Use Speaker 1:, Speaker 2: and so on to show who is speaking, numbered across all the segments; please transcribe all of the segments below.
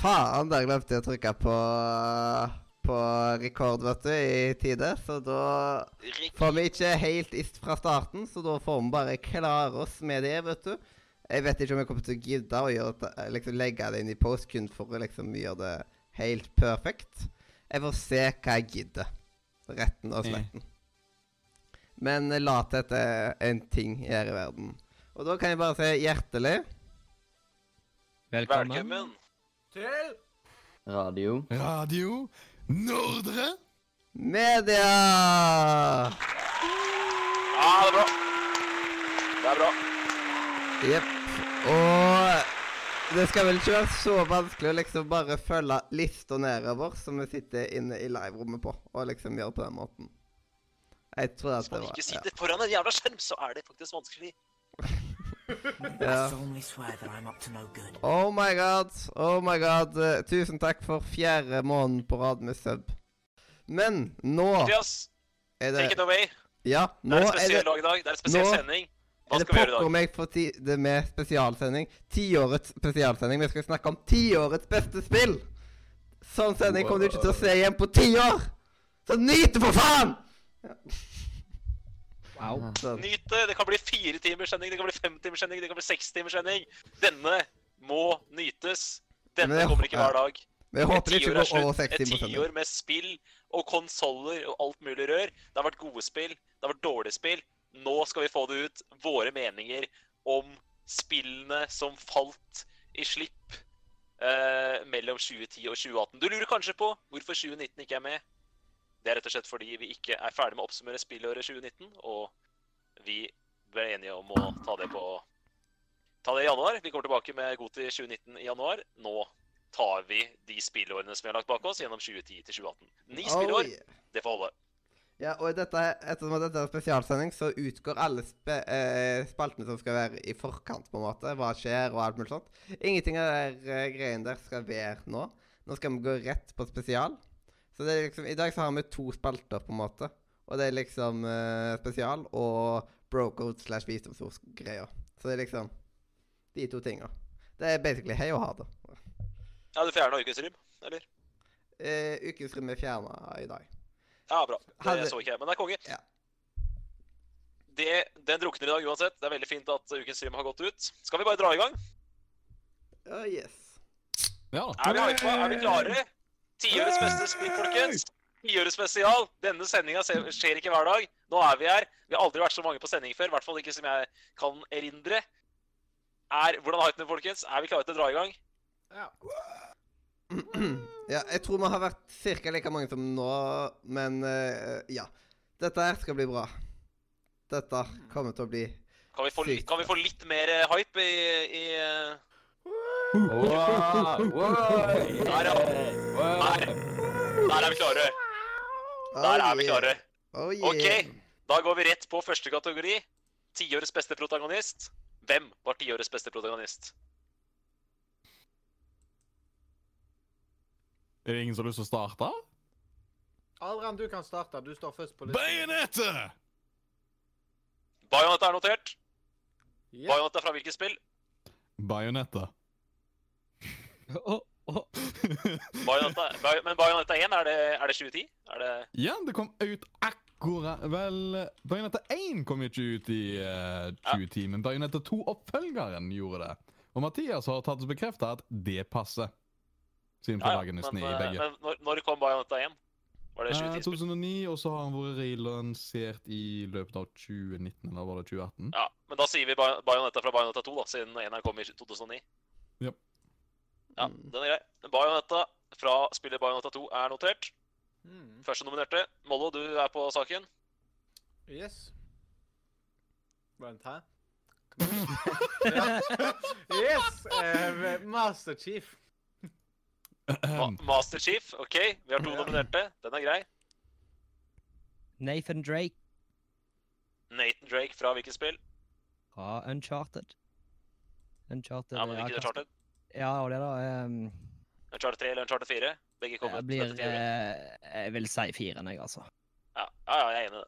Speaker 1: faen, der glemte jeg å trykke på, på rekord, vet du, i tide. Så da
Speaker 2: Rik-
Speaker 1: får vi ikke helt ist fra starten, så da får vi bare klare oss med det, vet du. Jeg vet ikke om jeg kommer til å gidde å gjøre, det- liksom, legge det inn i post kun for å liksom gjøre det helt perfekt. Jeg får se hva jeg gidder. Retten og
Speaker 3: Ja.
Speaker 1: sletten. Men eh, lathet er en ting her i verden. Og da kan jeg bare si hjertelig
Speaker 2: Velkommen.
Speaker 4: Til
Speaker 5: Radio.
Speaker 6: Radio Nordre.
Speaker 1: media!
Speaker 2: Ja, det er bra. Det er bra.
Speaker 1: Jepp. Og det skal vel ikke være så vanskelig å liksom bare følge lista nedover som vi sitter inne i liverommet på, og liksom gjøre på den måten. Jeg tror at
Speaker 2: Skal
Speaker 1: det
Speaker 2: man
Speaker 1: var Ah,
Speaker 2: ikke sitte foran en jævla skjerm, så er det faktisk vanskelig.
Speaker 1: ja.
Speaker 7: I solemnly swear that I'm up to no good.
Speaker 1: Oh my god, oh my god. Eh, Tusen takk for fjerde måneden på rad med sub. Men nå
Speaker 2: Mathias,
Speaker 1: er
Speaker 2: take it
Speaker 1: det
Speaker 2: away.
Speaker 1: Ja,
Speaker 2: Det
Speaker 1: nå
Speaker 2: er et
Speaker 1: er det
Speaker 2: spesielt lag i dag. Det er en spesiell
Speaker 1: nå-
Speaker 2: sending. Hva
Speaker 1: Er det
Speaker 2: skal vi gjøre i
Speaker 1: pokker
Speaker 2: dag?
Speaker 1: meg på ti det med spesialsending? Tiårets spesialsending. Vi skal snakke om tiårets beste spill! Sånn sending kommer du ikke til å se igjen på ti år! Så nyt det, for faen!
Speaker 3: Wow.
Speaker 1: Sånn.
Speaker 2: Nyt det. Det kan bli fire timers sending, det kan bli fem timers sending, det kan bli seks timers sending. Denne må nytes.
Speaker 1: Men
Speaker 2: Denne
Speaker 1: jeg-
Speaker 2: kommer ikke hver dag.
Speaker 1: Men jeg
Speaker 2: Et
Speaker 1: håper det ikke
Speaker 2: tiår er
Speaker 1: går over
Speaker 2: slutt.
Speaker 1: seks timer
Speaker 2: Et
Speaker 1: sending.
Speaker 2: tiår med spill og konsoller og alt mulig rør. Det har vært gode spill, det har vært dårlige spill. Nå skal vi få det ut. Våre meninger om spillene som falt i slipp eh, mellom 2010 og 2018. Du lurer kanskje på hvorfor 2019 ikke er med. Det er rett og slett fordi vi ikke er ferdig med å oppsummere spillåret 2019, og vi ble enige om å ta det på Ta det i januar. Vi kommer tilbake med Goti 2019 i januar. Nå tar vi de spillårene som vi har lagt bak oss, gjennom 2010 til 2018. Ni
Speaker 1: Oh,
Speaker 2: spillår,
Speaker 1: yeah.
Speaker 2: det får holde.
Speaker 1: Ja, og i dette, ettersom at dette er spesialsending, så utgår alle spe, eh, spaltene som skal være i forkant, på en måte. Hva skjer, og alt mulig sånt. Ingenting av de eh, greiene der skal være nå. Nå skal vi gå rett på spesial. Så det er liksom, i dag så har vi to spalter, på en måte. Og det er liksom eh, spesial og brocode slash visdomsordsgreier. Så det er liksom de to tinga. Det er basically hei og ha det.
Speaker 2: Ja, du fjerna ukens rym.
Speaker 1: Eh, ukens rim er fjerna i dag.
Speaker 2: Ja, bra.
Speaker 1: Hadde-
Speaker 2: Det så ikke jeg, men det er konge.
Speaker 1: Ja.
Speaker 2: Det, den drukner i dag uansett. Det er veldig fint at ukens rym har gått ut. Skal vi bare dra i gang?
Speaker 1: Oh, yes.
Speaker 3: Ja.
Speaker 2: Er vi hypa? Er vi klare? Tiårets beste spill, folkens. Tiårets spesial. Denne sendinga skjer ikke hver dag. Nå er vi her. Vi har aldri vært så mange på sending før, i hvert fall ikke som jeg kan erindre. Er, hvordan har vi det, folkens? Er vi klare til å dra i gang?
Speaker 1: ja, jeg tror vi har vært ca. like mange som nå, men eh, ja. Dette her skal bli bra. Dette kommer til å bli
Speaker 2: Kan vi få, litt- kan vi få litt mer eh, hype i, i eh,
Speaker 5: Wow, wow.
Speaker 2: der, ja. der. der er vi klare. Der er vi klare.
Speaker 1: Oh, yeah.
Speaker 2: Ok, da går vi rett på første kategori. Tiårets beste protagonist. Hvem var tiårets beste protagonist?
Speaker 6: Er det ingen som har lyst til å starte?
Speaker 4: Adrian, du kan starte. Du står først på listen.
Speaker 6: Bajonettet!
Speaker 2: Bajonetta er notert.
Speaker 4: Yep.
Speaker 2: Bajonetta fra hvilket spill?
Speaker 6: Bajonettet.
Speaker 2: Bajonetta, Bay- men Bajonetta 1, er det, er det 2010? Er det
Speaker 6: ja, det kom ut akkurat Vel, Bajonettet 1 kom jo ikke ut i eh, 2010, men Bajonettet 2-oppfølgeren gjorde det. Og Mathias har tatt og bekrefta at det passer. Siden
Speaker 2: Ja, ja,
Speaker 6: protagonisten er
Speaker 2: eh,
Speaker 6: i begge.
Speaker 2: men når, når kom Bajonetta 1? Var det
Speaker 6: Eh,
Speaker 2: 2010?
Speaker 6: 2009, og så har han vært relansert i løpet av 2019, eller var det 2018?
Speaker 2: Ja, men da sier vi Bay- Bajonetta fra Bajonetta 2, da, siden 1 kom i 2009.
Speaker 6: Ja.
Speaker 2: Ja, den er grei. Bajonetta fra spillet Bajonetta 2 er notert.
Speaker 4: Mm.
Speaker 2: Første nominerte. Mollo, du er på saken.
Speaker 4: Yes. Vent, hæ? Kom igjen. Ja. yes! eh, Master Chief.
Speaker 2: Ma Master Chief, OK. Vi har to nominerte. Den er grei.
Speaker 8: Nathan Drake
Speaker 2: Nathan Drake fra hvilket spill?
Speaker 8: fra Uncharted. Uncharted
Speaker 2: Ja, men hvilket
Speaker 8: Uncharted-
Speaker 2: Uncharted?
Speaker 8: Ja, og det da um,
Speaker 2: Uncharted 3 eller Uncharted 4? Begge kommer.
Speaker 8: Jeg blir
Speaker 2: til dette tiåret.
Speaker 8: eh, Jeg vil si firen, jeg, altså.
Speaker 2: Ja, ja, ja, jeg er enig i det.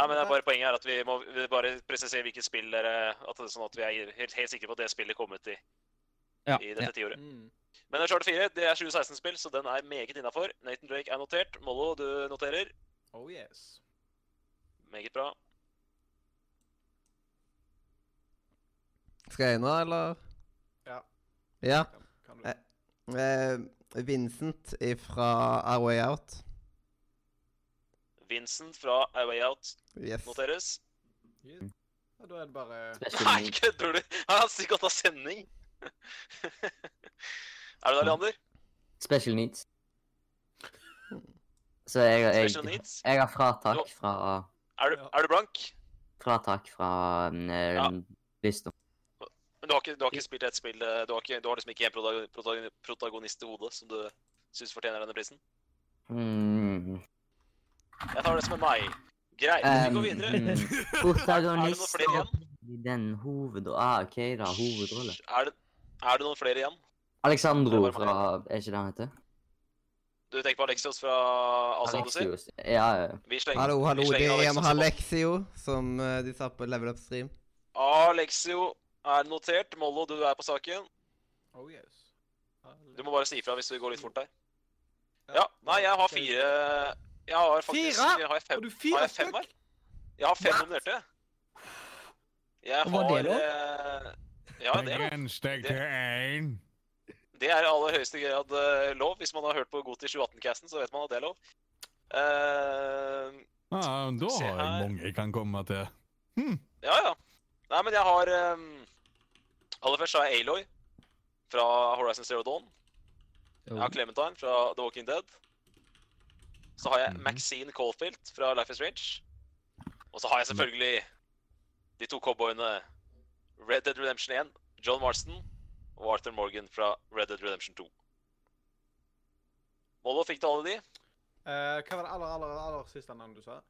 Speaker 2: Ja, men det er bare Poenget er at vi må vi bare presisere hvilket spill dere at det er Sånn at vi er helt, helt sikre på at det spillet kom ut i,
Speaker 8: Ja.
Speaker 2: i
Speaker 8: ja.
Speaker 2: dette tiåret.
Speaker 4: Mm.
Speaker 2: Men Uncharted 4 det er 2016-spill, så den er meget innafor. Nathan Drake er notert. Mollo, du noterer.
Speaker 4: Oh yes.
Speaker 2: Meget bra.
Speaker 1: Skal jeg nå, eller?
Speaker 4: Ja.
Speaker 1: Ja.
Speaker 4: Kan, kan
Speaker 1: Eh.
Speaker 4: du.
Speaker 1: Eh, Vincent fra A Way Out.
Speaker 2: Vincent fra A Way Out
Speaker 1: Yes.
Speaker 2: noteres.
Speaker 4: Ja, da er det bare
Speaker 5: Special
Speaker 2: Nei,
Speaker 5: Link.
Speaker 2: kødder du?! Han har sikkert hatt sending! er du der, Leander?
Speaker 5: Special needs. Så jeg, jeg,
Speaker 2: Special needs?
Speaker 5: jeg har fratak
Speaker 2: Jo.
Speaker 5: fra
Speaker 2: Er du,
Speaker 4: Ja.
Speaker 2: er du blank?
Speaker 5: Fratak fra mm, eh,
Speaker 2: Ja.
Speaker 5: visdom.
Speaker 2: Men du har ikke, du har ikke spilt ett spill eh, du har, ikke, du har liksom ikke en protago- protago- protagonist i hodet som du syns fortjener denne prisen?
Speaker 5: Mm.
Speaker 2: Jeg tar det som er meg. Greit, vi går videre.
Speaker 5: mm.
Speaker 2: Er det noen flere
Speaker 5: Protagonist i den hoved... Ah, OK, da. Hovedrolle.
Speaker 2: Hysj, Er det, er det noen flere igjen?
Speaker 5: Alexandro
Speaker 2: Det var
Speaker 5: fra Er ikke det han heter?
Speaker 2: Du tenker på Alexios fra Asa Odyssey?
Speaker 5: Alexios. Ja, ja.
Speaker 2: Vi slenger,
Speaker 1: Hallo, hallo,
Speaker 2: vi
Speaker 1: det
Speaker 2: slenger
Speaker 1: er
Speaker 2: Alexios
Speaker 1: Yamaha
Speaker 2: på-
Speaker 1: Lexio, som eh, de sa på Level Up Stream.
Speaker 2: Alexio er notert. Mollo, du er på saken.
Speaker 4: Oh yes. Alle-
Speaker 2: Du må bare si ifra hvis vi går litt fort der.
Speaker 4: Ja.
Speaker 2: Ja, nei, jeg har fire Jeg har faktisk
Speaker 4: Fire?
Speaker 2: Jeg har fem,
Speaker 4: Har du
Speaker 2: har
Speaker 4: fire
Speaker 2: jeg fem her?
Speaker 4: stykk?
Speaker 2: Jeg har fem nominerte. Jeg
Speaker 8: Og var det
Speaker 2: har eh, Ja, det er lov.
Speaker 6: en steg
Speaker 2: til
Speaker 6: én.
Speaker 2: Det er i aller høyeste grad eh, lov. Hvis man har hørt på Goti 2018-casten, så vet man at det er lov. Eh,
Speaker 6: Ja, Ah, da
Speaker 2: Se
Speaker 6: har
Speaker 2: her.
Speaker 6: jeg mange jeg kan komme til. Hm.
Speaker 2: Ja, ja. Nei, men jeg har ehm, Aller først så har jeg Aloy fra Horizon Zero Dawn. Jeg har Clementine fra The Walking Dead. Så har jeg
Speaker 6: Mhm.
Speaker 2: Maxine Caulfield fra Life is Strange. Og så har jeg selvfølgelig de to cowboyene Red Dead Redemption 1, John Marston, og Arthur Morgan fra Red Dead Redemption 2. Mollo, fikk du alle de?
Speaker 4: Eh, hva var det aller, aller, aller siste navnet du sa?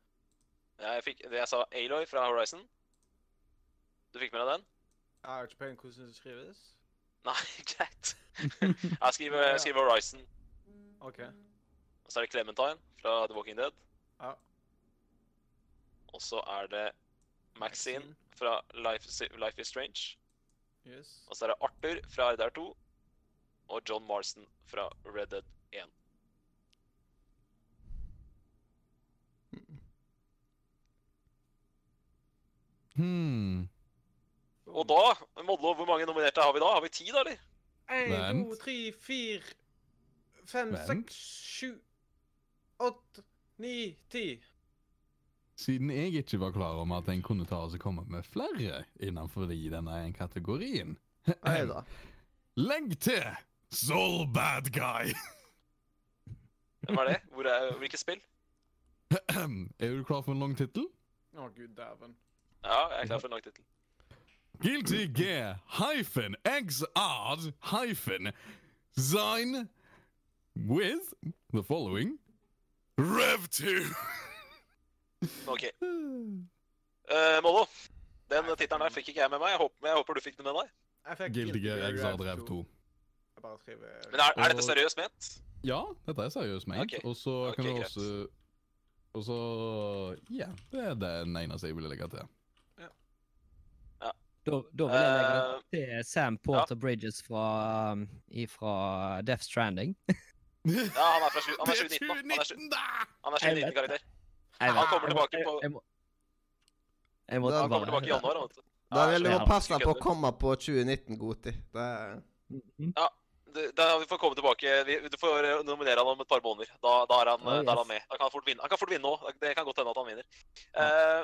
Speaker 2: Jeg, fikk, jeg sa Aloy fra Horizon. Du fikk med deg den?
Speaker 4: Jeg har ikke peiling på Ah, hvordan det skrives.
Speaker 2: Nei, greit. Jeg skriver, jeg skriver Horizon.
Speaker 4: OK.
Speaker 2: Og så er det Clementine fra The Walking Dead.
Speaker 4: Ja.
Speaker 2: Og så er det Maxine fra Life, is- Life is Strange.
Speaker 4: Yes.
Speaker 2: Og så er det Arthur fra RDR2. Og John Marston fra Red Dead 1.
Speaker 6: Hmm.
Speaker 2: Og da, Modlo, hvor mange nominerte har vi da? Har vi ti, da, eller?
Speaker 4: En,
Speaker 6: Vent.
Speaker 4: to, tre, fire, fem,
Speaker 6: Vent.
Speaker 4: seks, sju, åtte, ni, ti.
Speaker 6: Siden jeg ikke var klar om at en kunne ta og så komme med flere innenfor de denne kategorien,
Speaker 1: Oi da.
Speaker 6: legg til Zol Bad Guy!
Speaker 2: Hvem er det? Hvor er, hvilket spill?
Speaker 6: er du klar for en lang tittel?
Speaker 4: Å, gud dæven.
Speaker 2: Ja, jeg er klar for en lang tittel.
Speaker 6: Guilty Gear hyphen XR hyphen Zine with the following Rev 2!
Speaker 2: OK. Uh, Mollo, den tittelen der fikk ikke jeg med meg. Jeg håper, jeg håper du fikk den med deg.
Speaker 4: Jeg fikk
Speaker 6: Guilty Gear XR Rev 2.
Speaker 4: Jeg bare skriver
Speaker 2: Men er, er dette
Speaker 6: Og-
Speaker 2: seriøst ment?
Speaker 6: Ja, dette er seriøst ment.
Speaker 2: Ok.
Speaker 6: Og så kan
Speaker 2: Ok,
Speaker 6: vi
Speaker 2: greit.
Speaker 6: også Og så Ja, det er den eneste jeg ville legge til.
Speaker 8: Da, da vil jeg legge
Speaker 2: Eh,
Speaker 8: til Sam Porter Bridges fra, um, ifra Death Stranding.
Speaker 2: Ja, han er fra sju- han er 2019, da. Han
Speaker 6: da!
Speaker 2: er 2019, Han er
Speaker 8: Jeg vet
Speaker 2: 2019 karakter.
Speaker 8: Jeg
Speaker 2: Han
Speaker 8: vet-
Speaker 2: kommer
Speaker 8: jeg må-
Speaker 2: tilbake på-
Speaker 8: jeg må- Jeg måtte
Speaker 1: Han
Speaker 2: Han
Speaker 8: bare
Speaker 2: kommer tilbake i januar. han, Vet du.
Speaker 1: Da vil du
Speaker 8: ja,
Speaker 1: må passe
Speaker 2: ikke
Speaker 1: på å
Speaker 2: kødder.
Speaker 1: komme på 2019, Goti. Det er
Speaker 8: Mhm.
Speaker 2: Du- Da vi får komme tilbake. Vi, du får eh, nominere han om et par måneder. Da, da, er, han, eh,
Speaker 8: Oh,
Speaker 2: da er
Speaker 8: yes.
Speaker 2: han med. Da kan han fort vinne. Han kan fort vinne nå. Det kan godt hende at han vinner. Eh,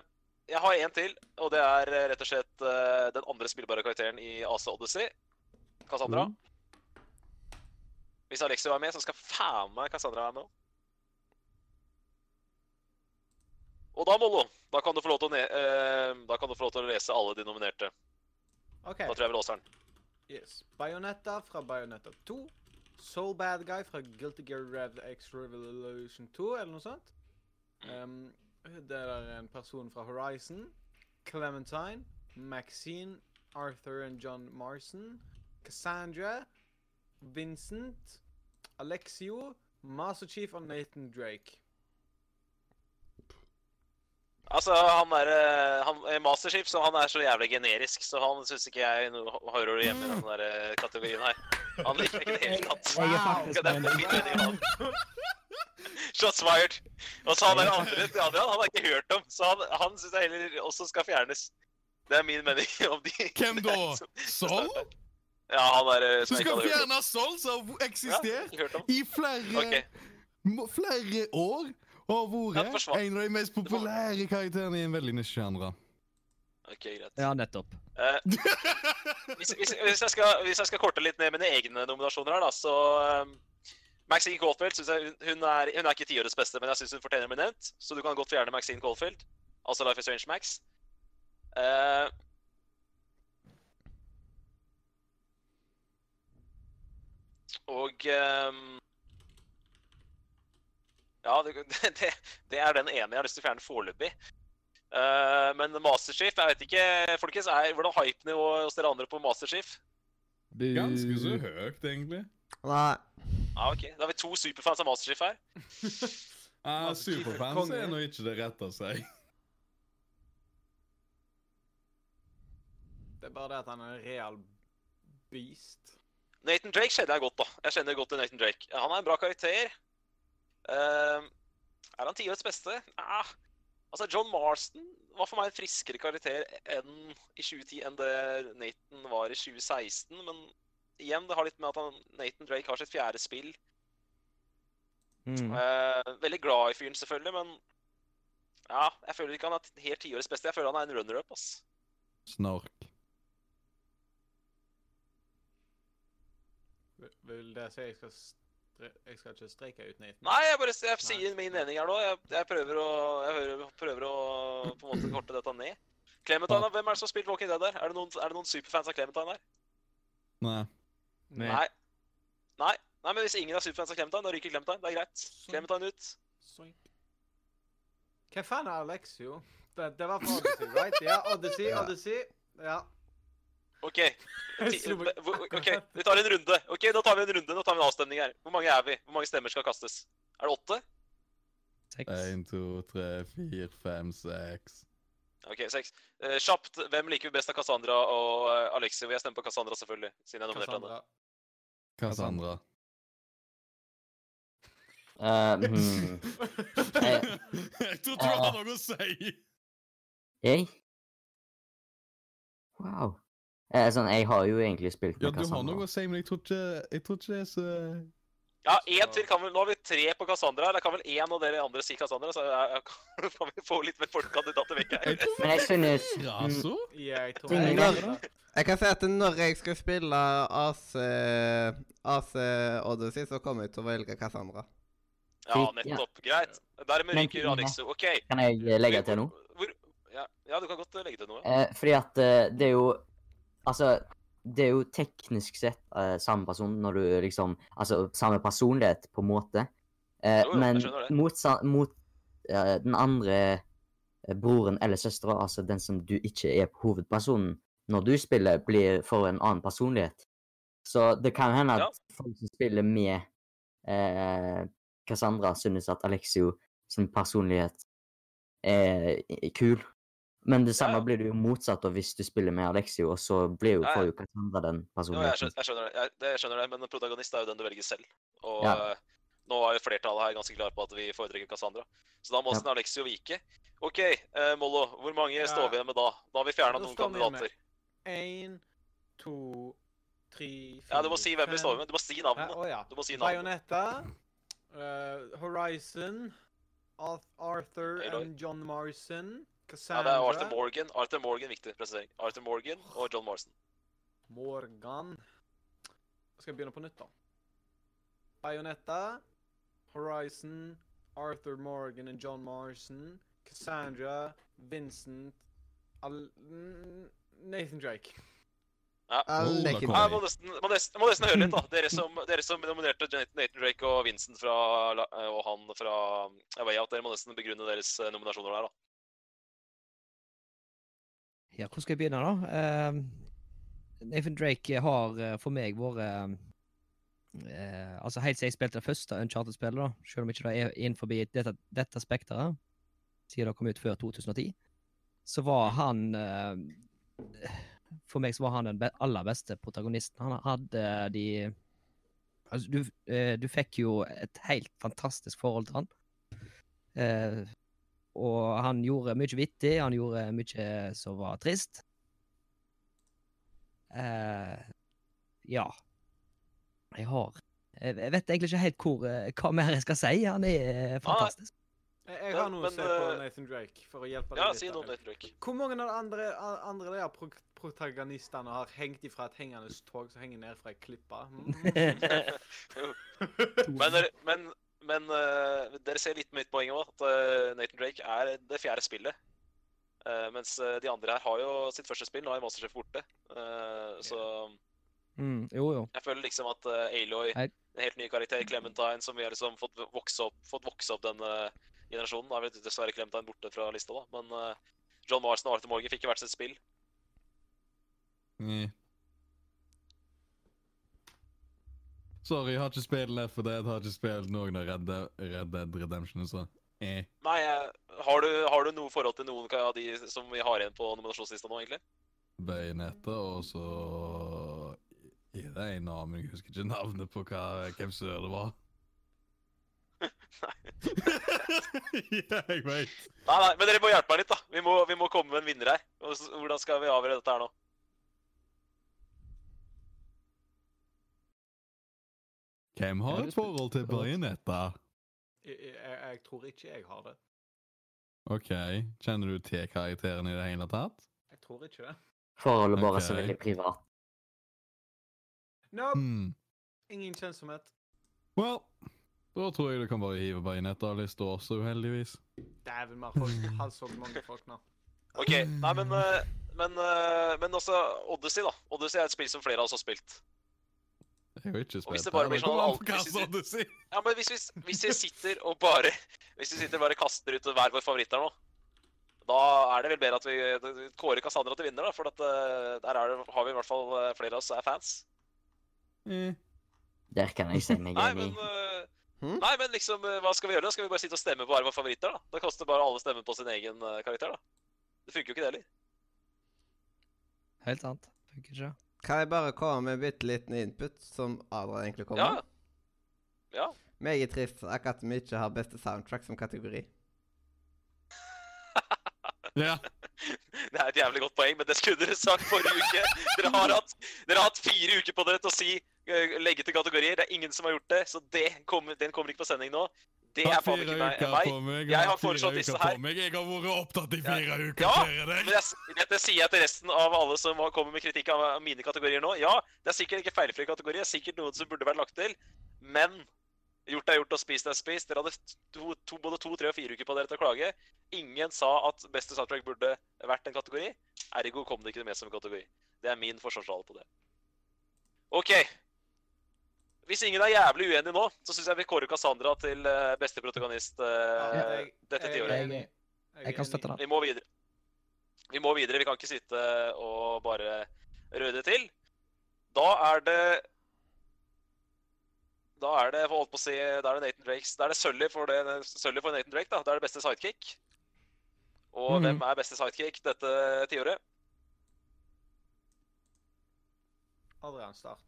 Speaker 2: jeg har en til, og det er eh, rett og slett eh, den andre spillbare karakteren i AC Odyssey. Cassandra.
Speaker 8: Mm.
Speaker 2: Hvis Alexio er med, så skal faen meg Cassandra være med òg. Og da, Mollo, da kan du få lov til å, ne eh, da kan du få lov til å lese alle de nominerte.
Speaker 4: OK.
Speaker 2: Da tror jeg vi låser den.
Speaker 4: Yes. Bayonetta fra Bayonetta 2. Soul Bad Guy fra Guilty Gear Rev X Revolution 2, eller noe sånt.
Speaker 2: Mm.
Speaker 4: Um, det er en person fra Horizon. Clementine. Maxine. Arthur and John Marson. Cassandra. Vincent. Alexio. Master Chief og Nathan Drake.
Speaker 2: Altså, han er, eh, han er masterchef, så han er så jævlig generisk, så han syns ikke jeg no- hører hjemme i den der eh, kategorien her. Han liker det ikke i det hele tatt.
Speaker 3: Jeg er
Speaker 2: Ja,
Speaker 3: faktisk
Speaker 2: det er
Speaker 3: med deg.
Speaker 2: fint, det, ja. Shots fired. Og så han der andre, det andre han har jeg ikke hørt om, så han, han syns jeg heller også skal fjernes. Det er min mening om de
Speaker 6: Hvem da?
Speaker 2: som-
Speaker 6: Sol?
Speaker 2: Ja, han der eh,
Speaker 6: Du
Speaker 2: som
Speaker 6: skal
Speaker 2: jeg ikke hadde hørt om.
Speaker 6: fjerne Sol, som har
Speaker 2: Ja,
Speaker 6: eksistert
Speaker 2: ikke hørt om.
Speaker 6: i flere
Speaker 2: Ok.
Speaker 6: må- flere år og har
Speaker 2: Ja,
Speaker 6: vært
Speaker 2: forsvant.
Speaker 6: en av de mest populære karakterene i en veldig nisje genre.
Speaker 2: Ok, greit.
Speaker 8: Ja, nettopp.
Speaker 2: Eh, hvis, hvis, hvis, jeg skal, hvis jeg skal korte litt ned mine egne nominasjoner her, da, så um, Maxine Caulfield synes jeg, hun- hun er, hun er ikke tiårets beste, men jeg syns hun fortjener å bli nevnt. Så du kan godt fjerne Maxine Caulfield, altså Life is Strange Max. Eh, og um, Ja, det, det, det er den ene jeg har lyst til å fjerne foreløpig. Eh, men Masterchef, jeg vet ikke folkens, er, Hvordan er hypenivået hos dere andre på Masterchef?
Speaker 8: Bu.
Speaker 6: Ganske så høyt, egentlig.
Speaker 1: Nei.
Speaker 2: Ja, ok. Da har vi to superfans av Masterchef her.
Speaker 6: Ja,
Speaker 4: Altså, Keith er
Speaker 6: Ah, Superfans
Speaker 4: konge.
Speaker 6: er nå ikke det rette å si.
Speaker 4: Det er bare det at han er en real beast.
Speaker 2: Nathan Drake kjenner jeg godt, da. Jeg kjenner godt til Nathan Drake. Han er en bra karakter. Eh, er han tiårets beste? Ah. Altså, John Marston var for meg en friskere karakter enn i 2010 enn det Nathan var i 2016. Men igjen, det har litt med at han, Nathan Drake har sitt fjerde spill.
Speaker 8: Mm.
Speaker 2: Eh, veldig glad i fyren, selvfølgelig, men ja, jeg føler ikke han er t- helt tiårets beste. Jeg føler han er en runner-up. ass.
Speaker 6: Snork.
Speaker 4: Vil- Vil det si jeg skal stre Jeg skal ikke streike ut Nathan?
Speaker 2: Nei, jeg bare s- jeg
Speaker 4: Nei.
Speaker 2: sier min mening her nå. Jeg, jeg prøver å, jeg hører- prøver å på en måte korte dette ned. Clementine, hvem er det som har spilt Walking Dead der? Er det noen, er det noen superfans av Clementine her?
Speaker 6: Nei.
Speaker 8: Med-
Speaker 2: Nei. Nei. Nei, men Hvis ingen er superfans av Clementine, da ryker Clementine. Det er greit.
Speaker 4: Sånn.
Speaker 2: Clementine ut.
Speaker 4: Soink. Hvem faen er Alexio? Det, det var fra Odyssey, right? Ja, Odyssey,
Speaker 1: Ja.
Speaker 4: Odyssey. Ja.
Speaker 2: OK,
Speaker 4: Jeg
Speaker 2: ti-
Speaker 4: slo meg
Speaker 2: hvor- hvor- ok,
Speaker 4: akkurat.
Speaker 2: vi tar en runde. Ok, Da tar vi en runde. Nå tar vi en avstemning her. Hvor mange er vi? Hvor mange stemmer skal kastes? Er det åtte?
Speaker 8: Seks.
Speaker 6: Én, to, tre, fire, fem, seks
Speaker 2: Ok, seks. Eh, kjapt, hvem liker vi best av Cassandra og uh, Alexio? Jeg stemmer på Cassandra, selvfølgelig, siden jeg nominerte henne.
Speaker 4: Cassandra.
Speaker 6: Cassandra.
Speaker 5: Eh, hmm. Eh.
Speaker 6: Jeg tror
Speaker 5: du har
Speaker 6: noe å si!
Speaker 5: Jeg? Wow. Eh, sånn, jeg har jo egentlig spilt
Speaker 6: Ja, du
Speaker 5: med
Speaker 6: har
Speaker 5: Cassandra.
Speaker 6: noe å si, men jeg tror ikke, jeg tror ikke det er så
Speaker 2: Ja, én til. Kan vel, nå har vi tre på Cassandra. Eller kan vel én av dere andre si Cassandra? Så jeg, jeg, kan vi få litt mer folkekandidater vekk her?
Speaker 6: Jeg tror
Speaker 5: Men jeg synes
Speaker 6: Ja,
Speaker 5: mm,
Speaker 6: så?
Speaker 4: Ja, jeg tror
Speaker 5: Ingen
Speaker 4: jeg-
Speaker 1: andre? Jeg kan si at når jeg skal spille AC, AC Odyssey, så kommer jeg til å velge Cassandra.
Speaker 2: Ja, nettopp. Greit. Dermed
Speaker 5: Men
Speaker 2: ryker Alexio. OK.
Speaker 5: Kan jeg eh, legge til noe?
Speaker 2: Hvor, ja, ja, du kan godt eh, legge til noe.
Speaker 5: Eh, fordi at eh, det er jo Altså, det er jo teknisk sett eh, samme person når du liksom Altså samme personlighet, på en måte. Eh,
Speaker 2: Jo, jo, jeg
Speaker 5: men
Speaker 2: skjønner det.
Speaker 5: mot, sa- mot eh, den andre eh, broren eller søstera, altså den som du ikke er hovedpersonen når du spiller, blir for en annen personlighet. Så det kan hende at
Speaker 2: Ja.
Speaker 5: folk som spiller med eh, Cassandra, synes at Alexio sin personlighet er er kul. Men det samme
Speaker 2: Ja, ja.
Speaker 5: blir det jo motsatt av hvis du spiller med Alexio, og så blir jo,
Speaker 2: Ja, ja.
Speaker 5: får jo Cassandra den
Speaker 2: Jo, jeg
Speaker 5: personligheten.
Speaker 2: skjønner, jeg skjønner det. Jeg, det, jeg skjønner det, Men protagonist er jo den du velger selv. Og
Speaker 5: Ja.
Speaker 2: eh, nå er jo flertallet her ganske klare på at vi foretrekker Cassandra. Så da må
Speaker 5: Ja.
Speaker 2: nesten Alexio vike. OK, eh, Mollo, hvor mange
Speaker 4: Ja.
Speaker 2: står vi igjen med da? Da har vi fjerna
Speaker 4: Da
Speaker 2: noen
Speaker 4: står vi igjen med-
Speaker 2: kandidater.
Speaker 4: En, to, tre, fire
Speaker 2: Ja, Du må si hvem vi står
Speaker 4: fem.
Speaker 2: med. Du må si
Speaker 4: Hæ?
Speaker 2: navnet.
Speaker 4: Å ja.
Speaker 2: Du må si navnet.
Speaker 4: Bayonetta, eh, Horizon, Arth- Arthur
Speaker 2: Aloy.
Speaker 4: and John Morrison,
Speaker 2: Ja,
Speaker 4: Cassandra
Speaker 2: det er Arthur Morgan. Arthur Morgan, viktig presisering. Arthur Morgan og John Morrison.
Speaker 4: Morgan. Skal jeg begynne på nytt, da? Bayonetta, Horizon, Arthur Morgan and John Morrison, Cassandra, Vincent Al mm, Nathan Drake.
Speaker 6: da
Speaker 1: Lekker.
Speaker 6: kommer
Speaker 2: Ja,
Speaker 6: Oi.
Speaker 2: jeg må nesten, må, nesten, må nesten høre litt, da. Dere som, dere som nominerte Jan- Nathan Drake og Vincent fra, La- eh, og han fra A Way Out, dere må nesten begrunne deres eh, nominasjoner der, da.
Speaker 8: Ja, hvor skal jeg begynne, da? Ehm, Nathan Drake har eh, for meg vært eh, Altså, helt siden jeg spilte det første Uncharted-spillet, da, selv om ikke det er innenfor dette, dette spekteret, Mm. siden det kom ut før 2010, så var han eh, for meg så var han den be aller beste protagonisten. Han hadde de Altså, du, eh, du fikk jo et helt fantastisk forhold til han. Eh, og han gjorde mye vittig, han gjorde mye som var trist. Eh, ja. Jeg har Jeg jeg vet egentlig ikke helt hvor, eh, hva mer jeg skal si. Han er fantastisk.
Speaker 4: Jeg, jeg har
Speaker 2: Men-
Speaker 4: noe
Speaker 2: men,
Speaker 4: å si på
Speaker 2: eh,
Speaker 4: Nathan Drake, for å hjelpe deg
Speaker 2: Ja,
Speaker 4: litt.
Speaker 2: si noe om
Speaker 4: der.
Speaker 2: det, Trykk.
Speaker 4: Hvor mange av de andre, a- andre der pro protagonistene har hengt ifra et hengende tog som henger ned fra ei klippe? Mm.
Speaker 2: men, dere- men, men eh, dere ser litt mitt poeng òg, at eh, Nathan Drake er det fjerde spillet. Eh, mens eh, de andre her har jo sitt første spill, nå er Monster Chef borte. Eh, så
Speaker 8: Mm, jo, jo.
Speaker 2: jeg føler liksom at eh, Aloy,
Speaker 8: Jeg-
Speaker 2: en helt ny karakter, Clementine, som vi har liksom fått vokse opp, fått vokse opp denne generasjonen Da er vel dessverre Clementine borte fra lista, da. Men eh, John Marston og Arthur Morgan fikk jo hvert sitt spill.
Speaker 6: Nei. Sorry, jeg har ikke spilt Left 4 Dead, har ikke spilt noen av Red Dead, Red Dead Redemption, så eh.
Speaker 2: Nei, jeg- har du, har du noe forhold til noen av de som vi har igjen på nominasjonslista nå, egentlig?
Speaker 6: Bajonetta, og så er det en annen, men jeg husker ikke navnet på hva, hvem sør det var. ja, jeg vet.
Speaker 2: Nei, nei, men dere må hjelpe meg litt, da. Vi må, vi må komme med en vinner her. Og så- Hvordan skal vi avgjøre dette her nå?
Speaker 6: Hvem har et forhold til Bajonetta?
Speaker 4: Jeg, jeg, jeg tror ikke jeg har det.
Speaker 6: OK, kjenner du til karakteren i det hele tatt?
Speaker 4: Jeg tror ikke det.
Speaker 5: Forholdet vårt
Speaker 6: Ok.
Speaker 5: er veldig privat.
Speaker 4: Nope.
Speaker 6: Hmm.
Speaker 4: Ingen kjensomhet.
Speaker 6: Well, da tror jeg du kan bare hive Bajonetta av lista også, uheldigvis.
Speaker 4: Dæven, mer folk. Halvsåg mange folk nå.
Speaker 2: Ok, nei, men, eh, men, eh, men også Odyssey, da. Odyssey er et spill som flere av oss har spilt.
Speaker 6: Jeg har jo ikke
Speaker 2: Og hvis
Speaker 6: spilt
Speaker 2: det bare blir
Speaker 6: men
Speaker 2: sånn
Speaker 6: kom an
Speaker 2: alt-
Speaker 6: på hva
Speaker 2: hvis det-
Speaker 6: som du sier.
Speaker 2: Ja, men hvis vi, hvis vi sitter og bare Hvis vi sitter og bare kaster ut hver vår favoritt her nå, da er det vel bedre at vi eh, kårer Cassandra til vinner, da. For at, eh, der er det, har vi i hvert fall eh, flere av oss er fans.
Speaker 6: Eh,
Speaker 5: Der kan jeg si meg
Speaker 2: Nei,
Speaker 5: enig.
Speaker 2: men, eh,
Speaker 1: Hmm?
Speaker 2: nei, men liksom, eh, hva skal vi gjøre da? Skal vi bare sitte og stemme på hver vår favoritter, da? Da kaster bare alle stemmen på sin egen eh, karakter, da. Det funker jo ikke det heller.
Speaker 8: Helt sant. Funker ikke.
Speaker 1: Kan jeg bare komme med bitte liten input, som Adrian egentlig kom med?
Speaker 2: Ja. Ja.
Speaker 1: Meget trist at vi ikke har beste soundtrack som kategori.
Speaker 6: Ja.
Speaker 2: Det er et jævlig godt poeng, men det skulle dere sagt forrige uke. Dere har hatt, dere har hatt fire uker på dere til å si eh, legge til kategorier. Det er ingen som har gjort det, så det kommer, den kommer ikke på sending nå. Det
Speaker 6: Jeg
Speaker 2: er
Speaker 6: har
Speaker 2: faen
Speaker 6: fire
Speaker 2: ikke meg.
Speaker 6: uker
Speaker 2: meg.
Speaker 6: på meg.
Speaker 2: Jeg
Speaker 6: og
Speaker 2: har
Speaker 6: fire
Speaker 2: foreslått disse
Speaker 6: uker
Speaker 2: her.
Speaker 6: på meg. Jeg har vært opptatt i
Speaker 2: Ja.
Speaker 6: fire uker.
Speaker 2: Ja,
Speaker 6: dere der.
Speaker 2: Men jeg, s- dette sier jeg til resten av alle som har- kommer med kritikk av av mine kategorier nå. Ja, det er sikkert ikke feilfrie kategorier, det er sikkert noen som burde vært lagt til, men gjort er gjort og spist er spist. Dere hadde to, to, både to, tre og fire uker på dere til å klage. Ingen sa at beste soundtrack burde vært en kategori, ergo kom det ikke med som en kategori. Det er min forsvarstale på det. OK. Hvis ingen er jævlig uenig nå, så syns jeg vi kårer Cassandra til eh, beste protagonist
Speaker 4: Ja,
Speaker 2: eh,
Speaker 4: jeg-
Speaker 2: dette
Speaker 4: jeg-
Speaker 2: tiåret.
Speaker 8: jeg-
Speaker 4: jeg-
Speaker 8: Jeg kan støtte
Speaker 4: enig.
Speaker 8: det.
Speaker 2: Vi må videre. Vi må videre. Vi kan ikke sitte og bare røre det til. Da er det Da er det for holdt på å si, da er det Nathan Drakes. Da er det Sully for, det, Sully for Nathan Drake, da. Det er det beste sidekick. Og
Speaker 8: Mhm.
Speaker 2: hvem er beste sidekick dette tiåret?
Speaker 4: Adrian, start.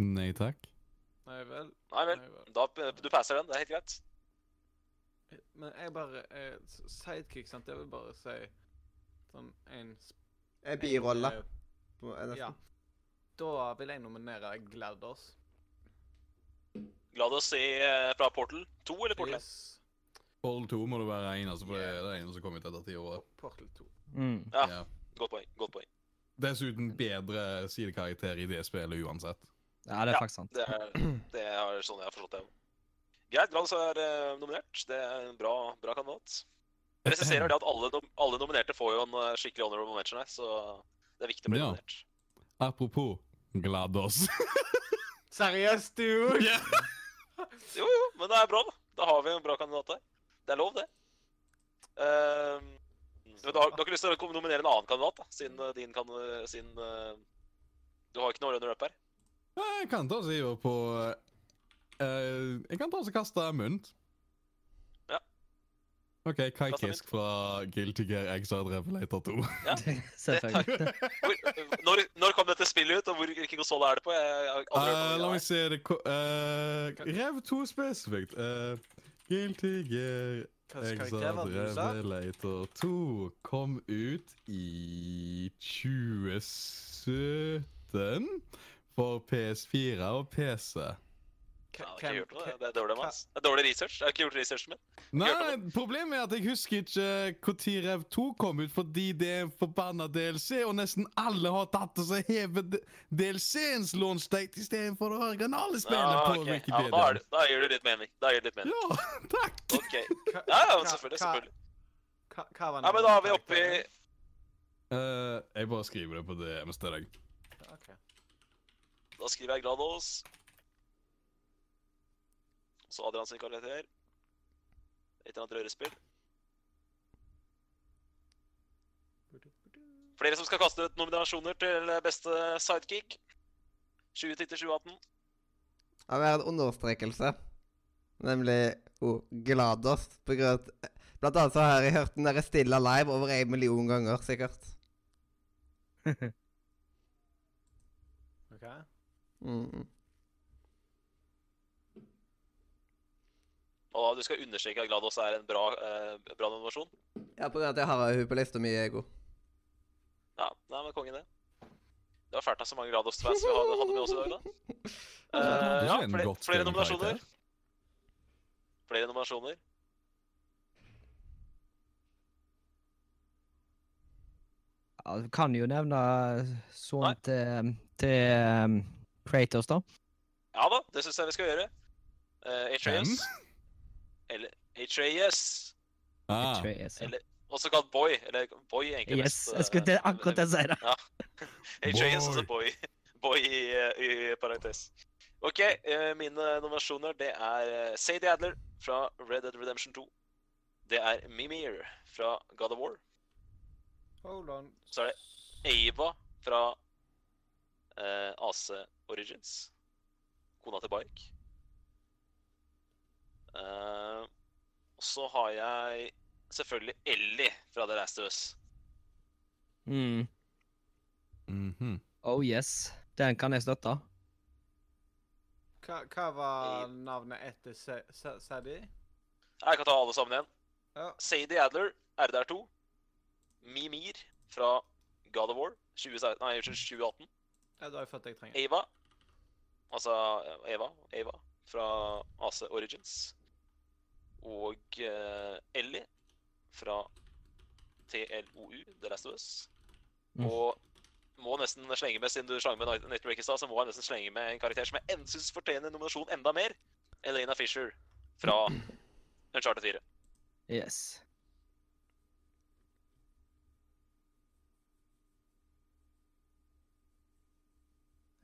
Speaker 6: Nei takk.
Speaker 4: Nei vel.
Speaker 2: Nei vel.
Speaker 4: Nei vel.
Speaker 2: Da, du passer den. Det er helt greit.
Speaker 4: Men jeg bare eh, s- Sidekick, sant. Jeg vil bare si sånn en sp-
Speaker 1: En birolle.
Speaker 4: en, eh,
Speaker 1: på- eh, nesten.
Speaker 4: Ja. Da vil jeg nominere Gladdos.
Speaker 2: Glados i, eh, fra Portal 2 eller Portal 1?
Speaker 4: Yes.
Speaker 6: Hold to må du være en, altså, for det er det ene som kom ut etter ti år.
Speaker 4: Portal 2.
Speaker 8: Mm.
Speaker 2: Ja.
Speaker 6: Ja.
Speaker 2: Godt poeng. godt poeng.
Speaker 6: Dessuten bedre sidekarakter i det spillet uansett.
Speaker 8: Ja, det er
Speaker 2: Ja.
Speaker 8: faktisk sant.
Speaker 2: Det er, det er sånn jeg har forstått det. Greit, Glados er eh, nominert. Det er en bra, bra kandidat. presiserer det at alle, nom alle nominerte får jo en eh, skikkelig honorable mention her, så det er viktig å bli
Speaker 6: Ja.
Speaker 2: nominert.
Speaker 6: Apropos GLaDOS.
Speaker 4: Seriøst, du?
Speaker 6: Ja.
Speaker 2: Jo, jo, men det er bra, da. Da har vi en bra kandidat der. Det er lov, det. Ehm, men du har, du har ikke lyst til å kom- nominere en annen kandidat, da, siden eh, din kan eh, siden, eh, Du har ikke noe runner up her?
Speaker 6: Ja, Jeg kan ta og si jo på eh, Jeg kan ta og så kaste mynt.
Speaker 2: Ja.
Speaker 6: OK, Kai
Speaker 2: Plassene
Speaker 6: Kisk fra Guilty Gear Exile Revelator 2.
Speaker 2: Ja,
Speaker 8: Selvfølgelig.
Speaker 2: Hvor, eh, når, når kom dette spillet ut, og hvor, hvilken konsoll er det på? Jeg, jeg, har aldri
Speaker 6: Eh,
Speaker 2: hørt
Speaker 6: la
Speaker 2: om
Speaker 6: meg
Speaker 2: det.
Speaker 6: se det ko- eh, Rev 2 spesifikt. Eh, Guilty Gear
Speaker 4: Hvilken karakter
Speaker 6: Exile
Speaker 4: var det du sa?
Speaker 6: Revelator 2 kom ut i 2017 for PS4 og PC.
Speaker 2: Jeg har
Speaker 4: Hvem-
Speaker 2: ikke gjort noe.
Speaker 4: hvem-
Speaker 2: Det er dårlig, mann. Det er dårlig research. Jeg har ikke gjort researchen min.
Speaker 6: Nei,
Speaker 2: Hørte
Speaker 6: nei, problemet er at jeg husker ikke når Rev 2 kom ut, fordi det er en forbanna DLC, og nesten alle har tatt og så hevet DLC-ens launch-date istedenfor å ha originalspillet
Speaker 2: Ah,
Speaker 6: på
Speaker 2: ok. Ja, men da,
Speaker 6: Wikipedia.
Speaker 2: er det, da gir det litt mening. Da gir det litt mening.
Speaker 6: Ja, takk!
Speaker 2: Ok.
Speaker 4: hva-
Speaker 2: Ja, ja, men
Speaker 4: hva-
Speaker 2: selvfølgelig.
Speaker 4: hva-
Speaker 2: selvfølgelig.
Speaker 4: hva- Hva var
Speaker 2: Nei, men da er vi oppe i
Speaker 4: karakteren?
Speaker 6: Eh, jeg bare skriver det på det mens det er deg.
Speaker 4: Ok.
Speaker 2: Da skriver jeg Glados. Så Adrian sin karakter. Et eller annet rørespill. Flere som skal kaste ut nominasjoner til beste sidekick. 2010 til 2018.
Speaker 1: Ja, vi har en understrekelse, nemlig oh, Glados. På grunn av at Blant annet så har jeg hørt den derre Stilla Live over en million ganger, sikkert.
Speaker 4: Ok.
Speaker 1: Mm.
Speaker 2: Og du skal understreke at Glados er en bra, eh, bra nominasjon.
Speaker 1: Ja, på grunn av at jeg har henne på lista mi, jeg er god.
Speaker 2: Ja, nei, men kongen det. Det var fælt av så mange Glados-fans vi hadde, hadde med oss i dag, da. Eh, ja,
Speaker 6: Det er en
Speaker 2: flere,
Speaker 6: godt
Speaker 2: flere
Speaker 6: skrevet
Speaker 2: nominasjoner.
Speaker 6: karakter.
Speaker 2: Flere nominasjoner.
Speaker 8: Ja, du kan jo nevne
Speaker 2: Nei.
Speaker 8: sånn til, til um, Kratos, da.
Speaker 2: Ja da, det syns jeg vi skal gjøre. Uh, Atreus. Eller Atreus.
Speaker 6: Ah,
Speaker 8: Atreus, ja.
Speaker 2: Eller- Også kalt Boy. Eller Boy, egentlig.
Speaker 8: Yes,
Speaker 2: mest,
Speaker 8: jeg skulle det,
Speaker 2: eh,
Speaker 8: akkurat det jeg sier. da.
Speaker 2: Atreus og så Boy. Boy i, eh, i parentes. OK, eh, mine nominasjoner det er eh, Sadie Adler fra Red Dead Redemption 2. Det er Mimir fra God of War.
Speaker 4: Hold on.
Speaker 2: Så er det Ava fra eh, AC Origins. Kona til Bark. Eh, og så har jeg selvfølgelig Ellie fra The Last of Us.
Speaker 8: Mm.
Speaker 6: mhm.
Speaker 8: Oh yes. Den kan jeg støtte.
Speaker 4: Hva, hva var navnet etter Sa- Sa- Sadie?
Speaker 2: Jeg kan ta alle sammen igjen.
Speaker 4: Ja.
Speaker 2: Sadie Adler, RDR2. Mimir fra God of War 2016, nei, unnskyld, 2018.
Speaker 4: Ja, da har jeg fått det jeg trenger.
Speaker 2: Ava. Altså Eva. Ava fra AC Origins. Og eh, Ellie fra TLOU, The Last of Us.
Speaker 8: Mm.
Speaker 2: Og må nesten slenge med, siden du slang med Night- Nightbreak i stad, så må jeg nesten slenge med en karakter som jeg syns fortjener nominasjon enda mer. Elena Fisher fra Uncharted 4.
Speaker 8: Yes.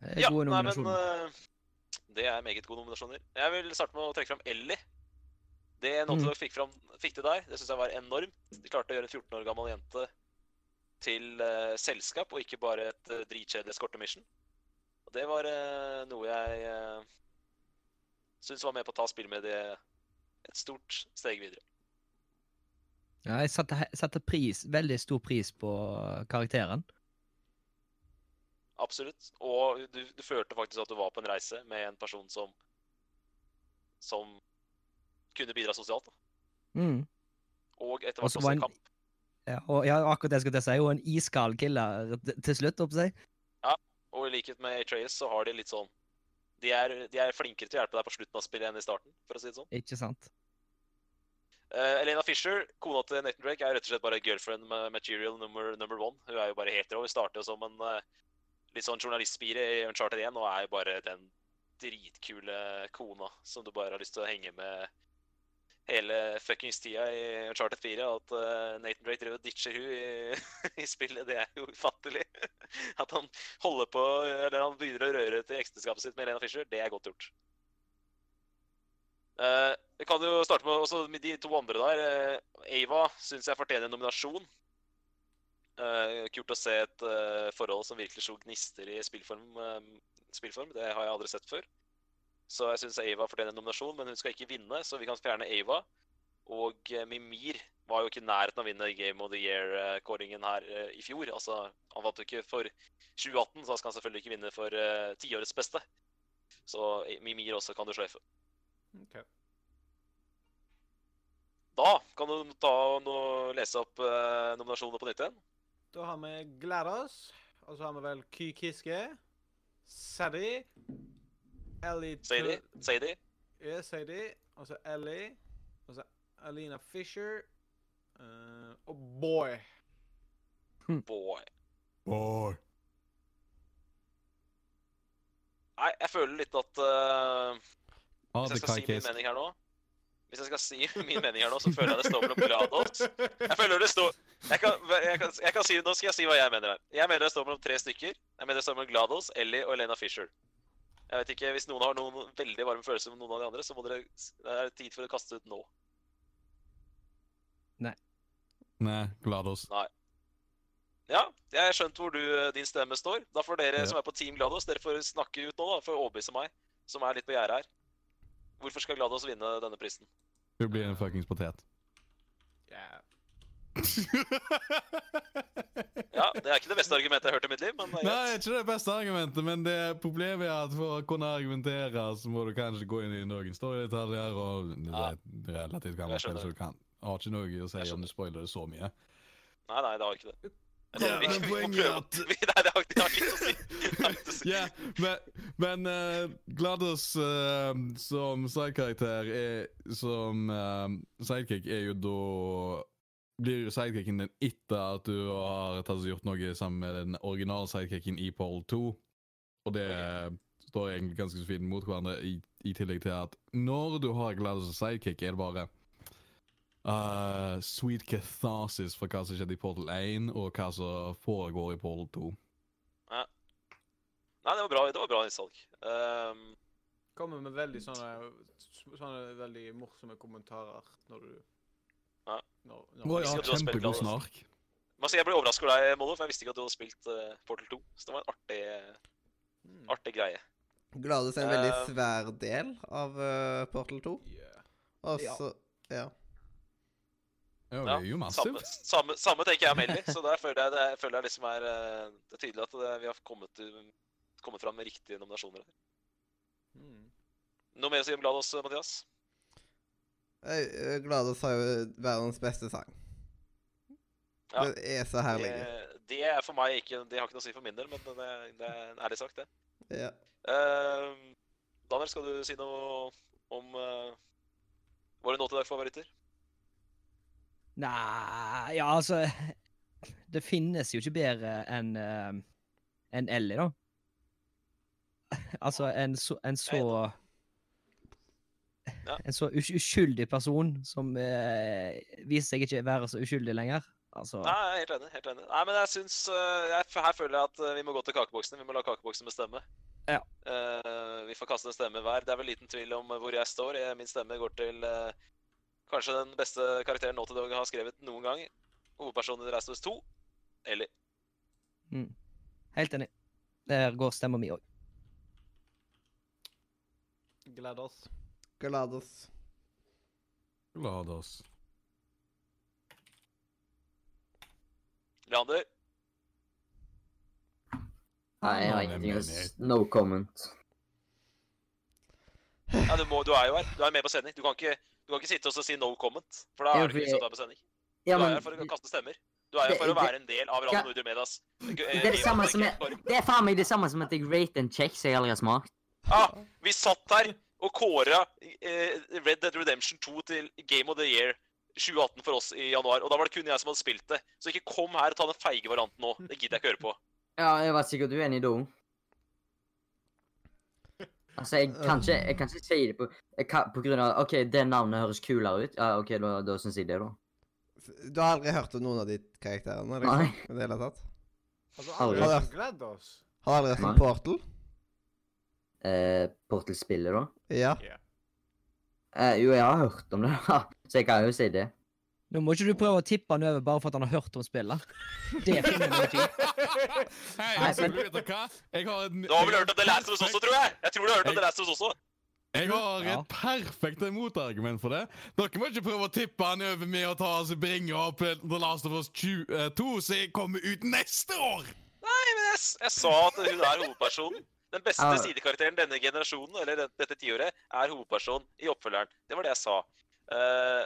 Speaker 8: Det er
Speaker 2: Ja,
Speaker 8: Eh, gode
Speaker 2: nei, men
Speaker 8: nominasjoner.
Speaker 2: eh, det er meget gode nominasjoner. Jeg vil starte med å trekke fram Ellie. Det Naughty
Speaker 8: Mm.
Speaker 2: Dog fikk, fram, fikk til der, det syns jeg var enormt. De klarte å gjøre en 14 år gammel jente til eh, selskap, og ikke bare et uh, dritkjedelig eskortemission. Og det var eh, noe jeg uh, syns var med på å ta spillmediet et stort steg videre.
Speaker 8: Ja, jeg satte, he- satte pris, veldig stor pris på eh, karakteren.
Speaker 2: Absolutt. Og du, du følte faktisk at du var på en reise med en person som som kunne bidra sosialt. da.
Speaker 8: Mm.
Speaker 2: Og etter
Speaker 8: Og
Speaker 2: hvert
Speaker 8: så
Speaker 2: også
Speaker 8: var
Speaker 2: en
Speaker 8: han-
Speaker 2: kamp.
Speaker 8: Ja, og ja, akkurat det jeg skulle til å si, og en iskald killer t- til slutt, holdt jeg på å si.
Speaker 2: Og i likhet med Atreus så har de litt sånn de er, de er flinkere til å hjelpe deg på slutten av spillet enn i starten. for å si det sånn.
Speaker 8: Ikke sant?
Speaker 2: Eh, Elena Fisher, kona til Nathan Drake, er rett og slett bare girlfriend med material number, number one. Hun er jo bare helt rå. Hun starter jo som en eh, litt sånn journalistspire i Uncharted 1 og er jo bare den dritkule kona som du bare har lyst til å henge med hele fuckings tida i Uncharted 4. At eh, Nathan Drake driver og ditcher hun i, i spillet, det er jo ufattelig. At han holder på, eller han begynner å røre til ekteskapet sitt med Elena Fisher, det er godt gjort. Eh, Jeg kan jo starte med også med de to andre der. Eh, Ava syns jeg fortjener en nominasjon. Eh, Kult å se et eh, forhold som virkelig slo gnister i spillform, eh, spillform. Det har jeg aldri sett før. Så jeg syns Ava fortjener en nominasjon, men hun skal ikke vinne, så vi kan fjerne Ava. Og eh, Mimir var jo ikke i nærheten av å vinne Game of the Year-kåringen her eh, i fjor. Altså, han vant jo ikke for 2018, så han skal selvfølgelig ikke vinne for eh, tiårets beste. Så eh, Mimir også kan du sløyfe.
Speaker 4: Ok.
Speaker 2: Da kan du ta og nå lese opp eh, nominasjonene på nytt igjen.
Speaker 4: Da har vi Gladys, og så har vi vel Ky Kiske, Saddy, Ellie
Speaker 2: Sadie,
Speaker 4: Tur-
Speaker 2: Sadie,
Speaker 4: Ja, Sadie, og så Ellie, og så Alina Fisher, eh, og Boy.
Speaker 2: boy.
Speaker 6: Boy.
Speaker 2: Nei, jeg føler litt at eh,
Speaker 6: Ah, det
Speaker 2: Hvis jeg skal si min
Speaker 6: kakes.
Speaker 2: mening her nå Hvis jeg skal si min mening her nå, så føler jeg det står mellom Glados Jeg føler det står jeg kan, jeg, kan, jeg kan si Nå skal jeg si hva jeg mener her. Jeg mener det står mellom tre stykker. Jeg mener det står mellom Glados, Ellie og Elena Fisher. Jeg vet ikke, Hvis noen har noen veldig varme følelser om noen av de andre, så må dere Det er tid for å kaste ut nå.
Speaker 6: Nei, Glados.
Speaker 2: Ja, jeg har skjønt hvor du, eh, din stemme står. Da får dere
Speaker 6: Ja.
Speaker 2: som er på Team Glados, dere får snakke ut nå, da, for å overbevise meg, som er litt på gjerdet her. Hvorfor skal Glados vinne denne prisen?
Speaker 6: Hun blir en fuckings potet.
Speaker 4: Ja.
Speaker 2: Ja, Det er ikke det beste argumentet jeg har hørt i mitt liv, men det er
Speaker 6: Nei,
Speaker 2: greit.
Speaker 6: ikke det beste argumentet, men det problemet er at for å kunne argumentere, så må du kanskje gå inn i noen storydetaljer, og det
Speaker 2: Ja.
Speaker 6: er relativt
Speaker 2: Jeg
Speaker 6: gammelt spill,
Speaker 2: skjønner.
Speaker 6: så du kan har ikke noe å si
Speaker 2: Jeg
Speaker 6: om du spoiler det så mye.
Speaker 2: Nei, nei, det har ikke det.
Speaker 6: Ja,
Speaker 2: Eller, vi-
Speaker 6: men
Speaker 2: vi får
Speaker 6: poenget
Speaker 2: prøve.
Speaker 6: er at-
Speaker 2: Vi- Nei, det har, det har litt å si. Det har litt å si.
Speaker 6: Ja, men, men eh, Gladys eh, som sidekarakter er Som eh, sidekick er jo da Blir jo sidekicken din etter at du har tatt og gjort noe sammen med den originale sidekicken i Pole 2. Og det står egentlig ganske så fint mot hverandre, i, i tillegg til at når du har Gladys som sidekick, er det bare eh, sweet catharsis for hva som skjedde i Portal 1, og hva som foregår i Portal 2.
Speaker 2: Nei, det var bra, det var bra innsalg. Ehm,
Speaker 4: Kommer med veldig sånne, sånne veldig morsomme kommentarer når du
Speaker 2: Ja.
Speaker 4: når,
Speaker 6: Å
Speaker 4: når
Speaker 6: ja,
Speaker 2: Husker at du har spilt
Speaker 6: kjempegod
Speaker 2: Gladys.
Speaker 6: snark.
Speaker 2: men altså, jeg ble overrasket over deg, Mollo, for jeg visste ikke at du hadde spilt eh, Portal 2. Så det var en artig,
Speaker 4: Mm.
Speaker 2: artig greie.
Speaker 1: Gladys er en veldig
Speaker 2: Eh,
Speaker 1: svær del av eh, Portal 2.
Speaker 4: Yeah.
Speaker 1: Og
Speaker 4: Ja.
Speaker 1: så Ja.
Speaker 6: Ja, det
Speaker 2: Ja,
Speaker 6: er jo
Speaker 2: Samme,
Speaker 6: massivt.
Speaker 2: samme, samme tenker jeg om Ellie, så der føler jeg det, jeg føler jeg liksom er eh, Det er tydelig at det, vi har kommet, til- kommet fram med riktige nominasjoner. her.
Speaker 4: Mm.
Speaker 2: Noe mer å si om Glados, Mathias?
Speaker 1: Eh, eh, Gladys har jo verdens beste sang.
Speaker 2: Ja.
Speaker 1: Den er så herlig.
Speaker 2: Det, det er for meg ikke Det har ikke noe å si for min del, men det, det er en ærlig sak, det.
Speaker 1: Ja.
Speaker 2: Eh, Daniel, skal du si noe om eh, Var det nå til deg favoritter?
Speaker 8: Nei, ja, altså Det finnes jo ikke bedre enn uh, enn Ellie, da. Altså, en så, en så
Speaker 2: Ja.
Speaker 8: En så us- uskyldig person som eh, viser seg ikke være så uskyldig lenger. Altså
Speaker 2: Nei, jeg er helt enig. helt enig. Nei, men jeg syns eh, jeg, Her føler jeg at eh, vi må gå til kakeboksene. Vi må la kakeboksene bestemme.
Speaker 8: Ja.
Speaker 2: Eh, vi får kaste en stemme hver. Det er vel liten tvil om hvor jeg står. Jeg, min stemme går til eh, kanskje den beste karakteren nå til dag har skrevet noen gang. Hovedpersonen i Rasmus 2. Eller
Speaker 8: mm. Helt enig. Der går stemma mi òg.
Speaker 4: Gleder oss.
Speaker 1: Gladys.
Speaker 6: Gladys.
Speaker 2: Leander.
Speaker 5: Nei, jeg har
Speaker 6: Nei,
Speaker 5: ingenting å
Speaker 6: men jeg-
Speaker 5: s- No comment.
Speaker 2: Ja, du, må, du er jo her. Du er med på sending. Du kan ikke, du kan ikke sitte og så si no comment. For da
Speaker 5: Ja,
Speaker 2: er det
Speaker 5: for
Speaker 2: ikke
Speaker 5: jeg-
Speaker 2: sånn du er på sending.
Speaker 5: Ja,
Speaker 2: du er
Speaker 5: men
Speaker 2: her for å kaste stemmer. Du er her
Speaker 5: det-
Speaker 2: for å
Speaker 5: det-
Speaker 2: være en del av Radio
Speaker 5: Ja.
Speaker 2: Nordre Medias. Det
Speaker 5: det er det samme som jeg Det er faen meg det samme som at jeg rate en kjekk som jeg aldri har smakt.
Speaker 2: Ah, vi satt her og kåra eh, Red Dead Redemption 2 til Game of the Year 2018 for oss i januar. Og da var det kun jeg som hadde spilt det. Så ikke kom her og ta den feige varianten nå. Det gidder jeg ikke høre på.
Speaker 5: Ja, jeg var sikkert uenig da. Altså, jeg kan ikke, jeg kan ikke si det på, jeg kan, på grunn av OK, det navnet høres kulere ut. Ja, OK, da, da syns jeg det, da.
Speaker 1: Du har aldri hørt om noen av de karakterene? Liksom,
Speaker 5: Nei.
Speaker 1: i det hele tatt?
Speaker 4: Altså,
Speaker 5: Aldri.
Speaker 4: alle som gleder oss.
Speaker 1: Har du aldri hørt om
Speaker 5: Nei.
Speaker 1: Portal?
Speaker 5: Eh, Portal-spillet, da?
Speaker 1: Ja.
Speaker 5: Eh, jo, jeg har hørt om det, da. Så jeg kan jo si det.
Speaker 8: Nå må ikke du prøve å tippe han over bare for at han har hørt om spillet. Det finner vi ikke ut.
Speaker 6: Hei,
Speaker 5: Nei,
Speaker 6: så du
Speaker 5: men-
Speaker 6: vet hva? Jeg har en
Speaker 2: Du har vel hørt om The Last of Us også, tror jeg? Jeg tror du har hørt om The Last of Us også.
Speaker 6: Jeg har
Speaker 8: Ja.
Speaker 6: et perfekt motargument for det. Dere må ikke prøve å tippe han over med å ta oss og bringe opp eh, The Last of Us 2, eh, 2 som kommer ut neste år!
Speaker 2: Nei, men jeg, s- jeg sa at hun er hovedpersonen. Den beste
Speaker 5: Ja.
Speaker 2: sidekarakteren denne generasjonen, eller den- dette tiåret, er hovedpersonen i oppfølgeren. Det var det jeg sa. Eh,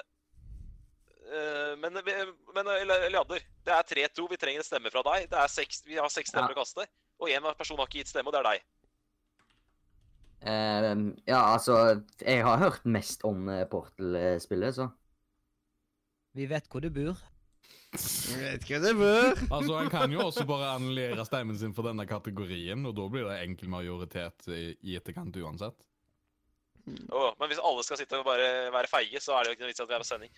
Speaker 2: eh, men vi- men eller- Leander, det er 3-2. Vi trenger en stemme fra deg. Det er seks, vi har seks stemmer å kaste, og én person har ikke gitt stemme, og det er deg.
Speaker 5: Ehm, ja, altså Jeg har hørt mest om eh, Portal-spillet, så
Speaker 8: Vi vet hvor du bor.
Speaker 1: Jeg vet ikke hva det bør.
Speaker 6: Altså, Han kan jo også bare annullere stemmen sin for denne kategorien, og da blir det enkel majoritet i, i etterkant uansett.
Speaker 2: Åh, men hvis alle skal sitte og bare være feige, så er det jo ikke noe vits i at vi er på sending.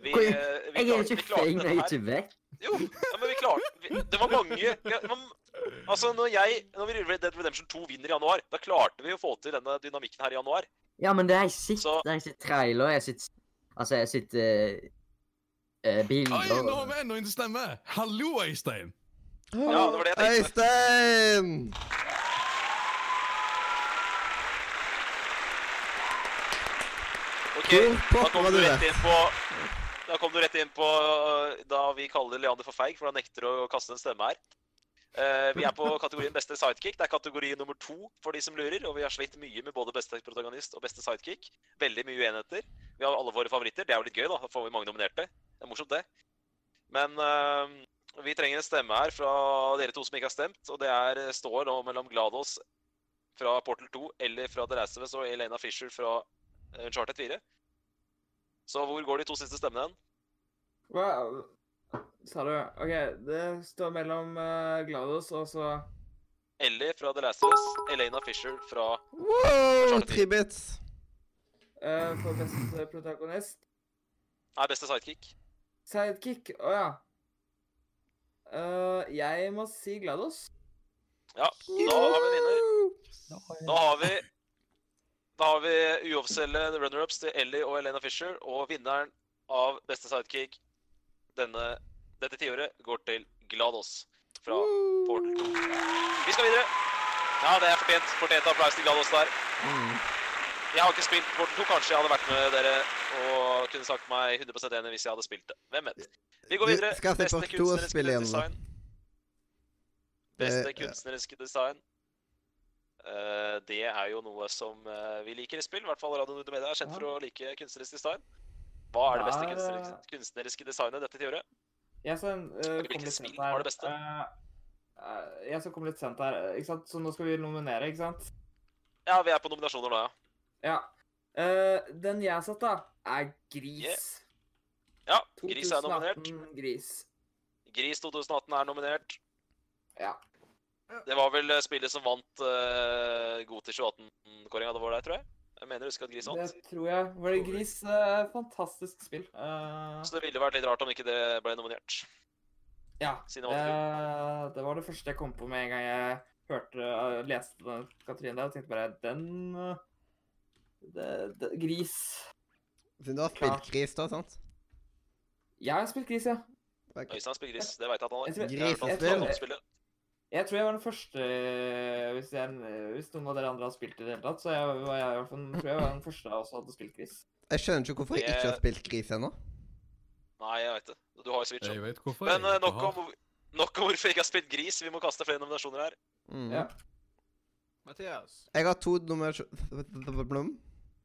Speaker 2: Vi, eh, vi
Speaker 5: Oi, Jeg er
Speaker 2: klarte-
Speaker 5: jo
Speaker 2: vi
Speaker 5: ikke
Speaker 2: klarte
Speaker 5: feig når
Speaker 2: dette
Speaker 5: jeg
Speaker 2: her.
Speaker 5: ikke vet.
Speaker 2: Jo, ja, men vi klarte vi, Det var mange ja, det var- Altså, når jeg Når vi Red Dead Redemption 2 vinner i januar, da klarte vi å få til denne dynamikken her i januar.
Speaker 5: Ja, men det er jeg sitt.
Speaker 2: Så-
Speaker 5: Det er jeg sitt trailer, jeg sitt Altså, jeg sitt eh, eh,
Speaker 6: Oi, nå har
Speaker 5: bilder
Speaker 6: vi ennå ikke stemme! Hallo, Øystein!
Speaker 2: Ja, det var det jeg tenkte.
Speaker 1: Øystein!
Speaker 2: Ok,
Speaker 1: Hvor
Speaker 2: Da
Speaker 1: pokker
Speaker 2: kom
Speaker 1: var
Speaker 2: du
Speaker 1: du
Speaker 2: rett
Speaker 1: det?
Speaker 2: inn på Da kom du rett inn på øh, da vi kaller Leander for feig, for han nekter å kaste en stemme her. Eh, vi er på kategorien beste sidekick. Det er kategori nummer to for de som lurer. Og vi har slitt mye med både beste protagonist og beste sidekick. Veldig mye uenigheter. Vi har alle våre favoritter. Det er jo litt gøy, da. Da får vi mange nominerte. Det er morsomt, det. Men eh, vi trenger en stemme her fra dere to som ikke har stemt. Og det er eh, står nå mellom Glados fra Portal 2 eller fra The Last of Us og Elena Fisher fra eh, Uncharted 4. Så hvor går de to siste stemmene hen?
Speaker 3: Hva sa du? OK, det står mellom eh, Glados og så
Speaker 2: Ellie fra The Last of Us, Elena Fisher fra
Speaker 1: Wow, tre bits.
Speaker 3: eh, for beste protagonist.
Speaker 2: Nei, beste sidekick.
Speaker 3: Sidekick. Å ja. Eh, jeg må si Glados.
Speaker 2: Ja, da har vi en vinner. Da har vi Da har vi uoffisielle runner-ups til Ellie og Elena Fisher, og vinneren av beste sidekick denne, dette tiåret går til Glados fra Portal 2. Vi skal videre. Ja, det er fortjent. Fortjent applaus til Glados der. Jeg har ikke spilt Portal 2. Kanskje jeg hadde vært med dere og kunne sagt meg 100 enig hvis jeg hadde spilt det. Hvem vet. Vi går
Speaker 1: Du
Speaker 2: videre.
Speaker 1: skal se Portal 2 og spille igjen nå.
Speaker 2: design. Beste
Speaker 1: Eh, ja.
Speaker 2: kunstneriske design. Eh, det er jo noe som eh, vi liker i spill. I hvert fall Radio Nordmedia er kjent for å like kunstnerisk design. Hva er det beste
Speaker 3: Der,
Speaker 2: kunstneriske, kunstneriske designet dette tiåret?
Speaker 3: Jeg som eh,
Speaker 2: Hvilket
Speaker 3: kom litt sent
Speaker 2: spill var
Speaker 3: her.
Speaker 2: det beste?
Speaker 3: Eh, eh, jeg som kom litt sent her, eh, ikke sant? så nå skal vi nominere, ikke sant?
Speaker 2: Ja, vi er på nominasjoner nå, ja.
Speaker 3: Ja. Eh, den jeg satt, da, er Gris.
Speaker 2: Ja, Gris er nominert.
Speaker 3: 2018 Gris.
Speaker 2: Gris 2018 er nominert.
Speaker 3: Ja.
Speaker 2: Det var vel eh, spillet som vant uh, god til 2018-kåringa det var der, tror jeg. Jeg mener å huske at Gris
Speaker 3: Det
Speaker 2: vant.
Speaker 3: tror jeg. Var det Gris? eh, fantastisk spill. Eh,
Speaker 2: Så det ville vært litt rart om ikke det ble nominert.
Speaker 3: ja.
Speaker 2: siden det var
Speaker 3: eh, det var det første jeg kom på med en gang jeg hørte eh, leste den Katrine der, og tenkte bare Den eh, det, det, Gris.
Speaker 1: Siden du har spilt gris, da, sant?
Speaker 3: Jeg har spilt Gris, ja.
Speaker 1: Ok.
Speaker 2: Øystein spiller gris, det veit jeg at han har.
Speaker 3: Jeg tror-
Speaker 2: Jeg har hørt han
Speaker 1: Grisespill.
Speaker 2: snakke om spillet.
Speaker 3: Jeg tror jeg var den første eh, Hvis, jeg, hvis noen av dere andre har spilt i det hele tatt, så jeg, var jeg i hvert fall tror jeg var den første som hadde spilt gris.
Speaker 1: Jeg skjønner ikke hvorfor jeg ikke har spilt gris ennå.
Speaker 2: Nei, jeg veit det. Du har jo Switch.
Speaker 6: Jeg
Speaker 2: også.
Speaker 6: vet hvorfor
Speaker 2: Men
Speaker 6: jeg
Speaker 2: eh,
Speaker 6: ikke
Speaker 2: nok,
Speaker 6: har.
Speaker 2: om, nok om hvorfor jeg ikke har spilt gris. Vi må kaste flere nominasjoner her.
Speaker 1: Mm.
Speaker 3: Ja.
Speaker 4: Mathias.
Speaker 1: Jeg har to nominasjoner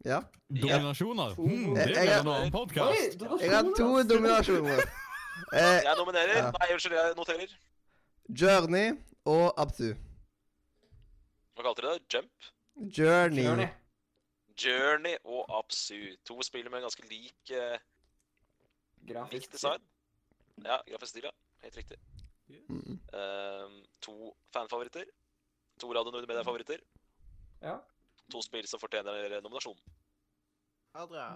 Speaker 1: Ja.
Speaker 6: Dominasjoner.
Speaker 3: To-
Speaker 6: Hmm, det
Speaker 1: Jeg-
Speaker 6: blir
Speaker 1: jeg-
Speaker 6: en annen
Speaker 3: Oi,
Speaker 6: podkast.
Speaker 3: donasjoner,
Speaker 1: Jeg har to
Speaker 3: altså.
Speaker 1: nominasjoner. Eh,
Speaker 2: Jeg nominerer.
Speaker 1: Ja.
Speaker 2: Nei, unnskyld, jeg noterer.
Speaker 1: Journey og Absu.
Speaker 2: Hva kalte dere det? Jump?
Speaker 1: Journey.
Speaker 3: Journey.
Speaker 2: Journey og Absu. To spiller med ganske lik eh,
Speaker 3: Grafisk
Speaker 2: Likt design. Ja, grafisk stil, ja. Helt riktig.
Speaker 1: Mm.
Speaker 2: Ehm, to fanfavoritter. To Radio Nord Media-favoritter.
Speaker 3: Ja.
Speaker 2: To spill som fortjener nominasjon.
Speaker 4: Adrian.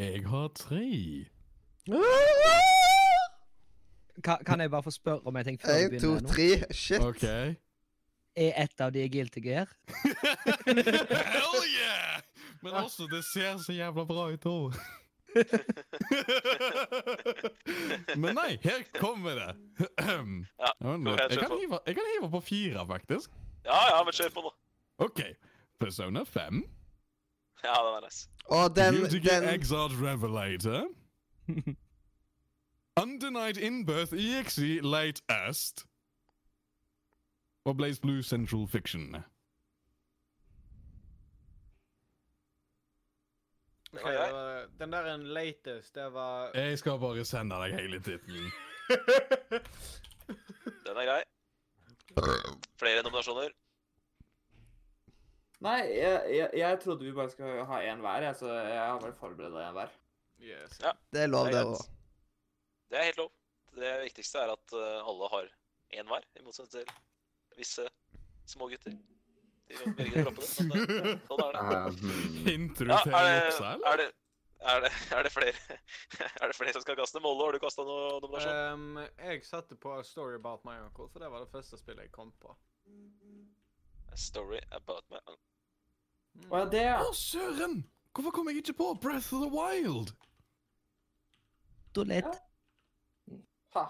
Speaker 6: Jeg har tre.
Speaker 8: Kan, kan jeg bare få spørre om en ting før
Speaker 1: En,
Speaker 8: vi
Speaker 1: to,
Speaker 8: begynner? nå?
Speaker 1: tre. Shit.
Speaker 6: OK.
Speaker 8: Er et av de guilty gear?
Speaker 6: Hell yeah! Men også, det ser så jævla bra ut òg. Men nei, her kommer det.
Speaker 2: Ja,
Speaker 6: Vent litt.
Speaker 2: kjør
Speaker 6: jeg, kan
Speaker 2: på.
Speaker 6: hive, jeg kan hive på fire, faktisk.
Speaker 2: Ja ja, men kjør på nå.
Speaker 6: OK. Persona 5.
Speaker 2: Ja, det var nice.
Speaker 1: Og den,
Speaker 6: Guilty Gear
Speaker 1: den
Speaker 6: Exiled Revelator. Undenied Inbirth E EXE Late Est. Og Blaze Blue Central Fiction.
Speaker 2: Det
Speaker 4: Ok,
Speaker 2: var
Speaker 4: det
Speaker 2: greit.
Speaker 4: var, den der en latest, det var
Speaker 6: Jeg skal bare sende deg hele tittelen.
Speaker 2: Den er grei. Flere nominasjoner.
Speaker 3: Nei, jeg, jeg, jeg trodde vi bare skulle ha én hver, jeg, så jeg har bare forberedt én hver.
Speaker 4: yes.
Speaker 2: Ja.
Speaker 1: Det er lov,
Speaker 2: Det
Speaker 1: det
Speaker 2: er
Speaker 1: òg.
Speaker 2: greit. Det er helt lov. Det viktigste er at eh, alle har én hver, i motsetning til visse små gutter. De kan velge å droppe det. men det- Sånn er det.
Speaker 5: Eh, hmm.
Speaker 6: Hinter du
Speaker 2: Ja,
Speaker 6: til
Speaker 2: er det,
Speaker 6: juksa, eller?
Speaker 2: er det, er det, er det flere Er det flere som skal kaste Mollo? Har du kasta noe nominasjon?
Speaker 4: Um, jeg satte på A Story About My Uncle, for det var det første spillet jeg kom på.
Speaker 2: A story about my uncle.
Speaker 4: Mm.
Speaker 3: Å ja, det, ja.
Speaker 6: Å, søren! Hvorfor kom jeg ikke på Breath of the Wild?
Speaker 8: Toalett.
Speaker 3: Ha.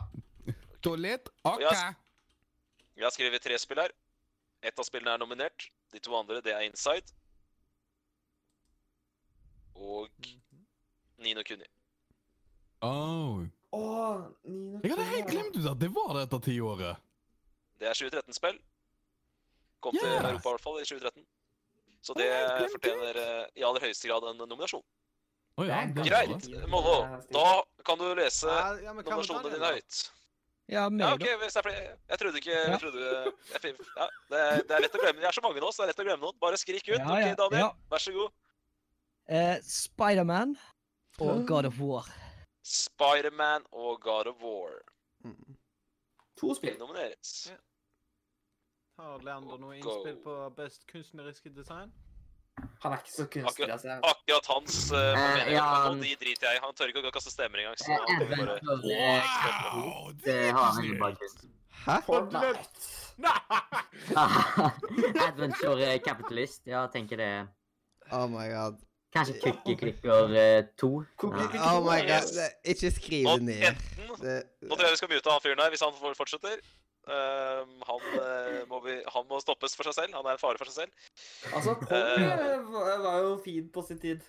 Speaker 6: Toalett,
Speaker 2: Og jeg har Jeg har skrevet tre spill her. Ett av spillene er nominert. De to andre, det er Inside. Og Nino Kuni.
Speaker 6: Oh.
Speaker 3: Å, Nino
Speaker 6: Jeg hadde helt glemt ut at det var dette tiåret.
Speaker 2: Det er 2013-spill. Kom til
Speaker 6: Ja.
Speaker 2: Europa i hvert fall i 2013. Så
Speaker 6: Å,
Speaker 2: det
Speaker 6: jeg glemte
Speaker 2: fortjener eh, i aller høyeste grad en nominasjon.
Speaker 6: Å ja,
Speaker 3: Det er
Speaker 6: det var
Speaker 2: Greit.
Speaker 6: det.
Speaker 3: det.
Speaker 2: Mollo, da kan du lese
Speaker 4: Ja, ja, men hva med
Speaker 2: nominasjonene
Speaker 4: Daniel,
Speaker 2: dine
Speaker 4: da?
Speaker 2: høyt.
Speaker 8: Ja,
Speaker 2: Ja,
Speaker 8: meg,
Speaker 2: ok,
Speaker 8: da.
Speaker 2: hvis det er fordi Jeg trodde ikke
Speaker 8: Ja.
Speaker 2: jeg trodde, jeg, fin- ja, det, er, det er lett å glemme. Det er så mange nå, så det er lett å glemme noen. Bare skrik ut.
Speaker 8: Ja, ja,
Speaker 2: ok, Daniel,
Speaker 8: ja.
Speaker 2: vær så god.
Speaker 8: Eh, Spiderman og God of War.
Speaker 2: Spiderman og God of War
Speaker 1: Mm.
Speaker 3: To
Speaker 2: vil
Speaker 3: spill.
Speaker 2: nomineres.
Speaker 4: Ja. Har Leander noe
Speaker 2: Go.
Speaker 4: innspill på best kunstneriske design?
Speaker 3: Han er ikke så kunstig,
Speaker 2: Akkurat-
Speaker 3: altså.
Speaker 2: Akkurat hans uh, meninger,
Speaker 5: ja,
Speaker 2: og de driter jeg i. Han tør ikke å kaste stemmer engang. Så
Speaker 5: Eh,
Speaker 2: da kan vi bare...
Speaker 5: Advent, eh,
Speaker 6: Wow!
Speaker 5: Det har han faktisk.
Speaker 1: Hæ?
Speaker 3: Fortnite.
Speaker 5: Adventure eh, Capitalist, ja, tenker det.
Speaker 1: Oh my god.
Speaker 5: Kanskje Cookie Clicker 2?
Speaker 3: Cookie Clicker.
Speaker 1: Oh my god.
Speaker 2: Yes.
Speaker 1: Det- Ikke skriv
Speaker 2: Nå,
Speaker 1: det ned.
Speaker 2: enten, nå
Speaker 1: Det,
Speaker 2: tror jeg vi skal mute han fyren der hvis han får- fortsetter. Um, han, eh, må vi, han må stoppes for seg selv. Han er en fare for seg selv.
Speaker 3: Altså,
Speaker 2: Eh.
Speaker 3: Polly var jo fin på sin tid.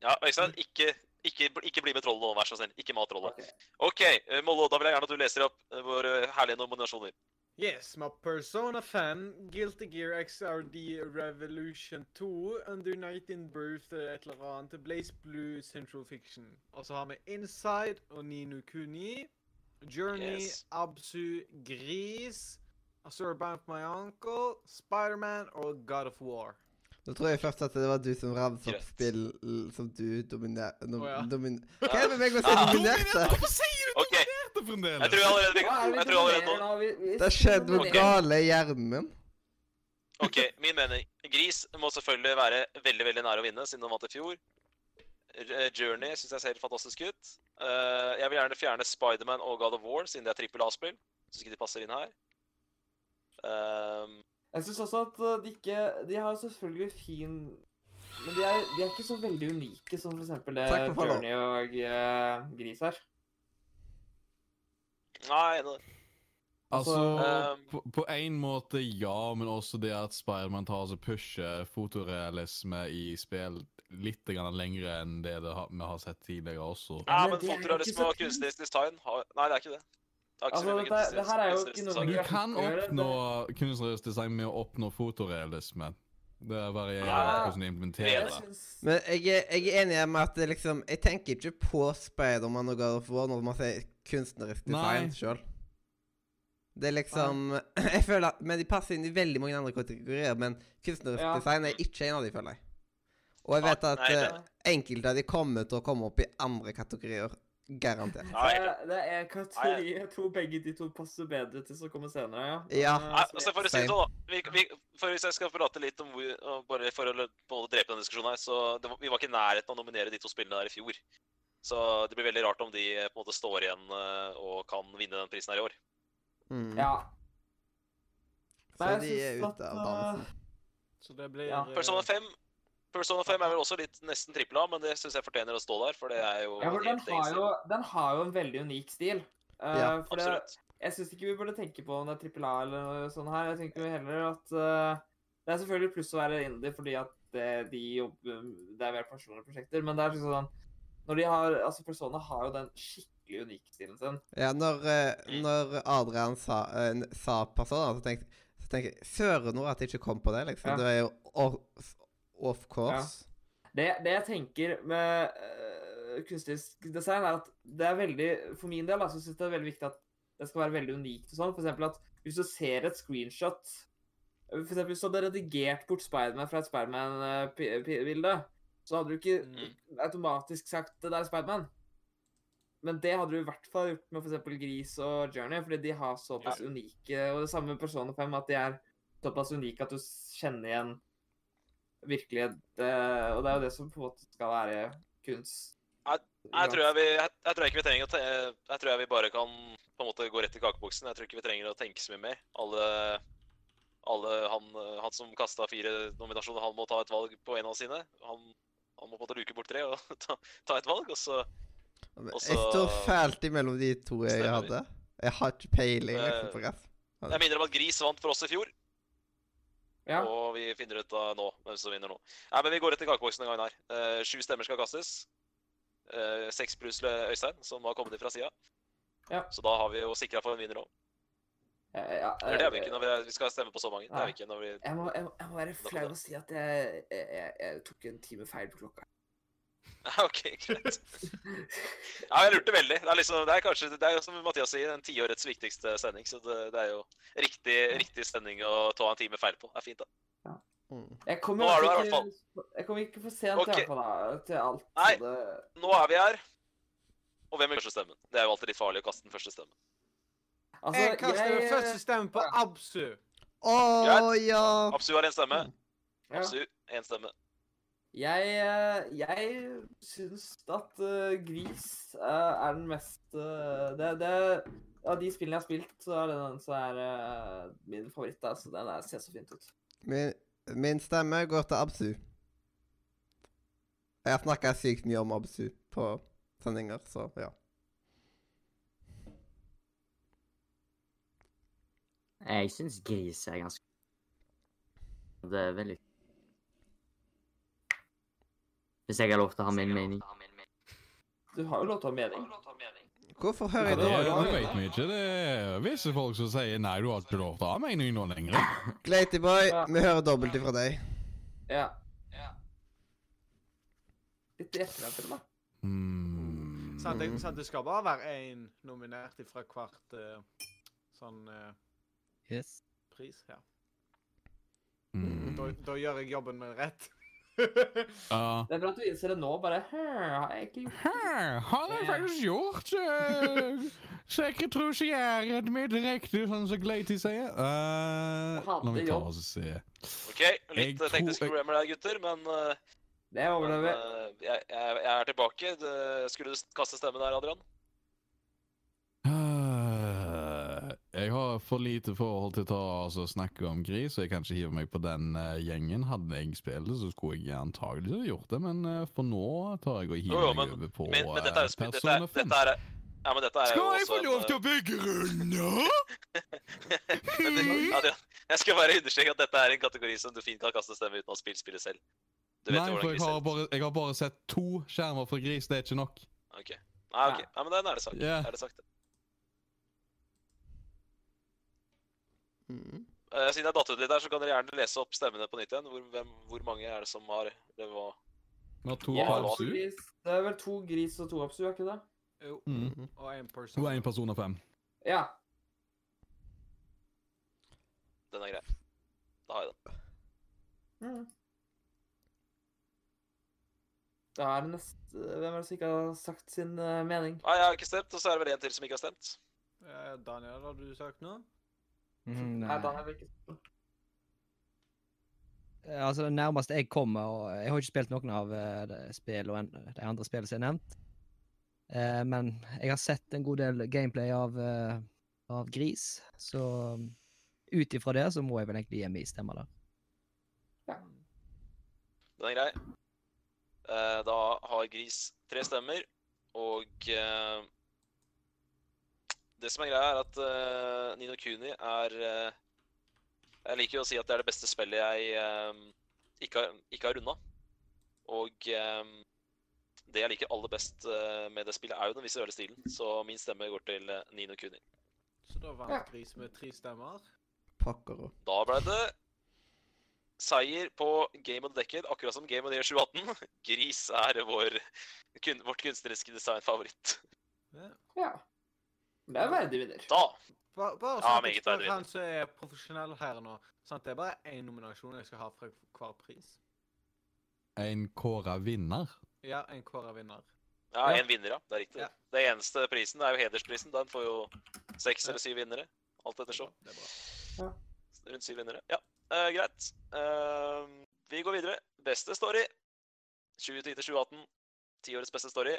Speaker 2: Ja, Øystein,
Speaker 3: Mm.
Speaker 2: ikke, ikke, ikke bli med trollet nå, vær så snill. Ikke mat trollet.
Speaker 3: Ok.
Speaker 2: OK, eh, Mollo, da vil jeg gjerne at du leser opp eh, våre herlige nominasjoner.
Speaker 4: Yes, my Persona 5, Guilty Gear XRD Revolution 2, Under Night in Birth, eh, et eller annet, Blaze Blue Central Fiction. Og så har vi Inside og Nino Kuni, Journey,
Speaker 2: Yes.
Speaker 4: Absu, Gris, Azure Bound My Uncle, Spiderman og God of War.
Speaker 1: da tror jeg først at det var du som ramset opp
Speaker 2: Greit.
Speaker 1: spill som du dominer... Nom,
Speaker 4: Å, ja.
Speaker 1: domin
Speaker 2: Ja.
Speaker 1: Hva er det med meg å si
Speaker 2: Ah.
Speaker 1: dominerte?
Speaker 6: Dominert! Hvorfor sier du
Speaker 2: OK, jeg
Speaker 6: dominerte fremdeles?
Speaker 2: tror allerede,
Speaker 3: Hva er det
Speaker 2: jeg
Speaker 3: vi
Speaker 2: tror allerede
Speaker 3: nominerer
Speaker 2: nå
Speaker 3: nå? Vi- vi-
Speaker 1: Det har skjedd noe
Speaker 2: Ok.
Speaker 1: gale i hjernen min.
Speaker 2: OK, min mening. Gris må selvfølgelig være veldig veldig nære å vinne, siden han vant i fjor. R- eh, Journey syns jeg ser helt fantastisk ut. Eh, jeg vil gjerne fjerne Spiderman og God of War, siden det er trippel A-spill. Syns ikke de passer inn her. Ehm,
Speaker 3: Jeg syns også at uh, de ikke De har jo selvfølgelig fin Men de er, de er ikke så veldig unike som f.eks. det
Speaker 1: Takk for follow.
Speaker 3: Journey og eh, Gris her.
Speaker 2: nei, nå-
Speaker 6: Altså,
Speaker 2: Altså,
Speaker 6: på- på en måte ja, men også det at Spiderman tar og pusher fotorealisme i spill litt grann lengre enn det, det har, vi har sett tidligere også.
Speaker 2: nei,
Speaker 3: men
Speaker 2: men
Speaker 3: det er jo ikke
Speaker 2: fotorealisme og
Speaker 3: så kunst.
Speaker 2: kunstnerisk design har Nei, det er ikke det. Det er ikke så
Speaker 3: Altså,
Speaker 2: mye
Speaker 3: dette- det her er jo
Speaker 2: kunstnerisk
Speaker 3: ikke noe
Speaker 2: design.
Speaker 6: Du
Speaker 3: vi har-
Speaker 6: kan
Speaker 3: gjør det,
Speaker 6: oppnå kunstnerisk design med å oppnå fotorealisme. Det varierer
Speaker 2: Ja.
Speaker 6: hvordan du
Speaker 2: Ja,
Speaker 6: implementerer det.
Speaker 2: da.
Speaker 3: Jeg syns-
Speaker 1: Men jeg er, jeg er enig med at det liksom Jeg tenker ikke på Spiderman og God of War når man sier kunstnerisk
Speaker 6: Nei.
Speaker 1: design sjøl. Det er liksom Jeg føler at Men de passer inn i veldig mange andre kategorier, men kunstnerisk
Speaker 3: Ja.
Speaker 1: design er ikke en av de, føler jeg. Og jeg
Speaker 2: Nei,
Speaker 1: vet at
Speaker 2: nei,
Speaker 1: eh, enkelte av de kommer til å komme opp i andre kategorier. Garantert.
Speaker 2: Nei,
Speaker 3: det er- det er en kategori jeg tror begge de to passer bedre til som kommer senere. ja. Men,
Speaker 1: Ja.
Speaker 3: eh,
Speaker 2: Nei,
Speaker 3: som
Speaker 2: altså for å si det sånn, da. Vi, vi, for hvis jeg skal prate litt om hvor- og Bare for å l- både drepe den diskusjonen her, så det var, vi var ikke i nærheten av å nominere de to spillene der i fjor. Så det blir veldig rart om de eh, på en måte står igjen eh, og kan vinne den prisen her i år.
Speaker 1: Mm.
Speaker 3: jeg- Ja.
Speaker 1: Så
Speaker 3: Nei, jeg
Speaker 1: de
Speaker 3: syns
Speaker 1: er ute
Speaker 3: at,
Speaker 1: av dansen.
Speaker 4: Så det blir
Speaker 3: Ja.
Speaker 4: eh,
Speaker 2: Persona 5 Persona 5 er vel også litt nesten trippel A, men det syns jeg fortjener å stå der, for det er jo
Speaker 3: Ja, for den
Speaker 2: helt egen
Speaker 3: har,
Speaker 2: stil.
Speaker 3: jo, den har jo en veldig unik stil. Eh,
Speaker 1: Ja,
Speaker 3: for det,
Speaker 2: Absolutt.
Speaker 3: jeg syns ikke vi burde tenke på om det er trippel A eller noe sånt her. Jeg tenker jo heller at eh, Det er selvfølgelig pluss å være indie fordi at det, de jobber Det er mer personlige prosjekter, men det er liksom sånn Når de har Altså, Persona har jo den skikkelig unike stilen sin.
Speaker 1: Ja, når, eh,
Speaker 2: Mm.
Speaker 1: når Adrian sa, eh, n- sa personer, så tenkte så tenkte jeg Søren nå at jeg ikke kom på det, liksom.
Speaker 3: Ja.
Speaker 1: Du er jo off, off course.
Speaker 3: Det, det jeg tenker med øh, kunstisk design, er at det er veldig For min del da, så synes jeg det er veldig viktig at det skal være veldig unikt og sånn. For eksempel at hvis du ser et screenshot For eksempel hvis du hadde redigert bort Spiderman fra et Spiderman-bilde, så hadde du ikke automatisk sagt det der er Spiderman. Men det hadde du i hvert fall gjort med for eksempel Gris og Journey, fordi de har såpass unike Og det samme med Persona 5, at de er såpass unike at du s- kjenner igjen virkelighet. eh, Og det er jo det som på en måte skal være kunst.
Speaker 2: Jeg tror, jeg, vi, jeg, jeg tror ikke vi trenger å te Jeg tror jeg vi bare kan på en måte gå rett i kakeboksen. Jeg tror ikke vi trenger å tenke så mye mer. Alle, alle han, eh, han som kasta fire nominasjoner, han må ta et valg på en av sine. Han, han må på en måte luke bort tre og ta, ta et valg, og så
Speaker 1: Jeg
Speaker 2: Og
Speaker 1: står
Speaker 2: så-
Speaker 1: fælt imellom de to jeg
Speaker 2: Stemmer.
Speaker 1: hadde. Jeg har ikke peiling liksom,
Speaker 2: Eh,
Speaker 1: på resten.
Speaker 2: Jeg minner om at Gris vant for oss i fjor,
Speaker 3: Ja.
Speaker 2: og vi finner ut av nå hvem som vinner nå. Nei, men vi går rett i kakeboksen en gang her. Eh, sju stemmer skal kastes. Eh, Seks pluss Øystein, som har kommet inn fra sida.
Speaker 3: Ja.
Speaker 2: Så da har vi jo sikra for en vinner òg.
Speaker 3: eh, ja,
Speaker 2: Eller det er vi
Speaker 3: eh,
Speaker 2: ikke når vi, vi skal stemme på så mange. Det er vi ikke når vi
Speaker 3: Jeg må, jeg, må- jeg må være flau og si at jeg, jeg, jeg, jeg tok en time feil på klokka.
Speaker 2: Nei, OK, greit. Ja, jeg lurte veldig. Det er liksom, det er kanskje, det er jo som Mathias sier, den tiårets viktigste sending. Så det, det er jo riktig, riktig sending å ta en time feil på. Det er fint, da.
Speaker 1: Mm.
Speaker 3: Jeg kom, i
Speaker 2: Nå er du her i
Speaker 3: hvert fall ikke- Jeg kom ikke for sent
Speaker 2: Ok.
Speaker 3: i hvert fall da, til alt. så
Speaker 2: Nei.
Speaker 3: det-
Speaker 2: Nå er vi her. Og hvem er første stemmen? Det er jo alltid litt farlig å kaste den første stemmen.
Speaker 3: Altså,
Speaker 4: Jeg kaster den
Speaker 3: eh,
Speaker 4: første stemmen på Absu.
Speaker 1: Å
Speaker 2: Greit.
Speaker 1: ja!
Speaker 2: Absu har én stemme.
Speaker 3: Mm, ja.
Speaker 2: Absu, én stemme.
Speaker 3: Jeg, eh, jeg syns at eh, Gris eh, er den mest eh, det, det, Av de spillene jeg har spilt, så er det den som er eh, min favoritt. Da, så den der ser så fint ut.
Speaker 1: Min, min stemme går til Absu. Jeg har snakka sykt mye om Absu på sendinger, så ja.
Speaker 5: Jeg syns gris er ganske Det er veldig Hvis jeg har lov til å ha min mening.
Speaker 3: Du har jo lov til å ha mening.
Speaker 1: Hvorfor
Speaker 6: Ja,
Speaker 1: hører
Speaker 6: det,
Speaker 1: jeg
Speaker 6: det
Speaker 1: det?
Speaker 6: vet vi ikke. Det er visse folk som sier nei, du har ikke lov til å ha mening nå lenger.
Speaker 1: Glatyboy,
Speaker 3: Ja.
Speaker 1: vi hører dobbelt ifra deg.
Speaker 3: Ja. Litt etterlengtet, da.
Speaker 6: Mm.
Speaker 4: Sant, det- sant, det skal bare være én nominert fra hvert eh, sånn eh,
Speaker 8: Yes.
Speaker 4: pris. Ja.
Speaker 6: Mm.
Speaker 4: Da, da gjør jeg jobben min rett.
Speaker 6: Ja.
Speaker 3: Det er bra at du innser det nå. Bare «Hm, har jeg ikke gjort
Speaker 6: Her har jeg faktisk gjort eh, sekretariatet mitt riktig, sånn som Glaty sier. Eh, la meg ta og se.
Speaker 2: OK, litt
Speaker 6: Jeg
Speaker 2: eh, teknisk
Speaker 6: tror-
Speaker 2: problemer der, gutter, men, eh,
Speaker 3: Det
Speaker 2: men
Speaker 3: overlever jeg.
Speaker 2: eh, jeg, jeg, jeg er tilbake. Det- Skulle du s- kaste stemmen der, Adrian?
Speaker 6: Eh, jeg har for lite forhold til å ta, altså, snakke om gris, så jeg kan ikke hive meg på den eh, gjengen. Hadde jeg spilt det, så skulle jeg antagelig ha gjort det, men eh, for nå tar jeg og hiver
Speaker 2: Jo, jo,
Speaker 6: meg over på
Speaker 2: Men, men dette er jo
Speaker 6: eh,
Speaker 2: sp- dette,
Speaker 6: Persona
Speaker 2: er-
Speaker 6: 5.
Speaker 2: dette er, ja, men dette er jo
Speaker 6: Skal jeg
Speaker 2: også
Speaker 6: få
Speaker 2: en,
Speaker 6: lov
Speaker 2: eh,
Speaker 6: til å begrunne?
Speaker 2: Men det,
Speaker 6: Mm.
Speaker 2: Adrian, jeg skal bare understreke at dette er en kategori som du fint kan kaste stemme uten å spille spillet selv. Du vet
Speaker 6: Nei,
Speaker 2: jo
Speaker 6: for jeg
Speaker 2: hvordan gris
Speaker 6: har,
Speaker 2: er.
Speaker 6: bare, jeg har bare sett to skjermer fra gris, det er ikke nok.
Speaker 2: Ok. Nei, ok. Nei, men den er det sagt.
Speaker 6: Ja.
Speaker 2: Er det sagt.
Speaker 1: Mm.
Speaker 2: Eh, siden jeg datt ut litt der, så kan dere gjerne lese opp stemmene på nytt igjen. Hvor, hvem, hvor mange er det som har det var...
Speaker 6: Vi har to
Speaker 3: Jeg har
Speaker 2: Wow.
Speaker 3: to
Speaker 6: absu,
Speaker 3: gris. Det er vel to gris og to absu, er ikke det?
Speaker 4: Jo,
Speaker 6: Mm.
Speaker 4: Og én person.
Speaker 6: og én person av fem.
Speaker 3: Ja.
Speaker 2: Den er grei. Da har jeg den.
Speaker 3: Da er det neste Hvem er det som ikke har sagt sin eh, mening?
Speaker 2: Nei, jeg har ikke stemt, og så er det vel en til som ikke har stemt.
Speaker 4: Eh, Daniel, har du sagt noe?
Speaker 8: Mm,
Speaker 3: Nei, da er det ikke
Speaker 8: Eh, Altså, det nærmeste jeg kommer og Jeg har ikke spilt noen av eh, de spill og en, de andre spillene som er nevnt. Eh, men jeg har sett en god del gameplay av, eh, av Gris, så um, ut ifra det så må jeg vel egentlig gi min stemme der.
Speaker 2: Den er grei. Eh, da har Gris tre stemmer, og eh, Det som er greia, er at eh, Nino Kuni er eh, Jeg liker jo å si at det er det beste spillet jeg ehm, ikke, har- ikke har runda. Og ehm, det jeg liker aller best eh, med det spillet, er jo den visuelle stilen. Så min stemme går til eh, Nino Kuni.
Speaker 4: Så da
Speaker 3: Ja.
Speaker 4: vant Gris med tre stemmer.
Speaker 1: Pokkero.
Speaker 2: Da ble det seier på Game of the Decade, akkurat som Game of the Year 2018. Gris er vår, kun, vårt kunstneriske designfavoritt.
Speaker 4: Ja.
Speaker 3: Ja. Men det er verdig vinner.
Speaker 2: Da
Speaker 4: Bare,
Speaker 2: Ja,
Speaker 4: bare sånn at
Speaker 2: meget
Speaker 4: jeg spør
Speaker 2: verdig.
Speaker 4: han som er profesjonell her nå. Sånn at det er bare én nominasjon jeg skal ha fra hver pris.
Speaker 6: En kåra vinner.
Speaker 4: Ja, en hver er vinner.
Speaker 2: Ja,
Speaker 4: Ja.
Speaker 2: én vinner, ja. Det er riktig.
Speaker 4: Ja.
Speaker 2: Det eneste prisen er jo hedersprisen. Den får jo seks eller syv vinnere. Alt
Speaker 4: Det er
Speaker 2: ettersom.
Speaker 4: bra, Det er bra.
Speaker 2: Rundt syv vinnere. Ja, eh, greit. Eh, vi går videre. Beste story. 2010 til 2018. Tiårets beste story.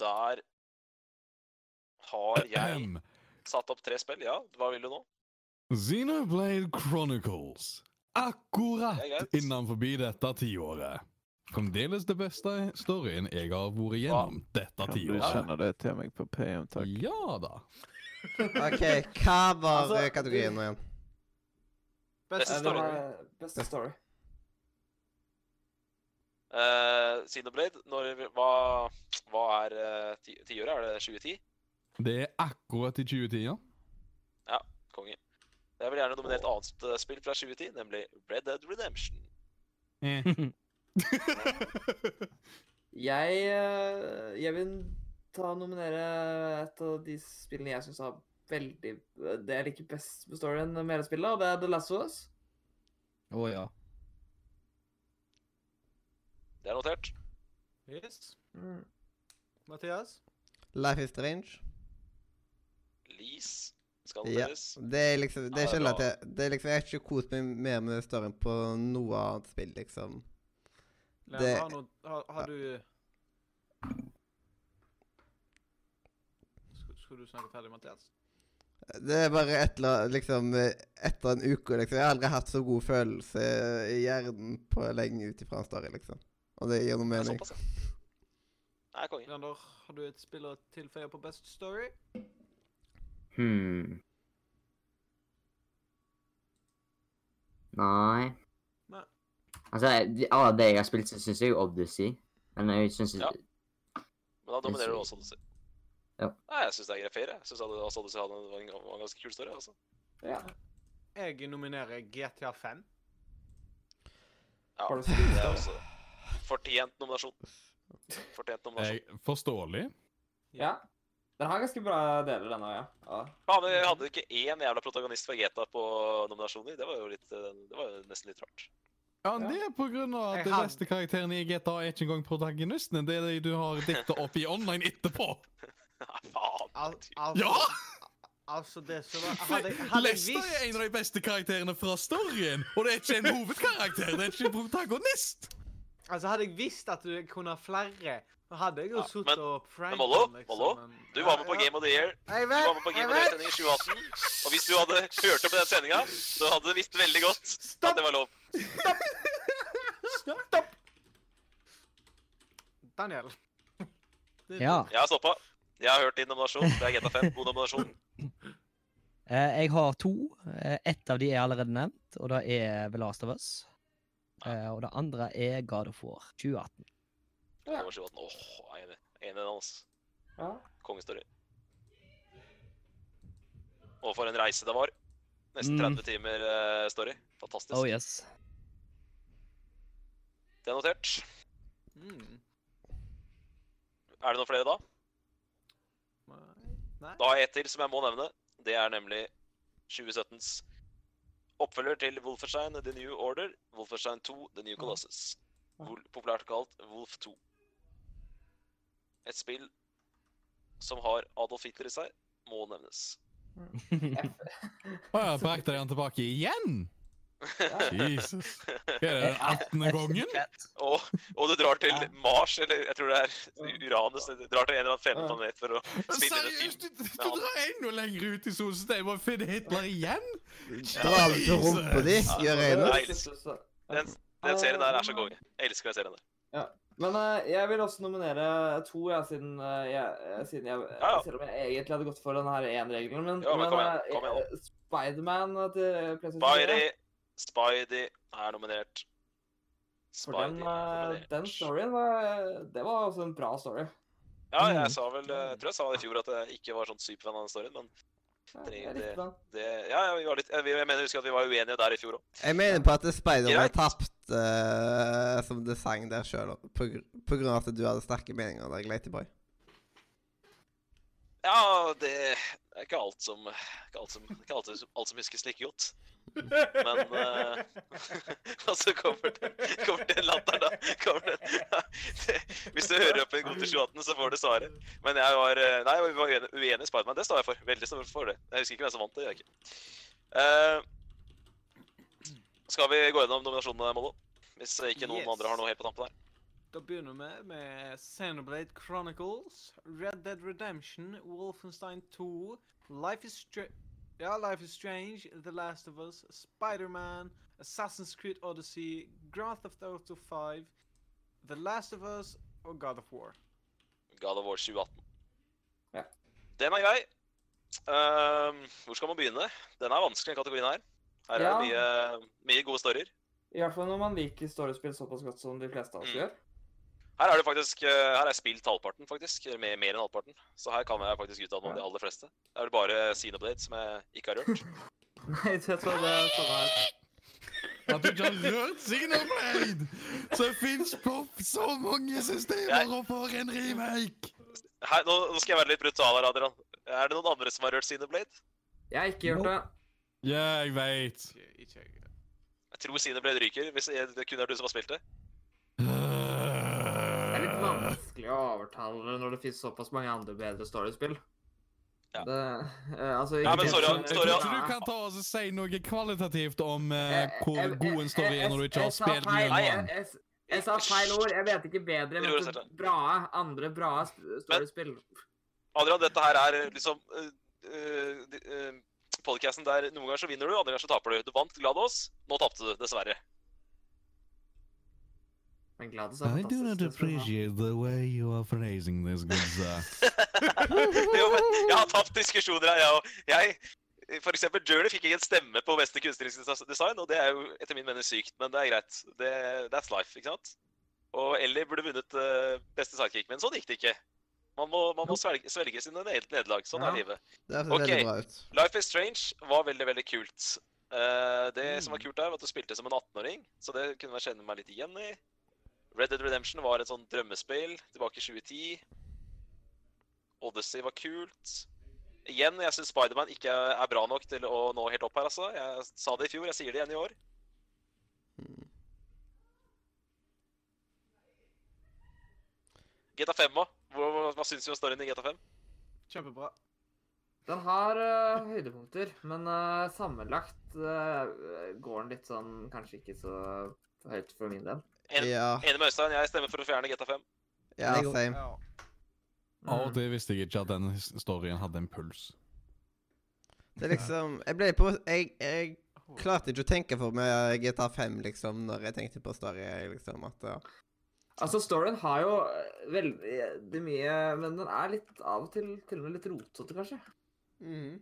Speaker 2: Der har jeg
Speaker 6: Ahem.
Speaker 2: satt opp tre spill. Ja, hva vil du nå?
Speaker 6: Xenoblade Chronicles. Akkurat
Speaker 2: Det er greit.
Speaker 6: innenfor dette tiåret. Fremdeles det beste storyen jeg har vært igjennom dette
Speaker 9: Kan du
Speaker 6: tiåret.
Speaker 9: sende det til meg på PM, takk?
Speaker 6: Ja da.
Speaker 1: OK, hva var
Speaker 4: Altså,
Speaker 1: eh, kategorien nå igjen?
Speaker 4: Beste
Speaker 3: Eh, det
Speaker 4: story.
Speaker 3: var Beste story.
Speaker 2: Uh, Sinoblade, når, hva, hva er eh, ti- tiåret? Er det 2010?
Speaker 6: Det er akkurat i 2010-ja.
Speaker 2: Konge. Jeg vil gjerne nominere et annet eh, spill fra 2010, nemlig Red Dead Redemption.
Speaker 6: Eh.
Speaker 3: Jeg, eh, jeg vil ta og nominere et av de spillene jeg syns har veldig Det jeg liker best med storyen med hele spillet, og det er The Last of Us.
Speaker 8: Å ja.
Speaker 2: Det er notert.
Speaker 4: Yes. Mathias?
Speaker 1: Life is strange.
Speaker 2: Lease skal
Speaker 1: Ja.
Speaker 2: noteres.
Speaker 1: Det er liksom Det er
Speaker 2: Ja, det
Speaker 1: ikke
Speaker 2: er
Speaker 1: lett
Speaker 2: bra.
Speaker 1: til Det er liksom Jeg har ikke kost meg mer med storyen på noe annet spill, liksom.
Speaker 4: Leon,
Speaker 1: Det-
Speaker 4: har, no, har, har du Sk- Skulle du snakke ferdig, Mathias?
Speaker 1: Det er bare et eller annet Liksom eh, etter en uke, liksom. Jeg har aldri hatt så god følelse i hjernen på lenge ut ifra en story, liksom. Og det gir noe
Speaker 2: Det er
Speaker 1: mening.
Speaker 2: såpass, ja. Nei, konge.
Speaker 4: Leander, har du et spill å tilføye på Best Story?
Speaker 5: Hmm. Nei.
Speaker 4: Nei.
Speaker 5: Altså, jeg- av det jeg har spilt, så syns jeg Odyssey. Men jeg syns
Speaker 2: Ja. Men da dominerer du
Speaker 5: Jeg
Speaker 2: også Odyssey.
Speaker 5: Ja.
Speaker 2: Nei, jeg syns det er greit fair. Jeg syns også Odyssey hadde var en, var en ganske kul story. Altså.
Speaker 3: Ja.
Speaker 4: Jeg nominerer GTA 5.
Speaker 2: Ja,
Speaker 3: Har du
Speaker 2: det er også fortjent nominasjon. Fortjent nominasjon.
Speaker 6: Jeg, forståelig.
Speaker 3: ja. Den har ganske bra deler, den òg, ja. ja.
Speaker 2: Faen, vi hadde ikke én jævla protagonist fra GTA på nominasjoner. Det var jo litt, eh, det var jo nesten litt rart.
Speaker 6: Ja,
Speaker 3: Ja.
Speaker 6: det er på grunn av at
Speaker 4: Jeg
Speaker 6: de
Speaker 4: hadde-
Speaker 6: beste karakterene i GTA er ikke engang protagonistene. Det er de du har dikta opp i online etterpå.
Speaker 2: Nei, Ah, faen.
Speaker 4: Al al
Speaker 6: Ja!
Speaker 4: Altså, det som var Hadde, jeg- hadde jeg
Speaker 6: Lester er en
Speaker 4: visst
Speaker 6: av de beste karakterene fra storyen, og det er ikke en hovedkarakter. Det er ikke en protagonist.
Speaker 4: Altså, hadde jeg visst at du kunne ha flere, så hadde jeg jo
Speaker 2: Ja,
Speaker 4: suttet
Speaker 2: men-
Speaker 4: og pranket
Speaker 2: Mollo,
Speaker 4: han,
Speaker 2: Mollo,
Speaker 4: men-
Speaker 2: Du
Speaker 4: Ja,
Speaker 2: var med på
Speaker 4: ja.
Speaker 2: Game of the Year.
Speaker 4: Jeg
Speaker 2: Du
Speaker 4: vet,
Speaker 2: var med på Game
Speaker 4: jeg
Speaker 2: of the
Speaker 4: vet.
Speaker 2: Year-sending i 2018. Og hvis du hadde hørt opp i den sendinga, så hadde du visst veldig godt at
Speaker 4: Stopp!
Speaker 2: det var lov.
Speaker 4: Stopp! Daniel. Det er
Speaker 8: ja.
Speaker 4: du.
Speaker 2: Jeg har stoppa. Jeg har hørt din nominasjon. Det er GTA 5. God nominasjon.
Speaker 8: Eh, jeg har to. Eh, ett av de er allerede nevnt, og det er The Last of Us. Eh, og det andre er God of War 2018.
Speaker 2: Det var 2018. Åh, jeg er enig. Jeg er Enig i den, altså.
Speaker 3: ja.
Speaker 2: Kongestory. Og for en reise det var. Nesten
Speaker 8: Mm.
Speaker 2: 30 timer eh, story. Fantastisk.
Speaker 8: Oh yes.
Speaker 2: Det er notert.
Speaker 4: Mm.
Speaker 2: Er det noen flere da?
Speaker 4: Nei. Nei.
Speaker 2: Da har jeg ett til som jeg må nevne. Det er nemlig 2017s oppfølger til Wolfenstein The New Order, Wolfenstein 2 The New Colossus. Vol populært kalt Wolf 2. Et spill som har Adolf Hitler i seg, må nevnes.
Speaker 6: Å ja, brakte de han tilbake igjen? Jesus. Hva Er det 18. gangen?
Speaker 2: Og, og du drar til Mars, eller jeg tror det er Uranus Du drar til en eller annen
Speaker 3: Ja.
Speaker 2: fjerne planet for å spille inn en
Speaker 6: Seriøst,
Speaker 2: film.
Speaker 6: du, du drar enda lenger ut i solsystemet og finner Hitler igjen?
Speaker 1: Dra av til rumpa di, gjør
Speaker 2: Ja,
Speaker 1: øynene
Speaker 2: Nei,
Speaker 3: Jeg synes også-
Speaker 2: Den, den serien der er så konge. Jeg elsker den serien der.
Speaker 3: Men eh, jeg vil også nominere to, ja, siden, eh, jeg, eh, siden jeg
Speaker 2: Ja, ja.
Speaker 3: Selv om jeg egentlig hadde gått for den her én-regelen, men,
Speaker 2: Ja, men kom
Speaker 3: eh,
Speaker 2: igjen, kom igjen
Speaker 3: eh, Spiderman eh, til PlayStation 4,
Speaker 2: Spidey, Spidey er nominert.
Speaker 3: for den, eh,
Speaker 2: nominert.
Speaker 3: den storyen var, Det var også en bra story.
Speaker 2: Ja, jeg sa vel, jeg tror jeg sa det i fjor at jeg ikke var sånn superfan av den storyen, men
Speaker 3: Jeg,
Speaker 2: Det-
Speaker 3: jeg
Speaker 2: det-
Speaker 3: likte den.
Speaker 2: det Ja, ja, vi var litt Jeg, jeg mener jeg husker at vi var uenige der i fjor òg.
Speaker 1: Jeg mener på at Spider-Man
Speaker 2: Greit.
Speaker 1: tapte eh, som design der sjøl, på, gr- på grunn av at du hadde sterke meninger der, Latyboy.
Speaker 2: Ja, det er ikke alt som Ikke alt som, ikke alt som, alt som huskes like godt. Men eh, Og så kommer den, kommer den latteren, da. Kommer den. det, hvis du hører opp en god til 28, så får du svaret. Men jeg var eh, Nei, vi var uenige, uenige i Spiderman. Det står jeg for. Veldig står jeg for det. Jeg husker ikke hvem som vant det. gjør Jeg ikke. Eh, skal vi gå gjennom nominasjonene, Mollo? Hvis ikke noen
Speaker 4: Yes.
Speaker 2: andre har noe helt på tampen her.
Speaker 4: Da begynner vi med Xenoblade Chronicles, Red Dead Redemption, Wolfenstein 2, Life is, Stra ja, Life is Strange, The Last of Us, Spider-Man, Assassin's Creed Odyssey, Grand Theft Auto 5, The Last of Us og God of War.
Speaker 2: God of War 2018.
Speaker 3: Ja.
Speaker 2: Den er grei. Ehm, hvor skal man begynne? Den er vanskelig, den kategorien her. Her er det mye, mye gode storyer.
Speaker 3: I hvert fall når man liker storiespill såpass godt som de fleste av oss
Speaker 2: Mm.
Speaker 3: gjør.
Speaker 2: Her er det faktisk, eh, her er spilt halvparten, faktisk. eller Mer, mer enn halvparten. Så her kan jeg faktisk uttale meg om de aller fleste. Det er vel bare Xenoblade som jeg ikke har rørt.
Speaker 3: Nei, jeg tror det er sånn her.
Speaker 6: At du ikke har rørt Signorblade! Så fins på så mange systemer og for en remake!
Speaker 2: Her, nå, nå skal jeg være litt brutal her, Adrian. Er det noen andre som har rørt Xenoblade?
Speaker 3: Jeg har ikke gjort det.
Speaker 6: Ja, jeg veit.
Speaker 4: Ikke, ikke jeg.
Speaker 2: Jeg tror Xenoblade ryker, hvis jeg, det kun er du som har spilt det.
Speaker 3: Det er litt vanskelig å overtale det når det finnes såpass mange andre bedre storiespill.
Speaker 2: Ja.
Speaker 3: Det, eh, altså,
Speaker 2: Ja, men
Speaker 3: ikke-
Speaker 2: sorry,
Speaker 6: jeg tror
Speaker 2: sorry,
Speaker 6: ikke du kan ta og så si noe kvalitativt om eh,
Speaker 3: Jeg-
Speaker 6: hvor
Speaker 3: jeg-
Speaker 6: god en story
Speaker 3: jeg-
Speaker 6: er når du ikke har
Speaker 3: jeg sa
Speaker 6: spilt
Speaker 3: feil.
Speaker 6: mye
Speaker 2: Nei,
Speaker 6: om den.
Speaker 3: Jeg, jeg, jeg sa feil ord. Jeg vet ikke bedre.
Speaker 2: Du gjorde
Speaker 3: Jeg
Speaker 2: det,
Speaker 3: mente bra, andre bra st- storiespill.
Speaker 2: Adrian, dette her er liksom uh, eh, Podcasten der noen ganger så vinner du, andre ganger så taper du. Du vant GLaDOS, nå tapte du, dessverre.
Speaker 3: Men Gladys er fantastisk. det skal
Speaker 6: the way you are phrasing this, good sir.
Speaker 2: jo, men jeg har tapt diskusjoner her, jeg òg. Jeg, for eksempel Journey fikk ingen stemme på beste kunstneriske des- design, og det er jo etter min mening sykt, men det er greit. Det, that's life, ikke sant? Og Ellie burde vunnet eh, beste sidekick, men sånn gikk det ikke. Man må, man må svelge, svelge sine ned- nederlag. Sånn
Speaker 3: Ja.
Speaker 2: er livet.
Speaker 1: Det høres
Speaker 2: Ok.
Speaker 1: veldig bra ut.
Speaker 2: Life is Strange var veldig, veldig kult. Eh, det som var kult, der var at du spilte som en 18-åring, så det kunne jeg kjenne meg litt igjen i. Red Dead Redemption var et sånn drømmespill tilbake i 2010. Odyssey var kult. Igjen, jeg syns Spiderman ikke er bra nok til å nå helt opp her, altså. Jeg sa det i fjor, jeg sier det igjen i år. GTA 5 òg. Hva, hva syns du om storyen i GTA 5?
Speaker 4: Kjempebra.
Speaker 3: jeg si. Den har eh, høydepunkter, men eh, sammenlagt eh, går den litt sånn Kanskje ikke så høyt for min del.
Speaker 2: En-
Speaker 1: Ja,
Speaker 2: Enig med Øystein, jeg stemmer for å fjerne GTA 5.
Speaker 1: ja,
Speaker 3: det går-
Speaker 1: same.
Speaker 4: Ja.
Speaker 6: Av
Speaker 3: Mm.
Speaker 6: og til visste jeg ikke at den storyen hadde en puls.
Speaker 1: Det er liksom Jeg ble på Jeg, jeg klarte ikke å tenke for meg GTA 5, liksom, når jeg tenkte på story, liksom, at ja.
Speaker 3: Altså, storyen har jo eh, veldig mye Men den er litt av og til til og med litt rotete, kanskje.
Speaker 1: Mm.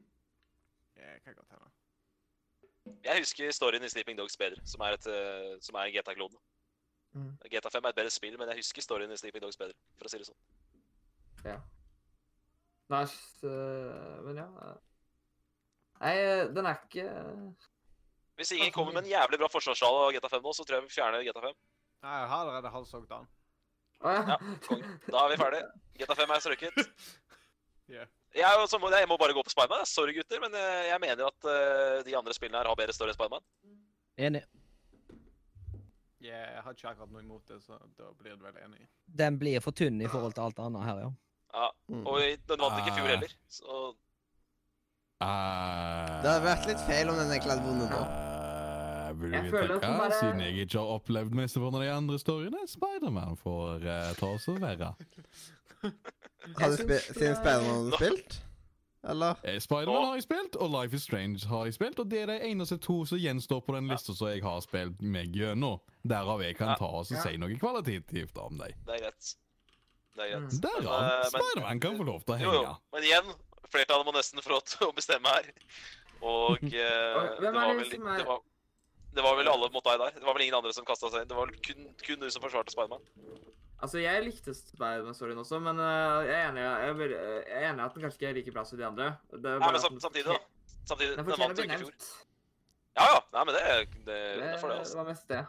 Speaker 4: Jeg kan godt hende.
Speaker 2: Jeg husker storyen i Sleeping Dogs bedre, som er, et, eh, som er GTA-klone.
Speaker 3: Mm.
Speaker 2: GTA 5 er et bedre spill, men jeg husker storyen i Sleeping Dogs bedre, for å si det sånn.
Speaker 3: Nei, s- øh, men ja øh. Nei, øh, den er ikke øh,
Speaker 2: Hvis ingen kommer med en jævlig bra forsvarssal av GTA 5 nå, så tror jeg vi fjerner GTA 5.
Speaker 4: Nei, jeg har allerede halshogd den.
Speaker 3: Å ja.
Speaker 2: Ja, konge. Da er vi ferdige. GTA 5 er strøket.
Speaker 4: Ja.
Speaker 2: Jeg, er jo som- jeg må bare gå på Spiderman. jeg. Sorry, gutter, men eh, jeg mener at eh, de andre spillene her har bedre story enn Spiderman.
Speaker 8: Enig.
Speaker 4: Jeg har ikke akkurat noe imot det, så da blir du vel enig.
Speaker 8: Den blir for tynn i forhold til alt annet her, ja.
Speaker 2: Ja,
Speaker 1: Mm.
Speaker 2: og i- den vant ikke i fjor
Speaker 6: Ah.
Speaker 2: heller, så
Speaker 1: Det hadde vært litt feil om den egentlig hadde vunnet nå.
Speaker 6: Eh, vil du
Speaker 3: Jeg
Speaker 6: vite
Speaker 3: føler at den
Speaker 6: hva?
Speaker 3: bare-
Speaker 6: Siden jeg ikke har opplevd mesteparten av de andre storyene, Spiderman får eh, ta oss og være.
Speaker 1: Har du
Speaker 3: Jeg
Speaker 1: spi
Speaker 3: syns,
Speaker 1: siden
Speaker 3: øh,
Speaker 1: Spiderman hadde spilt? Eller?
Speaker 6: Eh, Spiderman har jeg spilt, og Life is Strange har jeg spilt. Og det er de eneste to som gjenstår på den lista som jeg har spilt meg gjennom. Derav jeg kan
Speaker 2: Ja.
Speaker 6: ta og så si noe kvalitativt om dem.
Speaker 2: Det er greit. Det er greit.
Speaker 6: Derav
Speaker 2: eh, men-
Speaker 6: Spiderman kan få lov til å
Speaker 2: Jo, jo.
Speaker 6: henge.
Speaker 2: Men igjen, flertallet må nesten få lov til å bestemme her. Og eh,
Speaker 3: Hvem
Speaker 2: det,
Speaker 3: er
Speaker 2: var
Speaker 3: det
Speaker 2: vel,
Speaker 3: som er-
Speaker 2: det, var, det var vel alle mot deg der. Det var vel ingen andre som kasta seg inn. Det var vel kun, kun du som forsvarte Spiderman.
Speaker 3: Altså, jeg likte Spiderman-storyen også, men øh, jeg, er enig, jeg, vil- øh, jeg er enig at den kanskje ikke er like bra som de andre. Det er
Speaker 2: Nei,
Speaker 3: bare
Speaker 2: men
Speaker 3: at
Speaker 2: sam-
Speaker 3: den
Speaker 2: samtidig, da.
Speaker 3: fortjener-
Speaker 2: Samtidig,
Speaker 3: Den
Speaker 2: den vant
Speaker 3: fortjener å
Speaker 2: jo
Speaker 3: bli
Speaker 2: ikke i fjor.
Speaker 3: nevnt.
Speaker 2: Ja, ja. Nei, men det, det, det får det,
Speaker 3: Det
Speaker 2: altså.
Speaker 3: var mest det.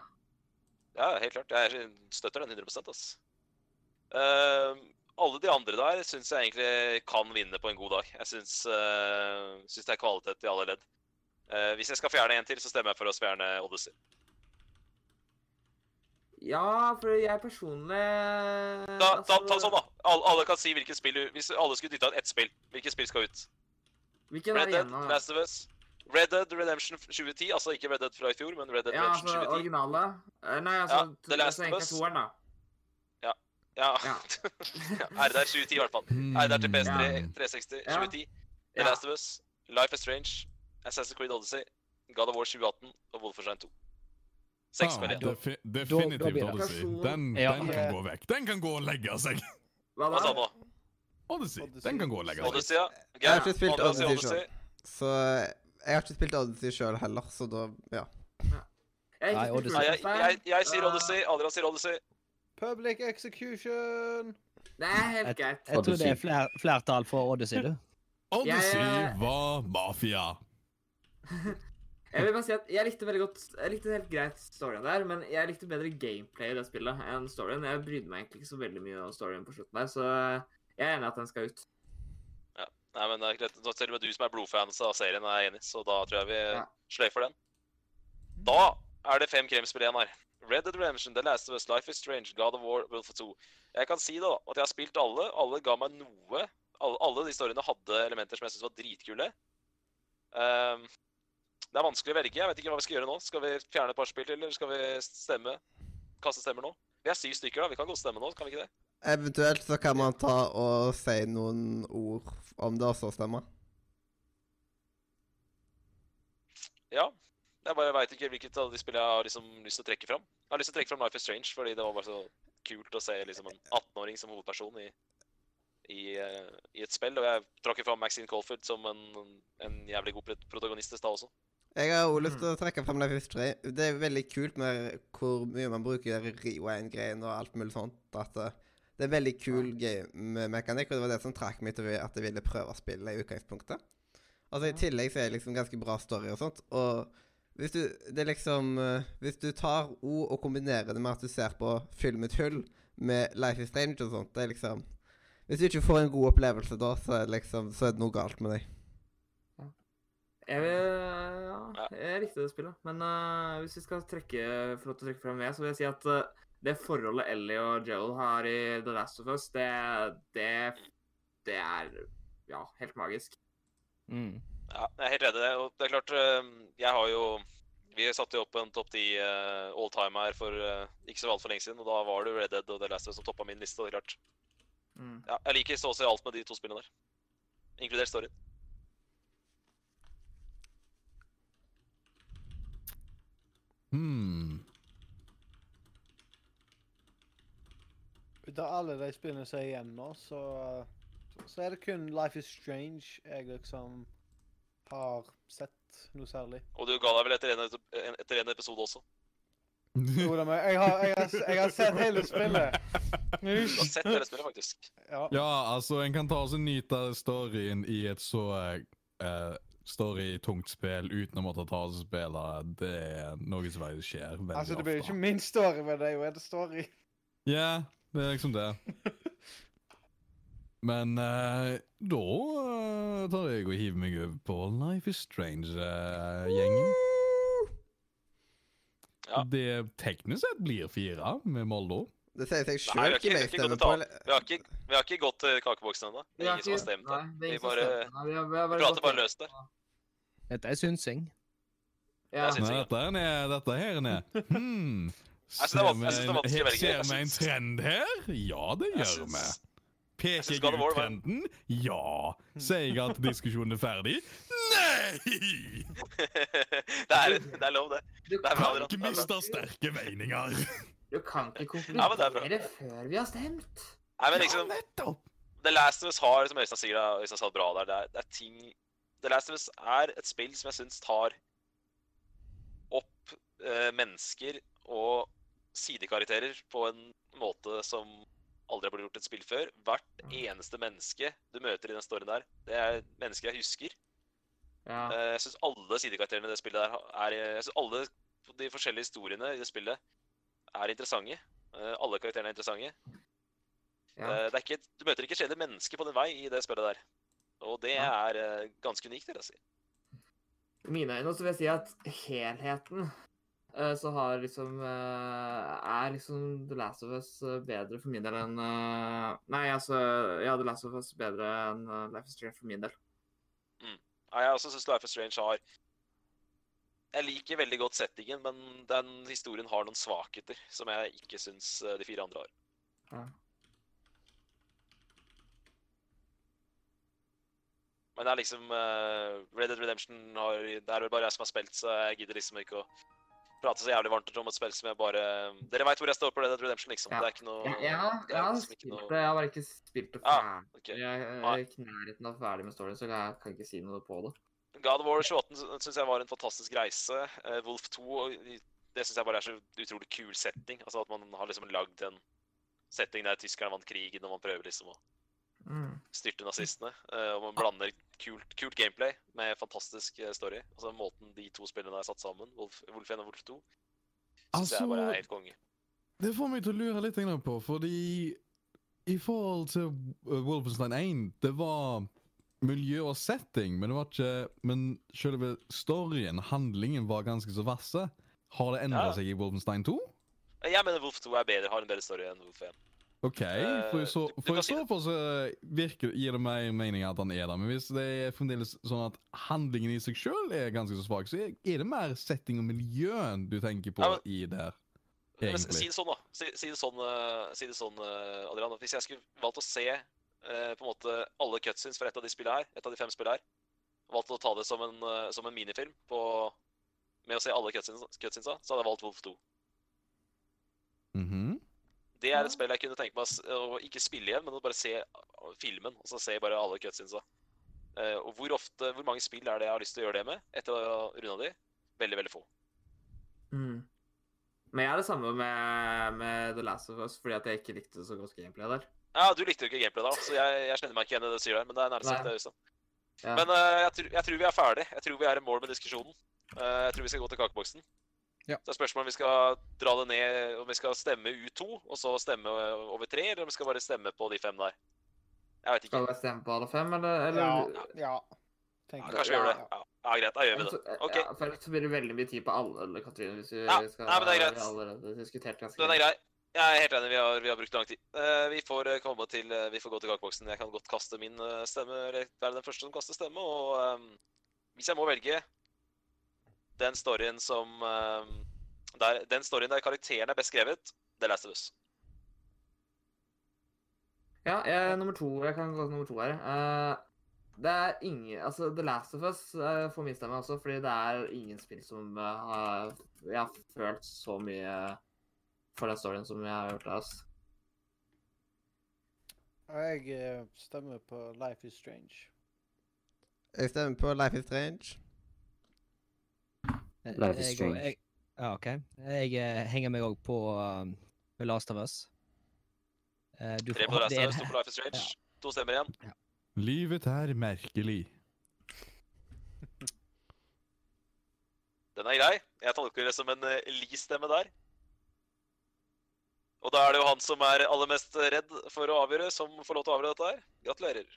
Speaker 2: Ja, helt klart. Jeg støtter den 100 ass. Eh, alle de andre der syns jeg egentlig kan vinne på en god dag. Jeg syns, eh, syns det er kvalitet i alle ledd. Eh, hvis jeg skal fjerne en til, så stemmer jeg for å fjerne Odyssey.
Speaker 3: Ja, for jeg personlig
Speaker 2: Da, da,
Speaker 3: altså,
Speaker 2: ta sånn, da. Alle, alle kan si hvilket spill du- Hvis alle skulle dytta ut ett spill, hvilket spill skal ut?
Speaker 3: Hvilken er
Speaker 2: Red Dead,
Speaker 3: igjen nå?
Speaker 2: Last of Us, Red Dead Redemption 2010. Altså ikke Red Dead fra i fjor, men Red Dead
Speaker 3: Ja,
Speaker 2: Redemption
Speaker 3: altså
Speaker 2: 2010.
Speaker 3: originale. Eh, Nei, altså
Speaker 2: Ja,
Speaker 3: ja,
Speaker 2: The Last of Us.
Speaker 3: Toeren, da.
Speaker 2: Ja.
Speaker 3: Ja.
Speaker 2: Ja, RDR 2010, i hvert fall. RDR til PS3
Speaker 6: Hmm.
Speaker 2: 360
Speaker 3: Ja.
Speaker 2: 2010. The
Speaker 3: Ja.
Speaker 2: Last of Us, Life is Strange, Assassin's Creed Odyssey, God of War 2018 og Wolfenstein 2. Seks
Speaker 6: Ah,
Speaker 2: spill igjen.
Speaker 6: defi
Speaker 8: da blir
Speaker 6: definitivt
Speaker 8: det-
Speaker 6: Odyssey.
Speaker 3: Person-
Speaker 6: Den,
Speaker 8: Ja.
Speaker 6: den kan gå vekk. Den kan gå og legge seg.
Speaker 3: Hva
Speaker 2: Hva sa
Speaker 3: da?
Speaker 2: han nå?
Speaker 6: Odyssey. Den kan gå og legge seg.
Speaker 2: Odyssey, ja.
Speaker 1: Jeg har
Speaker 2: Geir,
Speaker 1: ikke spilt
Speaker 2: Odyssey,
Speaker 1: Odyssey
Speaker 2: Odyssey.
Speaker 1: Så jeg har ikke spilt Odyssey sjøl heller, så da Ja.
Speaker 3: Jeg
Speaker 8: Nei,
Speaker 3: har ikke
Speaker 8: Odyssey.
Speaker 2: Nei,
Speaker 3: spilt
Speaker 2: jeg,
Speaker 3: Wolfenstein.
Speaker 2: jeg, jeg sier
Speaker 3: Eh,
Speaker 2: Odyssey, Adrian sier Odyssey.
Speaker 4: Public execution!
Speaker 3: Det er helt greit.
Speaker 8: Jeg tror det
Speaker 5: Odyssey.
Speaker 8: er fler, flertall for Odyssey, du.
Speaker 6: Odyssey
Speaker 3: Jeg-
Speaker 6: var mafia.
Speaker 3: Jeg vil bare si at jeg likte veldig godt Jeg likte helt greit storyen der, men jeg likte bedre gameplay i det spillet enn storyen. Jeg brydde meg egentlig ikke så veldig mye om storyen på slutten der, så jeg er enig i at den skal ut.
Speaker 2: Nei, men det er greit. Nå Selv om du som er blodfans av serien, er enig, så da tror jeg vi
Speaker 3: Ja.
Speaker 2: sløyfer den. Da er det fem kremspill igjen her. Red Dead Redemption, The Last of Us, Life is Strange, God of War, Wolf of 2. Jeg kan si da at jeg har spilt alle. Alle ga meg noe. Alle, alle de storyene hadde elementer som jeg syntes var dritkule. Ehm, det er vanskelig å velge. Jeg vet ikke hva vi skal gjøre nå. Skal vi fjerne et par spill til, eller skal vi stemme? Kaste stemmer nå? Vi er syv stykker, da. Vi kan godt stemme nå, kan vi ikke det?
Speaker 1: Eventuelt så kan man ta og si noen ord om det også stemmer.
Speaker 2: Ja. Jeg bare veit ikke hvilket av de spillene jeg har liksom lyst til å trekke fram. Jeg har lyst til å trekke fram Life is Strange, fordi det var bare så kult å se liksom en 18-åring som hovedperson i, i, eh, i et spill. Og jeg trakk jo fram Maxine Colford som en, en jævlig god protagonist i stad også.
Speaker 1: Jeg har også lyst til å trekke frem Life is Strange. Det er veldig kult med hvor mye man bruker rewind-greien og alt mulig sånt. At eh, det er veldig kul game-mekanikk, og det var det som trakk meg til at jeg ville prøve spillet i utgangspunktet. Altså I tillegg så er det liksom ganske bra story og sånt. Og hvis du Det er liksom eh, Hvis du tar ord og kombinerer det med at du ser på Fyll mitt hull med Life is Strange og sånt, det er liksom Hvis du ikke får en god opplevelse da, så er det liksom Så er det noe galt med deg.
Speaker 3: Jeg, vil, ja, jeg likte det spillet, men eh, hvis vi skal trekke, få lov til å trekke frem det, så vil jeg si at eh, det forholdet Ellie og Joel har i The Last of Us, det, det, det er ja, helt magisk.
Speaker 8: Mm.
Speaker 2: Ja, jeg er helt enig i det. Og det er klart, øhm, jeg har jo Vi satte jo opp en topp ti eh, all time her for øh, ikke så altfor lenge siden, og da var det jo Red Dead og The Last of Us som toppa min liste. og det er klart.
Speaker 3: Mm.
Speaker 2: Ja, jeg liker så å si alt med de to spillene der. Inkludert storyen.
Speaker 6: Hmm.
Speaker 4: Ut av alle de spillene som er igjen nå, så, så er det kun Life is Strange jeg liksom har sett noe særlig.
Speaker 2: Og du ga deg vel etter en, en- etter en episode også?
Speaker 4: Jo da, men jeg har, jeg har, jeg har sett hele spillet.
Speaker 2: Du har sett hele spillet, faktisk.
Speaker 4: Ja.
Speaker 6: Ja, altså, en kan ta og så nyte storyen i et så eh, story-tungt spill uten å måtte ta og spille. Det er noe som faktisk skjer veldig
Speaker 4: Altså, det blir jo
Speaker 6: ofte.
Speaker 4: ikke min story, men det er jo en story.
Speaker 6: Ja, det er liksom det. Men eh, da eh, tar jeg og hiver meg over på Life is eh, Strange-gjengen.
Speaker 2: Ja.
Speaker 6: Det teknisk sett blir fire med Molde.
Speaker 1: Det sier seg sjøl
Speaker 2: Nei, vi har
Speaker 1: hvem
Speaker 2: ikke-
Speaker 1: jeg stemmer
Speaker 2: vi har ikke gått
Speaker 1: på.
Speaker 2: til Vi har ikke, vi har ikke gått til kakeboksen ennå. Det
Speaker 3: Vi
Speaker 2: er
Speaker 3: har
Speaker 2: ingen som har
Speaker 3: ikke-
Speaker 2: stemt.
Speaker 3: Nei, det er
Speaker 2: Vi
Speaker 3: ingen som har
Speaker 2: bare-
Speaker 3: stemt. Nei, vi har-
Speaker 2: Vi
Speaker 3: vi har bare
Speaker 2: prater
Speaker 3: gått-
Speaker 2: bare løst det.
Speaker 8: Dette er synsing.
Speaker 3: Ja.
Speaker 2: Jeg synes-
Speaker 6: Nei,
Speaker 2: ikke.
Speaker 6: dette her nede, dette her nede. Hmm.
Speaker 2: synes det er
Speaker 6: Ser
Speaker 2: van-
Speaker 6: vi
Speaker 2: jeg synes det er
Speaker 6: en,
Speaker 2: vanskelig å velge.
Speaker 6: ser
Speaker 2: Jeg
Speaker 6: vi en
Speaker 2: synes-
Speaker 6: trend her? Ja, det
Speaker 2: Jeg
Speaker 6: gjør vi.
Speaker 2: syns,
Speaker 6: Peker
Speaker 2: synes
Speaker 6: jeg
Speaker 2: God of War
Speaker 6: ut
Speaker 2: var-
Speaker 6: trenden? Ja. Sier jeg at diskusjonen er ferdig? Nei!
Speaker 2: det, er, det er lov, det.
Speaker 3: Du
Speaker 2: Det er bra,
Speaker 6: Tank
Speaker 2: det er bra.
Speaker 6: mister sterke veininger.
Speaker 3: Du kan ikke
Speaker 2: Ja, men det er bra.
Speaker 3: konkludere før vi har stemt.
Speaker 2: Nei, men liksom,
Speaker 6: nettopp!
Speaker 2: The Last of Us har, som Øystein sier, da, Øystein sa det bra der, det er, det er ting The Last of Us er et spill som jeg syns tar opp eh, mennesker og sidekarakterer på en måte som aldri har blitt gjort i et spill før. Hvert eneste menneske du møter i den storyen der, det er mennesker jeg husker.
Speaker 3: Ja.
Speaker 2: Eh, Jeg syns alle sidekarakterene i det spillet der ha- er eh, Jeg synes alle de forskjellige historiene i det spillet er interessante. Eh, Alle karakterene er interessante.
Speaker 3: Ja.
Speaker 2: Eh, Det er ikke, du møter ikke et kjedelig menneske på din vei i det spillet der. Og det er eh, ganske unikt, vil jeg si.
Speaker 3: I mine øyne så vil jeg si at helheten eh, så har liksom eh, Er liksom The Last of Us eh, bedre for min del enn eh, Nei, altså Ja, The Last of Us bedre enn eh, Life is Strange for min del.
Speaker 2: Nei, Jeg også syns Life is Strange har Jeg liker veldig godt settingen, men den historien har noen svakheter som jeg ikke syns eh, de fire andre har.
Speaker 3: Ja.
Speaker 2: Men det er liksom eh, Red Dead Redemption har Det er vel bare jeg som har spilt, så jeg gidder liksom ikke å prate så jævlig varmt om et spill som jeg bare Dere veit hvor jeg står på Red Dead Redemption, liksom.
Speaker 3: Ja.
Speaker 2: Det er ikke noe
Speaker 3: Jeg, jeg, har-
Speaker 2: det
Speaker 3: jeg
Speaker 2: er
Speaker 3: har
Speaker 2: liksom ikke
Speaker 3: spilt
Speaker 2: noe
Speaker 3: det, jeg har bare ikke spilt det
Speaker 2: Ah,
Speaker 3: ferdig.
Speaker 2: ok.
Speaker 3: Jeg
Speaker 2: Nei.
Speaker 3: er ikke i nærheten av ferdig med storyen, så jeg kan ikke si noe på det.
Speaker 2: God of War 28 syns jeg var en fantastisk reise. Eh, Wolf 2 og i- Det syns jeg bare er så utrolig kul setting. Altså At man har liksom lagd en setting der tyskerne vant krigen, og man prøver liksom å
Speaker 3: Mm,
Speaker 2: styrte nazistene. eh, Og man blander kult, kult gameplay med fantastisk eh, story. Altså Måten de to spillene er satt sammen, Wolf, Wolf 1 og Wolf 2, syns jeg bare
Speaker 6: Altså-
Speaker 2: er helt konge.
Speaker 6: Det får meg til å lure litt grann på, fordi i forhold til uh, Wolfenstein 1, det var miljø og setting, men det var ikke Men selve storyen, handlingen, var ganske så verse. Har det endra
Speaker 2: Ja.
Speaker 6: seg i Wolfenstein 2?
Speaker 2: Eh, Jeg mener Wolf 2 er bedre, har en bedre story enn Wolf 1.
Speaker 6: OK, for i så,
Speaker 2: Eh, du-
Speaker 6: for
Speaker 2: du kan
Speaker 6: i
Speaker 2: si
Speaker 6: så
Speaker 2: det.
Speaker 6: fall så eh, virker, gir det mer mening at han er der. Men hvis det er fremdeles sånn at handlingen i seg sjøl er ganske så svak, så er er det mer setting og miljøen du tenker på
Speaker 2: Ja, men-
Speaker 6: i der.
Speaker 2: Men s- Si
Speaker 6: Egentlig.
Speaker 2: det sånn, da. Si, si det sånn, eh, si det sånn eh, Adrian. at Hvis jeg skulle valgt å se eh, på en måte alle cutscenes fra et av de spillene her, et av de fem spillene her, og valgt å ta det som en, eh, som en minifilm på, med å se alle cutscenes, cutscenesa, så hadde jeg valgt Wolf 2.
Speaker 6: Mhm.
Speaker 2: Det er et spill jeg kunne tenke meg å s- å ikke spille igjen, men å bare se eh, filmen. Og så se bare alle cutscenesa. Eh, Og hvor ofte, hvor mange spill er det jeg har lyst til å gjøre det med etter å ha runda de? Veldig, veldig få.
Speaker 3: Mm. Men jeg er det samme med, med The Last of Us, fordi at jeg ikke likte så godt gameplay der.
Speaker 2: Ja, du likte jo ikke gameplay da, så jeg, jeg kjenner meg ikke igjen i det du sier der, men det er nærmest
Speaker 3: Nei.
Speaker 2: sagt det, Øystein.
Speaker 3: Ja.
Speaker 2: Men eh, jeg, tror- jeg tror vi er ferdig. Jeg tror vi er i mål med diskusjonen. Eh, jeg tror vi skal gå til kakeboksen.
Speaker 8: Ja.
Speaker 2: Så er spørsmålet om vi skal dra det ned, om vi skal stemme U2, og så stemme eh, over tre, eller om vi skal bare stemme på de fem der. Jeg vet ikke.
Speaker 3: Skal jeg stemme på alle fem, eller?
Speaker 4: Ja.
Speaker 3: eller?
Speaker 4: ja.
Speaker 2: Ja,
Speaker 4: Tenker
Speaker 2: kanskje vi gjør det. Ja, ja greit, da gjør vi det.
Speaker 3: Jeg tror-
Speaker 2: Ok,
Speaker 3: Altså, Ja, for ellers så blir det veldig mye tid på alle, eller, Katrine, hvis vi
Speaker 2: Ja,
Speaker 3: skal
Speaker 2: nei, men det er greit.
Speaker 3: Vi har allerede diskutert ganske
Speaker 2: den er grei. Jeg er helt enig, vi har, vi har brukt lang tid. Eh, vi får eh, komme til, eh, vi får gå til kakeboksen. Jeg kan godt kaste min eh, stemme, eller være den første som kaster stemme, og eh, hvis jeg må velge den storyen som eh, der, Den storyen der karakteren er best skrevet, det leste Us.
Speaker 3: Ja, jeg er nummer to. Jeg kan gå til nummer to her. Eh, det er ingen Altså, The Last of Us eh, får min stemme også, fordi det er ingen spill som eh, har Jeg har følt så mye for den storyen som jeg har gjort der, altså.
Speaker 4: Jeg eh, stemmer på Life is Strange.
Speaker 1: Jeg stemmer på Life is Strange.
Speaker 5: Life is
Speaker 8: Jeg-
Speaker 5: strange.
Speaker 8: Jeg, ja, OK. Jeg eh, henger meg òg på um, The Last of Us. Eh, du
Speaker 2: Tre
Speaker 8: får-
Speaker 2: på The Last
Speaker 8: det er
Speaker 2: of Us, to på Life is Strange. To stemmer igjen.
Speaker 6: Livet er merkelig.
Speaker 2: Den er grei. Jeg tolker det som en eh, Li-stemme der. Og da er det jo han som er aller mest redd for å avgjøre, som får lov til å avgjøre dette her. Gratulerer.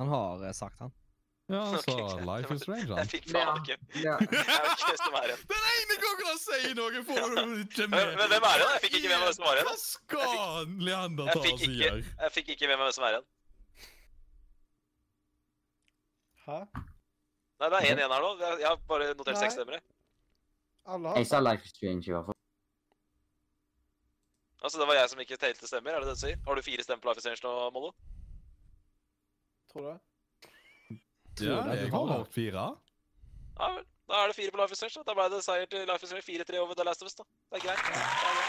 Speaker 8: Han har eh, sagt han.
Speaker 6: Ja,
Speaker 2: Ok,
Speaker 6: altså,
Speaker 2: greit.
Speaker 6: Life is strange, han.
Speaker 2: Jeg fikk faen ikke
Speaker 3: Ja.
Speaker 2: Jeg vet ikke hvem som er igjen.
Speaker 6: Den ene gangen han sier noe, får du ikke
Speaker 2: Men, men hvem er det? da? Jeg fikk ikke med meg hvem som var igjen. da.
Speaker 6: Hva skal
Speaker 2: Jeg
Speaker 6: Leander
Speaker 2: fikk
Speaker 6: ta og
Speaker 2: ikke-
Speaker 6: gjøre?
Speaker 2: Jeg fikk ikke med meg hvem som er igjen.
Speaker 4: Hæ?
Speaker 2: Nei, det er én igjen her nå. Jeg- Jeg har bare notert seks
Speaker 4: Nei.
Speaker 2: stemmer. jeg.
Speaker 4: Alle
Speaker 5: Jeg
Speaker 4: har
Speaker 5: sa Life is Strange i hvert fall.
Speaker 2: Altså, det var jeg som ikke telte stemmer, er det det du sier? Har du fire stemmer på Life is Strange nå, Mollo?
Speaker 4: Tror du det?
Speaker 6: Ja,
Speaker 8: det er
Speaker 6: jeg
Speaker 8: bra,
Speaker 6: har
Speaker 8: da.
Speaker 6: holdt fire.
Speaker 2: Ja vel. Da er det fire på Life is Strange, da. Da ble det seier til Life is Strange 4-3 over The Last of Us, da. Det er greit. Det er greit.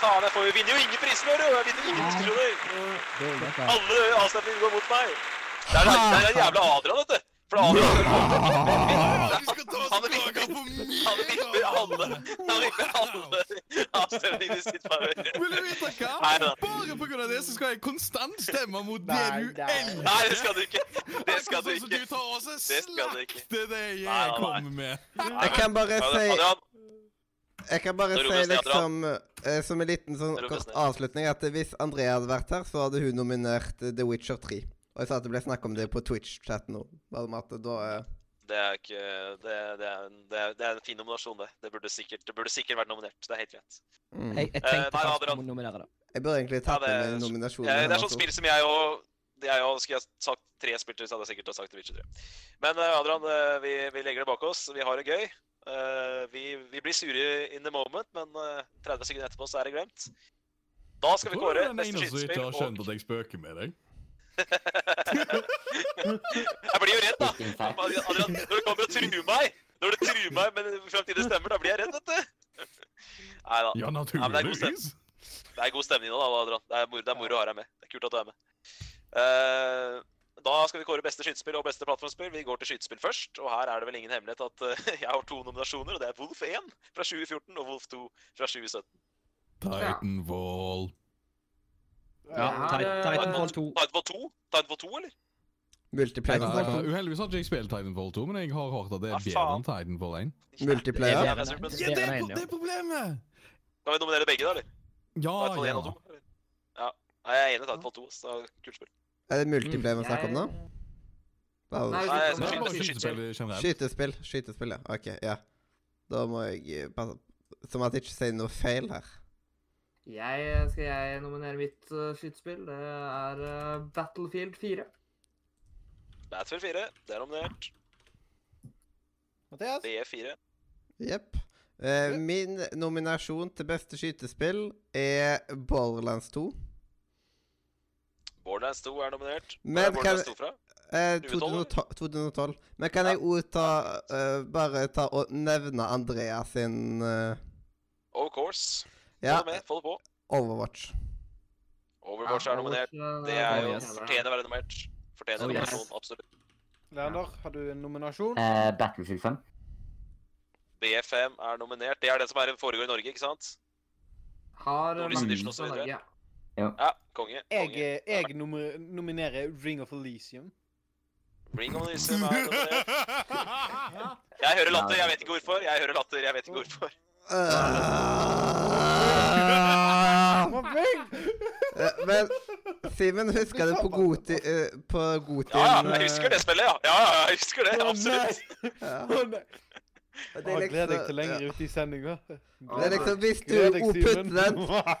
Speaker 2: Faen, jeg får jo vinner jo ingen priser, hører du! Jeg vinner ingen diskusjoner! Alle avstemninger går mot meg! Det er det er den jævla Adrian, vet du. For Adrian Han er vipper han vipper alle Han vipper alle avstemningene i sitt favør.
Speaker 6: Vil du vite hva?
Speaker 2: Nei da.
Speaker 6: Bare på grunn av det så skal jeg konstant stemme mot det
Speaker 4: Nei,
Speaker 6: du
Speaker 4: nei.
Speaker 6: elsker.
Speaker 2: Nei, det skal du ikke. Det skal du
Speaker 6: Akkurat sånn som Du
Speaker 2: ikke.
Speaker 6: tar også
Speaker 2: Det skal du ikke.
Speaker 6: slakt til det jeg
Speaker 2: Nei, nei, nei.
Speaker 6: kommer med.
Speaker 1: Jeg kan bare
Speaker 2: Ja,
Speaker 1: si
Speaker 2: det- Adrian,
Speaker 1: Jeg kan bare
Speaker 2: Det roper
Speaker 1: si
Speaker 2: seg,
Speaker 1: liksom eh, som en liten sånn
Speaker 2: Det roper
Speaker 1: kort
Speaker 2: seg.
Speaker 1: avslutning at hvis Andrea hadde vært her, så hadde hun nominert eh, The Witcher 3. Og jeg sa at det ble snakk om det på Twitch-chatten nå. Bare om at da eh,
Speaker 2: det er ikke det, det, er, en- det, er, det er en fin nominasjon, det. Det burde sikkert, det burde sikkert vært nominert. Det er helt greit.
Speaker 1: mm.
Speaker 8: Jeg, jeg
Speaker 2: Eh,
Speaker 8: tenkte
Speaker 2: nei,
Speaker 8: faktisk
Speaker 2: Adrian.
Speaker 8: om å nominere det.
Speaker 1: Jeg burde egentlig tatt det
Speaker 2: Ja, det er
Speaker 1: med
Speaker 2: så-
Speaker 1: nominasjonen. altså.
Speaker 2: Eh, Det er
Speaker 1: hennes
Speaker 2: sånt
Speaker 1: også.
Speaker 2: spill som jeg og jeg og skulle jeg sagt tre spill til, så hadde jeg sikkert sagt Witcher 3. Men eh, Adrian, eh, vi, vi legger det bak oss. Vi har det gøy. Eh, Vi, vi blir sure in the moment, men eh, 30 sekunder etterpå så er det glemt. Da skal vi
Speaker 6: Tror du
Speaker 2: kåre
Speaker 6: er den
Speaker 2: neste
Speaker 6: eneste som
Speaker 2: skytespill.
Speaker 6: ikke har skjønt
Speaker 2: Og...
Speaker 6: at jeg spøker med deg?
Speaker 2: Jeg blir jo redd, da.
Speaker 5: Fucking fact.
Speaker 2: Adrian, når du kommer og truer meg, når du truer meg med fremtidige stemmer, da blir jeg redd, vet du. Nei da.
Speaker 6: Ja,
Speaker 2: men det er god
Speaker 6: naturligvis.
Speaker 2: Det er god stemning nå, da, Adrian. Det er moro, det er moro å ha deg med. Det er kult at du er med. Eh, da skal vi kåre beste skytespill og beste plattformspill. Vi går til skytespill først. Og her er det vel ingen hemmelighet at eh, jeg har to nominasjoner, og det er Wolf 1 fra 2014 og Wolf 2 fra 2017.
Speaker 6: Titanfall.
Speaker 3: Ja,
Speaker 4: Eh,
Speaker 8: Tit-
Speaker 3: det-
Speaker 8: Titanfall 2.
Speaker 2: Titanfall 2? Titanfall 2, eller?
Speaker 1: Multiplayer.
Speaker 6: Ja,
Speaker 1: snakker om.
Speaker 6: uheldigvis har ikke jeg spilt Titanfall 2, men jeg har hørt at det
Speaker 2: Ah,
Speaker 6: er bedre
Speaker 2: faen.
Speaker 6: enn Titanfall 1.
Speaker 1: Multiplayer.
Speaker 2: Ja, men jeg tror-
Speaker 8: Ja, det er en, ja.
Speaker 6: problemet!
Speaker 2: Kan vi nominere begge, da, eller?
Speaker 6: Ja,
Speaker 2: Titanfall 1
Speaker 6: ja.
Speaker 2: og 2? eller? Ja. Nei, jeg er enig i Titanfall 2. Så kult spill.
Speaker 1: Er det multiplayer vi snakker om nå?
Speaker 3: Nei,
Speaker 1: Da-
Speaker 2: Nei, jeg
Speaker 6: Det
Speaker 2: skal
Speaker 6: er bare
Speaker 2: skyte, skyte, skyte.
Speaker 6: skytespill generelt.
Speaker 1: Skytespill. Skytespill, ja. OK. Ja. Da må jeg eh, passe Som at jeg ikke sier noe feil her.
Speaker 3: Jeg, eh, skal jeg nominere mitt eh, skytespill? Det er eh, Battlefield 4.
Speaker 2: Battlefield 4, det er nominert.
Speaker 4: Mathias?
Speaker 2: BF4.
Speaker 1: Jepp. Eh, min nominasjon til beste skytespill er Borderlands 2.
Speaker 2: Borderlands 2 er nominert. Hvor
Speaker 1: Men
Speaker 2: er
Speaker 1: kan-
Speaker 2: Borderlands 2 fra?
Speaker 1: Eh,
Speaker 2: 2012,
Speaker 1: 2012. 2012. Men kan jeg òg ta eh, Bare ta og nevne Andrea sin eh,
Speaker 2: Of course. Få
Speaker 1: Ja,
Speaker 2: det med, få det på.
Speaker 1: Overwatch.
Speaker 2: Overwatch er nominert. Det
Speaker 3: eh, Oh,
Speaker 2: er jo fortjener å være nominert. Fortjener
Speaker 5: Oh, yes.
Speaker 2: nominasjon, absolutt.
Speaker 4: Leander, har du en nominasjon?
Speaker 5: Eh, Battlefield 5.
Speaker 2: BF5 er nominert. Det er den som er foregår i Norge, ikke sant?
Speaker 3: Har eh,
Speaker 2: Nordlys
Speaker 5: Edition
Speaker 3: Magnus
Speaker 2: og så
Speaker 3: fra
Speaker 2: videre.
Speaker 3: Norge.
Speaker 2: Ja, konge.
Speaker 4: Jeg, eh,
Speaker 2: konge.
Speaker 4: jeg nomi- nominerer Ring of Elisium.
Speaker 2: Ring of Nysum er nominert. Jeg hører latter, jeg vet ikke hvorfor. Jeg hører latter, jeg vet ikke hvorfor.
Speaker 1: Eh, men Simen, husker du på Goti... eh, på Gotin
Speaker 2: Ja, ja, jeg husker det spillet, ja. Ja, ja, jeg husker det,
Speaker 4: Å, nei!
Speaker 2: absolutt.
Speaker 1: Ja.
Speaker 4: Å, nei.
Speaker 1: Og det er
Speaker 4: Jeg gleder
Speaker 1: liksom-
Speaker 4: deg til
Speaker 1: ja.
Speaker 4: lenger ute i sendinga.
Speaker 1: Det er liksom Hvis du
Speaker 4: Gleder deg,
Speaker 1: også putter
Speaker 4: Simen.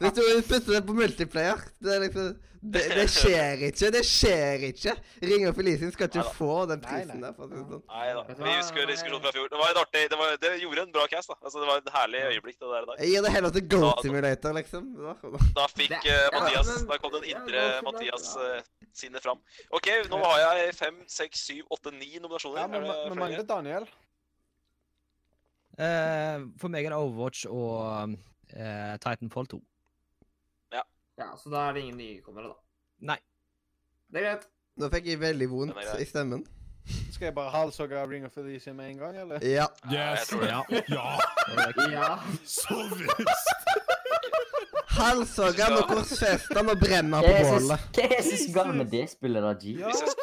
Speaker 1: den Hvis du putter den på multiplayer Det er liksom Det, det skjer ikke. Det skjer ikke. Ring of Elisium skal ikke
Speaker 2: Neida.
Speaker 1: få den
Speaker 4: Nei,
Speaker 1: prisen
Speaker 4: nei.
Speaker 1: der. for å si det sånn.
Speaker 2: Nei da. Vi husker diskusjonen fra fjor. Det var en artig Det, var, det gjorde en bra cast, da. Altså, det var et herlig øyeblikk, det der i dag.
Speaker 1: Jeg gir det heller til
Speaker 2: Ja,
Speaker 1: Goat
Speaker 2: altså.
Speaker 1: Simulator, liksom. Da.
Speaker 2: Da fikk
Speaker 3: Det-
Speaker 2: eh,
Speaker 3: ja,
Speaker 2: Mathias
Speaker 3: men-
Speaker 2: Da kom den
Speaker 3: ja,
Speaker 2: indre
Speaker 3: det var så bra.
Speaker 2: Mathias eh, sinne fram. OK, nå har jeg fem, seks, syv, åtte, ni nominasjoner.
Speaker 4: Ja, men
Speaker 2: Er det
Speaker 4: vi
Speaker 2: flere?
Speaker 4: mangler Daniel.
Speaker 8: Eh, for meg er det Overwatch og eh, Titanfall 2.
Speaker 3: Ja, så da er det ingen nykommere, da.
Speaker 8: Nei.
Speaker 3: Det er greit.
Speaker 1: Nå fikk jeg veldig
Speaker 2: Den er
Speaker 1: vondt
Speaker 2: grei.
Speaker 1: i stemmen.
Speaker 4: Skal jeg bare halshogge Ring of Elisium med en gang, eller?
Speaker 1: Ja.
Speaker 2: jeg
Speaker 6: Yes!
Speaker 2: tror det.
Speaker 6: Ja. ja.
Speaker 3: Ja.
Speaker 6: Så visst!
Speaker 1: Halshogga med korsfesta med brenna på
Speaker 5: Jesus,
Speaker 1: bålet.
Speaker 5: hva er det som er så galt med det spillet, da, G?
Speaker 4: Ja.
Speaker 2: Hvis jeg,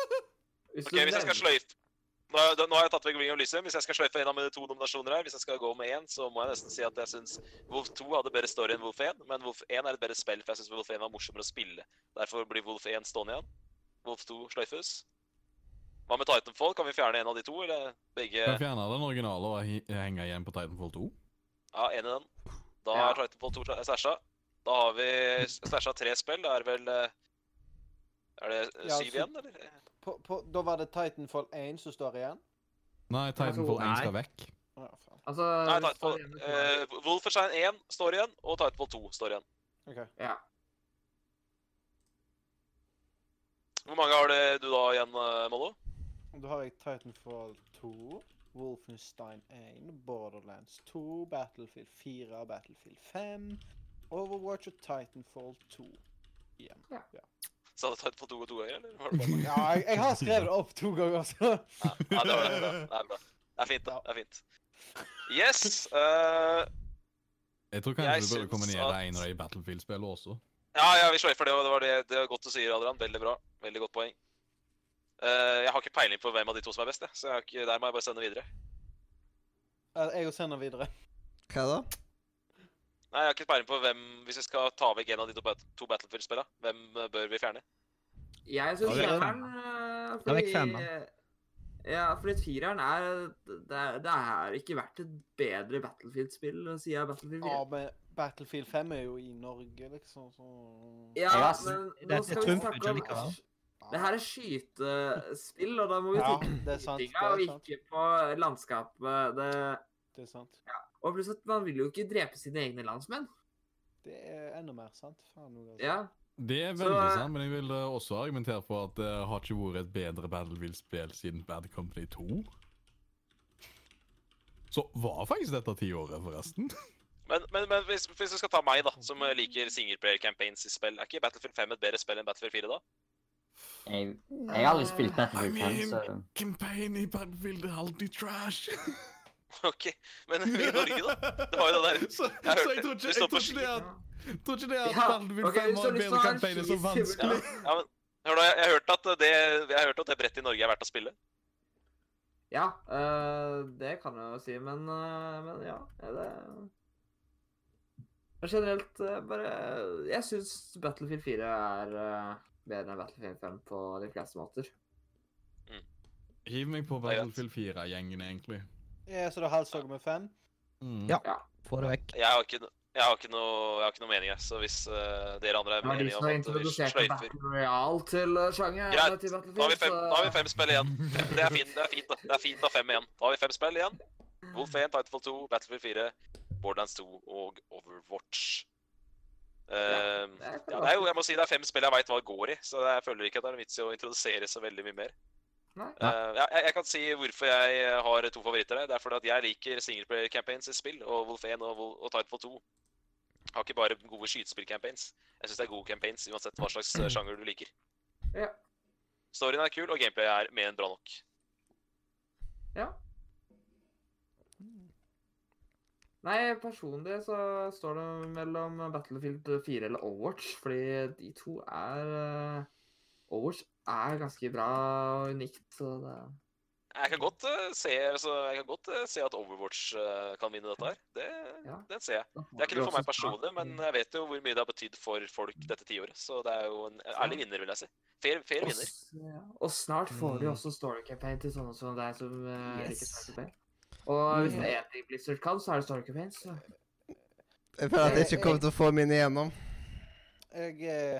Speaker 3: Hvis
Speaker 2: ok, hvis jeg skal sløyfe nå, har jeg- nå har jeg tatt vekk Ring of Lysium. Hvis jeg skal sløyfe en av mine to nominasjoner her, hvis jeg skal gå med én, så må jeg nesten si at jeg syns Wolf 2 hadde bedre story enn Wolf 1. Men Wolf 1 er et bedre spill, for jeg syns Wolf 1 var morsommere å spille. Derfor blir Wolf 1 stående igjen. Wolf 2 sløyfes. Hva med Titanfall? Kan vi fjerne en av de to, eller
Speaker 6: Kan
Speaker 2: begge?
Speaker 6: jeg fjerne den originale og he- henge igjen på Titanfall 2?
Speaker 2: Ja, én i den. Da
Speaker 3: Ja.
Speaker 2: er Titanfall 2 sla- slasha. Da har vi s- slasha tre spill. Da er det vel eh, Er det eh,
Speaker 4: Ja,
Speaker 2: syv
Speaker 4: så-
Speaker 2: igjen, eller?
Speaker 4: På, på, da var det Titanfall 1 som står igjen.
Speaker 6: Nei, Titanfall 1
Speaker 3: Nei.
Speaker 6: skal vekk.
Speaker 4: Å, Ja, faen.
Speaker 3: Altså
Speaker 2: Nei,
Speaker 3: hvis
Speaker 2: Titanfall,
Speaker 3: det er en-
Speaker 2: eh, Wolfenstein 1 står igjen, og Titanfall 2 står igjen.
Speaker 4: Ok.
Speaker 3: Ja.
Speaker 2: Hvor mange har det du da igjen, eh, Mollo?
Speaker 4: Da har jeg Titanfall 2, Wolfenstein 1, Borderlands 2, Battlefield 4, Battlefield 5, Overwatch og Titanfall 2. Igjen.
Speaker 3: Ja.
Speaker 4: Ja.
Speaker 2: Sa du Titanfall 2 og 2 ganger, eller? Var det bare meg?
Speaker 4: jeg, jeg har skrevet det opp to ganger, så
Speaker 2: Ja, ja, det, var det, det, er bra. det er bra. Det er fint, det. det er fint. Yes! eh,
Speaker 6: Jeg tror
Speaker 2: Jeg
Speaker 6: kanskje du burde
Speaker 2: syns
Speaker 6: komme ned
Speaker 2: at-
Speaker 6: i en av de Battlefield-spillene også.
Speaker 2: ja, ja, vi slår for det. og Det var det, det er godt du sier, Adrian. Veldig bra. Veldig godt poeng. Eh, jeg har ikke peiling på hvem av de to som er best, jeg. så jeg har ikke, der må jeg bare sende videre.
Speaker 4: Eh, jeg og sender videre.
Speaker 1: Hva da?
Speaker 2: Nei, jeg har ikke peiling på hvem, hvis vi skal ta vekk en av de to, bat- to Battlefield-spillene, hvem eh, bør vi fjerne?
Speaker 3: Jeg syns
Speaker 6: Ja, det er-
Speaker 3: fireren eh,
Speaker 8: Da er vi
Speaker 3: fordi-
Speaker 8: fem, da.
Speaker 3: Ja, fordi fireren er det, er det er ikke vært et bedre Battlefield-spill, sier jeg Battlefield 4.
Speaker 4: Ja, men Battlefield 5 er jo i Norge, liksom, så
Speaker 3: Ja,
Speaker 5: Ja,
Speaker 3: men
Speaker 8: det
Speaker 3: nå
Speaker 8: er
Speaker 3: skal vi
Speaker 8: Trump,
Speaker 3: snakke
Speaker 8: ikke
Speaker 3: om
Speaker 8: likevel.
Speaker 3: Det her er skytespill, og da må vi
Speaker 4: Ja,
Speaker 3: tenke
Speaker 4: det er sant, det
Speaker 3: skytinga,
Speaker 4: er
Speaker 3: og
Speaker 4: sant.
Speaker 3: ikke på landskapet. Det...
Speaker 4: Det er sant.
Speaker 3: Og pluss at man vil jo ikke drepe sine egne landsmenn.
Speaker 4: Det er enda mer sant. Faen, noe, altså.
Speaker 3: Ja.
Speaker 6: Det er
Speaker 3: Så,
Speaker 6: veldig
Speaker 3: eh,
Speaker 6: sant, men jeg vil eh, også argumentere for at det har ikke vært et bedre Battlefield-spill siden Bad Company 2. Så var faktisk dette tiåret, forresten.
Speaker 2: Men, men, men hvis, hvis du skal ta meg, da, som eh, liker singleplayer campaigns i spill, er ikke Battlefield 5 et bedre spill enn Battlefield 4 da?
Speaker 5: Jeg, jeg har aldri spilt Battlefield 5,
Speaker 6: I
Speaker 5: så
Speaker 6: Campaign i Battlefield er alltid trash.
Speaker 2: OK, men i Norge, da? Det var jo det der-
Speaker 6: Så,
Speaker 2: Jeg
Speaker 6: så
Speaker 2: hørte
Speaker 6: jeg tror ikke,
Speaker 2: det. Du
Speaker 6: jeg
Speaker 2: står på
Speaker 6: tror ikke det at, tror ikke det at
Speaker 3: Ja,
Speaker 6: Battlefield
Speaker 3: ok,
Speaker 6: 5
Speaker 3: så
Speaker 6: har en
Speaker 3: hvis du
Speaker 6: bedre
Speaker 3: har en
Speaker 6: campaign er så
Speaker 3: skitsimulator-
Speaker 6: vanskelig.
Speaker 2: Ja, men hør da, jeg, jeg hørte at det Jeg hørte at det brettet i Norge er verdt å spille.
Speaker 3: Ja, øh, det kan jeg jo si, men, øh, men ja er det... Men generelt øh, bare Jeg syns Battlefield 4 er øh, bedre enn Battlefield 5 på de fleste måter.
Speaker 6: Hiv meg på
Speaker 2: Det er greit.
Speaker 6: Battlefield 4-gjengen, egentlig.
Speaker 4: Ja, så da halshogger vi fem?
Speaker 6: Mm.
Speaker 8: Ja. Få det vekk.
Speaker 2: Jeg har ikke, no- jeg har ikke, noe, jeg har ikke noe mening, jeg. Så hvis eh, dere andre
Speaker 3: Det
Speaker 2: er
Speaker 3: var de
Speaker 2: enige
Speaker 3: som
Speaker 2: om at vi
Speaker 3: introduserte
Speaker 2: sløyfer
Speaker 3: Battle Royale til øh, sjangeren.
Speaker 2: Greit,
Speaker 3: til
Speaker 2: Nå har vi fem,
Speaker 3: så-
Speaker 2: nå har vi fem spill igjen. Fem, det er fint, det er fint, da. Det er fint å ha fem igjen. Da har vi fem spill igjen. Wolf 1, Titanfall 2, Battlefield 4, Borderlands 2 og Overwatch. Ehm,
Speaker 3: det er
Speaker 2: ja, det er jo, jeg må si det er fem spill jeg veit hva går i, så jeg føler ikke at det er noen vits i å introdusere så veldig mye mer.
Speaker 3: Nei.
Speaker 2: Eh, ja, jeg, jeg kan si hvorfor jeg eh, har to favoritter der. Det er fordi at jeg liker singleplayer campaigns i spill, og Wolf 1 og, Wol- og Titanfall 2 har ikke bare gode skytespill-campaigns. Jeg syns det er gode campaigns uansett hva slags eh, sjanger du liker.
Speaker 3: Ja.
Speaker 2: Storyen er kul, og gameplay er mer enn bra nok.
Speaker 3: Nei, personlig så står det mellom Battlefield 4 eller Overwatch, fordi de to er eh, Overwatch er ganske bra og unikt, så det
Speaker 2: Jeg kan godt, eh, se, altså, jeg kan godt eh, se at Overwatch eh, kan vinne dette her. Det,
Speaker 3: Ja.
Speaker 2: Den ser jeg.
Speaker 3: da
Speaker 2: Det er
Speaker 3: får vi
Speaker 2: ikke noe for
Speaker 3: også
Speaker 2: meg personlig,
Speaker 3: snart-
Speaker 2: men eh, jeg vet jo hvor mye det har betydd for folk dette tiåret. Så det er jo en ærlig vinner, vil jeg si. Fair, fair
Speaker 3: Og
Speaker 2: vinner.
Speaker 3: s- ja, Og snart får vi
Speaker 6: Mm.
Speaker 3: også story campaign til sånne som deg som eh, liker
Speaker 8: Yes.
Speaker 3: story campaign. Og hvis det er én ting Blizzard kan, så er det story campaign. Så.
Speaker 1: Jeg føler at jeg ikke kommer til å få mine igjennom.
Speaker 4: Jeg, eh,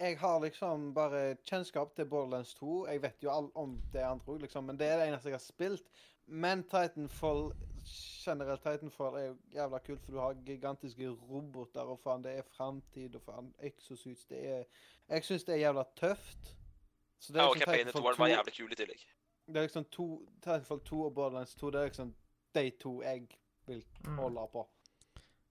Speaker 4: jeg har liksom bare kjennskap til Borderlands 2. Jeg vet jo all om det andre òg, liksom, men det er det eneste jeg har spilt. Men Titanfall generelt Titanfall er jo jævla kult, for du har gigantiske roboter, og faen, det er framtid, og faen, exosuits Det er Jeg syns det er jævla tøft. Så det
Speaker 2: Ja,
Speaker 4: er
Speaker 2: og
Speaker 4: liksom
Speaker 2: campaignen
Speaker 4: Titanfall
Speaker 2: til Warren var
Speaker 4: 2
Speaker 2: jævlig kul i tillegg.
Speaker 4: Det er liksom to, Titanfall 2 og Borderlands 2 det er liksom de to jeg vil
Speaker 3: Mm.
Speaker 4: holde på.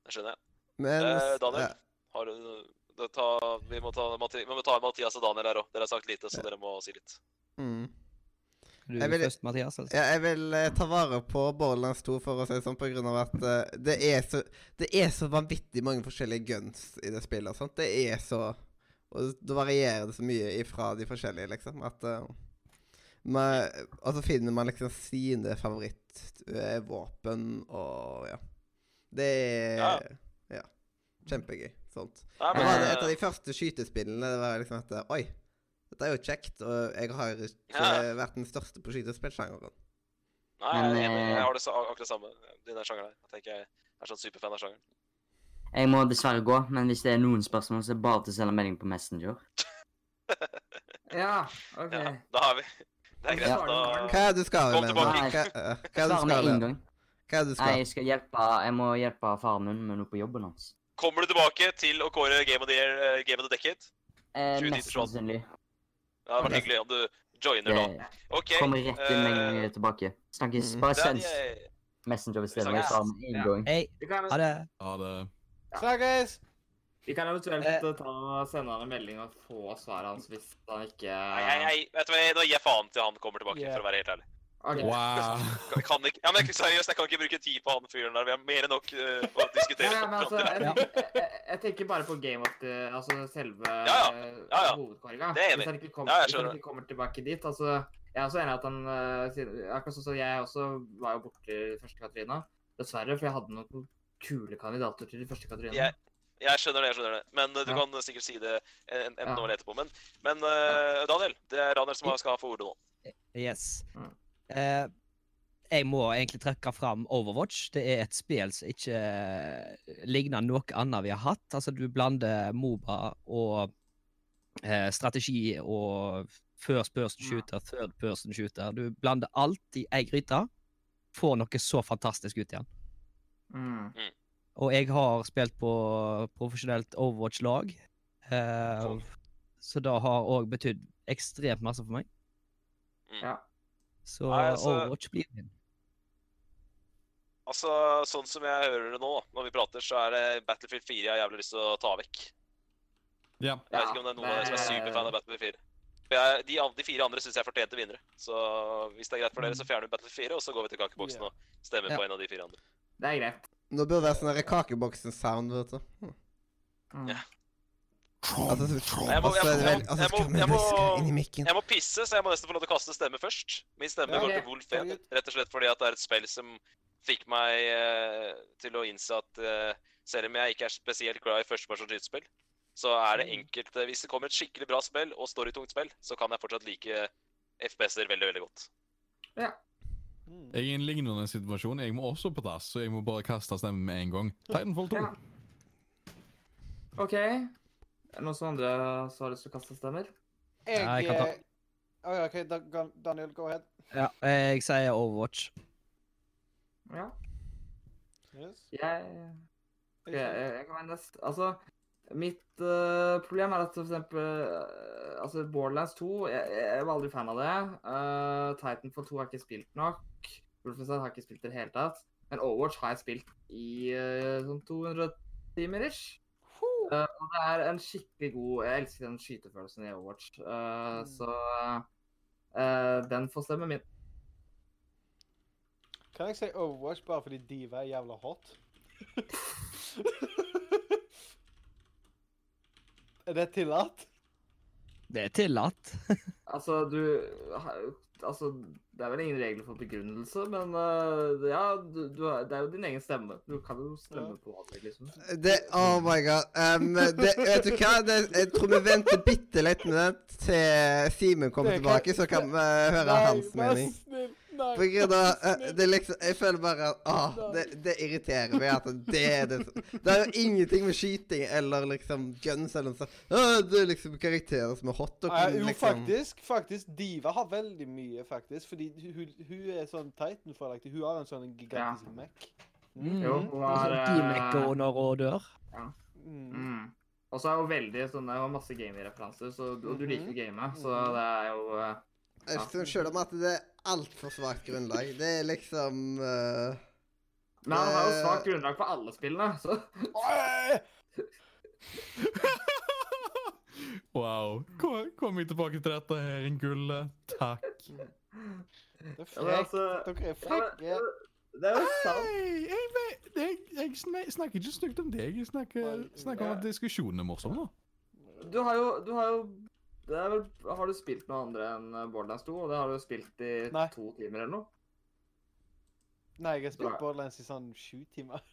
Speaker 2: Det skjønner jeg.
Speaker 1: Men
Speaker 2: Eh, Daniel?
Speaker 1: ja.
Speaker 2: Har du det ta, vi, må ta, Matti- vi må ta Mathias og Daniel her òg. Dere har sagt lite, så dere må si litt.
Speaker 1: mm.
Speaker 8: Du
Speaker 1: Jeg vil-
Speaker 8: først, Mathias. Altså.
Speaker 1: Ja, jeg vil eh, ta vare på Borderlands 2 for å si det sånn, på grunn av at eh, det, er så, det er så vanvittig mange forskjellige guns i det spillet. og sånt. Det er så Og da varierer det så mye ifra de forskjellige, liksom, at eh, men- Og så finner man liksom sine favorittvåpen og ja. Det er
Speaker 2: Ja.
Speaker 1: ja. Kjempegøy. Sånt.
Speaker 2: Nei,
Speaker 1: Det
Speaker 2: men, eh,
Speaker 1: var et av de første skytespillene. Det var liksom at Oi, dette er jo kjekt. Og jeg har ikke
Speaker 2: Ja.
Speaker 1: vært den største på skytespillsjangeren.
Speaker 2: nei, jeg, er
Speaker 5: Men,
Speaker 2: enig.
Speaker 5: eh,
Speaker 2: jeg har det så, akkurat det samme i den sjangeren her. Jeg tenker jeg er sånn superfan av sjangeren.
Speaker 5: jeg må dessverre gå. Men hvis det er noen spørsmål, så er det bare til å sende melding på Messenger.
Speaker 3: Ja, OK.
Speaker 2: Ja, da har vi Det er greit.
Speaker 3: Ja.
Speaker 2: Da
Speaker 1: Hva er det du skal
Speaker 2: Kom
Speaker 1: med?
Speaker 2: tilbake.
Speaker 1: Hva, hva er det du
Speaker 5: Svarer med
Speaker 1: skal med?
Speaker 5: en gang.
Speaker 1: Hva er det du
Speaker 5: Nei,
Speaker 1: skal?
Speaker 5: jeg skal hjelpe Jeg må hjelpe faren min med noe på jobben hans.
Speaker 2: Kommer du tilbake til å kåre Game of the, Year, eh, Game of the Decade?
Speaker 5: Eh,
Speaker 2: 20
Speaker 5: mest
Speaker 2: timer sånn.
Speaker 5: sannsynlig.
Speaker 2: Det hadde vært hyggelig om du joiner
Speaker 5: Det
Speaker 2: da. OK.
Speaker 5: kommer rett inn med en gang
Speaker 2: eh,
Speaker 5: jeg er tilbake. Snakkes.
Speaker 1: Mm.
Speaker 5: Bare
Speaker 2: Daniel,
Speaker 5: send Messenger hvis det
Speaker 2: Vi
Speaker 5: var jeg sa
Speaker 2: snakkes.
Speaker 5: med en
Speaker 3: Ja.
Speaker 5: gang.
Speaker 8: Hei,
Speaker 3: Vi kan,
Speaker 8: ha det.
Speaker 6: Ha det.
Speaker 4: Snakkes!
Speaker 3: vi kan eventuelt
Speaker 8: Eh.
Speaker 3: eh, ta, sende han en melding og få svaret hans hvis han ikke
Speaker 2: Nei, nei, nei, vet du hva, nå gir jeg faen til han kommer tilbake, for å være helt ærlig.
Speaker 3: Ok.
Speaker 6: Wow.
Speaker 2: Kan, kan ikke, ja, men seriøst, jeg kan ikke bruke tid på han fyren der. Vi har mer enn nok eh, å
Speaker 3: Ja,
Speaker 2: diskutere.
Speaker 3: ja, men altså,
Speaker 2: framtiden.
Speaker 3: jeg, jeg, jeg, jeg tenker bare på game of the Altså selve
Speaker 2: Ja, ja. Ja, ja.
Speaker 3: hovedkåringa.
Speaker 2: Det er jeg
Speaker 3: Hvis
Speaker 2: enig
Speaker 3: han ikke kommer,
Speaker 2: Ja, jeg
Speaker 3: hvis
Speaker 2: skjønner
Speaker 3: han ikke kommer tilbake dit altså, Jeg er også enig i at han eh, siden- Akkurat sånn som jeg også var jo borte i første Katrina. Dessverre, for jeg hadde noen kule kandidater til de første Katrina.
Speaker 2: Jeg- Jeg skjønner det, jeg skjønner det. Men eh, du
Speaker 3: Ja.
Speaker 2: kan sikkert si det en, en
Speaker 3: Ja.
Speaker 2: nå eller etterpå. Men, men eh, Daniel, det er Daniel som skal ha for ordet nå.
Speaker 8: Yes.
Speaker 3: Mm.
Speaker 8: Eh, jeg må egentlig trekke fram Overwatch. Det er et spill som ikke eh, ligner noe annet vi har hatt. Altså, du blander Moba og eh, strategi og first person
Speaker 1: Mm.
Speaker 8: shooter, third person shooter. Du blander alt i ei gryte. Får noe så fantastisk ut igjen.
Speaker 3: Mm.
Speaker 8: Og jeg har spilt på profesjonelt Overwatch-lag. eh,
Speaker 2: Cool.
Speaker 8: Så det har òg betydd ekstremt masse for meg.
Speaker 2: Mm.
Speaker 3: Ja.
Speaker 8: Så
Speaker 2: Nei, altså-
Speaker 8: Overwatch blir min.
Speaker 2: Altså, Sånn som jeg hører det nå, da, når vi prater, så er det Battlefield 4 jeg har jævlig lyst til å ta vekk.
Speaker 6: Ja.
Speaker 2: Jeg vet
Speaker 3: Ja,
Speaker 2: ikke om det er noen av dere som er
Speaker 3: det-
Speaker 2: superfan av Battlefield 4. For jeg, de, an- de fire andre syns jeg fortjente vinnere. Så hvis det er greit for dere, så fjerner vi Battlefield 4, og så går vi til kakeboksen
Speaker 4: Ja.
Speaker 2: og stemmer
Speaker 8: Ja.
Speaker 2: på en av de fire andre.
Speaker 3: Det er greit.
Speaker 1: Nå burde det være sånn der kakeboksen-sound, vet du.
Speaker 3: Mm.
Speaker 2: Ja.
Speaker 1: Altså, så-
Speaker 2: Jeg må-
Speaker 1: altså,
Speaker 2: jeg må-
Speaker 1: er det veldig- altså,
Speaker 2: jeg må-
Speaker 1: skal vi
Speaker 2: jeg må-
Speaker 1: hviske inn i mikken?
Speaker 2: Jeg må pisse, så jeg må nesten få lov til å kaste stemme først. Min stemme
Speaker 4: Ja,
Speaker 2: går
Speaker 3: ok.
Speaker 2: til Wolf 1,
Speaker 4: Herregud.
Speaker 2: rett og slett fordi at det er et spill som fikk meg eh, til å innse at eh, selv om jeg ikke er spesielt glad i førstepersons skytespill, så er det enkelte Hvis det kommer et skikkelig bra spill og storytungt spill, så kan jeg fortsatt like FPS-er veldig, veldig godt.
Speaker 6: Jeg er i en lignende situasjon. Jeg må også på dass, så jeg må bare kaste stemmen med en gang. Titanfall 2.
Speaker 3: Ja. OK. Er det noen som andre som har lyst til å kaste stemmer?
Speaker 4: Jeg,
Speaker 8: Ja, jeg kan ta-
Speaker 4: eh, Å ja, OK, da, Gan- Daniel, go ahead.
Speaker 8: Ja, jeg sier Overwatch.
Speaker 3: Ja.
Speaker 4: Yes.
Speaker 3: Jeg Ok, jeg, jeg kan være nest. Altså, mitt eh, problem er at for eksempel eh, altså Borderlands 2 jeg, jeg jeg var aldri fan av det. Eh, Titanfall 2 har jeg ikke spilt nok. Wolfenstein har jeg ikke spilt i det hele tatt. Men Overwatch har jeg spilt i eh, sånn 200 timer ish. Eh, og det er en skikkelig god Jeg elsker den skytefølelsen i Overwatch. Eh, Så eh, den får stemme min.
Speaker 4: Kan jeg si Overwatch bare fordi Diva er jævla hot? er det tillatt?
Speaker 8: Det er tillatt.
Speaker 3: Altså, du ha- Altså, det er vel ingen regler for begrunnelse, men eh, ja, du, du, er- det er jo din egen stemme. Du kan jo stemme
Speaker 4: Ja.
Speaker 3: på hva du liksom.
Speaker 1: Det, oh my god. Um, det, vet du hva? Det, jeg tror vi venter bitte litt med den til Simen kommer
Speaker 4: Det kan-
Speaker 1: tilbake, så kan vi eh, høre hans mening.
Speaker 4: snill. Nei,
Speaker 1: På grunn av,
Speaker 4: vær
Speaker 1: eh,
Speaker 4: snill.
Speaker 1: det er liksom, Jeg føler bare at ah, det, det irriterer meg at det er det som- Det er jo ingenting med skyting eller liksom guns eller noe sånt. Ah, det er liksom karakterer som er hot. Og
Speaker 4: Ja,
Speaker 1: kan
Speaker 4: jo,
Speaker 1: liksom,
Speaker 4: faktisk. faktisk, Diva har veldig mye, faktisk. Fordi hun, hun er sånn Titanfall-aktig. Hun har en sånn gigantisk Mac. Mm.
Speaker 3: Jo,
Speaker 8: Mm.
Speaker 3: hun
Speaker 8: Og
Speaker 3: har
Speaker 8: sånn
Speaker 3: eh,
Speaker 8: Teammaker og når og dør.
Speaker 4: Mm.
Speaker 3: mm. Og så er hun veldig sånn Det er jo masse gaming-referanser, så du, og du liker jo gamet, så
Speaker 4: Mhm.
Speaker 3: det er jo eh,
Speaker 1: Jeg synes selv om at det er altfor svakt grunnlag. Det er liksom eh,
Speaker 3: Men han har jo
Speaker 1: Eh.
Speaker 3: svakt grunnlag for alle spillene, så
Speaker 4: Oi!
Speaker 6: Wow. Kom, kom vi tilbake til dette her, en gulle. Takk.
Speaker 4: Det er
Speaker 3: ja,
Speaker 4: frekt.
Speaker 3: men altså,
Speaker 4: Dere er
Speaker 3: ja,
Speaker 4: frekke.
Speaker 3: men, Det er jo sant.
Speaker 6: Hei! Jeg, vet- jeg, jeg sn- snakker ikke stygt om deg. Jeg snakker, snakker om at diskusjonen er morsom, da.
Speaker 3: Du har jo, du har jo det er vel, Har du spilt noe andre enn eh, Borderlands 2? Og det har du jo spilt i
Speaker 4: Nei.
Speaker 3: to timer eller noe?
Speaker 4: Nei, jeg har
Speaker 3: Nei.
Speaker 4: spilt Borderlands i sånn sju timer.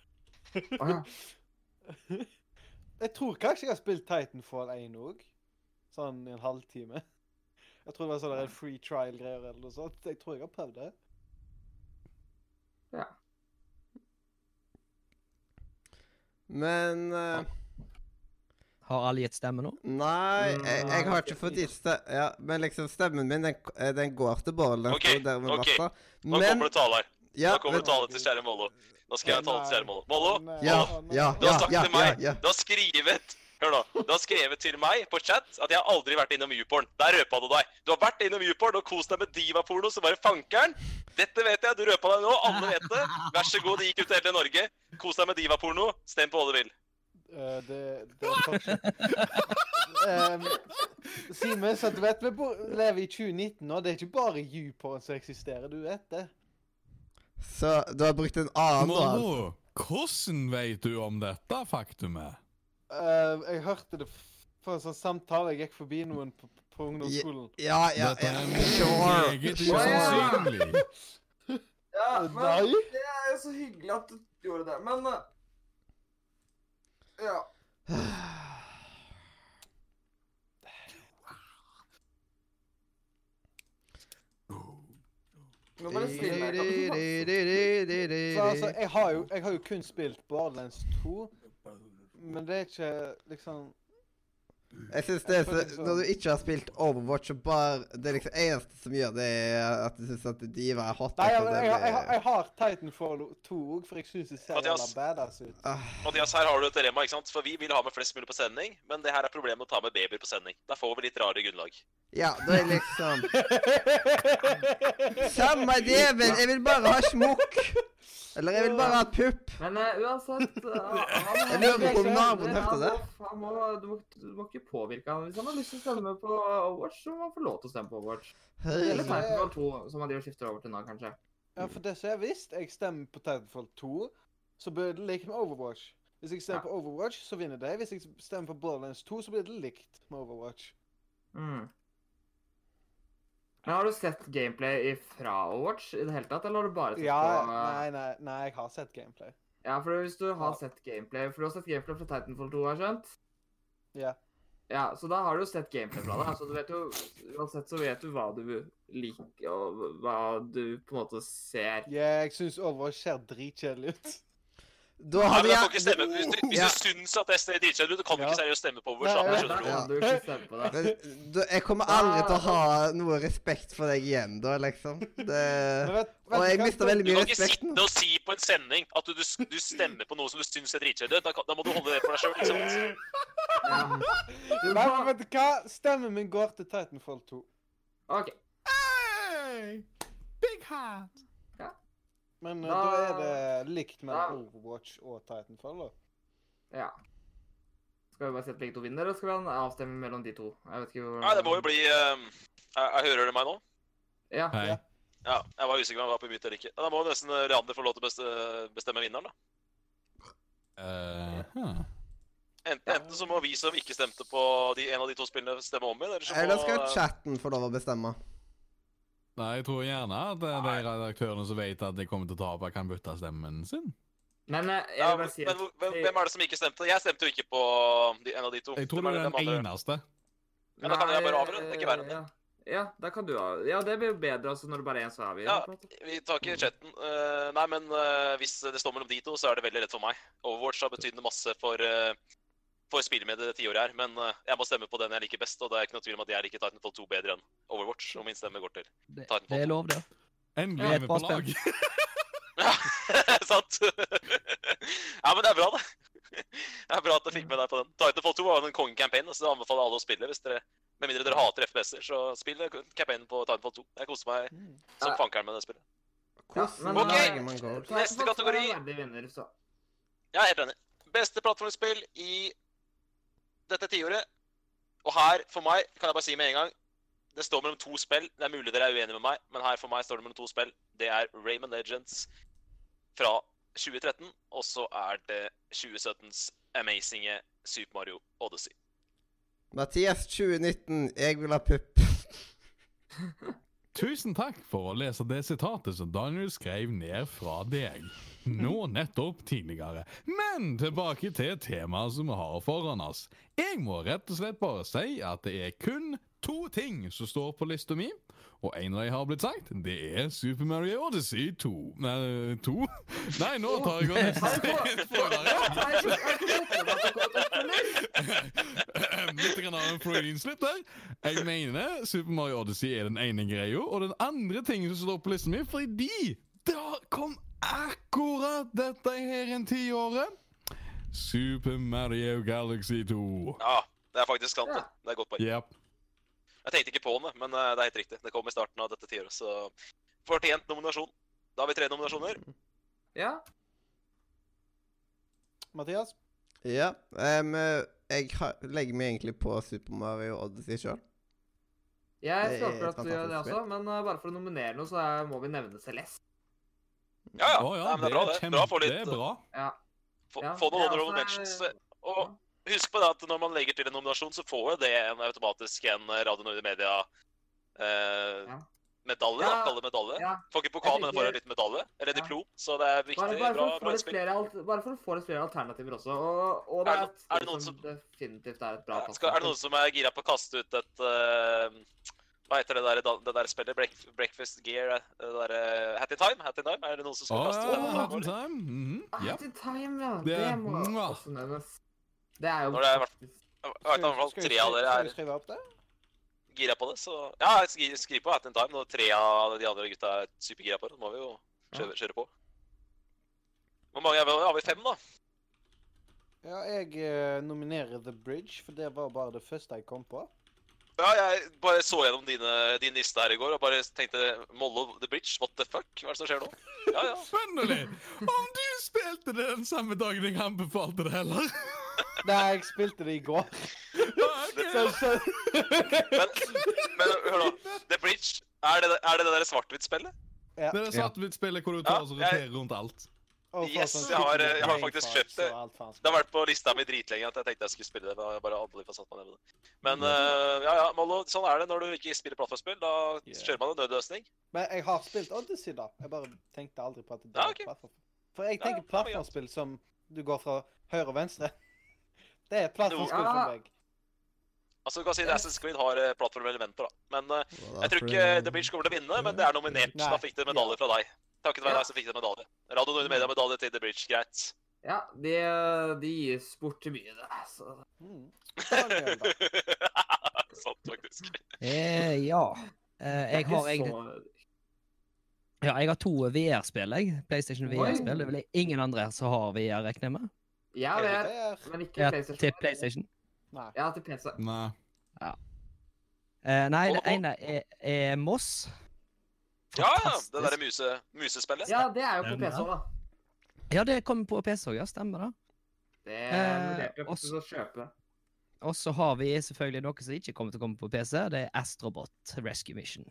Speaker 3: Å ja.
Speaker 4: Jeg tror kanskje jeg har spilt Titanfall 1 òg. Sånn i en halvtime. Jeg tror det var sånn der free trial-greier eller noe sånt. Jeg tror jeg har prøvd det.
Speaker 1: Men eh,
Speaker 8: Har alle gitt stemme nå?
Speaker 1: Nei, jeg,
Speaker 3: Mm, nei,
Speaker 1: jeg har
Speaker 3: ikke
Speaker 1: ikke fått
Speaker 3: fint.
Speaker 1: gitt ste... Ja, men liksom stemmen min, den, den går til Borderlands
Speaker 2: Ok,
Speaker 1: og dermed
Speaker 2: ok.
Speaker 1: Vassa.
Speaker 2: Nå
Speaker 1: Men
Speaker 2: kommer det tale her.
Speaker 1: Ja,
Speaker 2: Da kommer
Speaker 1: vet-
Speaker 2: talen til kjære Mollo. Nå skal jeg tale til kjære Mollo. Mollo,
Speaker 4: eh,
Speaker 1: Ja, ja,
Speaker 2: Du har
Speaker 1: ja,
Speaker 2: sagt
Speaker 1: ja,
Speaker 2: til
Speaker 1: ja,
Speaker 2: meg.
Speaker 1: ja.
Speaker 2: du har skrevet Hør nå. Du har skrevet til meg på chat at jeg har aldri vært innom YouPorn. Der røpa du deg. Du har vært innom YouPorn og kost deg med divaporno som bare fankeren. Dette vet jeg, du røpa deg nå. Alle vet det. Vær så god, det gikk ut til hele Norge. Kos deg med divaporno. Stem på hva du vil.
Speaker 4: Eh, det, det er faktisk um, Simen, så du vet vi bor, lever i 2019 nå. Det er ikke bare YouPorn som eksisterer, du vet det.
Speaker 1: Så du har brukt en annen da? altså.
Speaker 6: Mollo, hvordan vet du om dette faktumet?
Speaker 4: Eh, jeg hørte det f- på en sånn samtale. Jeg gikk forbi noen på, på ungdomsskolen.
Speaker 1: Ja, ja,
Speaker 6: Dette
Speaker 1: ja.
Speaker 6: er
Speaker 1: Sure.
Speaker 6: meget
Speaker 1: Sure.
Speaker 6: usannsynlig.
Speaker 3: Ja, men
Speaker 4: Nei.
Speaker 3: det er jo så hyggelig at du gjorde det, men eh, Ja. Nå var det stille. her, Karsten.
Speaker 4: Så altså, jeg har, jo, jeg har jo kun spilt Borderlands 2, men det er ikke liksom
Speaker 1: Jeg synes det er så, Når du ikke har spilt Overwatch og bare Det er liksom eneste som gjør det, er at du syns at Diva er hot.
Speaker 4: Nei, jeg,
Speaker 1: og det
Speaker 4: jeg, jeg, jeg,
Speaker 1: blir-
Speaker 4: jeg har Titanfall 2 òg, for jeg syns det ser jævla
Speaker 2: Mathias.
Speaker 4: badass ut.
Speaker 1: Ah,
Speaker 2: Mathias, her har du et dilemma, ikke sant? For vi vil ha med flest mulig på sending, men det her er problemet med å ta med babyer på sending. Der får vi litt rare grunnlag.
Speaker 1: Ja, da er liksom Samme djevel, jeg vil bare ha smokk. Eller jeg vil bare ha pupp.
Speaker 3: Men eh, uansett eh, han-
Speaker 1: Jeg lurer på om
Speaker 3: han-
Speaker 1: naboen hørte det.
Speaker 3: Han må, han må, du, må, du må ikke påvirke han. Hvis han har lyst til å stemme på Overwatch, så må han få lov til å stemme på Overwatch.
Speaker 1: Hei.
Speaker 3: Eller Titanfall 2, som han driver og skifter over til nå, kanskje.
Speaker 4: Ja, for det som jeg visste, jeg stemmer på Titanfall 2, så blir det likt med Overwatch. Hvis jeg stemmer
Speaker 3: Ja.
Speaker 4: på Overwatch, så vinner det. Hvis jeg stemmer på Borderlands 2, så blir det likt med Overwatch.
Speaker 3: Mm. Men har du sett gameplay fra Overwatch i det hele tatt, eller har du bare sett
Speaker 4: Ja,
Speaker 3: på eh,
Speaker 4: nei, nei, nei, jeg har sett gameplay.
Speaker 3: Ja, for hvis du har
Speaker 4: Ja.
Speaker 3: sett gameplay For du har sett gameplay fra Titanfall 2, har jeg skjønt?
Speaker 4: Ja.
Speaker 3: Ja, så da har du jo sett gameplay fra det. Så du vet jo Uansett så vet du hva du liker, og hva du på en måte ser.
Speaker 4: Ja, jeg syns Overwatch ser dritkjedelig ut.
Speaker 1: Da
Speaker 2: Nei,
Speaker 1: har
Speaker 2: men
Speaker 1: vi
Speaker 2: jeg får ikke stemme. Hvis du, hvis
Speaker 1: Ja.
Speaker 2: du syns at det er dritkjedelig, du kan du
Speaker 4: Ja.
Speaker 2: ikke seriøst stemme på
Speaker 4: Nei,
Speaker 2: vår sammen,
Speaker 4: ja.
Speaker 2: skjønner du.
Speaker 3: Da kan du ikke stemme på det.
Speaker 1: Men du, jeg kommer aldri til å ha noe respekt for deg igjen, da, liksom. Det,
Speaker 4: Men vet, vet
Speaker 1: og
Speaker 4: du
Speaker 1: jeg
Speaker 4: hva?
Speaker 1: mister veldig
Speaker 2: Du
Speaker 1: mye
Speaker 2: kan ikke
Speaker 1: respekt nå.
Speaker 2: sitte og si på en sending at du, du, s- du stemmer på noe som du syns er dritkjedelig. Da, kan- da må du holde det for deg sjøl. ikke sant?
Speaker 4: Nei, men vet du hva? Stemmen min går til Titanfall 2.
Speaker 3: OK.
Speaker 6: Hey, big hat.
Speaker 4: Men eh,
Speaker 3: Da-
Speaker 4: da er det likt
Speaker 3: da-
Speaker 4: mellom Overwatch og Titanfall, da.
Speaker 3: Ja. Skal vi bare sette begge to vinner, eller skal vi ha en avstemning mellom de to? Jeg vet ikke hvor
Speaker 2: Nei, det må jo bli ehm, jeg, jeg Hører dere meg nå?
Speaker 3: Ja.
Speaker 6: Hei.
Speaker 2: Ja, jeg var usikker på om jeg var på mute eller ikke. Ja, Da må jo nesten eh, Leander få lov til å beste- bestemme vinneren, da.
Speaker 6: Eh, huh.
Speaker 2: Enten, enten så må vi som ikke stemte på de, en av de to spillene, stemme om igjen, eller så
Speaker 1: Eller skal
Speaker 2: må
Speaker 1: chatten få lov å bestemme?
Speaker 6: Nei, jeg tror gjerne at det er de redaktørene som vet at de kommer til å tape, kan bytte stemmen sin.
Speaker 3: Men eh, jeg
Speaker 2: ja,
Speaker 3: vil
Speaker 2: men,
Speaker 3: bare si at
Speaker 2: hvor- hvem, hvem er det som ikke stemte? Jeg stemte jo ikke på de, en av de to.
Speaker 6: Jeg tror
Speaker 2: Hvem
Speaker 6: det er
Speaker 2: hvem
Speaker 6: den
Speaker 2: andre?
Speaker 6: eneste.
Speaker 2: Ja, da kan jeg bare
Speaker 3: Nei,
Speaker 2: avgjøre, det er ikke verre enn det.
Speaker 3: ja. Ja, da kan du av... Ja, det blir jo bedre altså, når det bare er én som avgjør.
Speaker 2: Ja.
Speaker 3: på en måte.
Speaker 2: Vi tar ikke chatten. Eh, nei, men eh, hvis det står mellom de to, så er det veldig lett for meg. Overwatch har betydende masse for, uh, for spillmediet det tiåret her, men eh, jeg må stemme på den jeg liker best, og det er ikke noe tvil om at jeg liker Titanfall 2 bedre enn Overwatch, og min stemme går til.
Speaker 8: Det,
Speaker 2: Ta den på.
Speaker 8: det er lov, det.
Speaker 6: Endelig
Speaker 8: Ja,
Speaker 6: er vi på
Speaker 8: bra
Speaker 6: lag.
Speaker 2: Sant? ja, men det er bra, det. Det er bra at jeg fikk med deg på den. Titanfall 2 var jo en kongecampaign, så det anbefaler alle å spille hvis dere med mindre dere hater FPS-er, så spill campaignen på Titanfall 2. Jeg koser meg
Speaker 8: Mm.
Speaker 2: som fankeren med det spillet.
Speaker 1: Hvordan
Speaker 3: men-
Speaker 1: lager man goals?
Speaker 3: Så jeg
Speaker 2: Neste
Speaker 3: får ta
Speaker 2: kategori.
Speaker 3: en verdig vinner, så.
Speaker 2: Jeg er helt enig. Beste plattformspill i dette tiåret. Og her, for meg, kan jeg bare si med en gang Det står mellom to spill. Det er mulig dere er uenige med meg, men her for meg står det mellom to spill. Det er Raymond Legends fra 2013, og så er det 2017s amazinge Super Mario Odyssey.
Speaker 1: Mathias 2019, jeg vil ha pupp.
Speaker 6: Tusen takk for å lese det sitatet som Daniel skrev ned fra deg. Nå nettopp tidligere. Men tilbake til temaet som vi har foran oss. Jeg må rett og slett bare si at det er kun to ting som står på lista mi. Og en av de har blitt sagt, det er Super Mario Odyssey 2 Nei, 2? Nei, nå tar jeg og nesten spoiler.
Speaker 3: Nei, jeg har ikke fått med meg at det kom et oppfølger.
Speaker 6: Litt grann av en Freudian slip der. Jeg mener Super Mario Odyssey er den ene greia. Og den andre tingen som står på listen min, fordi Da kom akkurat dette her en tiåret. Super Mario Galaxy 2.
Speaker 2: Ja, det er faktisk sant. det. Det er et godt poeng.
Speaker 6: Yep.
Speaker 2: Jeg tenkte ikke på det, men eh, det er helt riktig. Det kom i starten av dette tiåret, så fortjent nominasjon. Da har vi tre nominasjoner.
Speaker 3: Ja.
Speaker 10: Mathias?
Speaker 1: Ja. em, eh, jeg har, legger meg egentlig på Super Mario Odyssey sjøl.
Speaker 3: Jeg
Speaker 1: Det
Speaker 3: skal
Speaker 1: er
Speaker 3: akkurat
Speaker 1: et
Speaker 3: gjøre det
Speaker 1: fantastisk
Speaker 3: også, men eh, bare for å nominere noe, så er, må vi nevne Celeste.
Speaker 2: Ja, ja.
Speaker 6: Å ja,
Speaker 2: Nei, men det er bra, det. Bra eh, å få
Speaker 6: Det
Speaker 2: litt
Speaker 6: er bra.
Speaker 3: Ja.
Speaker 2: Få,
Speaker 3: Ja,
Speaker 2: få noen
Speaker 3: det er
Speaker 2: honorable
Speaker 3: altså-
Speaker 2: mentions. Og husk på det at når man legger til en nominasjon, så får jo det en automatisk en Radio Nord Media eh,
Speaker 3: Ja.
Speaker 2: medalje.
Speaker 3: Ja,
Speaker 2: da, Kalle det medalje.
Speaker 3: ja.
Speaker 2: Får ikke pokal,
Speaker 3: Jeg
Speaker 2: men får
Speaker 3: tenker-
Speaker 2: en liten medalje. Eller
Speaker 3: Ja.
Speaker 2: diplom. Så det er viktig.
Speaker 3: Bare, bare,
Speaker 2: bra,
Speaker 3: for å få
Speaker 2: bra
Speaker 3: litt
Speaker 2: innspill.
Speaker 3: flere, al- bare for å få litt flere alternativer også. Og, og det
Speaker 2: Er
Speaker 3: er,
Speaker 2: det no- er det noen
Speaker 3: et spill
Speaker 2: som-
Speaker 3: definitivt er et bra
Speaker 2: Ja, skal, er det noen som er gira på å kaste ut et eh, Hva heter det der, da- det der spillet? Break, breakfast Gear? eh, Det der, eh, Hatty Time? Hatty Time? Er det noen som skal
Speaker 6: Å,
Speaker 2: kaste ut
Speaker 6: ja,
Speaker 2: det?
Speaker 6: Happy Time. Mhm,
Speaker 3: Ah,
Speaker 6: ja.
Speaker 3: At the time, ja.
Speaker 6: Det
Speaker 3: Det,
Speaker 6: er-
Speaker 3: må
Speaker 6: Mwah.
Speaker 3: også nevnes. Det er jo
Speaker 2: Når det er i hvert
Speaker 3: faktisk-
Speaker 2: Jeg vet at i hvert fall tre av dere
Speaker 10: skal
Speaker 2: er
Speaker 10: vi skrive opp det?
Speaker 2: gira på det, så Ja, jeg skri- skriver på Hat in Time når tre av de andre gutta er supergira på det. Da må vi jo kjøre, kjøre på. Hvor mange er vi? Har vi fem, da?
Speaker 10: Ja, jeg eh, nominerer The Bridge, for det var bare det første jeg kom på.
Speaker 2: Ja, jeg bare så gjennom dine, din liste her i går og bare tenkte Mollo the Bridge, what the fuck? Hva er det som skjer nå? Ja, ja.
Speaker 6: Spennende! Om du spilte det den samme dagen jeg anbefalte det, heller?
Speaker 10: Nei, jeg spilte det i går.
Speaker 6: Ok.
Speaker 10: Så, så,
Speaker 2: Men, men hør nå. The Bridge, er det er det, det der svart-hvitt-spillet?
Speaker 6: Det er det svart-hvitt-spillet hvor du
Speaker 2: Ja,
Speaker 6: tar og
Speaker 2: jeg-
Speaker 6: roterer rundt alt.
Speaker 10: og for
Speaker 2: Yes,
Speaker 10: sånn
Speaker 2: jeg har, eh, jeg har
Speaker 10: skikkelig
Speaker 2: faktisk kjøpt det.
Speaker 10: brainfarts og alt faen
Speaker 2: Det har vært på lista mi dritlenge at jeg tenkte jeg skulle spille det. Men jeg bare aldri får satt meg ned med det. Men eh, ja, ja, Mollo, sånn er det når du ikke spiller plattformspill. Da
Speaker 10: Yeah.
Speaker 2: kjører man en nødløsning.
Speaker 10: Men jeg har spilt Odyssey, da. Jeg bare tenkte aldri på at det
Speaker 2: Ja,
Speaker 10: var
Speaker 2: ok.
Speaker 10: plattform. For jeg
Speaker 2: Ja, ja,
Speaker 10: tenker
Speaker 2: det var greit.
Speaker 10: plattformspill som du går fra høyre og venstre. Det er et plattformspill
Speaker 3: Ja.
Speaker 10: for meg.
Speaker 2: Altså, du kan si at Assassin's Creed har eh, plattformelementer, da. Men eh, jeg tror ikke The Bridge kommer til å vinne, men det er nominert.
Speaker 10: Nei.
Speaker 2: Da fikk det medalje fra deg. Takket være
Speaker 3: Ja.
Speaker 2: deg så fikk det medalje. Radio Nordre Media medalje til The Bridge, greit.
Speaker 3: Ja, de, de gis bort til mye, det. Så.
Speaker 10: Mm. Daniel, da.
Speaker 2: Sant, faktisk.
Speaker 8: Eh, ja. Eh, jeg har egentlig Ja, jeg har to VR-spill, jeg. PlayStation
Speaker 3: Oi.
Speaker 8: VR-spill. Det er vel ingen andre som har VR, regner jeg med?
Speaker 3: Ja,
Speaker 2: Er det
Speaker 3: det
Speaker 10: Det er
Speaker 3: men ikke
Speaker 8: Ja,
Speaker 3: PlayStation.
Speaker 8: til PlayStation.
Speaker 10: Nei.
Speaker 3: Ja, til PC.
Speaker 6: Nei.
Speaker 8: Eh, nei,
Speaker 2: Og-
Speaker 8: det
Speaker 2: og-
Speaker 8: ene er, er Moss.
Speaker 2: Ja, ja,
Speaker 8: Fantastisk.
Speaker 2: det derre muse, musespillet.
Speaker 3: Ja, det er jo på PC òg, da.
Speaker 8: Ja, det kom på PC òg, ja. Stemmer det.
Speaker 3: Det
Speaker 8: Eh,
Speaker 3: vurderte jeg faktisk å
Speaker 8: også-
Speaker 3: kjøpe.
Speaker 8: Og så har vi selvfølgelig noe som ikke kommer til å komme på PC. Det er Astrobot Rescue Mission.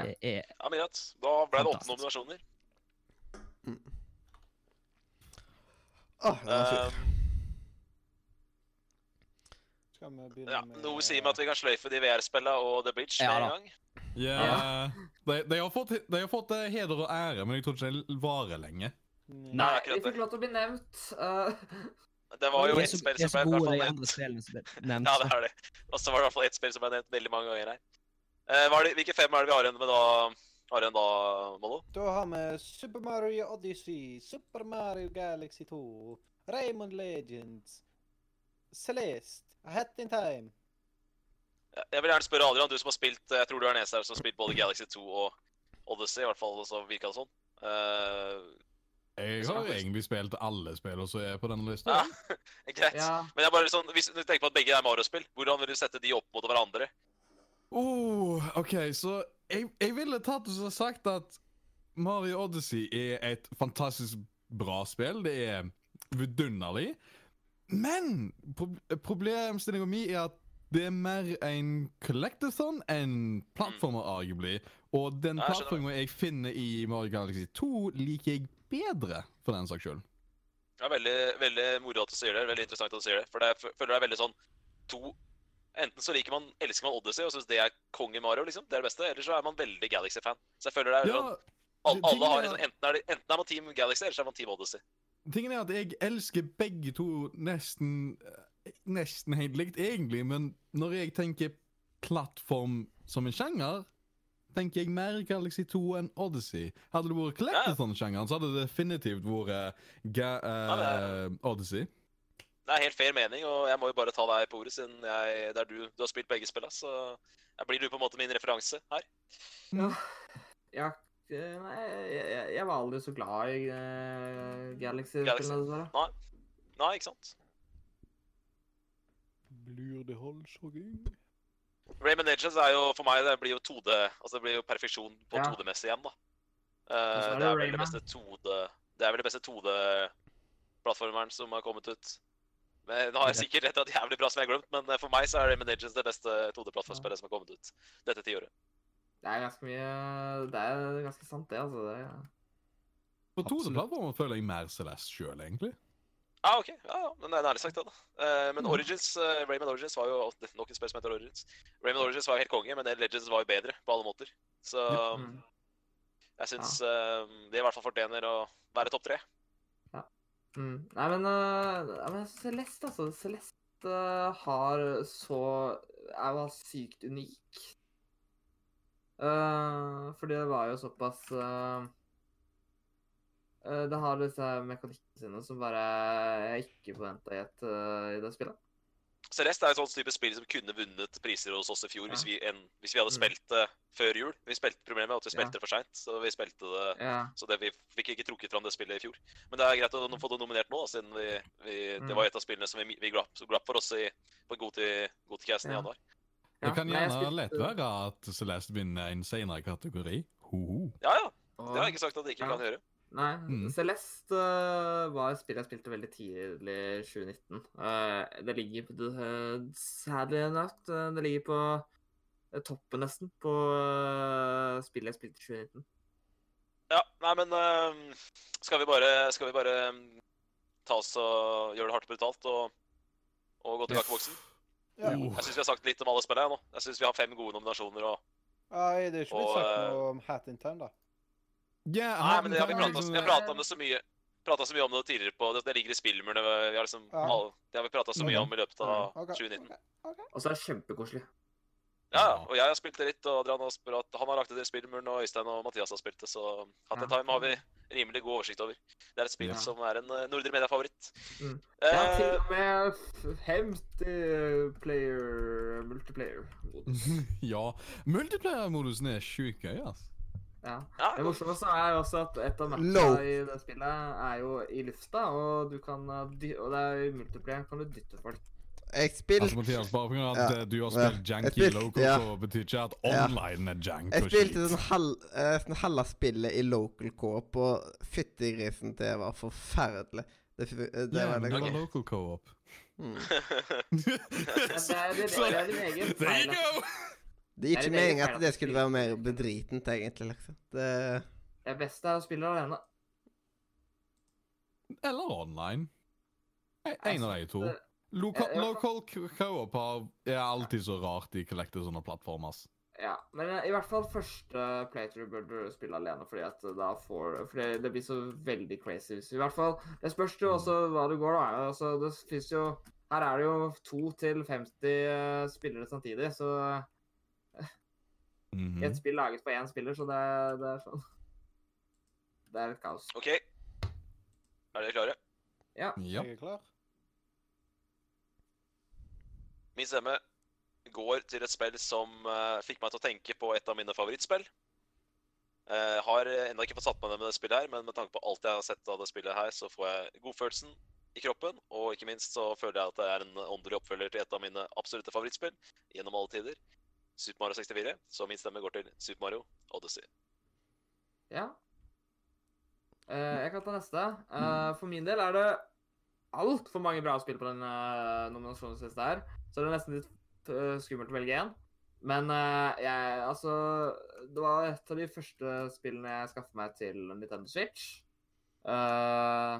Speaker 3: Ja.
Speaker 8: Det er
Speaker 2: Ja, men greit. Da ble det åtte
Speaker 8: Fantastisk.
Speaker 2: nominasjoner.
Speaker 1: Åh, det var
Speaker 2: Um,
Speaker 1: sur.
Speaker 10: Skal vi
Speaker 2: Eh,
Speaker 10: begynne
Speaker 2: ja,
Speaker 10: med
Speaker 2: noe sier meg at vi kan sløyfe de VR-spillene og The Bridge
Speaker 8: Ja,
Speaker 2: med en
Speaker 8: da.
Speaker 2: gang.
Speaker 6: Ja. De, de, har fått, de har fått eh, heder og ære, men jeg tror ikke det varer lenge.
Speaker 10: Nei.
Speaker 3: Nei,
Speaker 2: akkurat
Speaker 3: de fikk lov til å bli nevnt. eh,
Speaker 2: Det var jo
Speaker 8: de er
Speaker 2: ett
Speaker 8: så,
Speaker 2: spill
Speaker 8: de er
Speaker 2: som ble i
Speaker 8: så
Speaker 2: hvert
Speaker 8: gode,
Speaker 2: fall
Speaker 8: de
Speaker 2: nevnt.
Speaker 8: andre spillene som ble nevnt.
Speaker 2: Ja,
Speaker 8: så-
Speaker 2: det er det. Og så var det i hvert fall ett spill som ble nevnt veldig mange ganger her. Eh, hva er det, hvilke fem er det vi har igjen med da, har igjen da Mollo?
Speaker 10: Da har vi Super Mario Odyssey, Super Mario Galaxy 2, Raymond Legends, Celeste, Hat in Time.
Speaker 2: Jeg- Jeg vil gjerne spørre Adrian, du som har spilt eh, Jeg tror du er den eneste her som har spilt både Galaxy 2 og Odyssey, i hvert fall så virka det sånn. Eh,
Speaker 6: Jeg har egentlig spilt alle spillene som er på denne lista.
Speaker 2: ja, greit.
Speaker 3: ja.
Speaker 2: Men jeg bare sånn, hvis du tenker på at begge er Mario-spill, hvordan vil du sette de opp mot hverandre?
Speaker 6: Oh, OK, så jeg, jeg ville tatt og så sagt at Mario Odyssey er et fantastisk bra spill. Det er vidunderlig. Men pro problemstillinga mi er at det er mer en collectathon enn plattformer, arguably. Og den
Speaker 2: Ja, jeg skjønner.
Speaker 6: plattformen jeg finner i Mario Galaxy 2, liker jeg bedre, for den saks skyld.
Speaker 2: Det er veldig, veldig moro at du sier det, veldig interessant at du sier det. For det er- føler det er veldig sånn to Enten så liker man, elsker man Odyssey og syns det er konge Mario, liksom, det er det beste, eller så er man veldig Galaxy-fan. Så jeg føler det er
Speaker 6: Ja,
Speaker 2: sånn, al- alle har
Speaker 6: tingene-
Speaker 2: sånn, enten, er det, enten er man Team Galaxy, eller så er man Team Odyssey.
Speaker 6: Tingen er at jeg elsker begge to nesten Nesten helt likt, egentlig, men når jeg tenker plattform som en sjanger, tenker jeg mer Galaxy 2 enn Odyssey. Hadde det vært Collectathon-sjangeren, så hadde det definitivt vært ga, eh, Odyssey.
Speaker 2: Det er helt fair mening, og jeg må jo bare ta deg på ordet, siden jeg, det er du, du har spilt begge spillene, så jeg blir du på en måte min referanse her.
Speaker 3: ja. eh, Nei, jeg, jeg- jeg var aldri så glad i eh, Galaxy.
Speaker 2: Galaxy.
Speaker 3: spillene, dessverre.
Speaker 2: Nei. Nei, ikke sant?
Speaker 4: Blir det halshogging?
Speaker 2: Rayman Legends er jo for meg det blir jo 2D Altså det blir jo perfeksjon på
Speaker 3: Ja.
Speaker 2: 2D-messig igjen, da. Eh,
Speaker 3: Og så er
Speaker 2: det
Speaker 3: det
Speaker 2: er vel det
Speaker 3: Rayman.
Speaker 2: beste 2D Det er vel det beste 2D-plattformeren som har kommet ut. Men Nå har jeg sikkert rett i at jævlig bra som jeg har glemt, men eh, for meg så er Rayman Legends det beste 2D-plattformspillet som har kommet ut dette tiåret.
Speaker 3: Det er ganske mye Det er ganske sant, det, altså. Det,
Speaker 6: På to plattformer føler jeg mer Celeste sjøl, egentlig.
Speaker 2: Ja, ah, OK. Ja, ja. Men det er ærlig sagt, det, da. Eh,
Speaker 3: Mm.
Speaker 2: men Origins, eh, Rayman Origins var jo det er nok et spill som heter Origins. Rayman Origins var jo helt konge, men det Legends var jo bedre på alle måter. Så um,
Speaker 3: Mm.
Speaker 2: jeg syns eh, det i hvert fall fortjener å være topp tre.
Speaker 3: mm. Nei, men, eh, ja, men Celeste, altså. Celeste eh, har så Er jo altså sykt unik. Eh, fordi det var jo såpass eh, eh, Det har disse mekanikkene sine som bare jeg ikke forventa i, et, eh, i det spillet.
Speaker 2: Celeste er et sånt type spill som kunne vunnet priser hos oss i fjor hvis, vi, en, hvis vi hadde
Speaker 3: Mm.
Speaker 2: spilt det før jul. Vi spilte Problemet var at vi
Speaker 3: Ja.
Speaker 2: spilte det for seint, så vi spilte det
Speaker 3: Ja.
Speaker 2: Så det, vi fikk ikke trukket fram det spillet i fjor. Men det er greit å nå- få det nominert nå, siden vi, vi, det
Speaker 3: Mm.
Speaker 2: var et av spillene som vi, vi glapp, så glapp for oss i, på Goti- Goticasten
Speaker 3: Ja.
Speaker 2: i januar.
Speaker 3: Ja,
Speaker 6: Det kan
Speaker 3: nei, jeg
Speaker 6: gjerne
Speaker 3: spilte-
Speaker 6: lett være at Celeste vinner en senere kategori. Ho-ho.
Speaker 2: Ja ja,
Speaker 3: Og-
Speaker 2: det har jeg ikke sagt at det ikke
Speaker 3: Ja.
Speaker 2: kan gjøre.
Speaker 3: Nei,
Speaker 6: Mm.
Speaker 3: Celeste øh, var et spill jeg spilte veldig tidlig i 2019. Eh, det ligger på uh, Sadly enough, eh, det ligger på eh, toppen nesten på uh, spill jeg spilte i 2019.
Speaker 2: Ja, nei, men øhm, skal vi bare, skal vi bare øhm, ta oss og gjøre det hardt og brutalt og, og gå tilbake i boksen?
Speaker 10: Ja.
Speaker 6: Oh.
Speaker 2: Jeg syns vi har sagt litt om alle spillene jeg, nå. Jeg syns vi har fem gode nominasjoner og
Speaker 10: Nei, det er ikke blitt
Speaker 2: Og,
Speaker 10: sagt
Speaker 2: eh,
Speaker 10: noe om Hat in Time, da.
Speaker 6: Ja,
Speaker 2: Nei,
Speaker 6: han
Speaker 2: men det har vi
Speaker 6: kan
Speaker 2: pratet om,
Speaker 6: liksom-
Speaker 2: vi har pratet om det så mye. Pratet så mye om det tidligere på Det, det ligger i spillmurene. Vi har liksom,
Speaker 10: Ja.
Speaker 2: alle- det har vi prata så mye om i løpet av
Speaker 10: Ok,
Speaker 2: 2019.
Speaker 10: ok.
Speaker 3: Og så er det kjempekoselig.
Speaker 2: Ja,
Speaker 6: Ja.
Speaker 2: og jeg har spilt det litt, og Adrian har spilt, han har lagt ut i spillmuren, og Øystein og Mathias har spilt det, så Hat in
Speaker 3: Ja.
Speaker 2: Time har vi rimelig god oversikt over. Det er et spill
Speaker 3: Ja.
Speaker 2: som er en eh, nordre media-favoritt.
Speaker 3: Mm.
Speaker 2: Eh,
Speaker 3: Jeg har til og med f- 50 player multiplayer.
Speaker 6: Mhm. ja. Multiplayer-modusen er sjukt gøy, ass.
Speaker 3: Ja.
Speaker 2: ja,
Speaker 3: Det morsomste er jo også at et av matchene
Speaker 1: Low.
Speaker 3: i det spillet er jo i lufta, og du kan eh, dy og det er i multiplayer kan du dytte folk.
Speaker 1: Jeg spilte
Speaker 6: Altså, Mathias, bare pga. at
Speaker 1: Ja.
Speaker 6: eh, du har
Speaker 1: Ja.
Speaker 6: spilt
Speaker 1: Jeg
Speaker 6: Janky
Speaker 1: spilte-
Speaker 6: Loco,
Speaker 1: ja.
Speaker 6: så betyr ikke at
Speaker 1: Ja.
Speaker 6: online er jank
Speaker 1: Jeg
Speaker 6: og
Speaker 1: spilte
Speaker 6: shit.
Speaker 1: sånn, halv, eh, sånn halve spillet i local co-op, og fyttegrisen, det var forferdelig. Det, fy- eh, det
Speaker 6: Ja,
Speaker 1: var
Speaker 6: men
Speaker 1: det
Speaker 6: det var
Speaker 1: gode.
Speaker 6: local co-op.
Speaker 1: Mm.
Speaker 3: Men det er din, det er din egen
Speaker 6: There you
Speaker 3: feil.
Speaker 6: go!
Speaker 1: Det gikk
Speaker 3: Er det
Speaker 1: ikke
Speaker 3: veldig
Speaker 1: meningen
Speaker 3: feil
Speaker 1: at det
Speaker 3: at du
Speaker 1: skulle være
Speaker 3: spiller-
Speaker 1: mer bedritent, egentlig, liksom. Det
Speaker 3: Det beste er å spille alene.
Speaker 6: Eller online. E- En av de to.
Speaker 3: det-
Speaker 6: Loka
Speaker 3: jeg- jeg-
Speaker 6: local co- co-op eh, har- er alltid så rart de collecter sånne plattformer. ass.
Speaker 3: Ja, men eh, i hvert fall første playthrough bør du spille alene, fordi at eh, da får For det, det blir så veldig crazy. hvis- I hvert fall, Det spørs jo også hva det går, da. Altså, det finnes jo Her er det jo 2 til 50 eh, spillere samtidig, så
Speaker 6: Mhm.
Speaker 3: ett spill lages på én spiller, så det, det er sånn Det er litt kaos.
Speaker 2: OK. Er dere klare?
Speaker 6: Ja.
Speaker 10: Jeg er klar.
Speaker 2: Min stemme går til et spill som eh, fikk meg til å tenke på et av mine favorittspill. Eh, har ennå ikke fått satt meg ned med det spillet her, men med tanke på alt jeg har sett av det spillet her, så får jeg godfølelsen i kroppen. Og ikke minst så føler jeg at det er en åndelig oppfølger til et av mine absolutte favorittspill gjennom alle tider. Super Mario 64. Så min stemme går til Super Mario Odyssey.
Speaker 3: Ja. Eh, jeg kan ta neste. Eh, for min del er det altfor mange bra spill på den uh, nominasjonslista her. Så det er nesten litt eh, skummelt å velge én. Men eh, jeg Altså, det var et av de første spillene jeg skaffet meg til Nintendo Switch. Eh,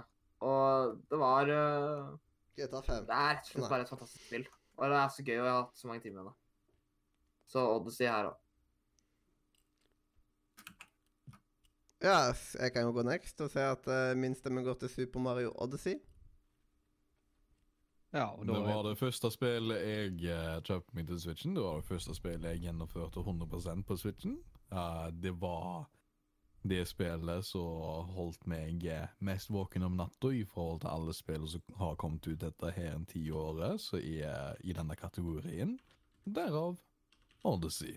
Speaker 3: og det var eh,
Speaker 1: GTA 5.
Speaker 3: Det er rett og slett bare et fantastisk spill. Og det er så gøy, og jeg har hatt så mange timer med det. Så Odyssey her òg.
Speaker 1: Ja, s- jeg kan jo gå next og si at eh, min stemme går til Super Mario Odyssey.
Speaker 8: Ja, og
Speaker 6: Det
Speaker 8: da
Speaker 6: var det første spillet jeg eh, kjøpte meg til Switchen. Det var det første spillet jeg gjennomførte 100 på Switchen. Eh, det var det spillet som holdt meg eh, mest våken om natta i forhold til alle spill som har kommet ut dette her en tiåret, som er i denne kategorien. Derav Odyssey.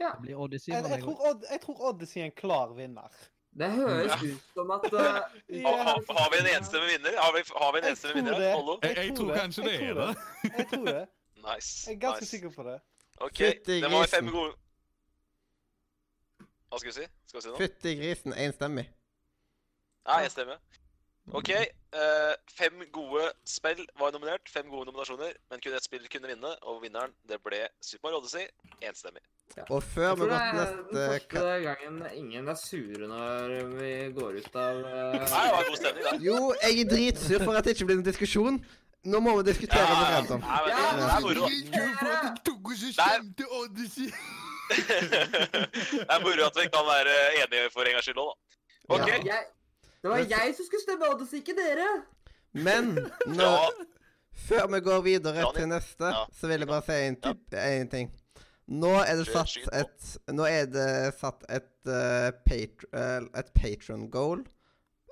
Speaker 3: Ja.
Speaker 8: Det blir Odyssey.
Speaker 10: Jeg,
Speaker 8: for
Speaker 10: jeg,
Speaker 8: meg
Speaker 10: tror
Speaker 8: også.
Speaker 10: Odd, jeg tror Odyssey er en klar vinner.
Speaker 3: Det høres
Speaker 2: Ja.
Speaker 3: ut som at eh,
Speaker 2: Har, har, har vi en enstemmig vinner? Har vi, har vi en
Speaker 10: Jeg
Speaker 2: enstemmig
Speaker 10: tror
Speaker 2: vinner?
Speaker 10: det.
Speaker 2: Follow?
Speaker 6: Jeg, jeg tror
Speaker 10: det.
Speaker 6: kanskje det
Speaker 10: Jeg
Speaker 6: er
Speaker 10: tror
Speaker 6: det.
Speaker 10: Jeg tror det.
Speaker 2: Nice.
Speaker 10: Jeg er ganske
Speaker 2: nice.
Speaker 10: sikker på det.
Speaker 2: OK,
Speaker 1: Fytti
Speaker 2: det var fem
Speaker 1: grisen.
Speaker 2: gode Hva skal vi si? Skal vi si noe?
Speaker 1: Fytti grisen, enstemmig.
Speaker 2: Nei, jeg stemmer. OK. eh, fem gode spill var nominert. Fem gode nominasjoner, men kun ett spill kunne vinne, og vinneren det ble Super Mario Odyssey. Enstemmig.
Speaker 1: Og før
Speaker 3: Jeg
Speaker 1: vi
Speaker 3: tror det
Speaker 1: går
Speaker 3: er
Speaker 1: til
Speaker 3: den
Speaker 1: neste eh, ka-
Speaker 3: første gangen ingen er sure når vi går ut av eh,
Speaker 2: Nei, det var god stemning, det.
Speaker 1: Jo, jeg er dritsur for at det ikke blir noen diskusjon. Nå må vi diskutere
Speaker 2: Ja,
Speaker 1: hva vi
Speaker 2: ja,
Speaker 1: rent om.
Speaker 2: Nei, men det, det er moro. Nei. det er moro at vi kan være enige for en gangs skyld òg, da. OK.
Speaker 1: Ja.
Speaker 3: jeg, Det var
Speaker 1: Men-
Speaker 3: jeg som skulle stemme Odyssey, ikke dere!
Speaker 1: Men nå,
Speaker 2: Ja.
Speaker 1: før vi går videre
Speaker 2: Ja, det-
Speaker 1: til neste,
Speaker 2: ja.
Speaker 1: så vil jeg bare si en, tip, en ting. Nå er det
Speaker 2: Skyt-
Speaker 1: satt
Speaker 2: skyt på.
Speaker 1: et Nå er det satt et, eh, patr- eh, et patron goal.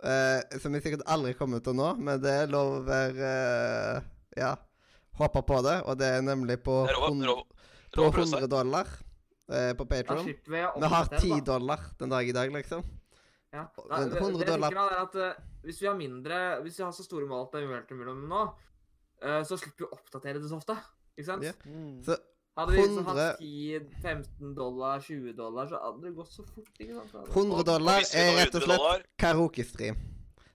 Speaker 1: eh, som jeg sikkert aldri kommer til å nå, men det er lov å være eh, Ja. Håpe på det, og det er nemlig på,
Speaker 2: Det er lov å-
Speaker 1: hun-
Speaker 2: lov-
Speaker 1: på
Speaker 2: lov å prøve seg.
Speaker 1: 100 dollar eh, på
Speaker 3: Da
Speaker 1: Patron.
Speaker 3: slipper vi å
Speaker 1: Vi har
Speaker 3: oppdatere, da.
Speaker 1: 10 dollar den dag i dag, liksom.
Speaker 3: Ja.
Speaker 1: Og-
Speaker 3: Nei,
Speaker 1: men
Speaker 3: det,
Speaker 1: 100
Speaker 3: det jeg
Speaker 1: dollar-
Speaker 3: tenker da, er at eh, Hvis vi har mindre, hvis vi har så store mål at det er umulig mulig om nå, eh, så slipper vi å oppdatere det så ofte. Ikke sant?
Speaker 1: Ja.
Speaker 10: Mm.
Speaker 1: Så
Speaker 3: Hadde vi liksom
Speaker 1: 100
Speaker 3: hatt 10-15 dollar, 20 dollar, så hadde det gått så fort. ikke sant? Da hadde-
Speaker 1: 100 dollar
Speaker 2: hvis vi
Speaker 1: er
Speaker 2: når
Speaker 1: rett og
Speaker 2: 100
Speaker 1: slett
Speaker 2: dollar-
Speaker 1: karaokestream.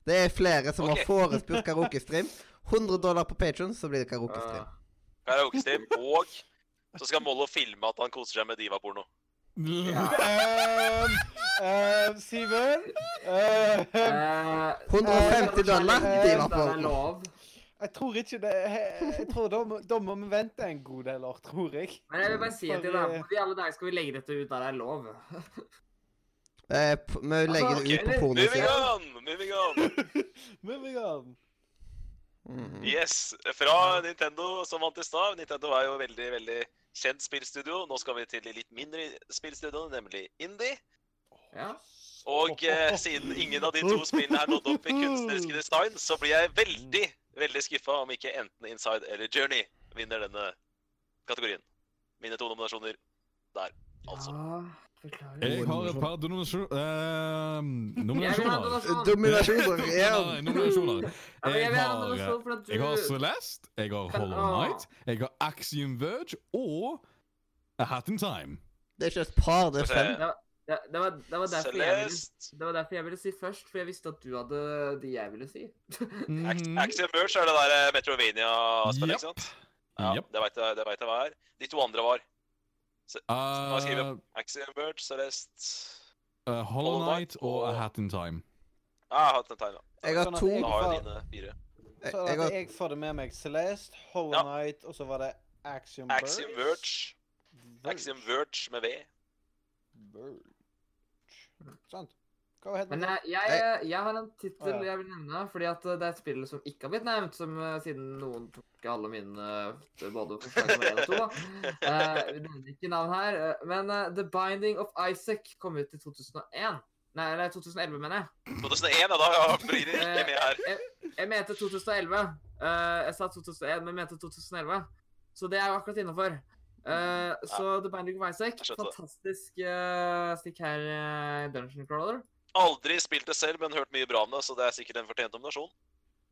Speaker 1: Det er flere som
Speaker 2: Ok.
Speaker 1: har forespurt karaokestream. 100 dollar på Patron, så blir det karaokestream.
Speaker 3: Eh,
Speaker 2: Karaokestream. Og så skal Mollo filme at han koser seg med divaporno.
Speaker 10: Ehm, ehm, Simen? Ehm,
Speaker 3: eh,
Speaker 1: 150 dollar,
Speaker 3: eh,
Speaker 1: det var
Speaker 3: det er
Speaker 1: på.
Speaker 3: lov.
Speaker 10: jeg tror ikke det Jeg, jeg tror da, må- da må vi vente en god del år, tror jeg.
Speaker 3: Men jeg vil bare si
Speaker 10: For,
Speaker 3: at i dag,
Speaker 10: eh,
Speaker 3: i alle dager skal vi legge dette ut der det er lov.
Speaker 1: Eh, p- vi legger det ut på
Speaker 3: eller-
Speaker 1: pornosida.
Speaker 2: Moving on! Moving on!
Speaker 10: Moving on.
Speaker 2: Mhm.
Speaker 1: Mm.
Speaker 2: Yes, fra Nintendo som vant i stad. Nintendo er jo veldig, veldig kjent spillstudio. Nå skal vi til de litt mindre spillstudioene, nemlig Indie.
Speaker 3: Ja.
Speaker 2: Og eh, siden ingen av de to spillene er nådd opp i kunstneriske design, så blir jeg veldig, veldig skuffa om ikke enten Inside eller Journey vinner denne kategorien. Mine to nominasjoner der, altså.
Speaker 3: Ja, beklager.
Speaker 6: Jeg har et par denominasjon- eh,
Speaker 3: Jeg vil ha
Speaker 6: nominasjoner.
Speaker 3: donasjon.
Speaker 1: Dominasjon. Ja.
Speaker 6: Nei, nominasjoner.
Speaker 3: Ja, men jeg vil ha
Speaker 6: Jeg har, eh,
Speaker 3: donasjon for at
Speaker 6: Jeg har
Speaker 3: du
Speaker 6: Celeste, jeg har
Speaker 3: Men,
Speaker 6: Hollow
Speaker 3: ah.
Speaker 6: Knight, jeg har Axiom Verge og A Hat in Time.
Speaker 1: Det er ikke et par, det er
Speaker 2: Skal vi
Speaker 1: fem.
Speaker 2: se.
Speaker 3: det, det, var, det, var derfor jeg ville,
Speaker 2: Celeste.
Speaker 3: det var derfor jeg ville si først, for jeg visste at du hadde de jeg ville si.
Speaker 6: Mhm.
Speaker 2: Axiom Verge er det der eh, Metrovania-spillet, ikke sant? Ja,
Speaker 6: Japp.
Speaker 2: det veit jeg, det vet jeg hva er. De to andre var Hva skriver jeg?
Speaker 6: Eh,
Speaker 2: Axiom Verge, Celeste
Speaker 6: eh, Hollow
Speaker 2: Hollow
Speaker 6: Knight
Speaker 2: Knight
Speaker 6: og A
Speaker 2: og-
Speaker 6: Hat in Time.
Speaker 2: Ja, Ah, jeg har hatt en tegn, da.
Speaker 1: Jeg har
Speaker 10: Sånn at
Speaker 1: to
Speaker 10: jeg
Speaker 2: Da har
Speaker 10: får-
Speaker 2: jeg dine fire.
Speaker 1: jeg,
Speaker 10: Sånn
Speaker 1: jeg
Speaker 10: at
Speaker 1: har,
Speaker 10: jeg får det med meg. Celeste, Hollow
Speaker 2: Ja.
Speaker 10: Knight, og så var det Axiom Verge.
Speaker 2: Axiom Verge. Axiom Verge med V.
Speaker 10: Verge. Sant. Hva heter
Speaker 3: Men
Speaker 10: det?
Speaker 3: jeg, jeg, jeg har en
Speaker 10: Å, ja.
Speaker 3: tittel jeg vil nevne, fordi at eh, det er et spill som ikke har blitt nevnt, som eh, siden noen tok alle mine eh, både forslag nummer én og to. da. Eh, Vi nevner ikke navn her. eh, Men eh, The Binding of Isaac kom ut i 2001. Nei, eller 2011, mener jeg.
Speaker 2: 2001, ja, da blir det ikke med her.
Speaker 3: Jeg mente 2011. Eh, jeg sa 2001, men jeg mente 2011. Så det er jo akkurat innafor. så The Binding of Isaac,
Speaker 2: Jeg skjønte det.
Speaker 3: fantastisk eh, stikk her, eh, Dungeon Crawler.
Speaker 2: Aldri spilt det selv, men hørt mye bra om det, så det er sikkert en fortjent nominasjon.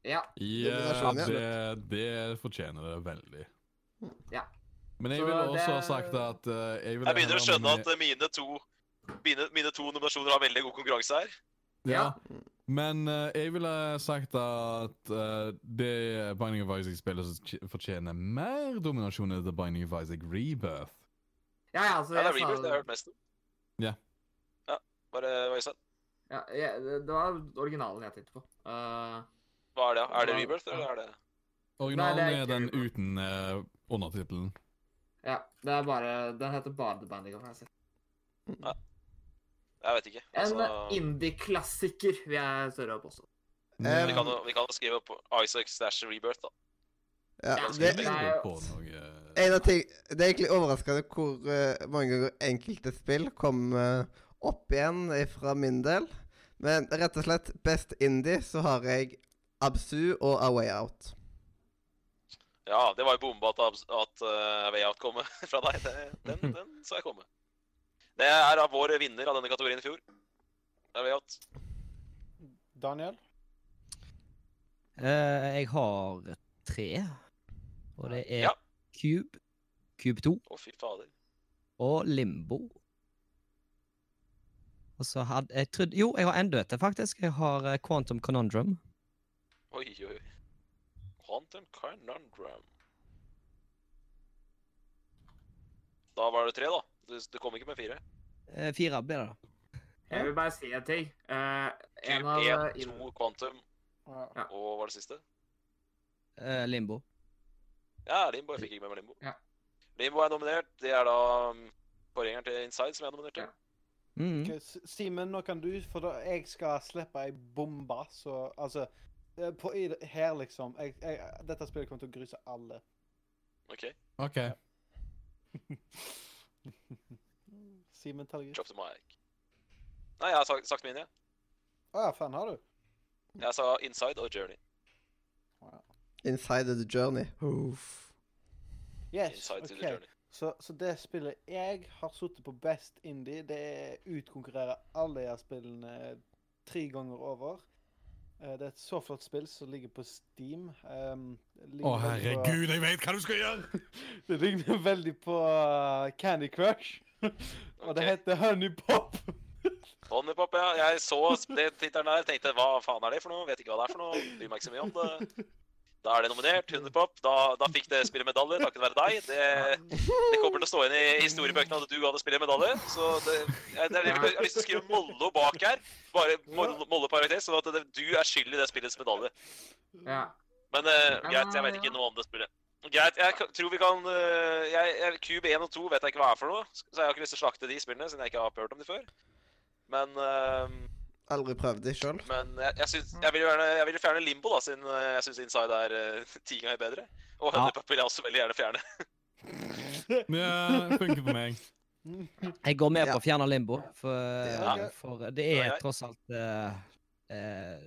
Speaker 3: Ja.
Speaker 6: Ja,
Speaker 1: Nominasjon, ja.
Speaker 6: det, det fortjener det veldig.
Speaker 3: Ja.
Speaker 6: Men jeg
Speaker 3: Så
Speaker 6: ville også ha
Speaker 3: det-
Speaker 6: sagt at eh, jeg, ville
Speaker 2: Jeg begynner å
Speaker 6: heller
Speaker 2: skjønne
Speaker 6: nomine-
Speaker 2: at eh, mine to, mine, mine to nominasjoner har veldig god konkurranse her.
Speaker 6: Ja.
Speaker 3: Ja.
Speaker 6: Men eh, jeg ville sagt at eh, det Binding of Isaac-spillet som tj- fortjener mer dominasjon, er The Binding of Isaac Rebirth.
Speaker 3: Ja, ja, altså,
Speaker 2: Ja, det er
Speaker 3: jeg sa
Speaker 2: Rebirth jeg
Speaker 3: det.
Speaker 2: har hørt mest om.
Speaker 6: Ja.
Speaker 2: Ja, bare hva jeg sa.
Speaker 3: Ja, ja, det det var originalen jeg tenkte på. Eh,
Speaker 2: Hva er det? da? Er det Rebirth, eller er det
Speaker 6: Originalen
Speaker 3: Nei, det er
Speaker 6: er
Speaker 3: ikke
Speaker 6: den
Speaker 3: Rebirth.
Speaker 6: uten uh, undertittelen.
Speaker 3: ja, det er bare Den heter bare The Banding of Isaac.
Speaker 2: Jeg vet ikke.
Speaker 3: En eh,
Speaker 2: Altså,
Speaker 3: indie-klassiker vil jeg større opp også.
Speaker 1: Eh,
Speaker 2: vi kan jo- vi kan jo skrive opp Isaac slash Rebirth, da.
Speaker 1: ja,
Speaker 3: Ja,
Speaker 1: det,
Speaker 6: Jeg
Speaker 3: det er
Speaker 6: lurer på
Speaker 3: jo-
Speaker 6: noe-
Speaker 1: en av ting, det er egentlig overraskende hvor eh, mange ganger enkelte spill kom eh, opp igjen fra min del. Men rett og slett best indie så har jeg Absu og A Way Out.
Speaker 2: Ja, det var jo bomba at, at eh, Way Out kom fra deg. Det- Den, den så jeg komme. Det er av vår vinner av denne kategorien i fjor. Det er vi hatt.
Speaker 10: Daniel?
Speaker 8: Eh, jeg har tre. Og det er
Speaker 2: Ja.
Speaker 8: Cube, Cube 2
Speaker 2: Å, fy fader.
Speaker 8: og Limbo. Og så hadde jeg trodd Jo, jeg har enda et, faktisk. Jeg har eh, Quantum Conundrum.
Speaker 2: Oi, oi, oi. Quantum Conundrum. Da var det tre, da. Du, du kom ikke med fire.
Speaker 8: Eh, Fire blir det, da.
Speaker 3: Jeg vil bare si en ting. Eh, en
Speaker 2: Cube
Speaker 3: av
Speaker 2: 1,
Speaker 3: inn-
Speaker 2: 2, Quantum
Speaker 10: Ja.
Speaker 3: Ja.
Speaker 2: og hva var det siste?
Speaker 8: Eh, Limbo.
Speaker 2: Ja, Limbo. Jeg fikk ikke med meg Limbo.
Speaker 3: Ja.
Speaker 2: Limbo er nominert. Det er da um, forgjengeren til Inside som jeg er nominert til.
Speaker 3: Ja.
Speaker 6: Mm.
Speaker 8: Mhm.
Speaker 10: Ok, S- Simen, nå kan du, for da jeg skal slippe ei bombe, så Altså eh, på, i, det- Her, liksom. Jeg, jeg, dette spillet kommer til å gruse alle.
Speaker 2: OK.
Speaker 6: OK.
Speaker 10: Simen Talgir.
Speaker 2: Drop the mic. Nei, jeg har sagt, sagt min, jeg.
Speaker 10: Å ja, Ah, faen, har du?
Speaker 2: Jeg sa Inside og Journey.
Speaker 1: Inside of the journey. Uff.
Speaker 10: Yes.
Speaker 2: Inside to the
Speaker 10: ok.
Speaker 2: Journey.
Speaker 10: Så, så det spillet jeg har sittet på best indie, det er utkonkurrere alle de her spillene tre ganger over. Eh, Det er et så flott spill som ligger på Steam. Um,
Speaker 6: Å, herregud, jeg vet hva du skal gjøre!
Speaker 10: Det ligner veldig på uh, Candy Crush. Og
Speaker 2: Ok.
Speaker 10: det heter Honey Pop.
Speaker 2: Honeypop, ja. Jeg så sp- det tittelen der, tenkte hva faen er det for noe? Vet ikke hva det er for noe. Bryr meg ikke så mye om det. Da er det nominert. Honeypop. Da, da fikk det spillet medalje takket være deg.
Speaker 3: Eh,
Speaker 2: Det, det kommer til å stå igjen i historiebøkene at du ga det spillet medalje. Så det, jeg, det er, det- jeg har lyst til å skrive Mollo bak her. Bare Mollo Mollo parentes, sånn at det, du er skyld i det spillets medalje.
Speaker 3: Ja.
Speaker 2: Men eh, greit, jeg vet ikke noe om det spillet. Greit, jeg kan- tror vi kan eh, jeg, jeg, Cube 1 og 2 vet jeg ikke hva er for noe, så jeg har ikke lyst til å slakte de spillene siden jeg ikke har hørt om de før. Men eh,
Speaker 1: Aldri prøvd det sjøl.
Speaker 2: men jeg, jeg, syns, jeg, vil jo gjerne, jeg vil jo fjerne Limbo, da, siden eh, jeg syns Inside er eh, ti ganger bedre. Og
Speaker 8: Ja.
Speaker 2: Honeypop vil jeg også veldig gjerne fjerne.
Speaker 6: Ja, det funker for meg.
Speaker 8: Jeg går med
Speaker 1: Ja.
Speaker 8: på å fjerne limbo, for, eh,
Speaker 10: Ja.
Speaker 8: for det
Speaker 2: Ja,
Speaker 8: er
Speaker 2: jeg-
Speaker 8: tross alt eh, eh,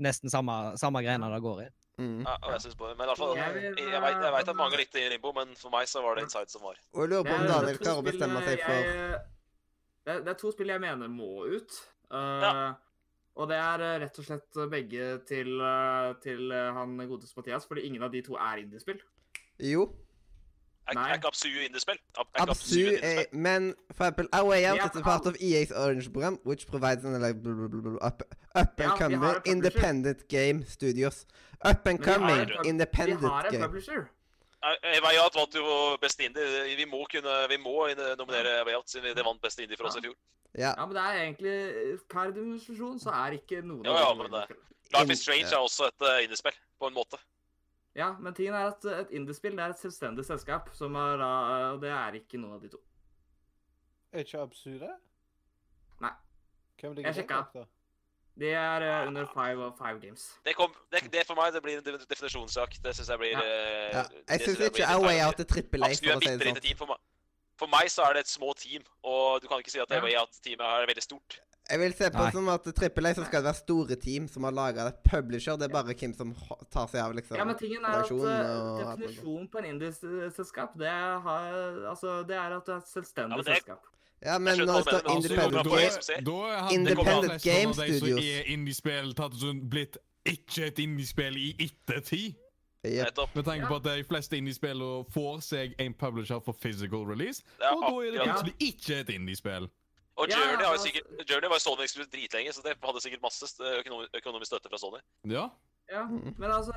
Speaker 8: nesten samme, samme greiene det går i.
Speaker 1: Mm.
Speaker 2: Ja, og jeg synes på det. Men i alle fall,
Speaker 3: Jeg
Speaker 2: jeg,
Speaker 3: vil,
Speaker 2: jeg, vet, jeg vet at mange likte Limbo, men for meg så var det Inside som var.
Speaker 1: Og jeg lurer på om
Speaker 3: Det er- det er
Speaker 1: Daniel
Speaker 3: to
Speaker 1: klarer å
Speaker 3: spill
Speaker 1: bestemme seg for
Speaker 3: jeg- Det er, det er to spill jeg mener må ut. Eh, Og det er eh, rett og slett begge til, eh, til eh, han godeste Mathias, fordi ingen av de to er indiespill.
Speaker 1: Jo,
Speaker 2: Er
Speaker 3: Nei.
Speaker 2: er ikke Absu indiespill? Ab- er ikke Absu
Speaker 1: Absu
Speaker 2: et
Speaker 1: eh,
Speaker 2: indiespill?
Speaker 1: Men for eksempel Our Way Out
Speaker 3: Ja,
Speaker 1: is a part
Speaker 3: han-
Speaker 1: of EA's Orange program, which provides an like, bl- bl- bl- bl- up, up
Speaker 3: Ja,
Speaker 1: and
Speaker 3: vi har
Speaker 1: coming
Speaker 3: et publisher.
Speaker 1: independent game studios. Up and
Speaker 3: Men vi har
Speaker 1: coming
Speaker 3: et pub- Vi
Speaker 1: independent
Speaker 3: har en
Speaker 1: game.
Speaker 3: publisher.
Speaker 2: Evayat vant jo Beste Indie. Vi må, kunne, vi må inn- eh, nominere Evayat, siden det vant Beste Indie for oss i fjor.
Speaker 1: Ja.
Speaker 3: Ja, men det er egentlig eh, Per demonstrasjon så er ikke noen
Speaker 2: Ja,
Speaker 3: de
Speaker 2: ja,
Speaker 3: to
Speaker 2: men det-
Speaker 3: indiespill.
Speaker 2: Life is Strange er også et eh, indiespill, på en måte.
Speaker 3: Ja, men tingen er at et indiespill det er et selvstendig selskap, som er, da, eh, og det er ikke noen av de to.
Speaker 10: Er ikke absurd det?
Speaker 3: Nei.
Speaker 10: Hvem ligger
Speaker 3: Jeg
Speaker 10: der
Speaker 3: sjekka.
Speaker 10: bak, da?
Speaker 3: De er eh, under
Speaker 2: Ah.
Speaker 3: five of five games.
Speaker 2: Det, kom, det, det for meg det blir en de- definisjonssak. Det syns jeg blir
Speaker 3: Ja.
Speaker 1: Ja.
Speaker 2: eh, det
Speaker 1: Jeg syns
Speaker 2: synes jeg
Speaker 1: ikke
Speaker 2: blir
Speaker 1: Our Way
Speaker 2: feil.
Speaker 1: Out er trippel A,
Speaker 2: Absu
Speaker 1: for
Speaker 2: er
Speaker 1: å si
Speaker 2: bitte
Speaker 1: det
Speaker 2: lite
Speaker 1: sånn.
Speaker 2: team. For meg. for meg så er det et små team, og du kan ikke si at
Speaker 3: Ja.
Speaker 2: Away Out-teamet her er veldig stort.
Speaker 1: Jeg vil se på
Speaker 8: Nei.
Speaker 1: det som at trippel A så skal det være store team som har laga det. Publisher, det er bare hvem som ho- tar seg av liksom
Speaker 3: Ja, men tingen er at
Speaker 1: redaksjonen
Speaker 3: eh,
Speaker 1: og alt det der.
Speaker 3: definisjonen på en indieselskap, det, har- altså, det er at det er et
Speaker 2: Ja,
Speaker 3: selvstendig
Speaker 2: men det-
Speaker 3: selskap.
Speaker 1: Ja, men
Speaker 2: Jeg skjønner
Speaker 1: når
Speaker 2: hva
Speaker 1: det
Speaker 2: du
Speaker 1: står
Speaker 2: mener, men altså, det kommer
Speaker 1: independent
Speaker 2: an
Speaker 1: game
Speaker 2: på hva som skjer.
Speaker 6: Da hadde
Speaker 1: Independent
Speaker 6: det vært
Speaker 1: Game
Speaker 6: flest av de som
Speaker 1: Studios.
Speaker 6: er indiespill, tatt og sånn blitt ikke et indiespill i ettertid.
Speaker 1: Jep.
Speaker 2: Nettopp.
Speaker 6: Med tanke på at de fleste indiespillene får seg en publisher for physical release,
Speaker 2: Ja,
Speaker 6: og da er det
Speaker 2: akkurat.
Speaker 6: plutselig ikke et indiespill.
Speaker 2: Og
Speaker 3: Ja,
Speaker 2: Journey, har jo
Speaker 3: altså-
Speaker 2: sikkert, Journey var jo Sony eksklusivt dritlenge, så det hadde sikkert masse st- økonom- økonomisk støtte fra Sony.
Speaker 6: Ja.
Speaker 3: Ja,
Speaker 1: Mm.
Speaker 3: men altså,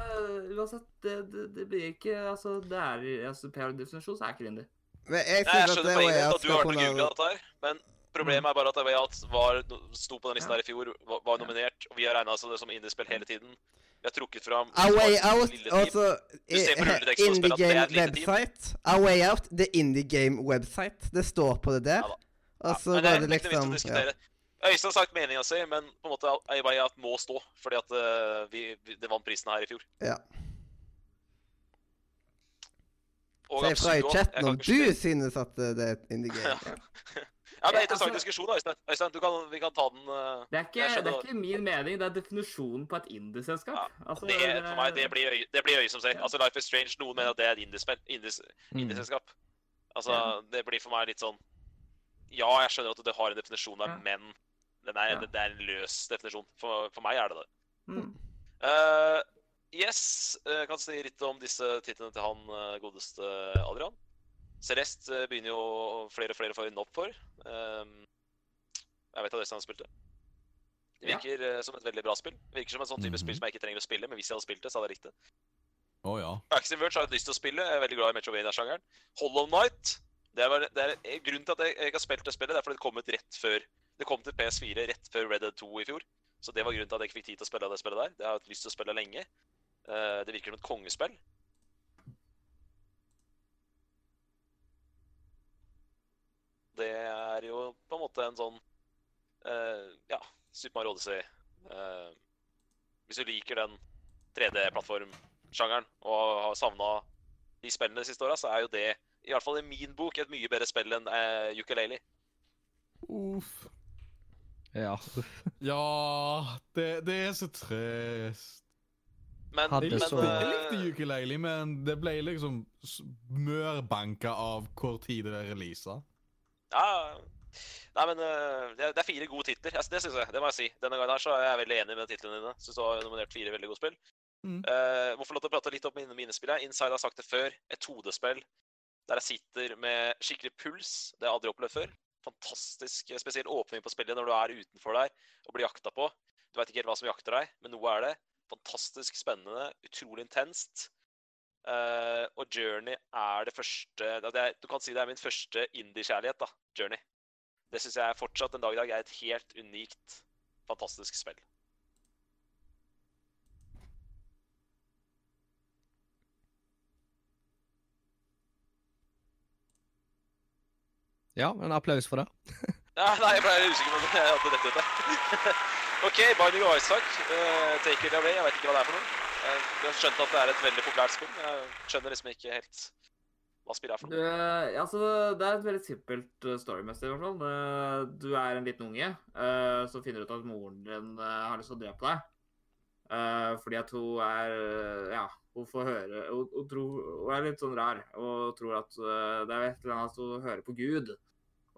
Speaker 3: uansett, det, det, det blir ikke Altså, det er altså, per definisjon så er ikke det indie.
Speaker 1: Men jeg
Speaker 2: Nei, jeg
Speaker 1: syns at
Speaker 2: skjønner
Speaker 1: det
Speaker 2: poenget
Speaker 1: Way Out
Speaker 2: ditt, at du har
Speaker 1: skal
Speaker 2: vært og
Speaker 1: kunne
Speaker 2: googla dette her, men problemet er bare at Away Out var, sto på den listen her i fjor, var, var nominert, og vi har regna det som indiespill hele tiden. Vi har trukket fram
Speaker 1: A Way
Speaker 2: Lille
Speaker 1: Out,
Speaker 2: Team.
Speaker 1: altså
Speaker 2: Du ser på rulleteksten og spiller
Speaker 1: Indie
Speaker 2: at det
Speaker 1: Game
Speaker 2: er et lite team.
Speaker 1: website. A Way Out, det er Indie Game website. Det står på det der.
Speaker 2: Ja da.
Speaker 1: Og så
Speaker 2: men
Speaker 1: var det
Speaker 2: er ikke noe vits å
Speaker 1: liksom ja.
Speaker 2: diskutere. Øystein har sagt meninga si, men på en måte Away Out må stå, fordi at eh, vi, vi, det vant prisen her i fjor.
Speaker 1: Ja.
Speaker 2: Og
Speaker 1: Si fra i
Speaker 2: Absurdo, jeg
Speaker 1: chatten
Speaker 2: kan
Speaker 1: om
Speaker 2: ikke
Speaker 1: du
Speaker 2: skjønne-
Speaker 1: synes at det det er et Indie Game.
Speaker 2: Ja, det er en
Speaker 3: Ja,
Speaker 2: interessant
Speaker 3: altså-
Speaker 2: diskusjon, da, Øystein. Øystein, du kan, vi kan ta den eh,
Speaker 3: Det er ikke,
Speaker 2: Jeg skjønner
Speaker 3: det er
Speaker 2: hva-
Speaker 3: ikke min mening, det er definisjonen på et indieselskap.
Speaker 2: Ja,
Speaker 3: altså,
Speaker 2: det, er- For meg, det blir, øy, det blir øye som ser.
Speaker 3: Ja.
Speaker 2: Altså, Life is Strange, noen mener at det er et indiespill- indies-
Speaker 8: Mm.
Speaker 2: indieselskap. Altså, det blir for meg litt sånn Ja, jeg skjønner at det har en definisjon der, men den er, det, det er en løs definisjon. For, for meg er det det.
Speaker 1: Mm.
Speaker 2: Eh, yes, eh, jeg kan si litt om disse titlene til han eh, godeste Adrian. Celeste eh, begynner jo flere og flere å få øynene opp for. Ehm, jeg vet adressen han spilte. Det
Speaker 3: Ja.
Speaker 2: virker eh, som et veldig bra spill. Det virker som en sånn type
Speaker 6: Mhm.
Speaker 2: spill som jeg ikke trenger å spille, men hvis jeg hadde spilt det, så hadde jeg likt det.
Speaker 6: Å ja.
Speaker 2: Axiom Verge har jeg lyst til å spille. Jeg er veldig glad i Metrovania-sjangeren. Hollow Knight det er, det er, Grunnen til at jeg, jeg ikke har spilt det spillet, det er fordi det kom ut rett før Det kom til PS4 rett før Red Dead 2 i fjor. Så det var grunnen til at jeg ikke fikk tid til å spille det spillet der. Det har jeg hatt lyst til å spille lenge. Eh, det virker som et kongespill. Det er jo på en måte en sånn eh, Ja, Super Mario Odyssey. Eh, hvis du liker den 3D-plattformsjangeren og har savna de spillene de siste åra, så er jo det, i hvert fall i min bok, et mye bedre spill enn eh, Ukulele.
Speaker 6: Uff.
Speaker 8: Ja.
Speaker 6: Ja det, det er så trist.
Speaker 2: Men,
Speaker 8: Hadde
Speaker 6: Jeg likte,
Speaker 8: så-
Speaker 6: jeg
Speaker 2: men eh,
Speaker 6: likte ukulele, men det ble liksom s- mørbanka av hvor tid det er releasa.
Speaker 2: Ja. Nei, men eh, det er- det er fire gode titler. Altså, det synes jeg. Det må jeg si. Denne gangen her så er jeg veldig enig med titlene dine. Syns du har nominert fire veldig gode spill.
Speaker 6: Mm.
Speaker 2: Eh, må få lov til å prate litt om mine minespill. her. Inside har sagt det før. Et 2D-spill der jeg sitter med skikkelig puls. Det har jeg aldri opplevd før. Fantastisk eh, spesiell åpning på spillet når du er utenfor der og blir jakta på. Du veit ikke helt hva som jakter deg, men noe er det. Fantastisk spennende, utrolig intenst. Eh, og Journey er det første ja, det er, Du kan si det er min første indie-kjærlighet, da. Journey. Det syns jeg fortsatt en dag i dag er et helt unikt, fantastisk spill.
Speaker 8: ja, en applaus for det.
Speaker 2: Ja, nei, jeg ble usikker på om jeg hadde dette ute. OK, Binding of Isaac, eh, Take It Away. Jeg vet ikke hva det er for noe. Eh, Jeg har skjønt at det er et veldig populært spill. men Jeg skjønner liksom ikke helt hva spillet er for
Speaker 3: Du,
Speaker 2: noe.
Speaker 3: eh, ja, så det er et veldig simpelt eh, storymessig, i hvert fall. Eh, Du er en liten unge eh, som finner ut at moren din eh, har lyst til å drepe deg. Eh, Fordi at hun er eh, Ja, hun får høre Hun, hun, tror, hun er litt sånn rar og tror at eh, det er et eller annet at hun hører på Gud.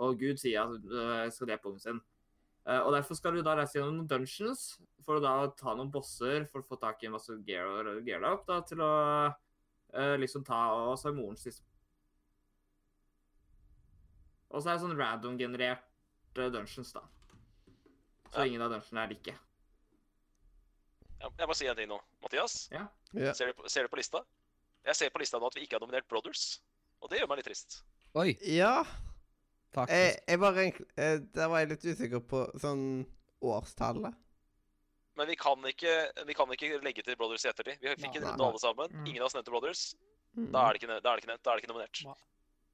Speaker 3: Og Gud sier at eh, jeg skal drepe ungen sin. Eh, Og derfor skal du da reise gjennom noen dungeons for å da ta noen bosser for å få tak i en masse gear, gear up da, til å eh, liksom ta Og så er morens siste og så er det sånn random-generert eh, dungeons, da. Så
Speaker 2: Ja.
Speaker 3: ingen av dungeonsene er like.
Speaker 2: Jeg jeg må si en ting nå. Mathias,
Speaker 1: Ja.
Speaker 2: ser du, på- ser du på lista? Jeg ser på lista nå at vi ikke har nominert Brothers, og det gjør meg litt trist.
Speaker 8: Oi,
Speaker 1: ja. Jeg,
Speaker 8: faktisk.
Speaker 1: jeg bare egentlig eh, Der var jeg litt usikker på sånn årstallet.
Speaker 2: Men vi kan ikke, vi kan ikke legge til Brothers i ettertid. Vi
Speaker 1: Nei.
Speaker 2: fikk ikke
Speaker 1: Mm.
Speaker 2: nevnt alle sammen.
Speaker 3: Mm.
Speaker 2: Ingen av oss nevnte Brothers. Da er det ikke, ne- da er det ikke, nevnt, da er det ikke nominert.
Speaker 10: Nei.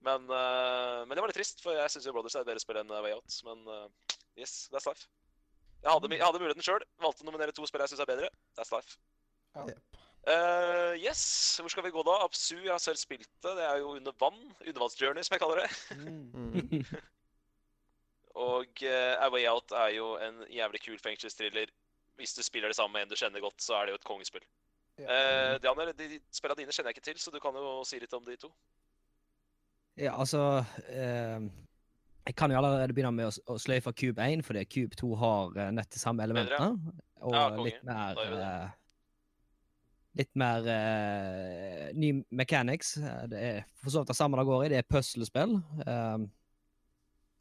Speaker 2: Men, eh, men det var litt trist, for jeg syns jo Brothers er et bedre spill enn eh, Way Out. Men eh, yes, that's life. Jeg hadde, mi- jeg hadde muligheten sjøl. Valgte å nominere to spill jeg syns er bedre. That's life.
Speaker 10: Ja.
Speaker 2: Eh, yes, hvor skal vi gå da? Absu, jeg har selv spilt det. Det er jo under vann. Undervannsjourney, som jeg kaller det.
Speaker 10: Mm.
Speaker 1: Mm.
Speaker 2: Og eh, A Way Out er jo en jævlig kul fengselsthriller. Hvis du spiller det sammen med en du kjenner godt, så er det jo et kongespill. Eh, Daniel, de, de spillene dine kjenner jeg ikke til, så du kan jo si litt om de to.
Speaker 8: Ja, altså eh, Jeg kan jo allerede begynne med å, s- å sløyfe Cube 1, fordi Cube 2 har eh, nett de samme
Speaker 2: Bedre.
Speaker 8: elementene. Og
Speaker 2: Ja, konge.
Speaker 8: litt mer
Speaker 2: Da gjør vi det.
Speaker 8: eh, Litt mer eh, ny mechanics. Eh, Det er for så vidt det samme det går i. Det er puslespill. Eh,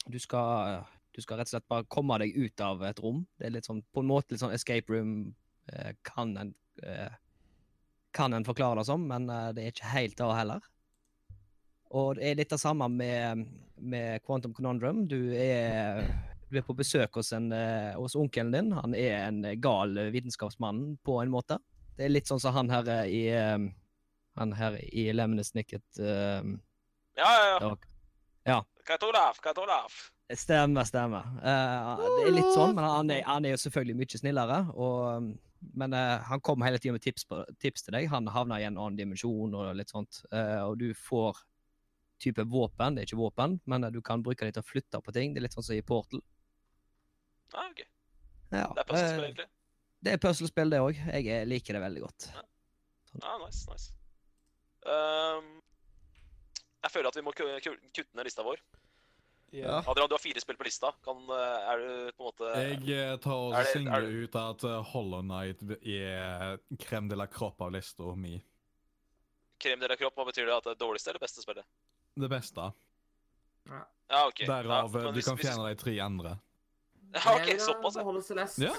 Speaker 8: du skal du skal rett og slett bare komme deg ut av et rom. Det er litt sånn, på en måte litt sånn escape room eh, kan en eh, kan en forklare det som, men eh, det er ikke helt det heller. Og det er litt det samme med, med Quantum Conundrum. Du er, du er på besøk hos, en, eh, hos onkelen din. Han er en eh, gal vitenskapsmann på en måte. Det er litt sånn som han her eh, i eh, han her i eh, Lemnesnicket
Speaker 2: Ja, ja, ja.
Speaker 8: Ja.
Speaker 2: Kajt Olaf, Kajt Olaf.
Speaker 8: Stemmer, stemmer. Eh, det er litt sånn, men han er, han er jo selvfølgelig mye snillere. Og, men eh, han kommer hele tiden med tips, på, tips til deg. Han havner i en annen dimensjon og litt sånt. Eh, og du får type våpen. Det er ikke våpen, men eh, du kan bruke det til å flytte på ting. Det er litt sånn som i Portal.
Speaker 2: Ah, ok.
Speaker 8: Ja,
Speaker 2: Det er puslespill,
Speaker 8: eh,
Speaker 2: egentlig.
Speaker 8: det er puslespill, det òg. Jeg eh, liker det veldig godt.
Speaker 2: Ah, nice, nice. Ehm, jeg føler at vi må ku- ku- kutte ned lista vår.
Speaker 10: Ja.
Speaker 2: Adrian, du har fire spill på lista. Kan, eh, er du på en måte
Speaker 6: Jeg eh, tar og
Speaker 2: Er det-
Speaker 6: singler
Speaker 2: er det-
Speaker 6: ut at eh, Hollow Knight er krem de la kropp av lista mi.
Speaker 2: Krem de la kropp, hva betyr det? At det er dårligste eller beste spillet?
Speaker 6: Det beste.
Speaker 2: Ja, ok.
Speaker 6: Derav
Speaker 2: ja,
Speaker 6: eh,
Speaker 2: men
Speaker 6: du
Speaker 2: hvis-
Speaker 6: kan
Speaker 2: hvis-
Speaker 6: fjerne de tre andre.
Speaker 2: Ja, ok,
Speaker 3: Jeg vil
Speaker 2: såpass. ja.
Speaker 3: beholde Celeste.
Speaker 6: Ja,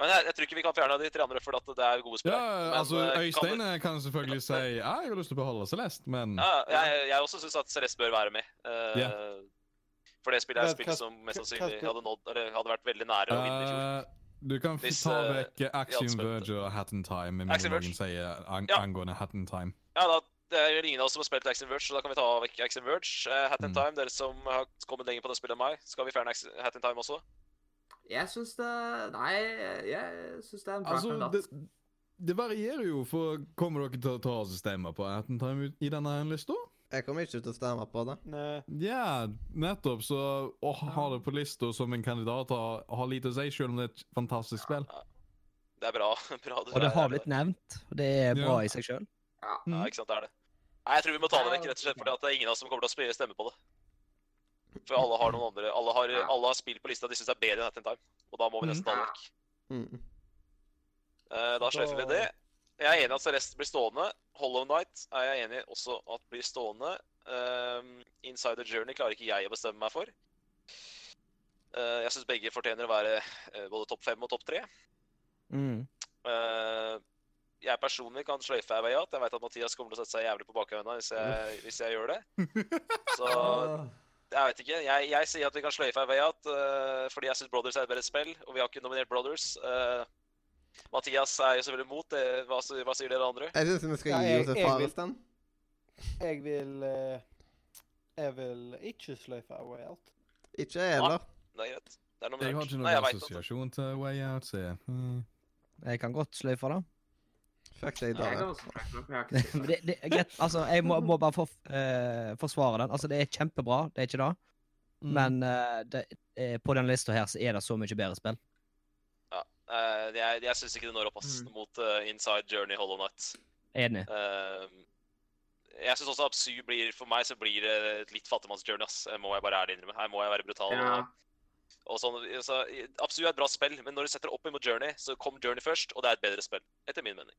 Speaker 2: Men jeg, jeg tror ikke vi kan fjerne de tre andre, for at det er
Speaker 6: ja
Speaker 2: gode spillere. Men,
Speaker 6: altså
Speaker 2: eh, kan du-
Speaker 6: Øystein eh, kan selvfølgelig si ja, jeg har lyst til å beholde Celeste, men
Speaker 2: Ja, jeg, jeg også syns at Celeste bør være med. eh,
Speaker 6: Ja.
Speaker 2: For det spillet er
Speaker 10: Men
Speaker 2: et spill
Speaker 10: hva-
Speaker 2: som mest
Speaker 10: hva- hva
Speaker 2: sannsynlig
Speaker 10: spill-
Speaker 2: hadde, nådd, eller hadde vært veldig nære å vinne i fjor.
Speaker 6: eh, du kan f
Speaker 2: Hvis,
Speaker 6: ta
Speaker 2: eh,
Speaker 6: vekk eh, Axiom
Speaker 2: spilte.
Speaker 6: Verge og Hat in Time. Min
Speaker 2: Axiom
Speaker 6: monologen
Speaker 2: Verge.
Speaker 6: sier ang
Speaker 2: Ja.
Speaker 6: angående Hat in Time.
Speaker 2: Ja, da, det er ingen av oss som har spilt Action Verge, så da kan vi ta vekk Action Verge. Eh, Hat in
Speaker 6: Mm.
Speaker 2: Time, dere som har kommet lenger på det spillet enn meg, skal vi fjerne Ax- Hat in Time også?
Speaker 3: Jeg syns det Nei, jeg syns det er en bra
Speaker 6: Altså,
Speaker 3: kandidat.
Speaker 6: det, det varierer jo, for kommer dere til å ta oss og stemme på Hat in Time ut- i denne her lista?
Speaker 1: Jeg kommer ikke til å stemme på det.
Speaker 10: Nei,
Speaker 6: Ja, nettopp. Så å ha det på lista som en kandidat har, har lite å si, selv om det er et fantastisk spill.
Speaker 2: Det er bra. bra du
Speaker 8: Og det
Speaker 2: er-
Speaker 8: har blitt nevnt, og det er bra
Speaker 6: Ja.
Speaker 8: i seg sjøl.
Speaker 2: Ja, ikke sant, det er det. Nei, jeg tror vi må ta det vekk, rett og slett, fordi at det er ingen av oss som kommer til å sp- stemme på det. For alle har noen andre. Alle har,
Speaker 3: Ja.
Speaker 2: alle har spill på lista de syns er bedre enn Hat in Time, og da må vi nesten ta det vekk.
Speaker 1: Mm.
Speaker 2: Eh, da sløyfer vi det. Jeg er enig i at Celeste blir stående. Hollow Knight er jeg enig i også at blir stående. Ehm, Insider Journey klarer ikke jeg å bestemme meg for. Eh, jeg syns begge fortjener å være eh, både topp fem og topp tre.
Speaker 8: Mm.
Speaker 2: Eh, jeg personlig kan sløyfe Away Out. Jeg veit at Mathias kommer til å sette seg jævlig på bakhøna hvis, jeg- hvis jeg gjør det. Så jeg veit ikke. Jeg, jeg sier at vi kan sløyfe Away Out eh, fordi jeg syns Brothers er et bedre spill, og vi har ikke nominert Brothers. Eh, Mathias er jo selvfølgelig mot det. Hva, sy- hva sier dere andre?
Speaker 1: Jeg syns vi skal
Speaker 10: Ja,
Speaker 1: gi
Speaker 10: jeg-
Speaker 1: oss et
Speaker 10: jeg vil-
Speaker 1: farestand.
Speaker 10: jeg vil eh, Jeg vil ikke sløyfe Away Out.
Speaker 1: Ikke jeg heller.
Speaker 2: Det er greit. Det er nominert.
Speaker 6: Jeg har ikke
Speaker 2: Nei,
Speaker 6: noen
Speaker 2: jeg vet at-
Speaker 6: assosiasjon til Way Out. Så jeg, mm.
Speaker 8: Jeg kan godt sløyfe det.
Speaker 1: Fuck deg,
Speaker 3: Jeg kan
Speaker 1: Daniel.
Speaker 3: også snakke med, for jeg har ikke spilt
Speaker 8: Men det, det er greit. Altså, jeg må, må bare for, eh, forsvare den. Altså, det er kjempebra, det er ikke det.
Speaker 4: Mm.
Speaker 8: Men eh, det, eh, på denne lista her så er det så mye bedre spill.
Speaker 2: Eh, jeg jeg syns ikke det når opp ass,
Speaker 3: Mm.
Speaker 2: mot eh, Inside Journey Hollow Night.
Speaker 8: Enig.
Speaker 2: Eh, Ehm, jeg syns også at Psy blir For meg så blir det et litt fattigmanns-journey, ass. Eh, Må jeg bare ærlig innrømme. Her må jeg være brutal.
Speaker 3: Ja.
Speaker 2: og- Og sånn, så, Absu er et bra spill, men når du setter det opp imot Journey, så kom Journey først, og det er et bedre spill. Etter min mening.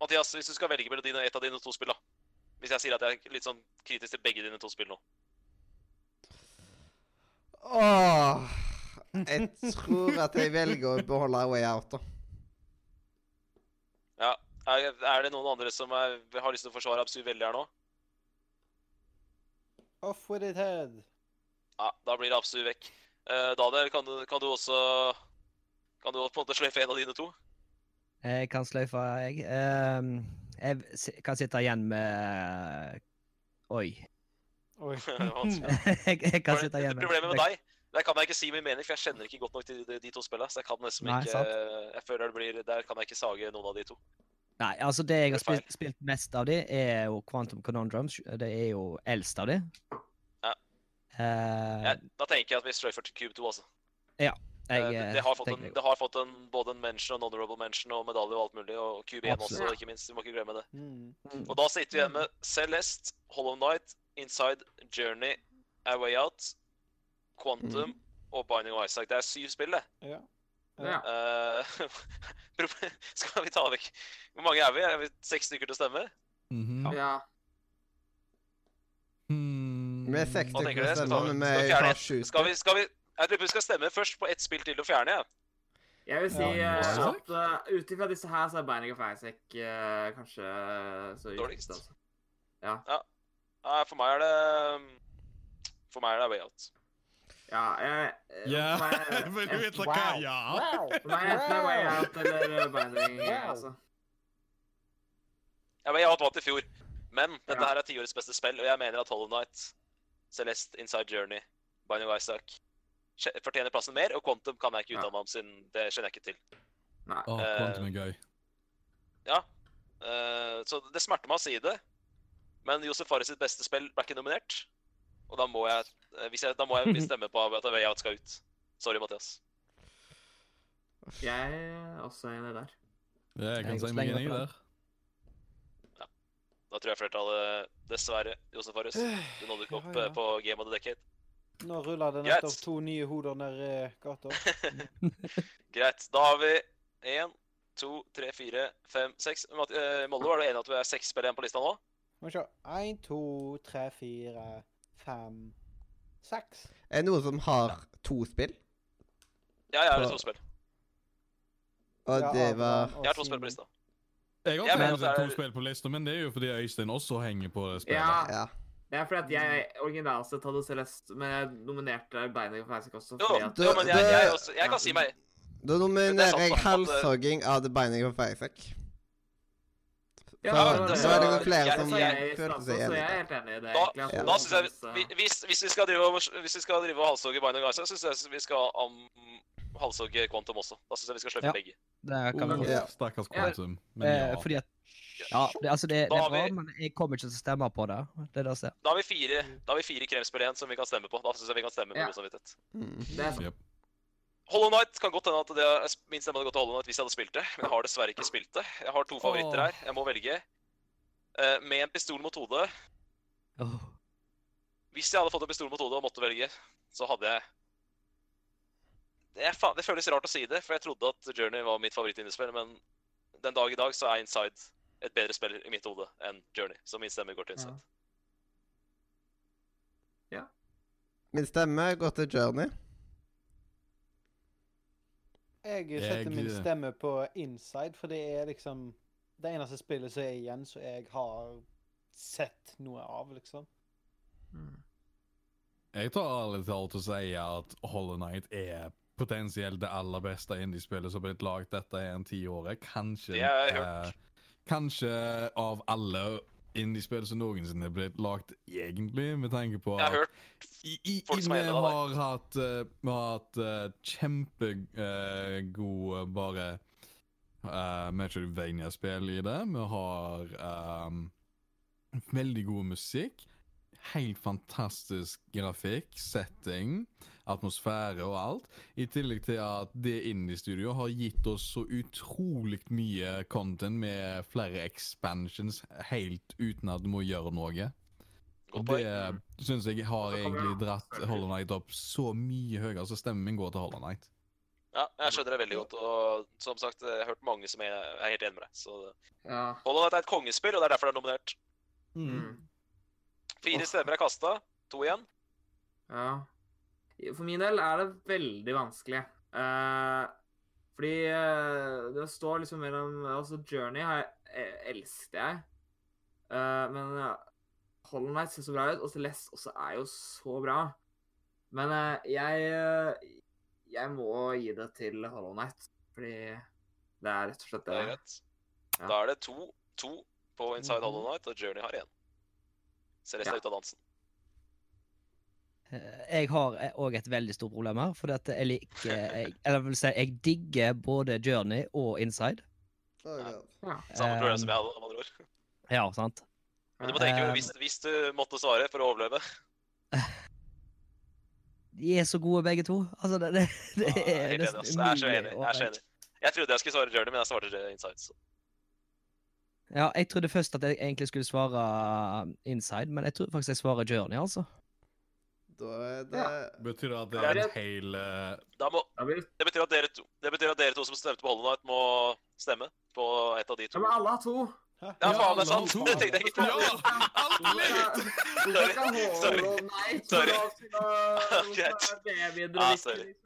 Speaker 2: Mathias, hvis du skal velge mellom dine, et av dine to spill, da. Hvis jeg sier at jeg er litt sånn kritisk til begge dine to spill nå.
Speaker 1: Åh. Jeg tror at jeg velger å beholde Way Out, da.
Speaker 2: Ja, Er, er det noen andre som er, har lyst til å forsvare Absu veldig her nå?
Speaker 10: Off with it head.
Speaker 2: Ja, da blir det Absu vekk. Eh, Daniel, kan du, kan du også Kan du på en måte sløyfe en av dine to?
Speaker 8: Jeg kan sløyfe, jeg. Ehm, jeg s- kan sitte igjen med Oi.
Speaker 10: Oi.
Speaker 2: Vanskelig.
Speaker 8: jeg, jeg kan
Speaker 2: Bare-
Speaker 8: sitte igjen med
Speaker 2: Problemet med deg der kan jeg ikke si min mening, for jeg kjenner ikke godt nok til de, de to spillene. Så jeg kan nesten
Speaker 8: Nei,
Speaker 2: ikke eh,
Speaker 8: sant.
Speaker 2: Jeg føler det blir Der kan jeg ikke sage noen av de to.
Speaker 8: Nei, altså det jeg har
Speaker 2: Det er feil.
Speaker 8: spilt, spilt mest av de, er jo Quantum Conundrum. Det er jo eldst av de.
Speaker 2: Ja.
Speaker 8: Eh,
Speaker 2: Jeg, da tenker jeg at vi sløyfer til Cube 2, altså.
Speaker 8: jeg,
Speaker 2: Eh, det, det,
Speaker 8: eh,
Speaker 2: har fått
Speaker 8: tenker
Speaker 2: en,
Speaker 8: jeg-
Speaker 2: det har fått en, både en mention og en honorable mention og medalje og alt mulig. Og Cube 1 også,
Speaker 8: Absolutt.
Speaker 2: ikke minst. Vi må ikke glemme det.
Speaker 10: Mm.
Speaker 2: Og da sitter vi igjen med Celeste, Hollow Knight, Inside, Journey, A Way Out, Quantum og Binding of Isaac. Det er syv spill, det.
Speaker 10: Ja.
Speaker 3: Ja.
Speaker 2: Eh, proble- skal vi ta vekk Hvor mange er vi? Er vi seks stykker til å stemme?
Speaker 6: Mhm.
Speaker 3: Ja.
Speaker 6: Hmm.
Speaker 1: Vi er seks
Speaker 2: Hva tenker
Speaker 1: stykker som
Speaker 2: dere? Skal vi ta-
Speaker 1: stemmer, men
Speaker 2: skal vi
Speaker 1: vi
Speaker 2: fjerne
Speaker 1: tar
Speaker 2: ett?
Speaker 1: sju.
Speaker 2: Skal vi, skal vi Jeg tror vi skal stemme først på ett spill til å fjerne, jeg.
Speaker 3: Jeg vil si
Speaker 10: Ja,
Speaker 3: eh,
Speaker 2: Isaac?
Speaker 3: at eh, ut ifra disse her, så er Beinig og Feisek eh, kanskje så ute,
Speaker 2: Dårligst.
Speaker 3: altså.
Speaker 2: Nei, for meg er det um, For meg er det way out.
Speaker 3: Ja, jeg eh,
Speaker 6: Ja,
Speaker 3: for meg-
Speaker 6: vil du
Speaker 3: jeg-
Speaker 6: vite hva? Ja.
Speaker 3: For meg enten er Way Out eller Beining.
Speaker 10: Wow.
Speaker 3: Altså.
Speaker 2: Ja, way out vant i fjor, men dette
Speaker 3: Ja.
Speaker 2: her er tiårets beste spill, og jeg mener at Hollow Knight, Celeste, Inside Journey, Binding of Isaac skje- fortjener plassen mer, og Quantum kan jeg ikke
Speaker 3: Ja.
Speaker 2: uttale meg om, siden det kjenner jeg ikke til.
Speaker 3: Nei.
Speaker 6: Å,
Speaker 2: Eh,
Speaker 6: Quantum er gøy.
Speaker 2: Ja. eh, så det smerter meg å si det, men Josef Fares sitt beste spill ble ikke nominert. Og da må jeg, eh, hvis jeg, da må jeg stemme på at Way Out skal ut. Sorry, Mathias.
Speaker 3: Jeg er også enig der.
Speaker 6: Ja, jeg
Speaker 8: Jeg
Speaker 6: kan si
Speaker 8: slenger
Speaker 6: meg
Speaker 8: det
Speaker 6: enig
Speaker 8: på
Speaker 6: der.
Speaker 2: Da tror jeg flertallet, dessverre, Josef Farris, du nådde ikke opp
Speaker 10: Ja, ja.
Speaker 2: eh, på Game of the Decade.
Speaker 10: Nå ruller det
Speaker 2: Greit.
Speaker 10: nettopp to nye hoder ned eh, gata.
Speaker 2: Greit. Da har vi én, to, tre, fire, fem, seks Mat- eh, Molde, var du enig i at vi er seks spill igjen på lista nå?
Speaker 10: Må vi se. Én, to, tre, fire, fem, seks.
Speaker 1: Er det noen som har to spill?
Speaker 2: Ja, jeg har
Speaker 1: Så-
Speaker 2: to spill.
Speaker 10: Ja,
Speaker 1: Og det
Speaker 4: altså.
Speaker 10: Adrian
Speaker 1: var
Speaker 10: og
Speaker 2: Jeg har to spill
Speaker 10: Simen.
Speaker 2: på lista.
Speaker 6: Jeg har
Speaker 2: Jeg mener
Speaker 6: også
Speaker 2: at det er-
Speaker 6: to spill på lista, men det er jo fordi Øystein også henger på det spillet.
Speaker 3: Ja,
Speaker 1: Ja.
Speaker 3: det er fordi at jeg
Speaker 1: Mm.
Speaker 3: originalt sett hadde Celeste, men jeg nominerte Beinig og Feisk også.
Speaker 2: Jo,
Speaker 3: Fordi at,
Speaker 1: det-
Speaker 2: jo men jeg,
Speaker 1: det-
Speaker 2: jeg, også, jeg kan si meg
Speaker 1: Da
Speaker 2: Det er sant,
Speaker 1: nominerer jeg
Speaker 2: da, at det-
Speaker 1: eh, halshogging av The Binding of Isaac.
Speaker 3: Ja,
Speaker 1: Så-
Speaker 3: men
Speaker 1: så
Speaker 3: så-
Speaker 1: er det vel flere
Speaker 2: jeg-
Speaker 1: som
Speaker 3: så jeg,
Speaker 1: føler
Speaker 3: altså,
Speaker 1: seg
Speaker 3: så jeg
Speaker 1: enige.
Speaker 3: er helt enig i det.
Speaker 2: Da,
Speaker 3: egentlig, at-
Speaker 2: da synes jeg vi,
Speaker 3: Celeste-
Speaker 2: hvis, hvis vi skal drive og, hvis vi skal drive og halshogge Binding of Isaac, syns jeg vi skal um, halshogge Quantum også. Da syns jeg vi skal sløpe
Speaker 8: Ja.
Speaker 2: begge.
Speaker 8: Det kan
Speaker 6: Uff,
Speaker 8: vi
Speaker 1: Ja.
Speaker 6: Uh, Stakkars Quantum. Men
Speaker 8: Eh,
Speaker 6: ja.
Speaker 8: Fordi at Ja, det, altså det, det
Speaker 2: Da
Speaker 8: er
Speaker 2: har
Speaker 8: bra,
Speaker 2: vi-
Speaker 8: men jeg kommer ikke til å stemme på det. Det er det som er.
Speaker 2: Da har vi fire, da har vi fire kremspill igjen som vi kan stemme på. Da syns jeg vi kan stemme med
Speaker 3: Ja.
Speaker 2: god samvittighet.
Speaker 1: Mm.
Speaker 3: Det er
Speaker 6: Jep.
Speaker 2: Hollow Knight kan godt hende at det, min stemme hadde gått til Hollow Knight hvis jeg hadde spilt det. Men jeg har dessverre ikke spilt det. Jeg har to favoritter her. Jeg må velge. Eh, med en pistol mot hodet
Speaker 8: Åh.
Speaker 2: Hvis jeg hadde fått en pistol mot hodet og måtte velge, så hadde jeg det, er fa det føles rart å si det, for jeg trodde at Journey var mitt favorittinnespill, men den dag i dag så er Inside et bedre spill i mitt hode enn Journey, så min stemme går til Inside.
Speaker 1: Min stemme går til Journey.
Speaker 10: Jeg setter min
Speaker 6: Jeg-
Speaker 10: stemme på Inside, for det er liksom det eneste spillet som er igjen som jeg har sett noe av, liksom.
Speaker 6: Jeg tar ærlig talt å si at Hollow Knight er potensielt det aller beste indiespillet som har blitt lagd dette er en tiåret. Kanskje
Speaker 2: Det har jeg hørt.
Speaker 6: eh, Kanskje av alle indiespill som noensinne er blitt lagd, egentlig, med tanke på
Speaker 2: Jeg har hørt
Speaker 6: i, i,
Speaker 2: folk som
Speaker 6: vi
Speaker 2: er enig med deg.
Speaker 6: har hatt, eh, vi har hatt eh, kjempegod eh, bare uh, Metrovania-spill i det. Vi har ehm, veldig god musikk. Helt fantastisk grafikk, setting, atmosfære og alt. I tillegg til at det indie-studioet har gitt oss så utrolig mye content med flere expansions helt uten at du må gjøre noe. Og
Speaker 2: Godt
Speaker 6: det
Speaker 2: poeng.
Speaker 6: syns jeg har
Speaker 3: Og så kommer
Speaker 6: egentlig
Speaker 3: det
Speaker 6: dratt
Speaker 3: andre.
Speaker 6: Hollow Knight opp så mye høyere, så stemmen min går til Hollow Knight.
Speaker 2: Ja, jeg skjønner det veldig godt, og som sagt, jeg har hørt mange som er, er helt enig med deg. Så
Speaker 3: Ja.
Speaker 2: Hollow Knight er et kongespill, og det er derfor det er nominert.
Speaker 3: Mm.
Speaker 2: Fire stemmer er kasta, to igjen.
Speaker 3: Ja. For min del er det veldig vanskelig. Eh, fordi eh, det står liksom mellom Altså, Journey har jeg, eh, elsket jeg. Eh, men eh, Hollow Knight ser så bra ut, og Celeste også er jo så bra. Men eh, jeg eh, Jeg må gi det til Hollow Knight, fordi det er rett og slett
Speaker 2: Det er
Speaker 3: det.
Speaker 2: greit.
Speaker 3: Ja. Mm.
Speaker 2: Da er det to, to på Inside Hollow Night, og Journey har én. Celeste
Speaker 3: Ja.
Speaker 2: er ute av dansen.
Speaker 8: Eh, Jeg har òg et veldig stort problem her, fordi at jeg liker eh, jeg, Eller vil si, jeg digger både Journey og Inside.
Speaker 1: Oh,
Speaker 2: Ja.
Speaker 1: God.
Speaker 2: Samme problem som
Speaker 8: Eh,
Speaker 2: jeg hadde, med andre ord.
Speaker 8: Ja, sant?
Speaker 2: Men du må tenke
Speaker 8: Eh,
Speaker 2: på hvis, hvis du måtte svare for å overleve.
Speaker 8: De er så gode, begge to. Altså, det, det, det
Speaker 2: Ah, jeg
Speaker 8: er
Speaker 2: helt enig,
Speaker 8: nesten
Speaker 2: ass. Jeg er så
Speaker 8: umulig
Speaker 2: enig.
Speaker 8: å
Speaker 2: Jeg er så
Speaker 8: ranke.
Speaker 2: enig. Jeg trodde jeg skulle svare Journey, men jeg svarte Inside. Så.
Speaker 8: Ja, jeg trodde først at jeg egentlig skulle svare uh, Inside, men jeg tror faktisk jeg svarer Journey, altså.
Speaker 1: Da er det
Speaker 6: Betyr det at
Speaker 3: det er en
Speaker 6: hel eh,
Speaker 2: Da må,
Speaker 3: Eh, Da blir det
Speaker 2: det, betyr at dere to, det betyr at dere to som stemte på Hollow Knight, må stemme på et av de
Speaker 3: Ja,
Speaker 2: to.
Speaker 3: men alle har to.
Speaker 2: Ja,
Speaker 6: Ja,
Speaker 2: faen, det
Speaker 6: alle
Speaker 2: er
Speaker 6: har
Speaker 2: sant!
Speaker 6: to.
Speaker 2: Det tenkte jeg ikke på.
Speaker 3: Hvorfor skal Hollow Knight få
Speaker 2: Sorry.
Speaker 3: lov til å
Speaker 2: Greit.
Speaker 3: være babyer
Speaker 2: Ah,
Speaker 3: og
Speaker 2: sorry.
Speaker 3: ikke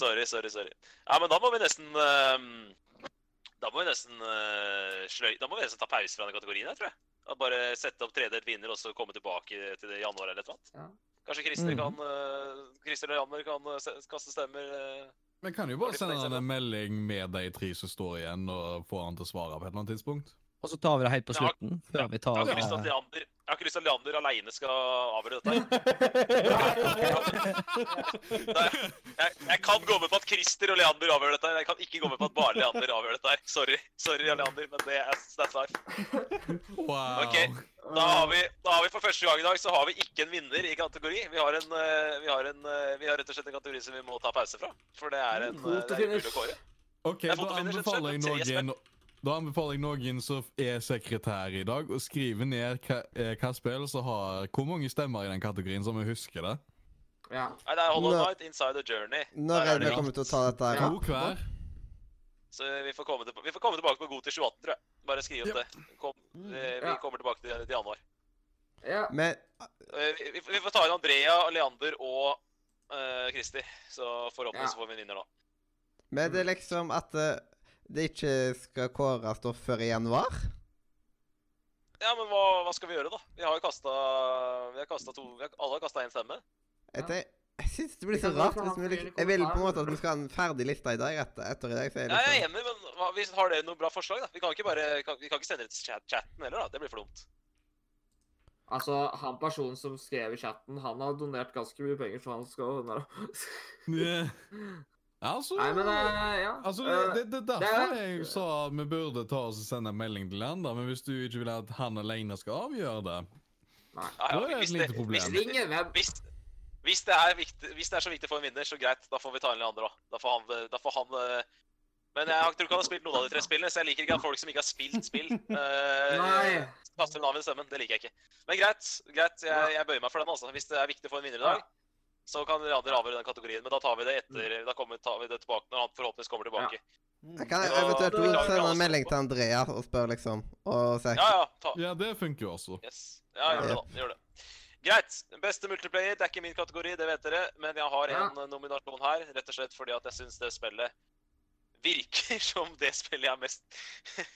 Speaker 2: Sorry, sorry, sorry. Ja, men da må vi nesten ehm, Da må vi nesten eh, sløy... Da må vi nesten ta pause fra den kategorien her, tror jeg. Og bare sette opp tredelt vinner og så komme tilbake til det i januar eller et eller annet.
Speaker 3: Ja.
Speaker 2: Kanskje Christer
Speaker 8: Mhm.
Speaker 2: kan eh, Christer eller Janner kan eh, se- kaste stemmer. eh.
Speaker 6: Vi kan jo
Speaker 2: Har
Speaker 6: bare
Speaker 2: du fått
Speaker 6: sende han
Speaker 2: eksempel?
Speaker 6: en melding med de tre som står igjen, og få han til å svare på et eller annet tidspunkt.
Speaker 8: Og så tar vi det helt på
Speaker 2: Jeg har-
Speaker 8: slutten. Før vi tar
Speaker 2: Jeg har ikke lyst til at
Speaker 8: eh,
Speaker 2: Leander, jeg har ikke lyst til at Leander alene skal avgjøre dette. her. Jeg, jeg kan gå med på at Christer og Leander avgjør dette. her. Jeg kan ikke gå med på at bare Leander avgjør dette. her. Sorry, sorry Leander, men det er that's life.
Speaker 6: Wow.
Speaker 2: Ok.
Speaker 3: liksom-
Speaker 2: Da har,
Speaker 1: Mm.
Speaker 2: vi, da har vi for første gang i dag så har vi ikke en vinner i kategori. Vi har, en, eh, vi har, en, eh, vi har rett og slett en kategori som vi
Speaker 1: Mm,
Speaker 2: må ta pause fra. For det er en eh, det er umulig å kåre.
Speaker 6: Ok,
Speaker 2: Jeg
Speaker 6: Da anbefaler
Speaker 2: fotofinner,
Speaker 6: jeg
Speaker 2: rett og slett.
Speaker 6: noen Da anbefaler jeg noen som er sekretær i dag, å skrive ned hva, eh, hva spill som har Hvor mange stemmer i den kategorien, så vi husker det.
Speaker 3: Ja.
Speaker 2: Nei, det er Hollow
Speaker 1: Nå-
Speaker 2: Knight, Inside the Journey.
Speaker 1: Når
Speaker 2: Der
Speaker 1: er det vi
Speaker 2: det
Speaker 1: kommer til å ta dette her?
Speaker 6: To hver.
Speaker 2: Så vi får komme, tilba- vi får komme tilbake på god til 2018, tror jeg. Bare skriv opp
Speaker 6: Ja.
Speaker 2: det. Kom,
Speaker 10: Mm.
Speaker 1: Mm,
Speaker 2: eh, vi
Speaker 3: Ja.
Speaker 2: kommer tilbake til, til januar.
Speaker 3: Ja.
Speaker 1: Men
Speaker 2: Eh, vi, vi- vi får ta inn Andrea, Leander og eh, Christer. Så
Speaker 3: Ja.
Speaker 2: forhåpentligvis får vi en vinner nå.
Speaker 1: Men det er liksom at eh, det ikke skal kåres da før i januar?
Speaker 2: Ja, men hva, hva skal vi gjøre, da? Vi har jo kasta Vi har kastet to vi har, Alle har kasta én stemme.
Speaker 1: Jeg,
Speaker 3: Ja.
Speaker 1: tenk- jeg syns det blir
Speaker 3: Vi
Speaker 1: så
Speaker 3: kan godt
Speaker 1: rart.
Speaker 3: ha
Speaker 1: hvis vi
Speaker 3: flere
Speaker 1: liksom, Jeg vil på en
Speaker 3: kommentarer.
Speaker 1: måte at vi skal ha en ferdig liste i dag. Etter, etter i dag så er
Speaker 2: Ja,
Speaker 1: jeg
Speaker 2: jeg er
Speaker 1: liksom,
Speaker 2: enig, men hva, vi har dere noen bra forslag? da? Vi kan ikke bare, kan, vi kan ikke sende det til chat chatten heller, da. Det blir for dumt.
Speaker 3: Altså, han personen som skrev i chatten, han har donert ganske mye penger, så han skal Nei,
Speaker 6: Ja. Altså,
Speaker 3: men eh, ja.
Speaker 6: altså det,
Speaker 3: eh,
Speaker 6: det, det, er
Speaker 3: det er-
Speaker 6: derfor jeg sa at vi burde ta oss og sende en melding til han, da. Men hvis du ikke vil at han alene skal avgjøre det
Speaker 2: Ja,
Speaker 6: Da er det et
Speaker 2: hvis
Speaker 6: lite
Speaker 2: det-
Speaker 6: problem.
Speaker 2: hvis-
Speaker 3: Ring en venn.
Speaker 2: Hvis, hvis, det er viktig, hvis det er så viktig for en vinner, så greit. Da får vi ta inn Leander, da. Da får han, da får han eh, Men jeg tror ikke han har spilt noen av de tre spillene, så jeg liker ikke at folk som ikke har spilt spill, eh,
Speaker 3: Nei.
Speaker 2: kaster navnet i stemmen. Det liker jeg ikke. Men greit, greit. Jeg, jeg bøyer meg for den, altså. Hvis det er viktig for en vinner i dag, så kan Leander avgjøre den kategorien. Men da tar vi det etter Da kommer, tar vi det tilbake når han forhåpentligvis kommer tilbake.
Speaker 1: jeg kan
Speaker 2: Ja,
Speaker 1: eventuelt
Speaker 3: det-
Speaker 1: også sende en melding til Andrea og spørre, liksom. Og se.
Speaker 2: Ja, ja. Ta.
Speaker 6: Ja, det funker jo også.
Speaker 2: Yes. Ja, gjør det, da. Gjør det. Greit. Beste multiplayer, det er ikke min kategori, det vet dere. Men jeg har
Speaker 3: Ja.
Speaker 2: en eh, nominasjon her, rett og slett fordi at jeg syns det spillet virker som det spillet jeg har mest,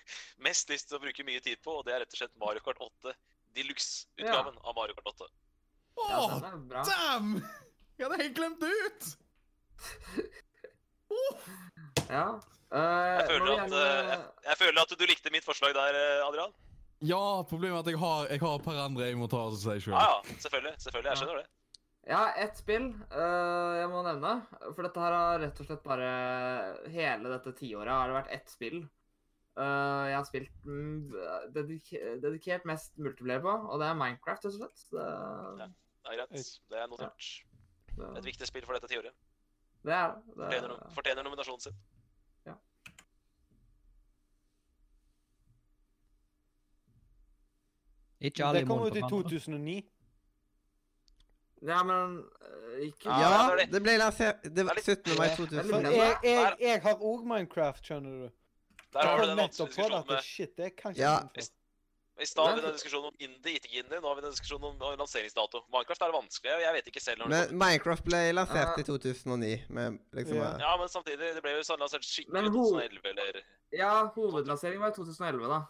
Speaker 2: mest lyst til å bruke mye tid på, og det er rett og slett Mario Kart 8 Deluxe-utgaven av Mario Kart 8.
Speaker 6: Å,
Speaker 3: Ja, den er bra.
Speaker 6: damn! Jeg hadde helt glemt det ut!
Speaker 3: Ja.
Speaker 2: Jeg føler, at, eh, jeg, jeg føler at du likte mitt forslag der, eh, Adrian.
Speaker 6: Ja, problemet er at jeg har, jeg har et par andre jeg må ta oss og si sjøl.
Speaker 2: Ah, Ja, ja. Selvfølgelig. selvfølgelig, Jeg
Speaker 3: Ja.
Speaker 2: skjønner det.
Speaker 3: Ja, ett spill eh, jeg må nevne. For dette her har rett og slett bare Hele dette tiåret har det vært ett spill. Eh, jeg har spilt mm, dedik dedikert mest multiplayer på, og det er Minecraft, rett og slett. Det,
Speaker 2: Det er greit. Det er notert. Et
Speaker 3: det,
Speaker 2: viktig spill for dette tiåret.
Speaker 3: det er det.
Speaker 2: Fortjener, nom- fortjener nominasjonen sin.
Speaker 8: eh, Ikke alle
Speaker 10: Det
Speaker 8: i
Speaker 10: kom
Speaker 8: mål
Speaker 10: ut i
Speaker 8: på hverandre.
Speaker 10: 2009.
Speaker 3: Ja, men eh, ikke
Speaker 1: Ja,
Speaker 2: det er det.
Speaker 1: det ble lansert det var
Speaker 2: Det
Speaker 1: 17. mai
Speaker 10: Men
Speaker 1: 2000.
Speaker 10: jeg, jeg, jeg har òg Minecraft, skjønner du.
Speaker 2: Der har
Speaker 10: Jeg
Speaker 2: du den
Speaker 10: kom nettopp
Speaker 2: vanskelige
Speaker 10: på det
Speaker 2: diskusjonen
Speaker 10: at
Speaker 2: med
Speaker 10: shit, det kan ikke
Speaker 1: Ja.
Speaker 10: jeg innenfor.
Speaker 2: I stad hadde vi
Speaker 3: Nei.
Speaker 2: den diskusjonen om indie, ikke indie. Nå har vi den diskusjonen om om lanseringsdato. Minecraft er det vanskelig, og jeg vet ikke selv når det
Speaker 1: Men Minecraft ble lansert
Speaker 3: Ja.
Speaker 1: i 2009. Med liksom
Speaker 10: Ja.
Speaker 1: eh,
Speaker 2: kommer. Ja, men samtidig, det ble jo sånn lansert skikkelig
Speaker 3: Men
Speaker 2: i
Speaker 3: hvor-
Speaker 2: 2011, eller
Speaker 3: Ja, hovedlanseringen var i 2011, da.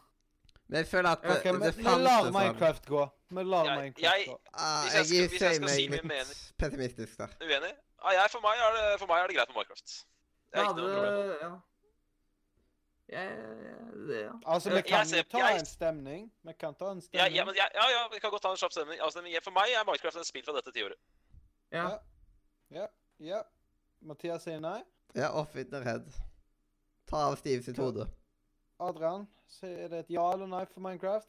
Speaker 1: Men jeg føler at
Speaker 10: Ok,
Speaker 1: det,
Speaker 10: men
Speaker 1: det
Speaker 10: vi
Speaker 1: fantes
Speaker 10: lar
Speaker 1: sånn.
Speaker 10: Minecraft gå. Vi lar
Speaker 2: Jeg- jeg-
Speaker 10: Minecraft gå.
Speaker 1: Ah,
Speaker 2: Hvis jeg
Speaker 1: jeg
Speaker 2: skal- hvis jeg
Speaker 1: sier
Speaker 2: skal
Speaker 1: meg
Speaker 2: si min
Speaker 1: litt
Speaker 2: mening-
Speaker 1: pessimistisk der.
Speaker 2: uenig? Ja, jeg, for, meg er det, for meg er det greit med Minecraft. Det er
Speaker 3: Da
Speaker 2: ikke noe problem.
Speaker 3: hadde- Ja. Jeg, det, ja.
Speaker 10: Altså, vi
Speaker 2: Jeg-
Speaker 10: kan
Speaker 2: jeg
Speaker 10: jo
Speaker 2: ser-
Speaker 10: ta
Speaker 2: jeg-
Speaker 10: en stemning. Vi kan ta en
Speaker 2: Ja, ja,
Speaker 10: stemning.
Speaker 2: men, jeg- ja, ja, vi kan godt ta en kjapp stemning. Altså, men jeg- for meg er Minecraft et spill fra dette tiåret.
Speaker 3: ja.
Speaker 10: Ja. Mathias sier nei.
Speaker 1: Ja, off in their head. Ta av Steve sitt
Speaker 10: Ta-
Speaker 1: hode.
Speaker 10: Adrian, så er det et ja eller nei for Minecraft?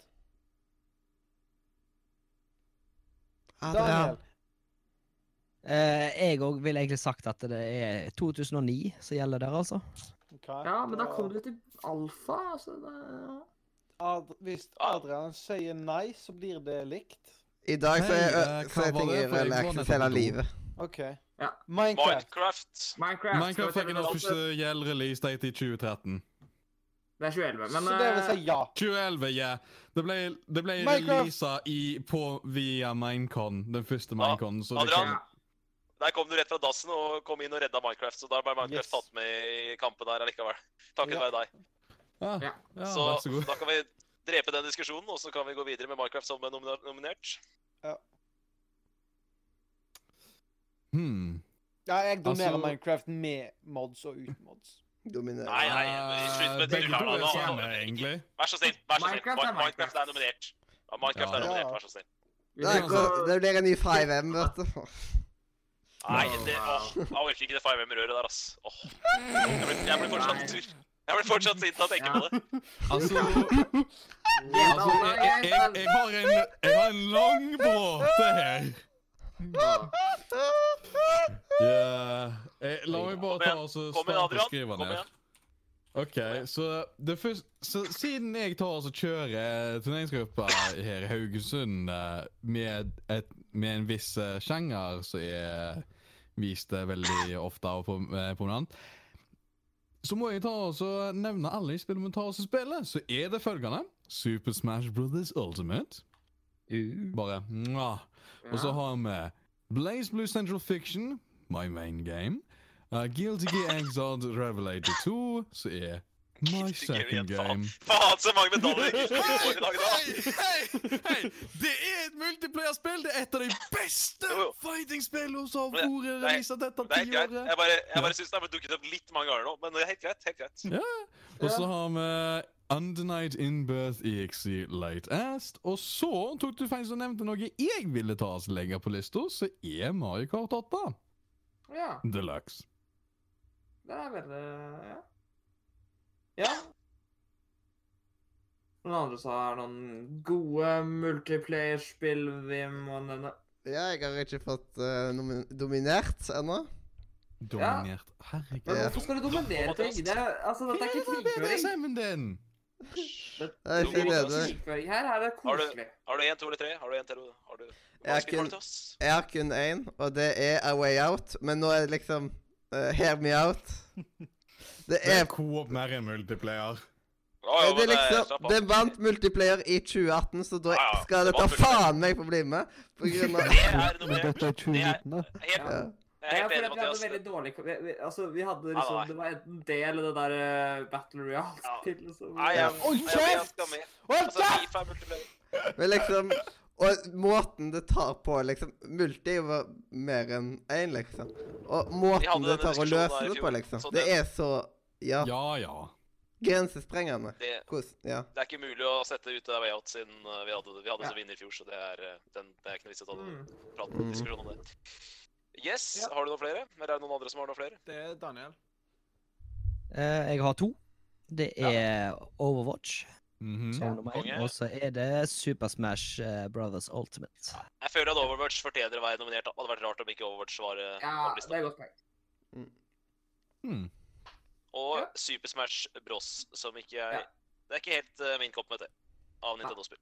Speaker 1: Adrian.
Speaker 10: Daniel.
Speaker 8: Eh, jeg òg ville egentlig sagt at det er 2009 som gjelder der, altså.
Speaker 10: Ok,
Speaker 3: ja, men da kom du til alfa, altså. Det, ja.
Speaker 10: Ad hvis
Speaker 2: Ah.
Speaker 10: Adrian sier nei, så blir det likt.
Speaker 1: I dag så er,
Speaker 6: Hei, eh, hva
Speaker 1: så er
Speaker 6: var
Speaker 1: ting
Speaker 6: det? For jeg var
Speaker 1: relaxed
Speaker 6: nettopp
Speaker 1: hele
Speaker 6: på do.
Speaker 1: livet.
Speaker 10: OK.
Speaker 3: Ja.
Speaker 10: Minecraft.
Speaker 2: Minecraft.
Speaker 3: Minecraft.
Speaker 6: Minecraft
Speaker 3: skal
Speaker 6: fikk
Speaker 3: vi
Speaker 6: en
Speaker 3: ta-
Speaker 6: offisiell release eh, date i 2013.
Speaker 3: Det er 2011, men
Speaker 10: så det vil
Speaker 3: eh,
Speaker 10: si ja.
Speaker 6: 2011, ja. Det ble, det ble
Speaker 10: Minecraft!
Speaker 6: releasa i, på, via Minecon, den første Mineconen. så det-
Speaker 2: Adrian? Der kom du rett fra dassen og kom inn og redda Minecraft, så da ble Minecraft
Speaker 10: Yes.
Speaker 2: tatt med i kampen her allikevel. Takket
Speaker 10: Ja.
Speaker 2: være deg.
Speaker 6: Ah, ja,
Speaker 3: Ja.
Speaker 6: vær så
Speaker 2: Så
Speaker 6: god.
Speaker 2: da kan vi drepe den diskusjonen, og så kan vi gå videre med Minecraft som nomina- nominert.
Speaker 6: Hmm.
Speaker 10: Ja, jeg donerer
Speaker 6: Altså-
Speaker 10: Minecraft med mods og uten mods.
Speaker 1: Dominerer.
Speaker 2: Nei, nei, men slutt med
Speaker 6: Eh, Begge
Speaker 2: tull her
Speaker 6: to
Speaker 2: nå,
Speaker 6: er
Speaker 2: nå.
Speaker 6: samme, egentlig.
Speaker 2: Vær så snill. vær så snill.
Speaker 3: Minecraft er
Speaker 2: Minecraft, Minecraft er
Speaker 3: Minecraft.
Speaker 2: nominert. Ja, Minecraft
Speaker 6: Ja.
Speaker 2: er nominert,
Speaker 10: Ja.
Speaker 2: vær så snill.
Speaker 3: vi
Speaker 1: Det,
Speaker 3: vil
Speaker 1: går,
Speaker 3: også-
Speaker 1: det blir en ny 5M, vet du.
Speaker 2: Nei,
Speaker 3: Wow.
Speaker 2: det åh, Jeg orker ikke det 5M-røret der, ass. Åh. Jeg blir, jeg blir fortsatt sur. Jeg blir fortsatt sint av å tenke
Speaker 3: Ja.
Speaker 2: på det.
Speaker 6: Altså,
Speaker 3: Ja,
Speaker 6: altså
Speaker 3: da,
Speaker 6: jeg, jeg, jeg, jeg har en, jeg har en lang bråte her. Ja, eh, La meg bare ta og så
Speaker 2: Kom igjen,
Speaker 6: starte å
Speaker 2: Adrian.
Speaker 6: skrive
Speaker 2: Kom
Speaker 6: ned.
Speaker 2: igjen.
Speaker 6: OK, så, det først, så siden jeg tar og så kjører eh, turneringsgruppa her i Haugesund eh, med, et, med en viss eh, sjanger som er vist eh, veldig ofte og på, eh, prominent, så må jeg ta og så nevne alle i spillet vi tar oss og spiller. Så er det følgende Super Smash Brothers Ultimate. Bare mwah. Og så har vi Blaze Blue Central Fiction, my main game. Uh, Guilty Gear Exiled Revelator 2, som er my second game.
Speaker 2: Faen, så mange medaljer du får i dag, da!
Speaker 6: hei, hei! Det er et multiplayer-spill! Det er et av de beste fighting-spillene som har vært
Speaker 2: Nei,
Speaker 6: releaset dette
Speaker 2: Det er helt greit.
Speaker 6: tiåret.
Speaker 2: Jeg bare, jeg bare syns det har dukket opp litt mange ganger nå, men det er helt greit. helt greit.
Speaker 6: Ja. Og så har vi Undenied Inbirth EXE E Late Ast. Og så tok du feil som nevnte noe jeg ville ta oss legge på lista, så er Mario Kart 8
Speaker 3: Ja.
Speaker 6: Deluxe.
Speaker 3: Det er veldig Ja. ja. Noen andre som har noen gode multiplayer-spill vi må nevne?
Speaker 1: Ja, jeg har ikke fått eh, nomi- dominert ennå.
Speaker 6: Dominert. Herregud.
Speaker 3: Men hvorfor skal du dominere ting? Det er, altså, dette er ikke krigføring.
Speaker 6: BDSM-en din!
Speaker 1: Jeg
Speaker 2: Jo,
Speaker 1: sier det,
Speaker 2: altså,
Speaker 1: det.
Speaker 3: Krigføring Her er det
Speaker 2: Har du,
Speaker 3: koselig.
Speaker 2: har du en, to eller tre? Har du en til? Har du
Speaker 1: Jeg har
Speaker 2: Hva spill har
Speaker 1: kun-
Speaker 2: du til oss?
Speaker 1: Jeg har kun én, og det er A Way Out. Men nå er det liksom eh, Hear Me Out. Det er
Speaker 6: coop mer enn multiplayer.
Speaker 2: Ja, ja,
Speaker 1: det
Speaker 2: men
Speaker 1: er
Speaker 2: eh,
Speaker 1: liksom
Speaker 2: slapp av.
Speaker 1: Den vant multiplayer i 2018, så da
Speaker 2: Ja, ja,
Speaker 1: skal
Speaker 2: det
Speaker 1: det ta
Speaker 2: vant multiplayer.
Speaker 1: faen meg på å bli med. På grunn av
Speaker 2: Det er noe
Speaker 9: Men
Speaker 2: med
Speaker 9: dette er 2019, da.
Speaker 2: Jeg
Speaker 1: ja.
Speaker 2: er helt- jeg er
Speaker 3: Ja,
Speaker 2: helt
Speaker 3: for
Speaker 2: enig,
Speaker 3: vi hadde
Speaker 2: Mathias.
Speaker 3: veldig dårlig vi, vi, Altså, vi hadde
Speaker 2: Nei,
Speaker 3: liksom
Speaker 2: nei.
Speaker 3: Det var enten det eller det der eh, Battle
Speaker 2: Ja.
Speaker 3: Royale-til, liksom.
Speaker 2: Nei, jeg,
Speaker 3: Ja.
Speaker 2: jeg, jeg, jeg skal med. Altså, FIFA er multiplayer.
Speaker 1: Men liksom Og måten det tar på, liksom Multi er jo mer enn én, liksom. Og
Speaker 2: hadde
Speaker 1: måten det
Speaker 2: denne
Speaker 1: tar å
Speaker 2: diskusjonen
Speaker 1: løse
Speaker 2: her i
Speaker 1: det på,
Speaker 2: fjor,
Speaker 1: liksom.
Speaker 2: så
Speaker 1: Det
Speaker 2: det-
Speaker 1: er så Ja.
Speaker 6: Ja ja.
Speaker 1: Grensesprengende.
Speaker 2: Det,
Speaker 1: Hvordan Ja.
Speaker 2: det er ikke mulig å sette ut det der way out siden uh, vi hadde, vi hadde
Speaker 3: Ja.
Speaker 2: som vinner i fjor, så det er, uh, den, det er ikke noe vits i å ta den
Speaker 3: Mm.
Speaker 2: praten og diskusjonen om det. Yes,
Speaker 3: Ja.
Speaker 2: har du noen flere? Eller er det noen andre som har noen flere?
Speaker 4: Det er Daniel.
Speaker 8: Eh, jeg har to. Det er Overwatch
Speaker 6: Mhm.
Speaker 8: som nummer én,
Speaker 2: konge.
Speaker 8: og så er det Super Smash eh, Brothers Ultimate.
Speaker 2: Jeg føler at Overwatch fortjener å være nominert. da. Det hadde vært rart om ikke Overwatch var uh,
Speaker 3: Ja,
Speaker 2: var på
Speaker 3: det er
Speaker 2: lista.
Speaker 3: et godt poeng.
Speaker 6: Hmm.
Speaker 2: Og
Speaker 3: Ja.
Speaker 2: Super Smash Bros, som ikke er
Speaker 3: Ja.
Speaker 2: Det er ikke helt uh, min kopp med te av Nintendo-spill.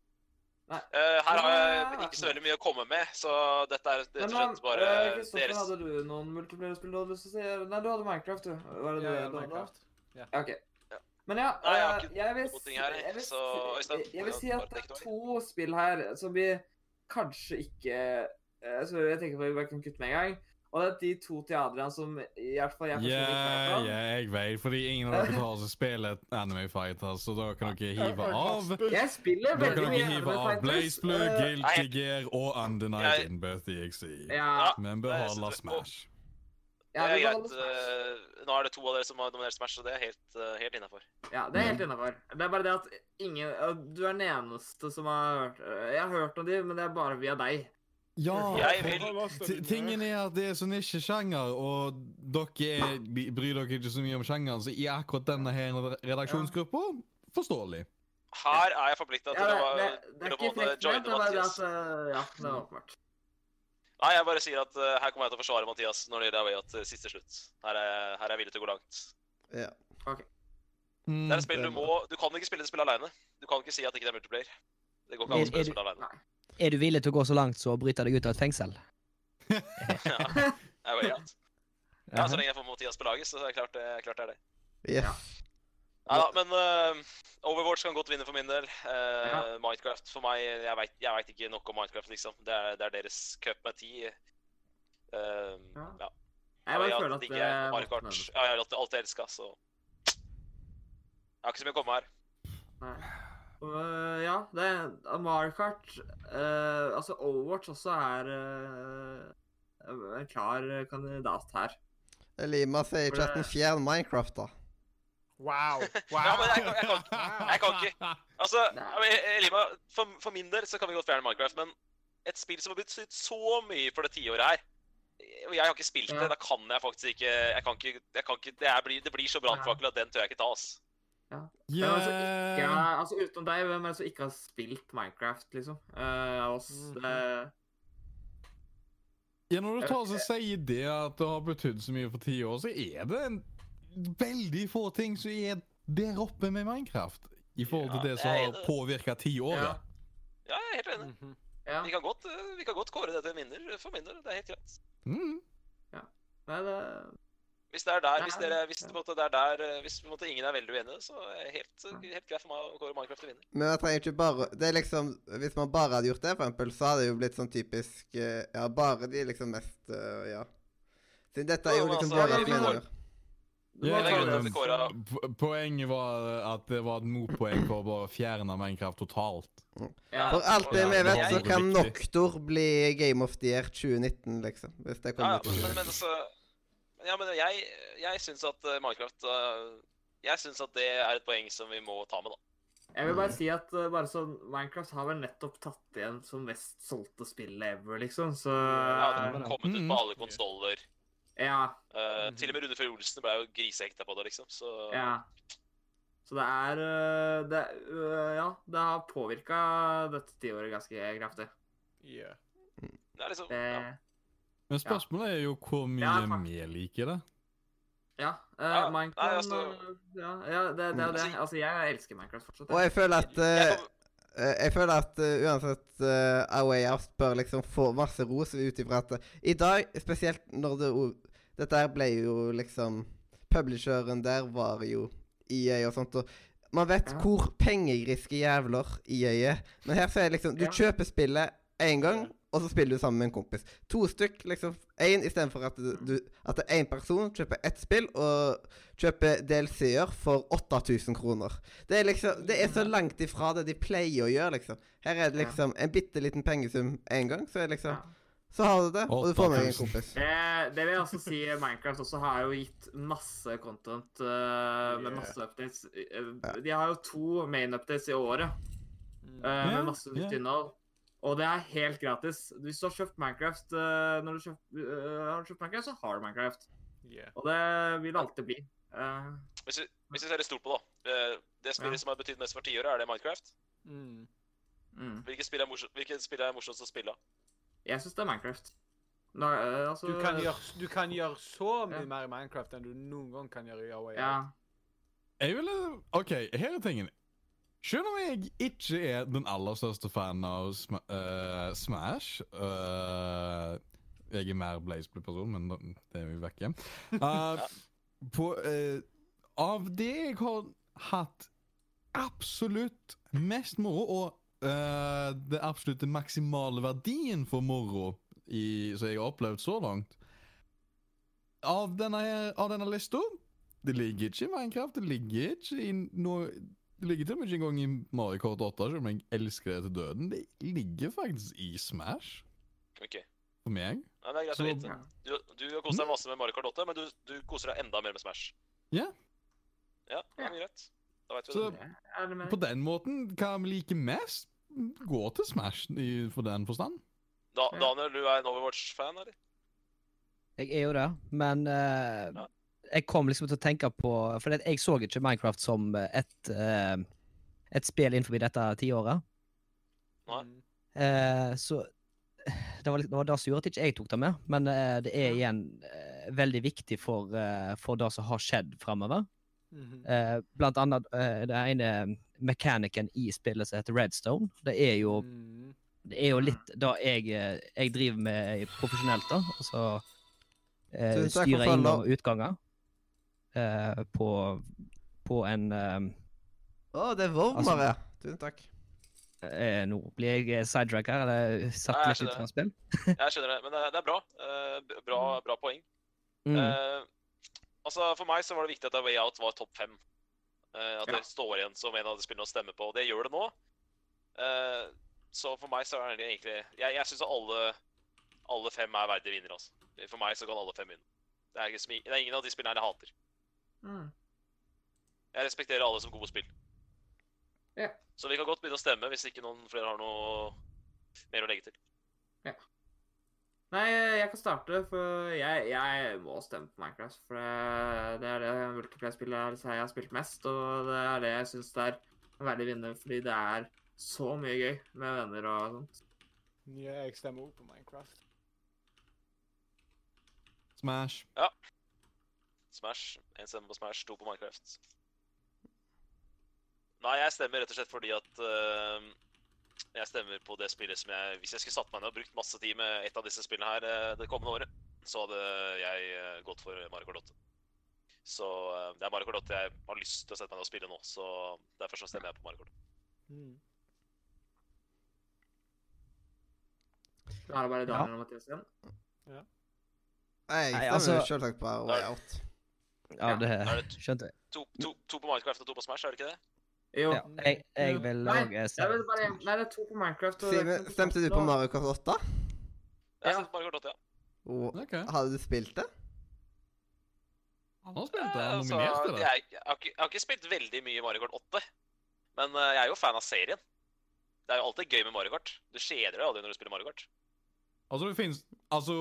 Speaker 3: Nei.
Speaker 2: Uh, her har jeg
Speaker 3: Nei.
Speaker 2: ikke så veldig mye å komme med, så dette er rett og
Speaker 3: Men
Speaker 2: slett
Speaker 3: han,
Speaker 2: bare
Speaker 3: eh, Kristoffer,
Speaker 2: deres
Speaker 3: hadde du noen multiplayer-spill du hadde lyst til å si? Nei, du hadde Minecraft, du. Var det
Speaker 4: Ja, ja,
Speaker 3: det du hadde?
Speaker 4: Minecraft.
Speaker 3: Ja, OK.
Speaker 2: Ja.
Speaker 3: Men ja,
Speaker 2: Nei, jeg har
Speaker 3: eh,
Speaker 2: ikke
Speaker 3: jeg vil,
Speaker 2: noen ting her,
Speaker 3: jeg vil,
Speaker 2: så Øystein,
Speaker 3: jeg, jeg vil
Speaker 2: ja,
Speaker 3: si at
Speaker 2: bare
Speaker 3: det
Speaker 2: take
Speaker 3: er
Speaker 2: it
Speaker 3: to spill her som vi kanskje ikke eh, Så jeg tenker på at vi bare kan kutte med en gang. Og det er de to til Adrian som i hvert fall jeg personlig ikke har hørt
Speaker 6: Ja,
Speaker 3: om.
Speaker 6: ja, jeg vet, fordi ingen av dere tar og spiller Anime Fighter, så da kan dere hive av.
Speaker 3: Jeg spiller
Speaker 6: Da
Speaker 3: veldig
Speaker 6: kan
Speaker 3: mye
Speaker 6: dere hive
Speaker 3: Anime
Speaker 6: av
Speaker 3: Fighters.
Speaker 6: Blaze Blue,
Speaker 3: eh,
Speaker 6: Guilty Gear og Undenied
Speaker 2: Jeg-
Speaker 6: Inbirth EXE.
Speaker 3: Ja,
Speaker 6: Men beholde Smash.
Speaker 3: ja,
Speaker 2: det er
Speaker 3: vi kan
Speaker 2: greit.
Speaker 3: holde Smash.
Speaker 2: eh, Nå er det to av dere som har nominert Smash, og det er helt, uh, helt innafor.
Speaker 3: ja, det er helt innafor. Det er bare det at ingen eh, Du er den eneste som har hørt eh, Jeg har hørt om de, men det er bare via deg.
Speaker 6: Ja,
Speaker 2: Jeg vil
Speaker 6: T- Tingen er at det er så nisjesjanger, og dere er- b- bryr dere ikke så mye om sjangeren, så i akkurat denne her redaksjonsgruppa forståelig.
Speaker 2: Her er jeg forplikta
Speaker 3: Ja,
Speaker 2: til
Speaker 3: det,
Speaker 2: å
Speaker 3: det, det
Speaker 2: til
Speaker 3: er
Speaker 2: å på
Speaker 3: ikke
Speaker 2: en måte
Speaker 3: frekt ment,
Speaker 2: joine
Speaker 3: det er bare det
Speaker 2: Mathias.
Speaker 3: at eh, Ja, det er åpenbart.
Speaker 2: Nei, jeg bare sier at eh, her kommer jeg til å forsvare Mathias når det gjelder Away at eh, siste slutt. Her er, her er jeg villig til å gå langt. Mm, Det er et spill du må Du kan ikke spille det spillet aleine. Du kan ikke si at ikke det ikke er multiplayer. Det går ikke an å
Speaker 8: Er-
Speaker 2: spille
Speaker 8: er
Speaker 2: det spillet aleine.
Speaker 8: Er du villig til å gå så langt så å bryte deg ut av et fengsel?
Speaker 2: Ja, det er veldig greit. Ja, så lenge jeg får Mathias på laget, så er det klart det, klart det er det.
Speaker 1: Yes.
Speaker 2: Nei da, men eh, Overwatch kan godt vinne for min del. Eh,
Speaker 3: Ja.
Speaker 2: Minecraft for meg Jeg veit jeg vet ikke nok om Minecraft, liksom. Det er, det er deres cup med ti. Eh,
Speaker 3: Ja.
Speaker 2: ja.
Speaker 3: Jeg bare
Speaker 2: Ja,
Speaker 3: føler at eh,
Speaker 2: digger
Speaker 3: det
Speaker 2: jeg Mario
Speaker 3: måtte
Speaker 2: Kart.
Speaker 3: nevnes.
Speaker 2: Ja, jeg har alltid- alltid elska, så Jeg har ikke så mye å komme med her.
Speaker 3: Nei. Øh, ja, det er Mario Kart øh, Altså, Overwatch også er øh, en klar øh, kandidat her.
Speaker 1: Elima sier i chatten 'fjern Minecraft', da.
Speaker 4: Wow.
Speaker 2: Ja, men jeg, kan- jeg, kan, jeg kan ikke Altså,
Speaker 3: Nei.
Speaker 2: ja, men, eh, Elima, for, for min del så kan vi godt fjerne Minecraft, men et spill som har betydd så mye for det tiåret her og Jeg har ikke spilt det,
Speaker 3: Ja.
Speaker 2: da kan jeg faktisk ikke Jeg kan ikke, jeg kan ikke det, er, blir- det blir så brannfakkel at den tør jeg ikke ta, ass.
Speaker 3: Men altså, ikke,
Speaker 6: Yeah.
Speaker 3: altså, utenom deg, hvem er det som ikke har spilt Minecraft, liksom? Øh, av oss.
Speaker 2: Mm.
Speaker 3: øh,
Speaker 6: Ja, når du tar og sier det at det har betydd så mye for ti år, så er det en veldig få ting som er der oppe med Minecraft i forhold til det som
Speaker 2: Nei,
Speaker 6: har
Speaker 2: det-
Speaker 6: påvirka tiåret.
Speaker 2: Ja, jeg er helt enig.
Speaker 4: Mhm.
Speaker 3: Ja.
Speaker 2: Vi, kan godt, eh, vi kan godt kåre det til minner for min del. Det er helt greit.
Speaker 6: Mm.
Speaker 3: Nei, det
Speaker 2: Hvis det er der, hvis,
Speaker 3: Nei,
Speaker 2: dere, hvis, på en måte, det er der, eh, hvis på en måte, ingen er veldig uenige, så er det helt, eh, helt greit for meg å kåre Minecraft til vinner.
Speaker 1: Men jeg trenger ikke bare Det er liksom Hvis man bare hadde gjort det, for eksempel, så hadde det jo blitt sånn typisk eh, Ja, bare de liksom mest eh, Ja. Siden dette er
Speaker 2: Ja,
Speaker 1: jo
Speaker 2: men
Speaker 1: liksom
Speaker 2: altså,
Speaker 1: bare
Speaker 2: ja,
Speaker 1: et
Speaker 2: vi får-
Speaker 1: minner.
Speaker 6: Ja,
Speaker 2: Det er grunnen
Speaker 6: men
Speaker 2: til kåra.
Speaker 6: po- Poenget var at det var et motpoeng for å bare fjerne Minecraft totalt.
Speaker 3: Ja.
Speaker 1: For alt det
Speaker 6: Ja,
Speaker 1: vi
Speaker 6: det
Speaker 1: vet,
Speaker 6: var
Speaker 1: så
Speaker 6: veldig
Speaker 1: kan
Speaker 6: viktig.
Speaker 1: Noctor bli Game of the Year 2019, liksom. Hvis det kommer
Speaker 2: Ja, ja,
Speaker 1: ut.
Speaker 2: men, men altså Ja, men jeg, jeg syns at eh, Minecraft eh, Jeg syns at det er et poeng som vi må ta med, da.
Speaker 3: Jeg vil bare si at eh, bare sånn, Minecraft har vel nettopp tatt igjen som mest solgte spillet ever, liksom, så
Speaker 2: Ja, det har
Speaker 3: Ja.
Speaker 2: kommet
Speaker 6: Mm.
Speaker 2: ut på alle konsoller.
Speaker 3: ja,
Speaker 2: Eh, til og med Rune Fjell Olsen ble jo grisehekta på det, liksom. Så
Speaker 3: Så det er eh, det, eh, Ja, det har påvirka dette tiåret ganske kraftig.
Speaker 4: Yeah.
Speaker 2: det er liksom
Speaker 3: Det,
Speaker 2: ja.
Speaker 6: Men spørsmålet er jo hvor mye
Speaker 3: Ja, fakt-
Speaker 6: vi liker det.
Speaker 3: ja. eh,
Speaker 2: Ja, nei,
Speaker 3: Minecraft
Speaker 2: altså- Mm.
Speaker 3: eh, Ja, ja det, det er jo det. Altså, jeg elsker Minecraft fortsatt.
Speaker 1: Og jeg føler at
Speaker 2: Jeg
Speaker 1: eh,
Speaker 2: kom-
Speaker 1: eh, jeg føler at eh, uansett uh, A Way Out bør liksom få masse ros ut ifra at eh, I dag, spesielt når det o- Dette her ble jo liksom Publisheren der var jo EA og sånt, og man vet
Speaker 3: Ja.
Speaker 1: hvor pengegriske jævler EA er. Men her så er det liksom Du
Speaker 3: Ja.
Speaker 1: kjøper spillet én gang, og så spiller du sammen med en kompis. To stykk, liksom. Én istedenfor at du- du At det er én person kjøper ett spill og kjøper DLC-er for 8000 kroner. Det er liksom Det er så langt ifra det de pleier å gjøre, liksom. Her er det
Speaker 3: Ja.
Speaker 1: liksom en bitte liten pengesum én gang, så er det liksom
Speaker 3: Ja.
Speaker 1: Så har du det, og du får med deg en
Speaker 6: 8000.
Speaker 1: kompis.
Speaker 3: Eh, det vil jeg også si. Minecraft også har jo gitt masse content eh, med
Speaker 4: Yeah.
Speaker 3: masse updates. Eh, De har jo to main updates i året eh,
Speaker 6: Ja,
Speaker 3: med masse nytt
Speaker 6: ja.
Speaker 3: innhold. Og det er helt gratis. Hvis du har kjøpt Minecraft, eh, når du kjøpt, eh, har kjøpt Minecraft, så har du Minecraft.
Speaker 4: Yeah.
Speaker 3: Og det vil det alltid bli. Eh,
Speaker 2: hvis, vi, hvis vi ser det stort på, da eh, Det spillet
Speaker 3: Ja.
Speaker 2: som har betydd mest for tiåret, er det Minecraft?
Speaker 4: Mm.
Speaker 3: mm.
Speaker 2: Hvilket spill er morsomt, hvilket spill er morsomst å spille?
Speaker 3: Jeg syns det er Minecraft. Nå, eh, altså,
Speaker 4: Du, kan gjøre, du kan gjøre så mye
Speaker 3: Ja.
Speaker 4: mer i Minecraft enn du noen gang kan gjøre i Away.
Speaker 3: ja.
Speaker 6: Jeg ville OK, her er tingen. Selv om jeg ikke er den aller største fan av sm eh, Smash eh, Jeg er mer Blazeblue-person, men da- det er vi vekk igjen. Eh, på, eh, av det jeg har hatt absolutt mest moro, og eh, det absolutte maksimale verdien for moro i, som jeg har opplevd så langt Av denne, her- av denne lista det ligger ikke i Minecraft. Det ligger ikke i noe Det ligger til og med ikke engang i Mario Kart 8, selv om jeg elsker det til døden. Det ligger faktisk i Smash,
Speaker 2: Ok,
Speaker 6: for meg.
Speaker 2: ja, Det er greit å
Speaker 6: Så-
Speaker 2: vite. Du, du har kost deg masse med Mario Kart 8, men du, du koser deg enda mer med Smash.
Speaker 6: Ja.
Speaker 2: Ja, det er greit. Da vet vi
Speaker 6: Så
Speaker 2: det.
Speaker 3: Er det med?
Speaker 6: på den måten, hva vi liker mest, går til Smash i, for den forstand.
Speaker 2: Da, Daniel, du er en Overwatch-fan, eller?
Speaker 8: Jeg er jo det, men eh,
Speaker 2: Ja.
Speaker 8: jeg kom liksom til å tenke på For jeg så ikke Minecraft som et, eh, et spill innenfor dette tiåret.
Speaker 2: Nei.
Speaker 4: Mm.
Speaker 8: Eh, så det var, litt- det var det som gjorde at ikke jeg tok det med, men eh, det er igjen eh, veldig viktig for, eh, for det som har skjedd framover.
Speaker 4: Mhm.
Speaker 8: Eh, blant annet eh, det ene mekanikeren i spillet som heter Redstone. Det er jo,
Speaker 4: Mhm.
Speaker 8: det er jo litt det jeg, eh, jeg driver med profesjonelt, da. Og så eh,
Speaker 1: Tusen takk for
Speaker 8: styrer jeg
Speaker 1: følget.
Speaker 8: innom og utganger eh, på, på en eh,
Speaker 1: Å, det er varmere.
Speaker 8: Altså-
Speaker 1: ja. Tusen takk.
Speaker 8: eh, Nå blir jeg eh, sidetracker, eller satt
Speaker 2: Nei, jeg
Speaker 8: litt ut
Speaker 2: skjønner.
Speaker 8: fra spill.
Speaker 2: Jeg skjønner det, men det, det er bra. Eh, b- bra. Bra poeng.
Speaker 8: Mm.
Speaker 2: Eh, altså, For meg så var det viktig at A Way Out var topp fem. Eh, at
Speaker 3: Ja.
Speaker 2: det står igjen som en av de spillene å stemme på. og Det gjør det nå. Eh, så for meg så er det egentlig Jeg, jeg syns alle, alle fem er verdige vinnere. Altså. For meg så kan alle fem vinne. Det er, ikke, som- det er ingen av de spillene her jeg hater.
Speaker 3: Mm.
Speaker 2: Jeg respekterer alle som gode spill.
Speaker 3: Ja.
Speaker 2: Så vi kan godt begynne å stemme hvis ikke noen flere har noe mer å legge til.
Speaker 3: Nei, jeg kan starte, for jeg, jeg må stemme på Minecraft. For det, det er det multiplayer-spillet er det jeg har spilt mest, og det er det jeg syns det er en verdig vinner, fordi det er så mye gøy med venner og sånt.
Speaker 4: Ja, jeg stemmer også på Minecraft.
Speaker 6: Smash.
Speaker 2: Smash. Én stemme på Smash, to på Minecraft. Nei, jeg stemmer rett og slett fordi at eh, jeg stemmer på det spillet som jeg Hvis jeg skulle satt meg ned og brukt masse tid med et av disse spillene her eh, det kommende året, så hadde jeg eh, gått for Mario Kart 8. Så eh, det er Mario Kart 8 jeg har lyst til å sette meg ned og spille nå, så derfor så stemmer jeg på Mario Kart.
Speaker 4: Mm.
Speaker 3: Da er det bare Daniel og Mathias igjen.
Speaker 1: Nei, Jeg
Speaker 8: Nei,
Speaker 1: stemmer jo
Speaker 8: altså-
Speaker 1: selvsagt på Way Out.
Speaker 8: Ja, det
Speaker 2: Da er det to,
Speaker 8: skjønte jeg.
Speaker 2: to, to, to på Minecraft og to på Smash, er det ikke det?
Speaker 3: Jo.
Speaker 8: Ja, jeg, jeg vil
Speaker 3: Nei,
Speaker 8: lage
Speaker 3: jeg vil bare, nei, det er to på Minecraft. og-
Speaker 1: Simen, stemte du på Mario Kart 8?
Speaker 2: Jeg
Speaker 3: Ja.
Speaker 2: stemmer på Mario Kart 8, ja.
Speaker 1: Og,
Speaker 6: Ok.
Speaker 1: hadde du spilt det?
Speaker 6: Han har spilt det.
Speaker 2: Eh,
Speaker 6: Han
Speaker 2: altså,
Speaker 6: nominerte det.
Speaker 2: jeg, jeg, har ikke, jeg har ikke spilt veldig mye Mario Kart 8, men eh, jeg er jo fan av serien. Det er jo alltid gøy med Mario Kart. Du kjeder deg aldri når du spiller Mario Kart.
Speaker 6: Altså, det finnes, altså,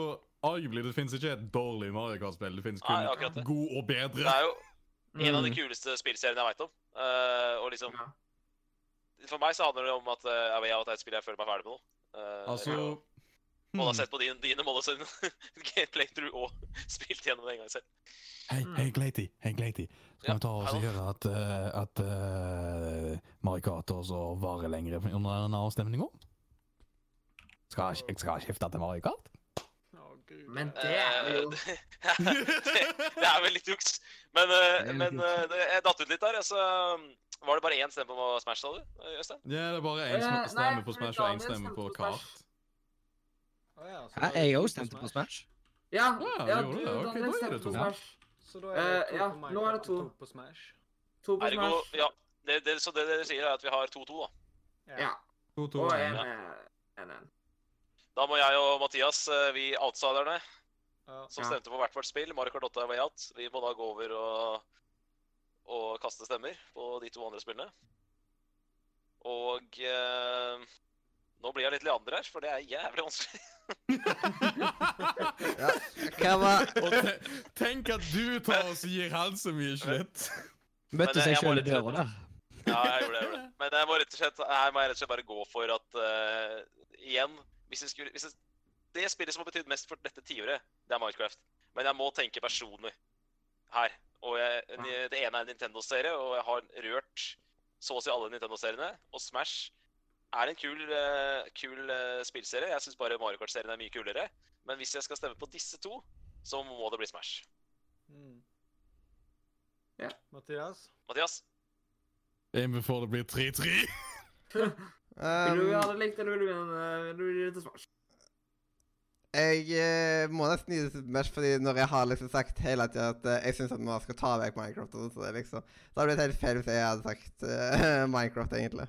Speaker 6: arguably, det finnes ikke et dårlig Mario Kart-spill. Det finnes
Speaker 2: Nei, akkurat
Speaker 6: kun
Speaker 2: det.
Speaker 6: god og
Speaker 2: Det
Speaker 6: bedre.
Speaker 2: er jo en
Speaker 6: Mm.
Speaker 3: Mm.
Speaker 2: av de kuleste spillseriene jeg veit om. Eh, og liksom,
Speaker 3: Ja.
Speaker 2: For meg så handler det om at eh, jeg vet at det er et spill jeg føler meg ferdig med nå. Eh,
Speaker 6: Altså
Speaker 2: og- Må ha sett på dine, dine mål og sin playthrough og spilt gjennom det en gang selv.
Speaker 6: Hei, hei, Gleiti. Hei, Gleiti. Skal
Speaker 2: Ja,
Speaker 6: vi ta oss og
Speaker 2: hallo.
Speaker 6: gjøre at, eh, at eh, Mario Kart også varer lenger under denne avstemninga? Skal jeg, skal jeg skifte til Mario Kart?
Speaker 4: Å, gud.
Speaker 3: Men det er
Speaker 2: Eh,
Speaker 3: jo
Speaker 2: det, det, det er vel litt juks. Men, eh,
Speaker 8: Det er jo
Speaker 2: men eh, det, jeg datt ut litt der. Så var det bare én stemme på Smash, sa du, Øystein?
Speaker 6: Ja, det er bare
Speaker 3: Eh,
Speaker 6: én
Speaker 3: nei,
Speaker 6: stemme på
Speaker 3: fordi
Speaker 6: Smash og én
Speaker 3: Daniel
Speaker 6: stemme
Speaker 3: stemte
Speaker 6: på
Speaker 3: på
Speaker 6: Kart.
Speaker 3: Smash.
Speaker 4: Å ja, så
Speaker 8: Hæ,
Speaker 4: da er det
Speaker 8: jeg
Speaker 4: to
Speaker 8: òg stemte på Smash.
Speaker 3: Ja,
Speaker 6: Ja,
Speaker 3: ja,
Speaker 6: gjorde
Speaker 3: du,
Speaker 6: det. Ok, da er
Speaker 3: Daniel
Speaker 6: det
Speaker 3: stemte
Speaker 6: to.
Speaker 3: på Smash.
Speaker 4: Så da er det
Speaker 3: Eh,
Speaker 4: to
Speaker 3: ja,
Speaker 4: på
Speaker 3: nå er det
Speaker 4: Minecraft
Speaker 3: to.
Speaker 4: og to på Smash.
Speaker 3: To på
Speaker 2: Ergo,
Speaker 3: Smash.
Speaker 2: ja. Det, det, så det dere sier, er at vi har 2-2, da.
Speaker 3: Ja.
Speaker 6: To, to,
Speaker 3: Og
Speaker 6: en.
Speaker 3: en, eh, en, en.
Speaker 2: Da må jeg og Mathias, eh, vi outsiderne,
Speaker 4: Ja.
Speaker 2: som
Speaker 3: Ja.
Speaker 2: stemte på hvert vårt spill, Mario Kart 8 er way out, vi må da gå over og, og kaste stemmer på de to andre spillene. Og eh, nå blir jeg litt Leander her, for det er jævlig vanskelig.
Speaker 1: Ja. Hva var
Speaker 6: Og te, tenk at du tar oss og gir han så mye slett.
Speaker 2: Men,
Speaker 8: Møtte
Speaker 2: eh,
Speaker 8: seg
Speaker 2: jeg må
Speaker 8: sjøl i
Speaker 2: rett og
Speaker 8: døra
Speaker 2: slett-
Speaker 8: der.
Speaker 2: Ja, jeg gjorde det. Jeg gjorde det. Men jeg må rett og slett, her må jeg rett og slett bare gå for at eh, Igjen, hvis jeg skulle hvis jeg, Det spillet som har betydd mest for dette tiåret, det er Minecraft. Men jeg må tenke personer her. Og jeg, ni- det ene er en Nintendo-serie, og jeg har rørt så å si alle Nintendo-seriene. Og Smash er en kul, eh, kul eh, spillserie. Jeg syns bare Mario Kart-serien er mye kulere. Men hvis jeg skal stemme på disse to, så må det bli Smash.
Speaker 4: Mm.
Speaker 3: Ja.
Speaker 4: Mathias?
Speaker 2: Mathias?
Speaker 6: Inn før det blir 3-3.
Speaker 3: Vil du ha
Speaker 1: um,
Speaker 3: det likt, eller vil du vinne vil du vinne til Smash?
Speaker 1: Jeg eh, må nesten gi det til Smash, fordi når jeg har liksom sagt hele tida at eh, jeg syns at man skal ta vekk Minecraft, og så, liksom, så hadde det blitt helt feil hvis jeg hadde sagt eh, Minecraft, egentlig.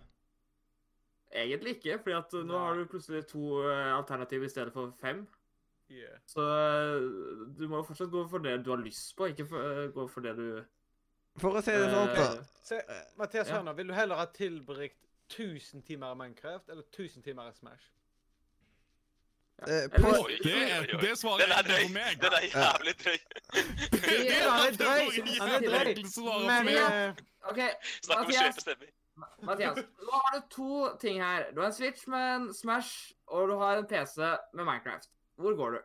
Speaker 3: Egentlig ikke, fordi at nå
Speaker 4: Nei.
Speaker 3: har du plutselig to eh, alternativer i stedet for fem.
Speaker 4: Yeah.
Speaker 3: Så eh, du må jo fortsatt gå for det du har lyst på, ikke for, eh, gå for det du
Speaker 1: For å si det sånn, så.
Speaker 3: eh,
Speaker 4: Se, Mathias,
Speaker 3: Ja.
Speaker 4: hør nå. Vil du heller ha tilbrakt 1000 timer i Minecraft eller 1000 timer i Smash?
Speaker 1: eh,
Speaker 3: Eller-
Speaker 1: på,
Speaker 2: Oi,
Speaker 6: Det,
Speaker 2: oi,
Speaker 6: er-
Speaker 2: oi.
Speaker 6: det svaret
Speaker 2: Den er
Speaker 6: er
Speaker 2: drøy.
Speaker 6: på meg.
Speaker 2: Den er jævlig drøy.
Speaker 6: Det
Speaker 3: Ja,
Speaker 6: er
Speaker 4: han er drøy. Han er drøy.
Speaker 6: svaret på meg.
Speaker 3: eh, OK,
Speaker 2: Snakk om å
Speaker 3: Mathias.
Speaker 2: kjøpe stemmer.
Speaker 3: Mathias. Nå har du to ting her. Du har en Switch med en Smash, og du har en PC med Minecraft. Hvor går du?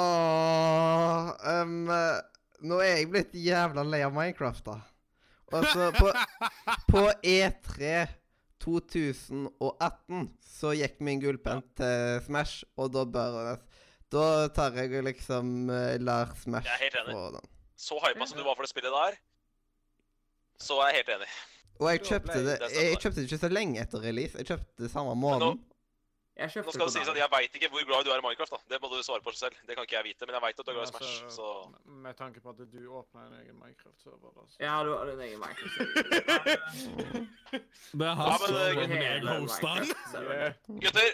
Speaker 1: Åh, ehm, eh, nå er jeg blitt jævla lei av Minecraft, da. Og så på, på E E3 2018 så gikk min gullpenn til Smash, og da bør jeg Da tar jeg og liksom eh, lar Smash
Speaker 2: Jeg er helt enig.
Speaker 1: få den.
Speaker 2: så hypa som du var for det spillet der, så er jeg helt enig.
Speaker 1: Og jeg
Speaker 4: Da
Speaker 1: kjøpte
Speaker 4: ble
Speaker 1: det
Speaker 2: det sånn,
Speaker 1: Jeg
Speaker 2: da.
Speaker 1: kjøpte det ikke så lenge etter release. Jeg kjøpte det samme
Speaker 2: nå-
Speaker 1: måneden.
Speaker 3: Jeg kjøpte
Speaker 2: Nå skal
Speaker 3: på
Speaker 2: det sies at
Speaker 3: deg.
Speaker 2: jeg veit ikke hvor glad du er i Minecraft, da. Det må du svare på selv. Det kan ikke jeg vite, men jeg veit at du er glad i Smash,
Speaker 4: altså-
Speaker 2: så
Speaker 4: Med tanke på at du åpna en egen Minecraft-server. Altså.
Speaker 3: Ja, du har en egen Minecraft.
Speaker 6: Det er
Speaker 2: Ja,
Speaker 6: han
Speaker 2: men,
Speaker 6: som
Speaker 2: eh,
Speaker 6: er meg
Speaker 3: hele
Speaker 6: hostan.
Speaker 3: Minecraft, så-
Speaker 4: Yeah.
Speaker 2: Gutter!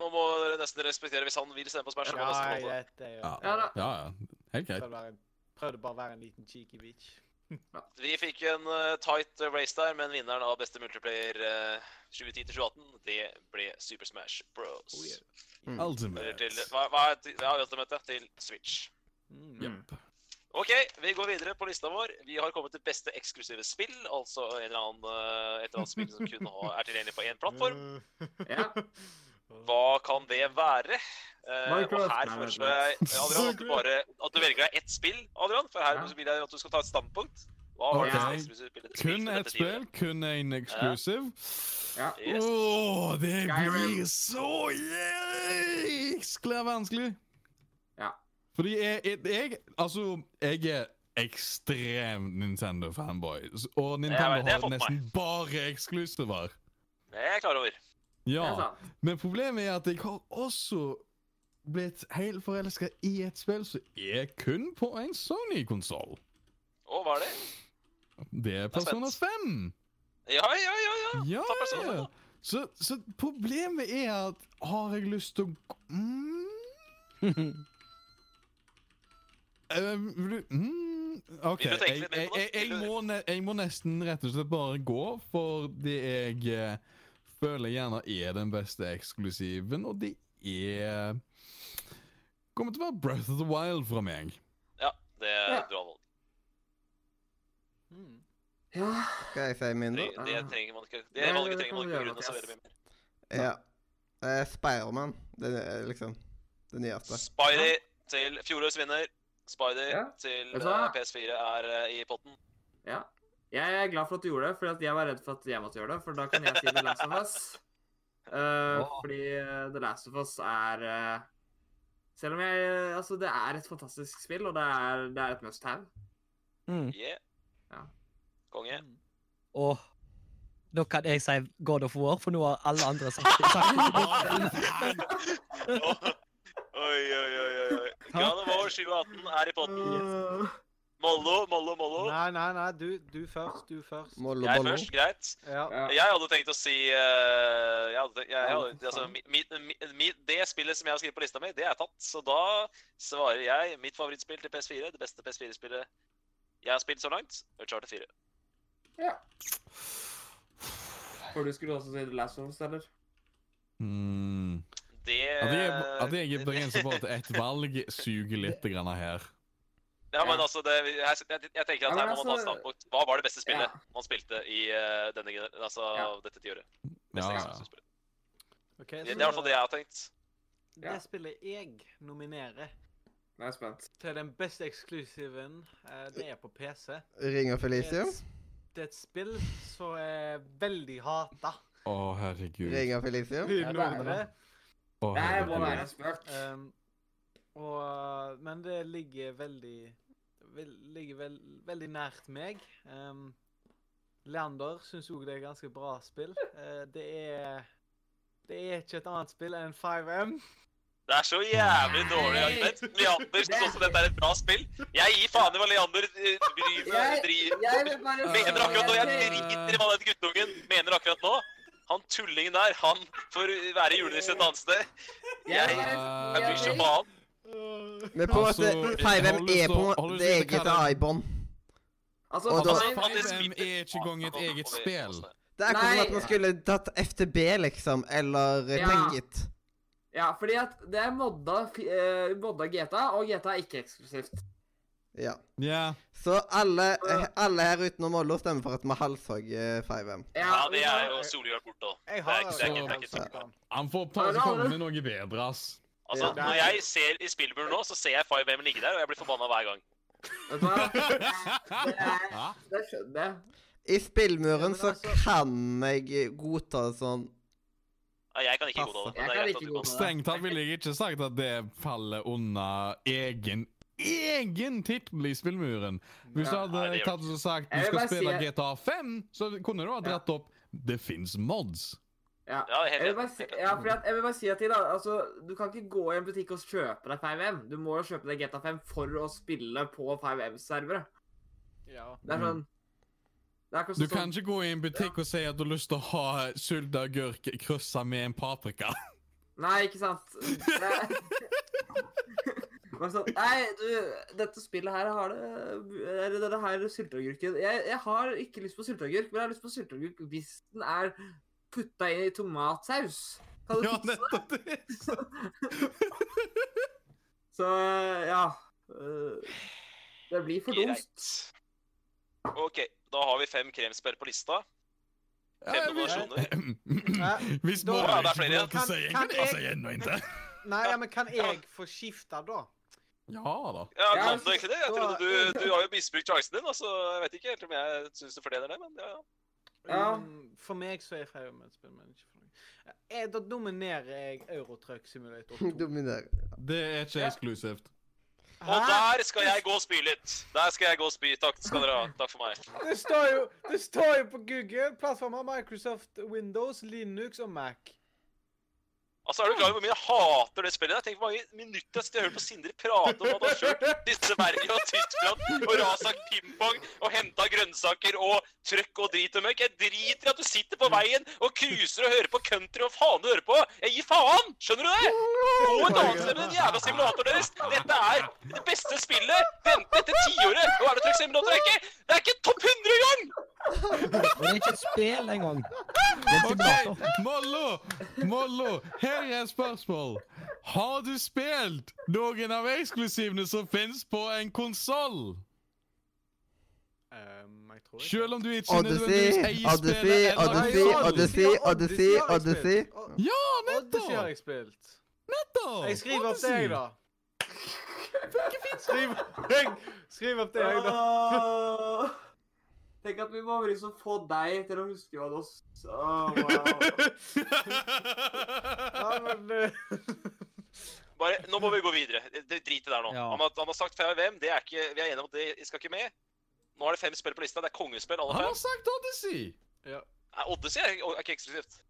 Speaker 2: Nå må dere nesten respektere hvis han vil stemme på Smash. så må
Speaker 4: Ja,
Speaker 2: nesten
Speaker 4: jeg
Speaker 2: holde det.
Speaker 4: vet det. Ja.
Speaker 3: Ja, da.
Speaker 6: Ja, ja. Helt greit.
Speaker 4: Prøvde å være en- Prøvde bare å være en liten cheeky bitch.
Speaker 2: Vi fikk en eh, tight race der, men vinneren av beste multiplayer eh, 2010-2018, det ble Super Smash Bros.
Speaker 4: Oh, yeah.
Speaker 3: Mm.
Speaker 2: Eller
Speaker 6: Ultimate.
Speaker 2: til Hva, hva er til, ja, ultimate, ja, til Switch.
Speaker 4: Mm.
Speaker 6: Jepp.
Speaker 2: OK, vi går videre på lista vår. Vi har kommet til beste eksklusive spill. Altså en eller annen, eh, et eller annet spill som kun har- er tilgjengelig på én plattform.
Speaker 3: Ja.
Speaker 2: Hva kan det være? Eh, og
Speaker 3: Minecraft.
Speaker 2: her
Speaker 3: Nei,
Speaker 2: foreslår
Speaker 3: nei,
Speaker 2: jeg Adrian, at du bare at du velger deg ett spill, Adrian, for her
Speaker 3: Ja.
Speaker 2: vil jeg at du skal ta et standpunkt. Hva var det
Speaker 6: Ok.
Speaker 2: neste eksklusive spillet?
Speaker 6: Kun
Speaker 2: Spilte
Speaker 6: ett
Speaker 2: dette tidligere.
Speaker 6: spill, kun én exclusive.
Speaker 3: Ja.
Speaker 2: Yes.
Speaker 6: Åh, det
Speaker 3: Skyrim.
Speaker 6: blir så jæskla vanskelig!
Speaker 3: Ja.
Speaker 6: Fordi jeg, jeg, jeg Altså, jeg er ekstrem Nintendo-fanboy. s- Og Nintendo
Speaker 2: vet, det har
Speaker 6: har
Speaker 2: fått meg.
Speaker 6: nesten bare eksklusiver.
Speaker 2: Det er jeg klar over.
Speaker 3: Det er
Speaker 6: Ja.
Speaker 3: sant.
Speaker 6: Men problemet er at jeg har også blitt helt forelska i et spill som er kun på en Sony-konsoll.
Speaker 2: Å, hva er det?
Speaker 6: Det er
Speaker 2: er
Speaker 6: Persona 5.
Speaker 2: Ja, ja, ja, ja.
Speaker 6: Ja!
Speaker 2: Ta Persona 5, da.
Speaker 6: Så, så problemet er at har jeg lyst til å gå- mm, eh, vil du- mm, OK.
Speaker 2: Vil du
Speaker 6: Jeg,
Speaker 2: tenke
Speaker 6: jeg,
Speaker 2: litt mer på det?
Speaker 6: jeg, jeg,
Speaker 2: Vil du-
Speaker 6: må ne, jeg må nesten rett og slett bare gå for det jeg eh, føler gjerne er den beste eksklusiven, og det er Kommer til å være Breath of the Wild fra meg.
Speaker 2: Ja, det er
Speaker 3: Ja.
Speaker 2: du har valgt.
Speaker 4: Mm.
Speaker 3: Ja.
Speaker 1: Skal jeg si min, da?
Speaker 2: Det, det
Speaker 3: Ah.
Speaker 2: trenger man ikke. Det
Speaker 3: Nei,
Speaker 2: valget
Speaker 3: det
Speaker 2: trenger man ikke
Speaker 3: kan vi gjøre,
Speaker 2: begrunne så veldig
Speaker 3: Mathias.
Speaker 2: mye mer.
Speaker 1: Ja. Eh, Spiderman. Det er liksom det nyeste.
Speaker 2: Spidey til fjorårets vinner. Spidey
Speaker 3: Ja.
Speaker 2: til
Speaker 3: Vet du hva?
Speaker 2: eh, PS4 er eh, i potten.
Speaker 3: Jeg er glad for at du gjorde det, for at jeg var redd for at jeg måtte gjøre det. For da kan jeg si The Last of Us. Eh, Fordi eh, The Last of Us er eh, Selv om jeg Altså, det er et fantastisk spill, og det er, det er et must have.
Speaker 8: Mm.
Speaker 2: Yeah.
Speaker 3: Ja.
Speaker 2: Konge.
Speaker 8: Og nå kan jeg si God of War, for nå har alle andre sagt sagt-
Speaker 2: Oi, oi, oi, oi. oi. God of War 2018 er i potten. Mollo, Mollo, Mollo.
Speaker 4: Nei, nei, nei. Du, du først. Du først.
Speaker 1: Mollo
Speaker 2: Jeg
Speaker 1: bollo.
Speaker 2: først, greit.
Speaker 4: Ja.
Speaker 3: Ja.
Speaker 2: Jeg hadde tenkt å si eh, jeg hadde, tenkt- jeg, jeg hadde, altså, mi, mi, mi, Det spillet som jeg har skrevet på lista mi, det er tatt. Så da svarer jeg mitt favorittspill til PS4. Det beste PS4-spillet jeg har spilt så langt. Uncharted 4.
Speaker 3: For du skulle også si The Last of Us, eller?
Speaker 6: Mm.
Speaker 2: Det
Speaker 6: At jeg, at jeg er
Speaker 2: det-
Speaker 6: begrenset på at ett valg suger litt grann her.
Speaker 2: Ja, men altså, det, jeg, jeg, jeg tenker at
Speaker 3: Ja, men
Speaker 2: her må man ta
Speaker 3: altså-
Speaker 2: standpunkt. Hva var det beste spillet
Speaker 3: Ja.
Speaker 2: man spilte i eh, denne, gener- altså,
Speaker 3: Ja.
Speaker 2: dette tiåret?
Speaker 6: Ja,
Speaker 2: Beste
Speaker 6: ja.
Speaker 2: Xbox-spillet. Det,
Speaker 4: Ok,
Speaker 2: det er i hvert fall det jeg har tenkt.
Speaker 3: Ja.
Speaker 4: Det spillet jeg nominerer
Speaker 3: Nå er jeg spent.
Speaker 4: til den beste eksklusiven, eh, det er på PC.
Speaker 1: Ring of
Speaker 4: Det er
Speaker 1: Elisium.
Speaker 4: et, s- det er et spill som er veldig hata.
Speaker 6: Å, herregud.
Speaker 1: Ring of Elisium.
Speaker 4: Uten
Speaker 3: det er
Speaker 4: ordre.
Speaker 6: Å,
Speaker 3: Det her må
Speaker 6: herregud.
Speaker 3: være spøk.
Speaker 2: Eh,
Speaker 4: Um, og, men det ligger veldig vel, Ligger vel, veldig nært meg. Um, Leander syns òg det er ganske bra spill. Eh, det er Det er ikke et annet spill enn 5M.
Speaker 2: Det er så jævlig dårlig argument. Leander syns også dette er et bra spill. Jeg gir faen i hva Leander eh, bryr
Speaker 3: Jeg-
Speaker 2: seg driver
Speaker 3: Jeg vet bare
Speaker 2: Mener akkurat nå, jeg driter i hva den guttungen mener akkurat nå. Han tullingen der, han får være julenissen et annet sted. Jeg, jeg bryr så faen.
Speaker 1: Men på en måte,
Speaker 6: Altså,
Speaker 1: 5M
Speaker 6: har du lyst
Speaker 1: er
Speaker 6: til
Speaker 1: på en
Speaker 6: å- har du
Speaker 1: måte
Speaker 6: lyst
Speaker 1: det
Speaker 6: til å
Speaker 1: eget
Speaker 6: kalle-
Speaker 1: i-bånd.
Speaker 3: Altså,
Speaker 1: Og da-
Speaker 3: nei, nei,
Speaker 6: 5M er ikke engang et eget
Speaker 2: altså.
Speaker 6: spill.
Speaker 1: Det er akkurat som at
Speaker 3: Nei.
Speaker 1: man skulle tatt FTB, liksom, eller
Speaker 3: Ja.
Speaker 1: Tenkit.
Speaker 3: ja, fordi at det er modda, fi- eh, modda GTA, og GTA er ikke eksklusivt.
Speaker 1: Ja.
Speaker 6: Ja.
Speaker 1: Så alle, alle her utenom Mollo stemmer for at vi halshogg eh, 5M.
Speaker 2: Ja, det er jo solegjort bort, da.
Speaker 4: Jeg
Speaker 2: Det
Speaker 4: har
Speaker 2: er ikke- det er ikke- det er ikke-
Speaker 4: altså-
Speaker 6: Han får ta
Speaker 3: Ja,
Speaker 6: og
Speaker 3: det har
Speaker 6: komme
Speaker 3: du.
Speaker 6: med noe bedre, ass.
Speaker 2: Altså,
Speaker 4: Ja.
Speaker 2: Når jeg ser i spillburen nå, så ser jeg 5M ligge der, og jeg blir forbanna hver gang.
Speaker 3: Vet du hva?
Speaker 6: Hæ?
Speaker 3: Det skjønner jeg.
Speaker 1: I spillmuren
Speaker 4: Ja, men
Speaker 1: så
Speaker 4: altså-
Speaker 1: kan jeg godta det sånn
Speaker 2: Ja, jeg kan ikke godta det. men
Speaker 3: Jeg
Speaker 2: det er
Speaker 3: kan
Speaker 2: greit at
Speaker 3: ikke
Speaker 2: du kan.
Speaker 3: godta
Speaker 6: Strengt tatt ville jeg ikke sagt at det faller under egen egen tittel i spillmuren. Hvis du
Speaker 3: Ja,
Speaker 2: nei,
Speaker 6: hadde
Speaker 2: det gjør
Speaker 6: tatt og sagt du
Speaker 3: Jeg vil
Speaker 6: skal
Speaker 3: bare
Speaker 6: spille
Speaker 3: si-
Speaker 6: GTA 5, så kunne du ha dratt opp Det fins mods.
Speaker 3: Ja.
Speaker 2: Ja, helt
Speaker 3: Jeg vil,
Speaker 2: enig.
Speaker 3: bare si, ja, fordi at, jeg vil bare si at til da, altså, Du kan ikke gå i en butikk og kjøpe deg 5M. Du må jo kjøpe deg GTA 5 for å spille på 5M-servere.
Speaker 4: Ja.
Speaker 3: Det er sånn det er akkurat
Speaker 6: Du
Speaker 3: sånn-
Speaker 6: kan ikke gå i en butikk og si at du har lyst til å ha sylteagurk kryssa med en paprika.
Speaker 3: Nei, ikke sant? Det... Men sånn, nei, du, dette spillet her har det Eller denne her sylteagurken jeg, jeg har ikke lyst på sylteagurk, men jeg har lyst på sylteagurk hvis den er putta inn i tomatsaus. Kan du
Speaker 6: Ja,
Speaker 3: fikse det?
Speaker 6: nettopp det!
Speaker 3: Så ja øh, Det blir for dumt.
Speaker 2: Greit. OK, da har vi fem kremspill på lista. Fem
Speaker 6: Ja, vi- Hvis
Speaker 4: Da-
Speaker 6: bare
Speaker 2: Ja, det er
Speaker 6: ikke får lov
Speaker 2: flere.
Speaker 6: til å
Speaker 4: Kan-
Speaker 6: si en,
Speaker 4: kan
Speaker 6: kan jeg
Speaker 4: jeg-
Speaker 6: si ennå en til.
Speaker 4: Nei, ja, men kan jeg få skifte da?
Speaker 6: Ja da.
Speaker 2: Ja, kan
Speaker 3: Ja, jeg
Speaker 2: du egentlig det? Jeg
Speaker 4: så-
Speaker 2: trodde du, du har jo misbrukt sjansen din, altså. Jeg vet ikke helt om jeg syns du fortjener det, men ja. ja.
Speaker 3: Ja.
Speaker 4: Um, For meg så er Fireman spill, men ikke for deg. Eh, Da dominerer jeg Eurotruck Simulator 2.
Speaker 1: Dominerer.
Speaker 6: Det er ikke
Speaker 3: Ja.
Speaker 6: eksklusivt.
Speaker 2: Og der skal jeg gå og spy litt. Der skal jeg gå og spy. Takk skal dere ha. Takk for meg.
Speaker 4: Det står jo, det står jo på Google! Plattformer Microsoft, Windows, Linux og Mac.
Speaker 2: Altså, Er du klar over hvor mye jeg hater det spillet? der? Tenk hvor mange minutter jeg sitter og hører på Sindre prate om at han har kjørt disse Sverige og Tyskland og rasagt pingpong og henta grønnsaker og trøkk og drit og møkk. Jeg driter i at du sitter på veien og cruiser og hører på country og faen du hører på. Jeg gir faen! Skjønner du det? Gå et annet sted med den jævla simulatoren deres! Dette er det beste spillet ventet etter tiåret! Nå er det Truck Simulator. Det er ikke, det er ikke topp 100 engang!
Speaker 8: Det er ikke et spill engang. Det er en
Speaker 6: OK,
Speaker 8: simulator.
Speaker 6: Mollo! Mollo, her er et spørsmål. Har du spilt noen av eksklusivene som fins på en konsoll?
Speaker 4: Um, jeg tror
Speaker 6: Selv om du ikke
Speaker 1: Odyssey,
Speaker 6: nødvendigvis eier
Speaker 1: Odyssey,
Speaker 6: spillet eller
Speaker 1: Odyssey,
Speaker 6: konsollen.
Speaker 1: Odyssey, Odyssey, Odyssey.
Speaker 6: Ja,
Speaker 4: Odyssey har
Speaker 6: nettopp!
Speaker 4: jeg spilt.
Speaker 6: nettopp!
Speaker 4: Jeg skriver opp det, jeg, da. Skriv, jeg, skriv opp det, jeg, da.
Speaker 3: Åh. Tenk at vi må liksom få deg til å huske hva du s- Åh, wow.
Speaker 4: Ja, men eh,
Speaker 2: Bare, nå må vi gå videre. Det- det- Drit i det der nå.
Speaker 8: Ja.
Speaker 2: Han, har, han har sagt fem av hvem. Det er ikke, vi er enige om at det skal ikke med. Nå er det fem spill på lista. Det er kongespill, alle
Speaker 6: Han har
Speaker 2: fem.
Speaker 6: sagt Odyssey!
Speaker 2: Nei, Odyssey er, er ikke eksklusivt.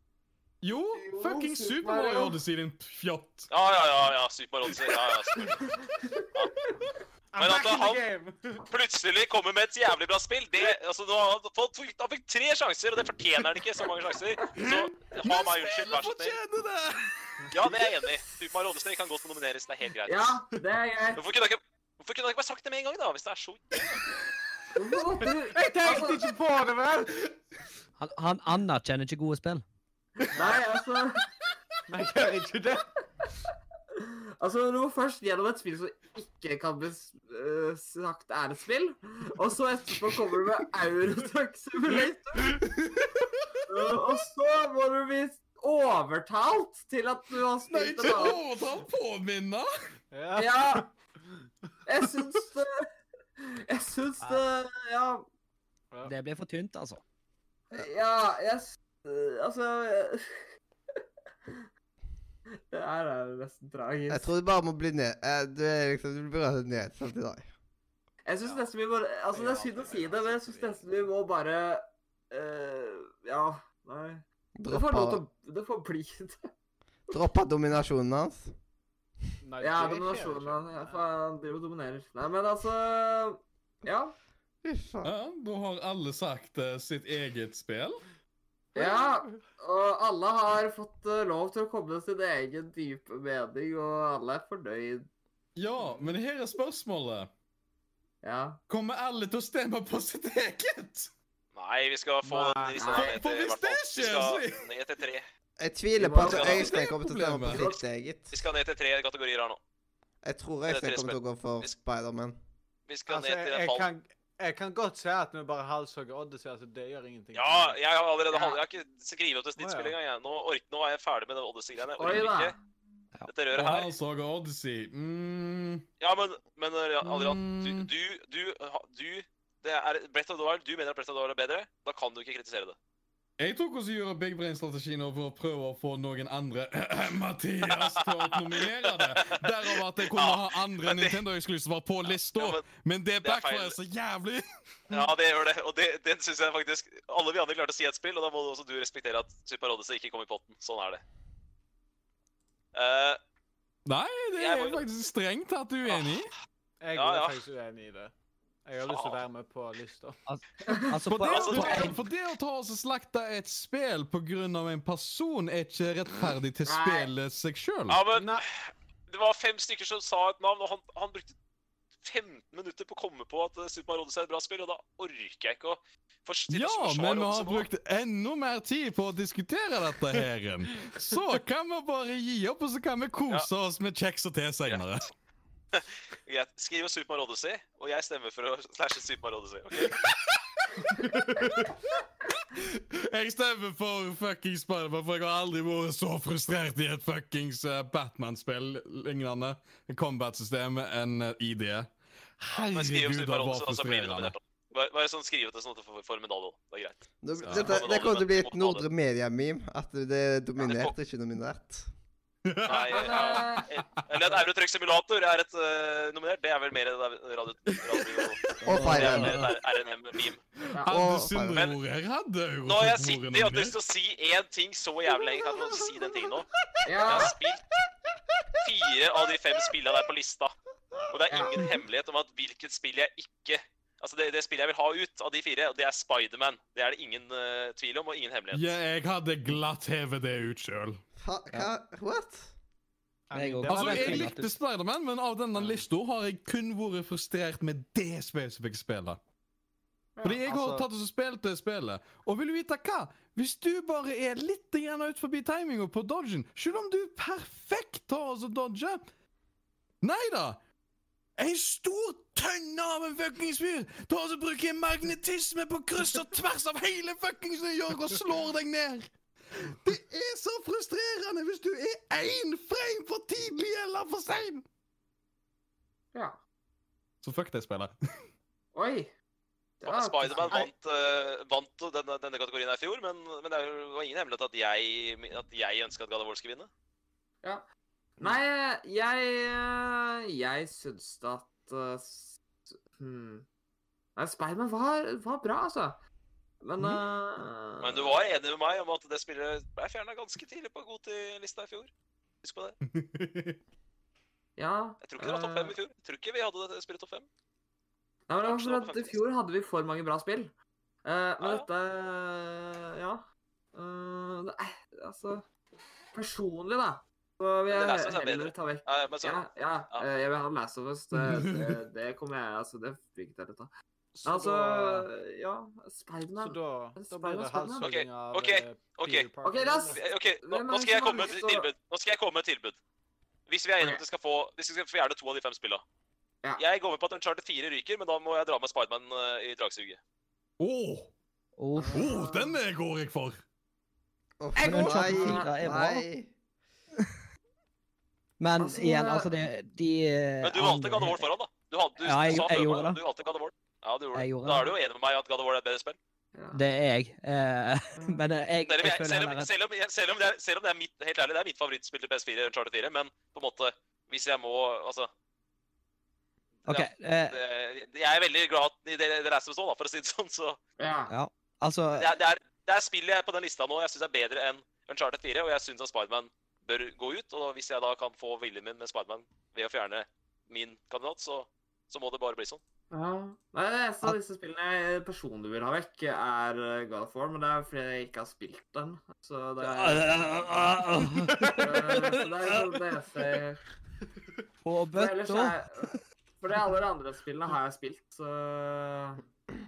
Speaker 6: Jo,
Speaker 3: Jo,
Speaker 6: fucking
Speaker 3: Super
Speaker 6: Super Mario
Speaker 3: Mario.
Speaker 6: Odyssey, din fjott.
Speaker 2: Ja, ja, ja. ja Super Mario Odyssey. Ja, ja, selvfølgelig.
Speaker 4: I'm
Speaker 2: Men
Speaker 4: back
Speaker 2: altså,
Speaker 4: in the
Speaker 2: han-
Speaker 4: game.
Speaker 2: plutselig kommer med et jævlig bra spill. Det, altså, nå har han, fått, han fikk tre sjanser, og det fortjener han ikke. Så mange sjanser. Så ha meg unnskyld, vær så snill.
Speaker 6: fortjener det!
Speaker 2: Ja, det er jeg enig i. Super Mario Odyssey kan godt nomineres. Det er helt greit.
Speaker 3: Ja, det er greit.
Speaker 2: Hvorfor kunne han ikke, hvorfor kunne han ikke bare sagt det med en gang, da? Hvis det er så
Speaker 3: Hvorfor måtte du-
Speaker 4: Jeg tenkte ikke på det, vel!
Speaker 8: Han, han anerkjenner ikke gode spill.
Speaker 3: Nei, altså
Speaker 4: Nei, jeg gjør ikke det.
Speaker 3: Altså, du må først gjennom et spill som ikke kan bli s- øh, sagt er et spill, og så etterpå kommer du med Eurotruck Simulator. Øh, og så må du bli overtalt til at du har
Speaker 6: Nei,
Speaker 3: spilt
Speaker 6: ikke
Speaker 3: et annet
Speaker 6: overtale, påminne!
Speaker 4: Ja.
Speaker 3: Ja. Jeg syns det Jeg syns det Ja.
Speaker 8: Det blir for tynt, altså.
Speaker 3: Ja, jeg s- øh, Altså jeg- Det her er nesten tragisk.
Speaker 1: Jeg tror du bare må bli ned... eh, Du er liksom, du blir rørt ned selv til dag.
Speaker 3: Jeg syns nesten vi må Altså, det er synd å si det, men jeg syns nesten vi må bare eh, Ja. Nei. Det får lov til
Speaker 1: Droppa,
Speaker 3: å Det får bli det.
Speaker 1: droppa dominasjonen hans.
Speaker 4: Nei,
Speaker 3: Ja,
Speaker 4: det skjer ikke.
Speaker 3: dominasjonen sånn, ja, faen, Han driver og dominerer. Nei, men altså Ja.
Speaker 1: Fy faen.
Speaker 6: Ja, da har alle sagt eh, sitt eget spill.
Speaker 3: Ja. Og alle har fått eh, lov til å komme med sin egen dype mening, og alle er fornøyd.
Speaker 6: Ja, men her er spørsmålet.
Speaker 3: Ja.
Speaker 6: Kommer alle til å stemme på sitt eget?
Speaker 2: Nei, vi skal få
Speaker 4: Nei.
Speaker 2: lista ned
Speaker 6: For
Speaker 2: til
Speaker 6: hvis
Speaker 2: hvert fall.
Speaker 6: det
Speaker 2: Vi
Speaker 6: skjer,
Speaker 2: skal ned til tre.
Speaker 1: Jeg tviler på at
Speaker 3: Det er
Speaker 1: Øystein kommer til å stemme på
Speaker 6: problemet.
Speaker 1: sitt eget.
Speaker 2: Vi skal ned til tre kategorier her nå.
Speaker 1: Jeg tror Øystein kommer til å gå for Spiderman.
Speaker 2: Vi skal
Speaker 4: Altså,
Speaker 2: ned til en
Speaker 4: jeg, jeg,
Speaker 2: fall.
Speaker 4: kan, jeg kan godt si at vi bare halshogger Odyssey. altså Det gjør ingenting.
Speaker 2: Ja, jeg har allerede halv... Jeg har ikke skrevet opp til
Speaker 4: Å, ja.
Speaker 2: snittspill engang. jeg. Nå, ork... Nå er jeg ferdig med den Odyssey-greiene. Jeg
Speaker 3: Oi
Speaker 2: orker
Speaker 3: da.
Speaker 2: ikke dette
Speaker 6: Og
Speaker 2: røret her.
Speaker 6: her sager Odyssey. Mm,
Speaker 2: Ja, men, men Adrian, du,
Speaker 6: Mm.
Speaker 2: du, du, du det er Brett of the Wild, du mener at Brett of the Wild er bedre. Da kan du ikke kritisere det.
Speaker 6: jeg tok også gjøre Big Brain-strategien over å prøve å få noen andre Mathias til å nominere det. Derav at jeg kunne
Speaker 2: Ja,
Speaker 6: ha andre
Speaker 2: men det-
Speaker 6: Nintendo-eksklusiver på lista.
Speaker 2: Ja, men,
Speaker 6: Men det
Speaker 2: Det er
Speaker 6: backfirer
Speaker 2: feil.
Speaker 6: så jævlig!
Speaker 2: ja det gjør det. Og det, den syns jeg faktisk Alle vi andre klarte å si et spill, og da må også du respektere at Super Odyssey ikke kom i potten. Sånn er det. Eh,
Speaker 6: Nei, det
Speaker 2: Jeg
Speaker 6: er
Speaker 2: må-
Speaker 6: jeg faktisk strengt tatt uenig i.
Speaker 4: Jeg
Speaker 2: Ja,
Speaker 4: er
Speaker 2: ja.
Speaker 4: faktisk uenig i det. Jeg har lyst til å være med på lista.
Speaker 8: Altså,
Speaker 6: For Ah, det,
Speaker 2: altså,
Speaker 6: for,
Speaker 2: du-
Speaker 6: det, for det å ta og så slakte et spill pga. en person er ikke rettferdig til
Speaker 3: Nei.
Speaker 6: spillet seg sjøl.
Speaker 2: ja, men
Speaker 4: Nei.
Speaker 2: Det var fem stykker som sa et navn, og han, han brukte 15 minutter på å komme på at eh, Super Mario Odyssey er et bra spill, og da orker jeg ikke å for- stille
Speaker 6: Ja,
Speaker 2: spørsmål
Speaker 6: men vi
Speaker 2: om
Speaker 6: har
Speaker 2: som-
Speaker 6: brukt enda mer tid på å diskutere dette her. Så kan vi bare gi opp, og så kan vi kose oss med kjeks og te seinere.
Speaker 2: Greit. Skriv Super Mario Odyssey, og jeg stemmer for å slashe Super Mario Odyssey. ok?
Speaker 6: Jeg stemmer for fuckings Spiderman, for jeg har aldri vært så frustrert i et fuckings eh, Batman-spill lignende combat-system enn eh, i det.
Speaker 2: Men skriv opp
Speaker 6: Herregud, det var
Speaker 2: superanse, og så blir
Speaker 6: frustrerende.
Speaker 2: det nominert. da. Bare, bare sånn skriv opp det sånn at du får, får medalje. også. Det er greit.
Speaker 1: Det,
Speaker 6: Ja.
Speaker 1: dette, det kommer til å bli et Nordre Media-meme. At det er dominert, ikke nominert.
Speaker 2: Nei, eh, eller at Eurotrack-simulator er et eh, nominert. Det er vel mer radio... radio, radio
Speaker 1: Og
Speaker 2: det er
Speaker 1: Fire
Speaker 2: mer
Speaker 1: Emblem.
Speaker 2: et RNM-meme.
Speaker 6: Hadde
Speaker 1: Og-
Speaker 6: Sindre jeg hadde jo
Speaker 2: Nå har jeg
Speaker 6: fått
Speaker 2: sittet
Speaker 6: ordene
Speaker 2: og hatt
Speaker 6: mine.
Speaker 2: lyst til å si én ting så jævlig lenge. Kan jeg få lov til å si den tingen nå?
Speaker 3: Ja,
Speaker 2: Jeg har spilt fire av de fem spillene der på lista. Og det er ingen hemmelighet om at hvilket spill jeg ikke Altså det, det spillet jeg vil ha ut av de fire, og det er Spiderman. Det er det ingen eh, tvil om, og ingen hemmelighet.
Speaker 6: Ja, jeg hadde glatt hevet det ut sjøl.
Speaker 1: Fa, hva? What?
Speaker 8: Jeg
Speaker 10: det var
Speaker 6: Altså,
Speaker 10: det
Speaker 6: jeg
Speaker 10: fint.
Speaker 6: likte Spiderman, men av denne lista har jeg kun vært frustrert med det spesifikke spillet. Fordi jeg har
Speaker 10: altså-
Speaker 6: tatt og spilt det spillet. Og vil du vite hva? Hvis du bare er litt grann ut forbi timinga på dodgen, selv om du perfekt tar oss og dodger Nei da! En stor tønne av en fuckings fyr tar oss og bruker magnetisme på kryss og tvers av hele fuckings New York og slår deg ned! Det er så frustrerende hvis du er én frame for tidlig eller for sein!
Speaker 3: ja.
Speaker 6: Så fuck det spillet.
Speaker 3: Oi. Det
Speaker 2: Ja,
Speaker 3: er-
Speaker 2: Spiderman vant, eh, vant denne, denne kategorien her i fjor, men, men det er jo- det var ingen hemmelighet at jeg, at jeg ønska at God of War skulle vinne.
Speaker 3: Nei, jeg eh, Jeg syns at eh, s- hmm. Nei, Spiderman var, var bra, altså.
Speaker 10: Mhm.
Speaker 3: Men eh,
Speaker 2: Men du var enig med meg om at det spillet ble fjerna ganske tidlig på Goti-lista i fjor. Husk på det.
Speaker 3: Ja. eh,
Speaker 2: Jeg tror ikke det var topp fem i fjor. Jeg tror ikke vi hadde det spillet topp fem.
Speaker 3: Nei, men det var
Speaker 2: Kanskje det var på
Speaker 3: for at I
Speaker 2: femte.
Speaker 3: fjor hadde vi for mange bra spill. Eh, men
Speaker 2: Ja, ja.
Speaker 3: dette Ja. Eh, det er, altså Personlig, da, så vil
Speaker 2: Men det
Speaker 3: jeg
Speaker 2: Last of Us er
Speaker 3: heller
Speaker 2: bedre.
Speaker 3: ta vekk
Speaker 2: Ja, men så,
Speaker 3: Ja, ja,
Speaker 2: Ja.
Speaker 3: eh, jeg vil ha Last of Us. Det, det, det kommer jeg Altså, det fryket jeg litt av.
Speaker 10: Så
Speaker 3: Altså,
Speaker 10: da-
Speaker 3: ja
Speaker 10: så da,
Speaker 3: Spiderman.
Speaker 10: da blir det
Speaker 3: Spider-Man.
Speaker 10: halshugging av
Speaker 2: Ok,
Speaker 10: eh,
Speaker 2: ok. Eh,
Speaker 10: Peter Parker.
Speaker 3: OK, la oss
Speaker 2: OK, nå,
Speaker 3: Hvem er
Speaker 2: nå
Speaker 3: det
Speaker 2: skal jeg
Speaker 3: som har
Speaker 2: komme med
Speaker 3: lyst
Speaker 2: et
Speaker 3: til å-
Speaker 2: tilbud. Nå skal jeg komme med et tilbud. Hvis vi er enige om
Speaker 3: Ok.
Speaker 2: at vi skal få Hvis vi skal fjerne to av de fem spilla.
Speaker 3: Ja.
Speaker 2: Jeg går med på at Uncharted 4 ryker, men da må jeg dra med Spiderman eh, i dragsuget.
Speaker 6: Åh,
Speaker 8: Uff.
Speaker 6: åh, den er- går jeg for!
Speaker 1: Uff,
Speaker 8: Jeg går
Speaker 1: nei,
Speaker 8: ikke. Det er bra.
Speaker 1: nei.
Speaker 8: Men
Speaker 3: Altså,
Speaker 8: igjen,
Speaker 3: det-
Speaker 8: altså, det de eh,
Speaker 2: Men du valgte God of War foran, da. Du, hadde, du,
Speaker 8: Ja, jeg-
Speaker 2: du sa
Speaker 8: jeg
Speaker 2: før
Speaker 8: gjorde
Speaker 2: meg at
Speaker 8: det.
Speaker 2: du hatet God of War. Ja, du gjorde
Speaker 8: Jeg
Speaker 2: det.
Speaker 8: gjorde
Speaker 2: Da
Speaker 8: det.
Speaker 2: er du jo enig med meg at God of War er et bedre spill.
Speaker 3: ja.
Speaker 8: Det er jeg. Eh, men eh, jeg,
Speaker 2: Selv om,
Speaker 8: jeg
Speaker 2: jeg,
Speaker 8: føler
Speaker 2: selv, om,
Speaker 8: heller at
Speaker 2: selv, om, jeg- selv, om det er, selv om det er mitt helt ærlig, det er mitt favorittspill til PS4, Uncharted 4, men på en måte Hvis jeg må Altså.
Speaker 8: OK. eh,
Speaker 2: Det, jeg er veldig glad i det, det resten består, da, for å si det sånn. Så
Speaker 3: ja.
Speaker 8: Altså,
Speaker 2: det er, det er, det er spillet jeg på den lista nå jeg syns er bedre enn Uncharted 4, og jeg syns at Spiderman bør gå ut. Og hvis jeg da kan få viljen min med Spiderman ved å fjerne min kandidat, så, så må det bare bli sånn.
Speaker 3: Ja. Nei, det eneste av disse spillene jeg personlig vil ha vekk, er eh, God of War. Men det er fordi jeg ikke har spilt den. Så det er, Eh, så det, er liksom det eneste jeg
Speaker 8: På
Speaker 3: For ellers
Speaker 8: bøtta.
Speaker 3: er For de alle de andre spillene har jeg spilt, så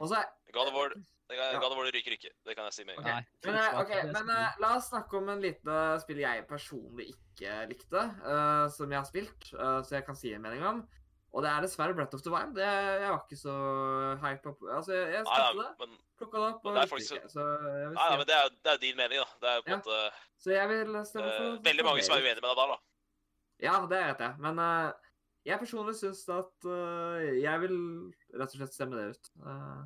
Speaker 3: Og så er
Speaker 8: Eh,
Speaker 2: God of War,
Speaker 3: Ja.
Speaker 2: God of War ryker ikke. Det kan jeg si med en gang.
Speaker 8: Nei.
Speaker 3: men, eh, ok, men eh, la oss snakke om en liten spill jeg personlig ikke likte, eh, som jeg har spilt, eh, så jeg kan si en mening om. Og det er dessverre Breath of the Wild. Det, jeg var ikke så hype på Altså, jeg, jeg
Speaker 2: Nei,
Speaker 3: spilte
Speaker 2: nei,
Speaker 3: det,
Speaker 2: men,
Speaker 3: plukka det opp,
Speaker 2: Men
Speaker 3: og
Speaker 2: det er
Speaker 3: likte
Speaker 2: folk
Speaker 3: det
Speaker 2: som-
Speaker 3: ikke. Så jeg vil
Speaker 2: nei, nei, men
Speaker 3: si
Speaker 2: det er det er din mening, da. Det er på en
Speaker 3: Ja.
Speaker 2: måte
Speaker 3: Så jeg vil stemme for
Speaker 2: eh, veldig mange som er uenige med deg der, da.
Speaker 3: Ja, det vet jeg. Men eh, jeg personlig syns at eh, Jeg vil rett og slett stemme det ut. Eh,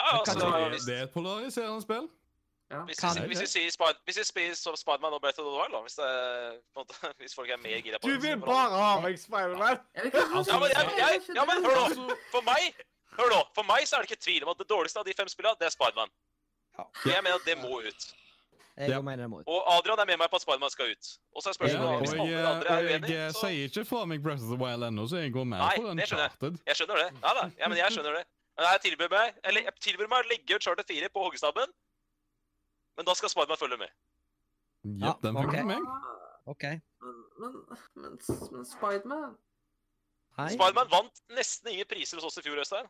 Speaker 2: Ja,
Speaker 8: Men
Speaker 2: altså,
Speaker 8: kanskje
Speaker 6: Det,
Speaker 2: hvis,
Speaker 6: det er et polariserende spill.
Speaker 3: ja.
Speaker 2: hvis,
Speaker 8: Kan
Speaker 2: vi,
Speaker 8: jeg
Speaker 2: hvis,
Speaker 8: det?
Speaker 2: vi sier Spider, hvis vi sier som Spiderman og Breath of the Wild, da, hvis, det, er- på en måte, hvis folk er mer gira på
Speaker 4: Du
Speaker 2: det, så
Speaker 4: vil
Speaker 2: får
Speaker 4: bare ha meg, Spiderman!
Speaker 3: Jeg vil ikke ha
Speaker 2: Ja, men, jeg, jeg, ja, men hør nå! For meg, hør nå, for meg så er det ikke tvil om at det dårligste av de fem spillene, det er Spiderman.
Speaker 8: Ja.
Speaker 2: Det Jeg mener at det må ut.
Speaker 8: Jeg
Speaker 6: Ja.
Speaker 8: mener det må ut.
Speaker 2: Og Adrian er med meg på at Spiderman skal ut. Og så er
Speaker 6: Ja,
Speaker 2: spørsmålet
Speaker 6: og
Speaker 2: hvis
Speaker 6: jeg,
Speaker 2: alle de andre er
Speaker 6: og jeg
Speaker 2: uenige,
Speaker 6: eh,
Speaker 2: så
Speaker 6: sier ikke fra meg Breath of the Wild ennå, så jeg går med
Speaker 2: Nei,
Speaker 6: på den
Speaker 2: det skjønner jeg.
Speaker 6: charted.
Speaker 2: Jeg skjønner det. Ja da, ja, men jeg skjønner det. Men jeg tilbyr meg, eller jeg tilbyr meg å legge ut Charter 4 på hoggestabben, men da skal Spiderman følge med.
Speaker 8: Ja,
Speaker 6: Jepp, den funker
Speaker 8: ok.
Speaker 6: for meg.
Speaker 8: OK.
Speaker 3: Men, men, men, men Spiderman
Speaker 8: Hei.
Speaker 2: Spiderman vant nesten ingen priser hos oss i fjor, Øystein.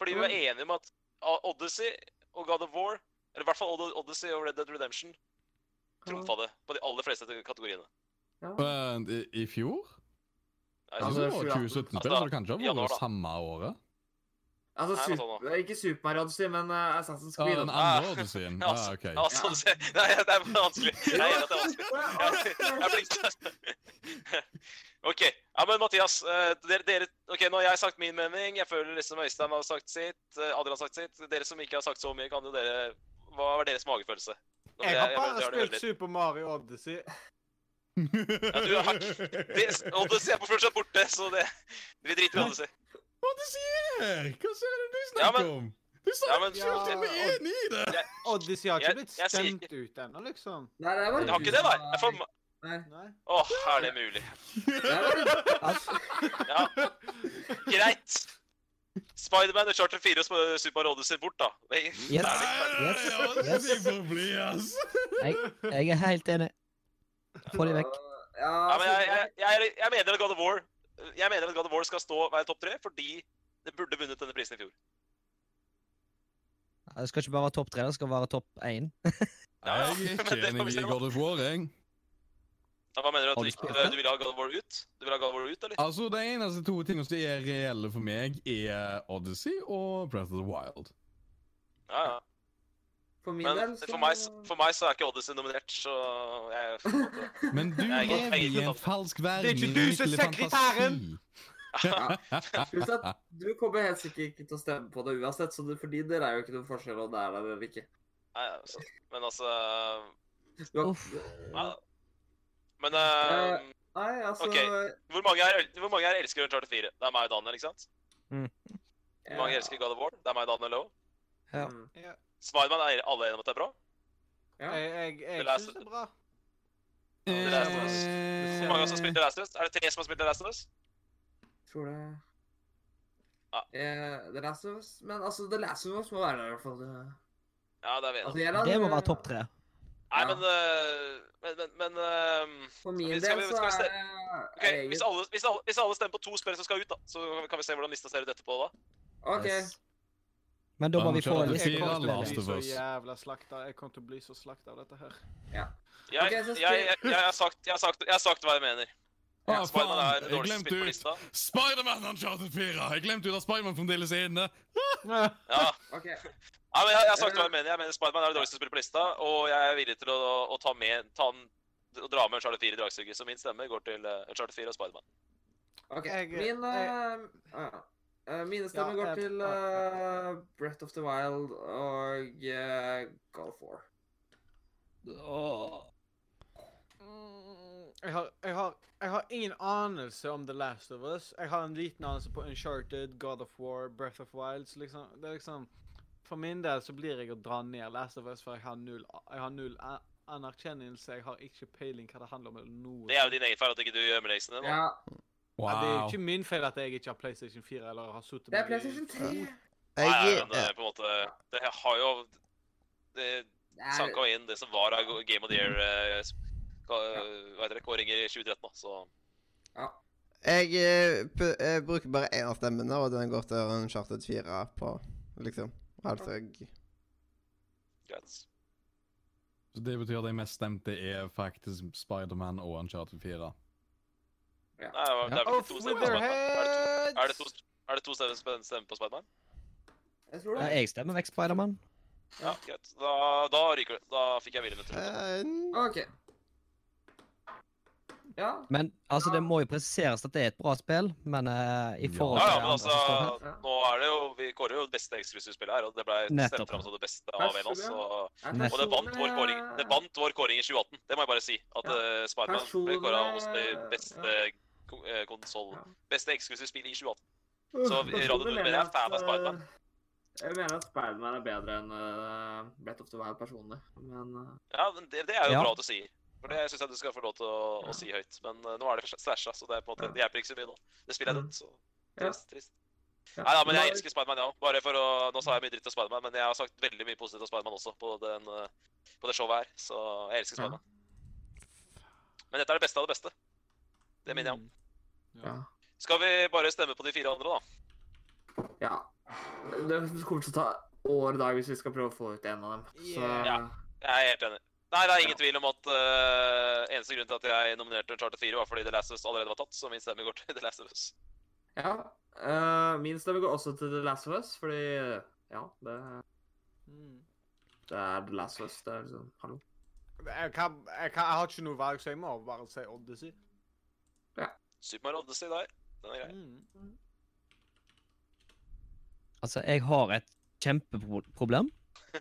Speaker 2: Fordi vi var enige om at O- Odyssey og God of War, eller i hvert fall Od- Odyssey og Red Dead Redemption, trumfa det på de aller fleste kategoriene.
Speaker 3: ja.
Speaker 6: Eh, I, I fjor?
Speaker 2: Nei,
Speaker 3: Ja,
Speaker 6: Jeg
Speaker 2: så-
Speaker 6: synes
Speaker 3: det
Speaker 6: det
Speaker 3: er
Speaker 6: var
Speaker 3: 2018.
Speaker 6: 2017-spill, så det kan ikke
Speaker 2: Ja,
Speaker 6: ha
Speaker 2: da,
Speaker 6: vært
Speaker 2: da.
Speaker 6: samme året.
Speaker 3: Altså,
Speaker 2: Nei, hva sa
Speaker 3: super, ikke Super Mario Odyssey, men eh, Assassin's
Speaker 6: Ja,
Speaker 3: Creed.
Speaker 6: den
Speaker 3: da.
Speaker 6: andre Odysseen. Ja,
Speaker 2: altså-
Speaker 6: OK.
Speaker 2: Ja, sånn ser- Nei, det er vanskelig. Jeg er enig i at det er vanskelig. Ja, Jeg blinka. OK. Ja, men Mathias, eh, dere, dere Ok, nå har jeg sagt min mening. Jeg føler liksom Øystein har sagt sitt. eh, Adrian har sagt sitt. Dere som ikke har sagt så mye, kan jo dere Hva var deres magefølelse? Nå,
Speaker 4: Jeg har
Speaker 2: jeg
Speaker 4: bare
Speaker 2: hører det
Speaker 4: spilt
Speaker 2: litt.
Speaker 4: Super Mario Odyssey.
Speaker 2: Ja, du har ikke- det- Odyssey er på fortsatt borte, så det Vi driter i Odyssey.
Speaker 6: Hva du sier? Hva er det du
Speaker 2: Ja,
Speaker 6: snakker
Speaker 2: men-
Speaker 6: om? Du sa
Speaker 2: Ja,
Speaker 6: jo
Speaker 2: men-
Speaker 6: ikke at du er enig i det!
Speaker 4: Odyssey har
Speaker 2: Jeg-
Speaker 4: ikke blitt
Speaker 2: jeg sier
Speaker 4: stemt ut ennå, liksom.
Speaker 3: Nei, det er bare
Speaker 2: Jeg har ikke det, da. Jeg får...
Speaker 3: Nei.
Speaker 4: Nei.
Speaker 2: Åh, er det mulig?
Speaker 3: Det er bare-
Speaker 2: Ja. Greit. Spiderman og Charter 4 og Sp- Super Mario Odyssey bort, da. Nei,
Speaker 8: Yes.
Speaker 2: det er det.
Speaker 8: Yes.
Speaker 6: Yes. Yes. får bli, ass.
Speaker 8: Jeg er helt enig. Få de vekk.
Speaker 3: Ja,
Speaker 2: Ja, men jeg,
Speaker 3: Super-
Speaker 2: jeg, jeg, jeg mener at God of War Jeg mener at God of War skal stå være topp tre, fordi det burde vunnet denne prisen i fjor.
Speaker 8: Det skal ikke bare være topp tre, det skal være topp én.
Speaker 2: Ja, ja.
Speaker 6: Jeg er
Speaker 2: Men det
Speaker 6: ikke
Speaker 2: får vi
Speaker 6: enig
Speaker 2: se,
Speaker 6: i
Speaker 2: da.
Speaker 6: God of War, jeg.
Speaker 2: Ja, Hva mener du? At
Speaker 8: Har du
Speaker 2: du,
Speaker 8: spilt
Speaker 2: ikke-
Speaker 8: det?
Speaker 2: du vil ha God of War ut? Du vil ha God of War ut, eller?
Speaker 6: Altså, De eneste to tingene som er reelle for meg, er Odyssey og Breath of the Wild.
Speaker 2: Ja, ja.
Speaker 3: For min
Speaker 2: Men
Speaker 3: del, så
Speaker 2: for meg, s- for meg så er ikke Odyssey nominert, så jeg
Speaker 6: Men du
Speaker 2: Nei, jeg-
Speaker 6: lever i
Speaker 2: jeg-
Speaker 6: en falsk verden.
Speaker 4: Det er ikke
Speaker 6: i
Speaker 4: du som er
Speaker 6: virkelig fantasi.
Speaker 3: Pluss at du kommer helt sikkert ikke til å stemme på det uansett, så det, for din del er jo ikke noen forskjell om det er der eller ikke.
Speaker 2: Nei, altså, Men altså
Speaker 3: Du har,
Speaker 8: Uff.
Speaker 2: ja. Men eh,
Speaker 3: Nei, altså
Speaker 2: Ok. hvor, mange er, hvor mange her elsker Uncharted 4? Det er meg og Daniel, ikke sant? Hvor mange elsker God of War? Det er meg og Daniel òg.
Speaker 8: Ja.
Speaker 3: Mm.
Speaker 2: Spiderman er alle enige om at det er bra?
Speaker 3: Ja.
Speaker 4: Jeg, jeg, jeg
Speaker 2: Det leser-
Speaker 4: syns det er bra.
Speaker 2: Det er sånn, ass.
Speaker 6: Eh,
Speaker 2: Hvor mange som har spilt The Last of Us? Er det tre som har spilt The Last of Us?
Speaker 3: Tror det
Speaker 2: Ja.
Speaker 3: Eh, The Last of Us Men altså, The Last of Us må være der, i hvert fall. Det-
Speaker 2: Ja, det er vi enige om.
Speaker 3: Altså, jeg lar-
Speaker 8: Det må være topp tre.
Speaker 2: Nei,
Speaker 3: Ja.
Speaker 2: men øh, Men, men, men øh,
Speaker 3: For min del
Speaker 2: Skal vi-
Speaker 3: så
Speaker 2: skal vi
Speaker 3: er
Speaker 2: se- ok,
Speaker 3: jeg-
Speaker 2: hvis, alle, hvis, alle, hvis alle stemmer på to spill som skal ut, da, så kan vi- kan vi se hvordan lista ser ut etterpå. da.
Speaker 3: OK.
Speaker 8: Men da må vi få
Speaker 6: Uncharted
Speaker 8: listen.
Speaker 4: Jeg
Speaker 6: fire,
Speaker 4: kommer til å
Speaker 6: Last
Speaker 4: bli
Speaker 6: of
Speaker 4: så
Speaker 6: Us.
Speaker 4: jævla slakta. Jeg kommer til å bli så slakta av dette her.
Speaker 2: Jeg,
Speaker 3: Ok, så
Speaker 2: jeg,
Speaker 3: skal-
Speaker 2: jeg, jeg, har sagt, jeg, har sagt, jeg har sagt hva jeg mener.
Speaker 6: Å,
Speaker 2: Spiderman
Speaker 6: faen,
Speaker 2: er
Speaker 6: jeg
Speaker 2: dårligst spill på
Speaker 6: glemte ut
Speaker 2: lista.
Speaker 6: Spiderman Uncharted 4! Jeg glemte ut at Spiderman fremdeles er inne.
Speaker 2: Ja.
Speaker 3: ok.
Speaker 2: Nei, men jeg, jeg har sagt hva jeg mener. Jeg mener Spiderman er det dårligste spillet på lista, og jeg er villig til å, å ta med ta en, å dra med Charlotte 4 i dragsuget, så min stemme går til uh, Charlotte 4 og Spiderman.
Speaker 3: ok.
Speaker 4: Jeg-
Speaker 3: Min
Speaker 4: jeg-
Speaker 3: eh, ah, eh, Mine stemmer
Speaker 4: Ja,
Speaker 3: går
Speaker 4: jeg-
Speaker 3: til
Speaker 4: ah, ja.
Speaker 3: eh, Breath of the Wild og eh, God of War.
Speaker 4: Mm, Jeg har, jeg, har, jeg har ingen anelse om The Last of Us. Jeg har en liten anelse på Uncharted, God of War, Breath of Wilds. Liksom, det er liksom, for min del så blir jeg å dra ned Last of Us, for jeg har null, a- jeg har null a- anerkjennelse. Jeg har ikke peiling hva det handler om. eller noe.
Speaker 2: Det er jo din egen feil at ikke du gjør med leksene. nå.
Speaker 3: Ja,
Speaker 4: Ja, det er jo
Speaker 6: Wow.
Speaker 4: ikke min feil at jeg ikke har PlayStation 4 eller har suttet
Speaker 3: det er
Speaker 4: meg i-
Speaker 3: PlayStation 3.
Speaker 2: Nei,
Speaker 1: Jeg,
Speaker 2: men det er på en måte Det har jo det,
Speaker 3: Det er-
Speaker 2: sanka inn det som var av Game of the Year eh, sp- ka- eh, hva heter det, kåringer i 2013. da, Så
Speaker 1: jeg, eh, pu- eh, bruker bare én av stemmene, og den går til Uncharted 4 på, liksom. Altså jeg-
Speaker 2: greit.
Speaker 6: Så det betyr at de mest stemte er faktisk Spiderman og Uncharted 4.
Speaker 2: Nei, det er vel
Speaker 4: Off
Speaker 2: ikke to
Speaker 4: with
Speaker 2: stemmer på
Speaker 4: their
Speaker 2: Spiderman.
Speaker 4: heads!
Speaker 2: Er det to, er det to, er det to stemmer, sp- stemmer på Spiderman?
Speaker 3: Jeg tror
Speaker 8: Ja,
Speaker 3: det.
Speaker 8: jeg stemmer vekk Spiderman.
Speaker 2: Ja, greit. Da, da ryker det. Da fikk jeg viljen etter.
Speaker 1: eh,
Speaker 3: OK. Ja.
Speaker 8: Men altså, det må jo presiseres at det er et bra spill, men eh, i
Speaker 6: Ja.
Speaker 8: forhold
Speaker 2: Ja,
Speaker 8: til
Speaker 2: ja,
Speaker 8: det
Speaker 2: men
Speaker 8: andre som står her
Speaker 2: altså, nå er det jo, vi kårer jo det beste eksklusive spillet her, og det ble
Speaker 8: Nettopp.
Speaker 2: stemt fram som det beste av en av oss. Og,
Speaker 3: er
Speaker 2: og det vant vår
Speaker 3: personene-
Speaker 2: kåring Det vant vår kåring i 2018, det må jeg bare si. At
Speaker 3: Ja.
Speaker 2: eh, Spiderman ble kåra hos det
Speaker 3: Personene-
Speaker 2: beste ko- eh, konsoll...
Speaker 3: Ja.
Speaker 2: Beste eksklusive spill i 2018.
Speaker 3: Uh,
Speaker 2: Så vi- Radio
Speaker 3: personlig
Speaker 2: Nordmenn
Speaker 3: mener
Speaker 2: er
Speaker 3: at,
Speaker 2: fan av Spiderman.
Speaker 3: eh, Jeg mener at Spiderman er bedre enn uh, Brett of the Wild personlig. Men eh,
Speaker 2: Ja, men det, det er jo
Speaker 8: Ja.
Speaker 2: bra at du sier. For det syns jeg du skal få lov til å, å si høyt. Men eh, nå er det slasha, så det er på en måte, det hjelper ikke så mye nå. Det spillet er
Speaker 3: Mm.
Speaker 2: dødt, så
Speaker 3: Ja.
Speaker 2: trist. trist.
Speaker 3: ja.
Speaker 2: Nei da, men jeg
Speaker 3: Nå-
Speaker 2: elsker Spiderman, jeg ja. òg. Bare for å Nå sa jeg mye dritt om Spiderman, men jeg har sagt veldig mye positivt om Spiderman også på, den, eh, på det showet her. Så jeg elsker
Speaker 3: Ja.
Speaker 2: Spiderman. Men dette er det beste av det beste. Det minner jeg
Speaker 3: Mm.
Speaker 2: om.
Speaker 4: Mm. Ja.
Speaker 3: Ja.
Speaker 2: Skal vi bare stemme på de fire andre, da?
Speaker 3: Ja. Det kommer til å ta år og dag hvis vi skal prøve å få ut en av dem. Så
Speaker 2: Ja. Jeg er helt enig. Nei, det er ingen tvil om at eh, eneste grunn til at jeg nominerte Charter 4, var fordi The Last of Us allerede var tatt, så min stemme går til The Last of Us.
Speaker 3: Ja. eh, min stemme går også til The Last of Us, fordi Ja, det,
Speaker 6: Mm.
Speaker 3: det er The Last of Us. Det er liksom Hallo.
Speaker 4: Jeg, kan, jeg, kan, jeg har ikke noe valg, så jeg må bare si Odyssey.
Speaker 2: Super Mario Odyssey der. Den er grei.
Speaker 8: Altså, jeg har et kjempeproblem.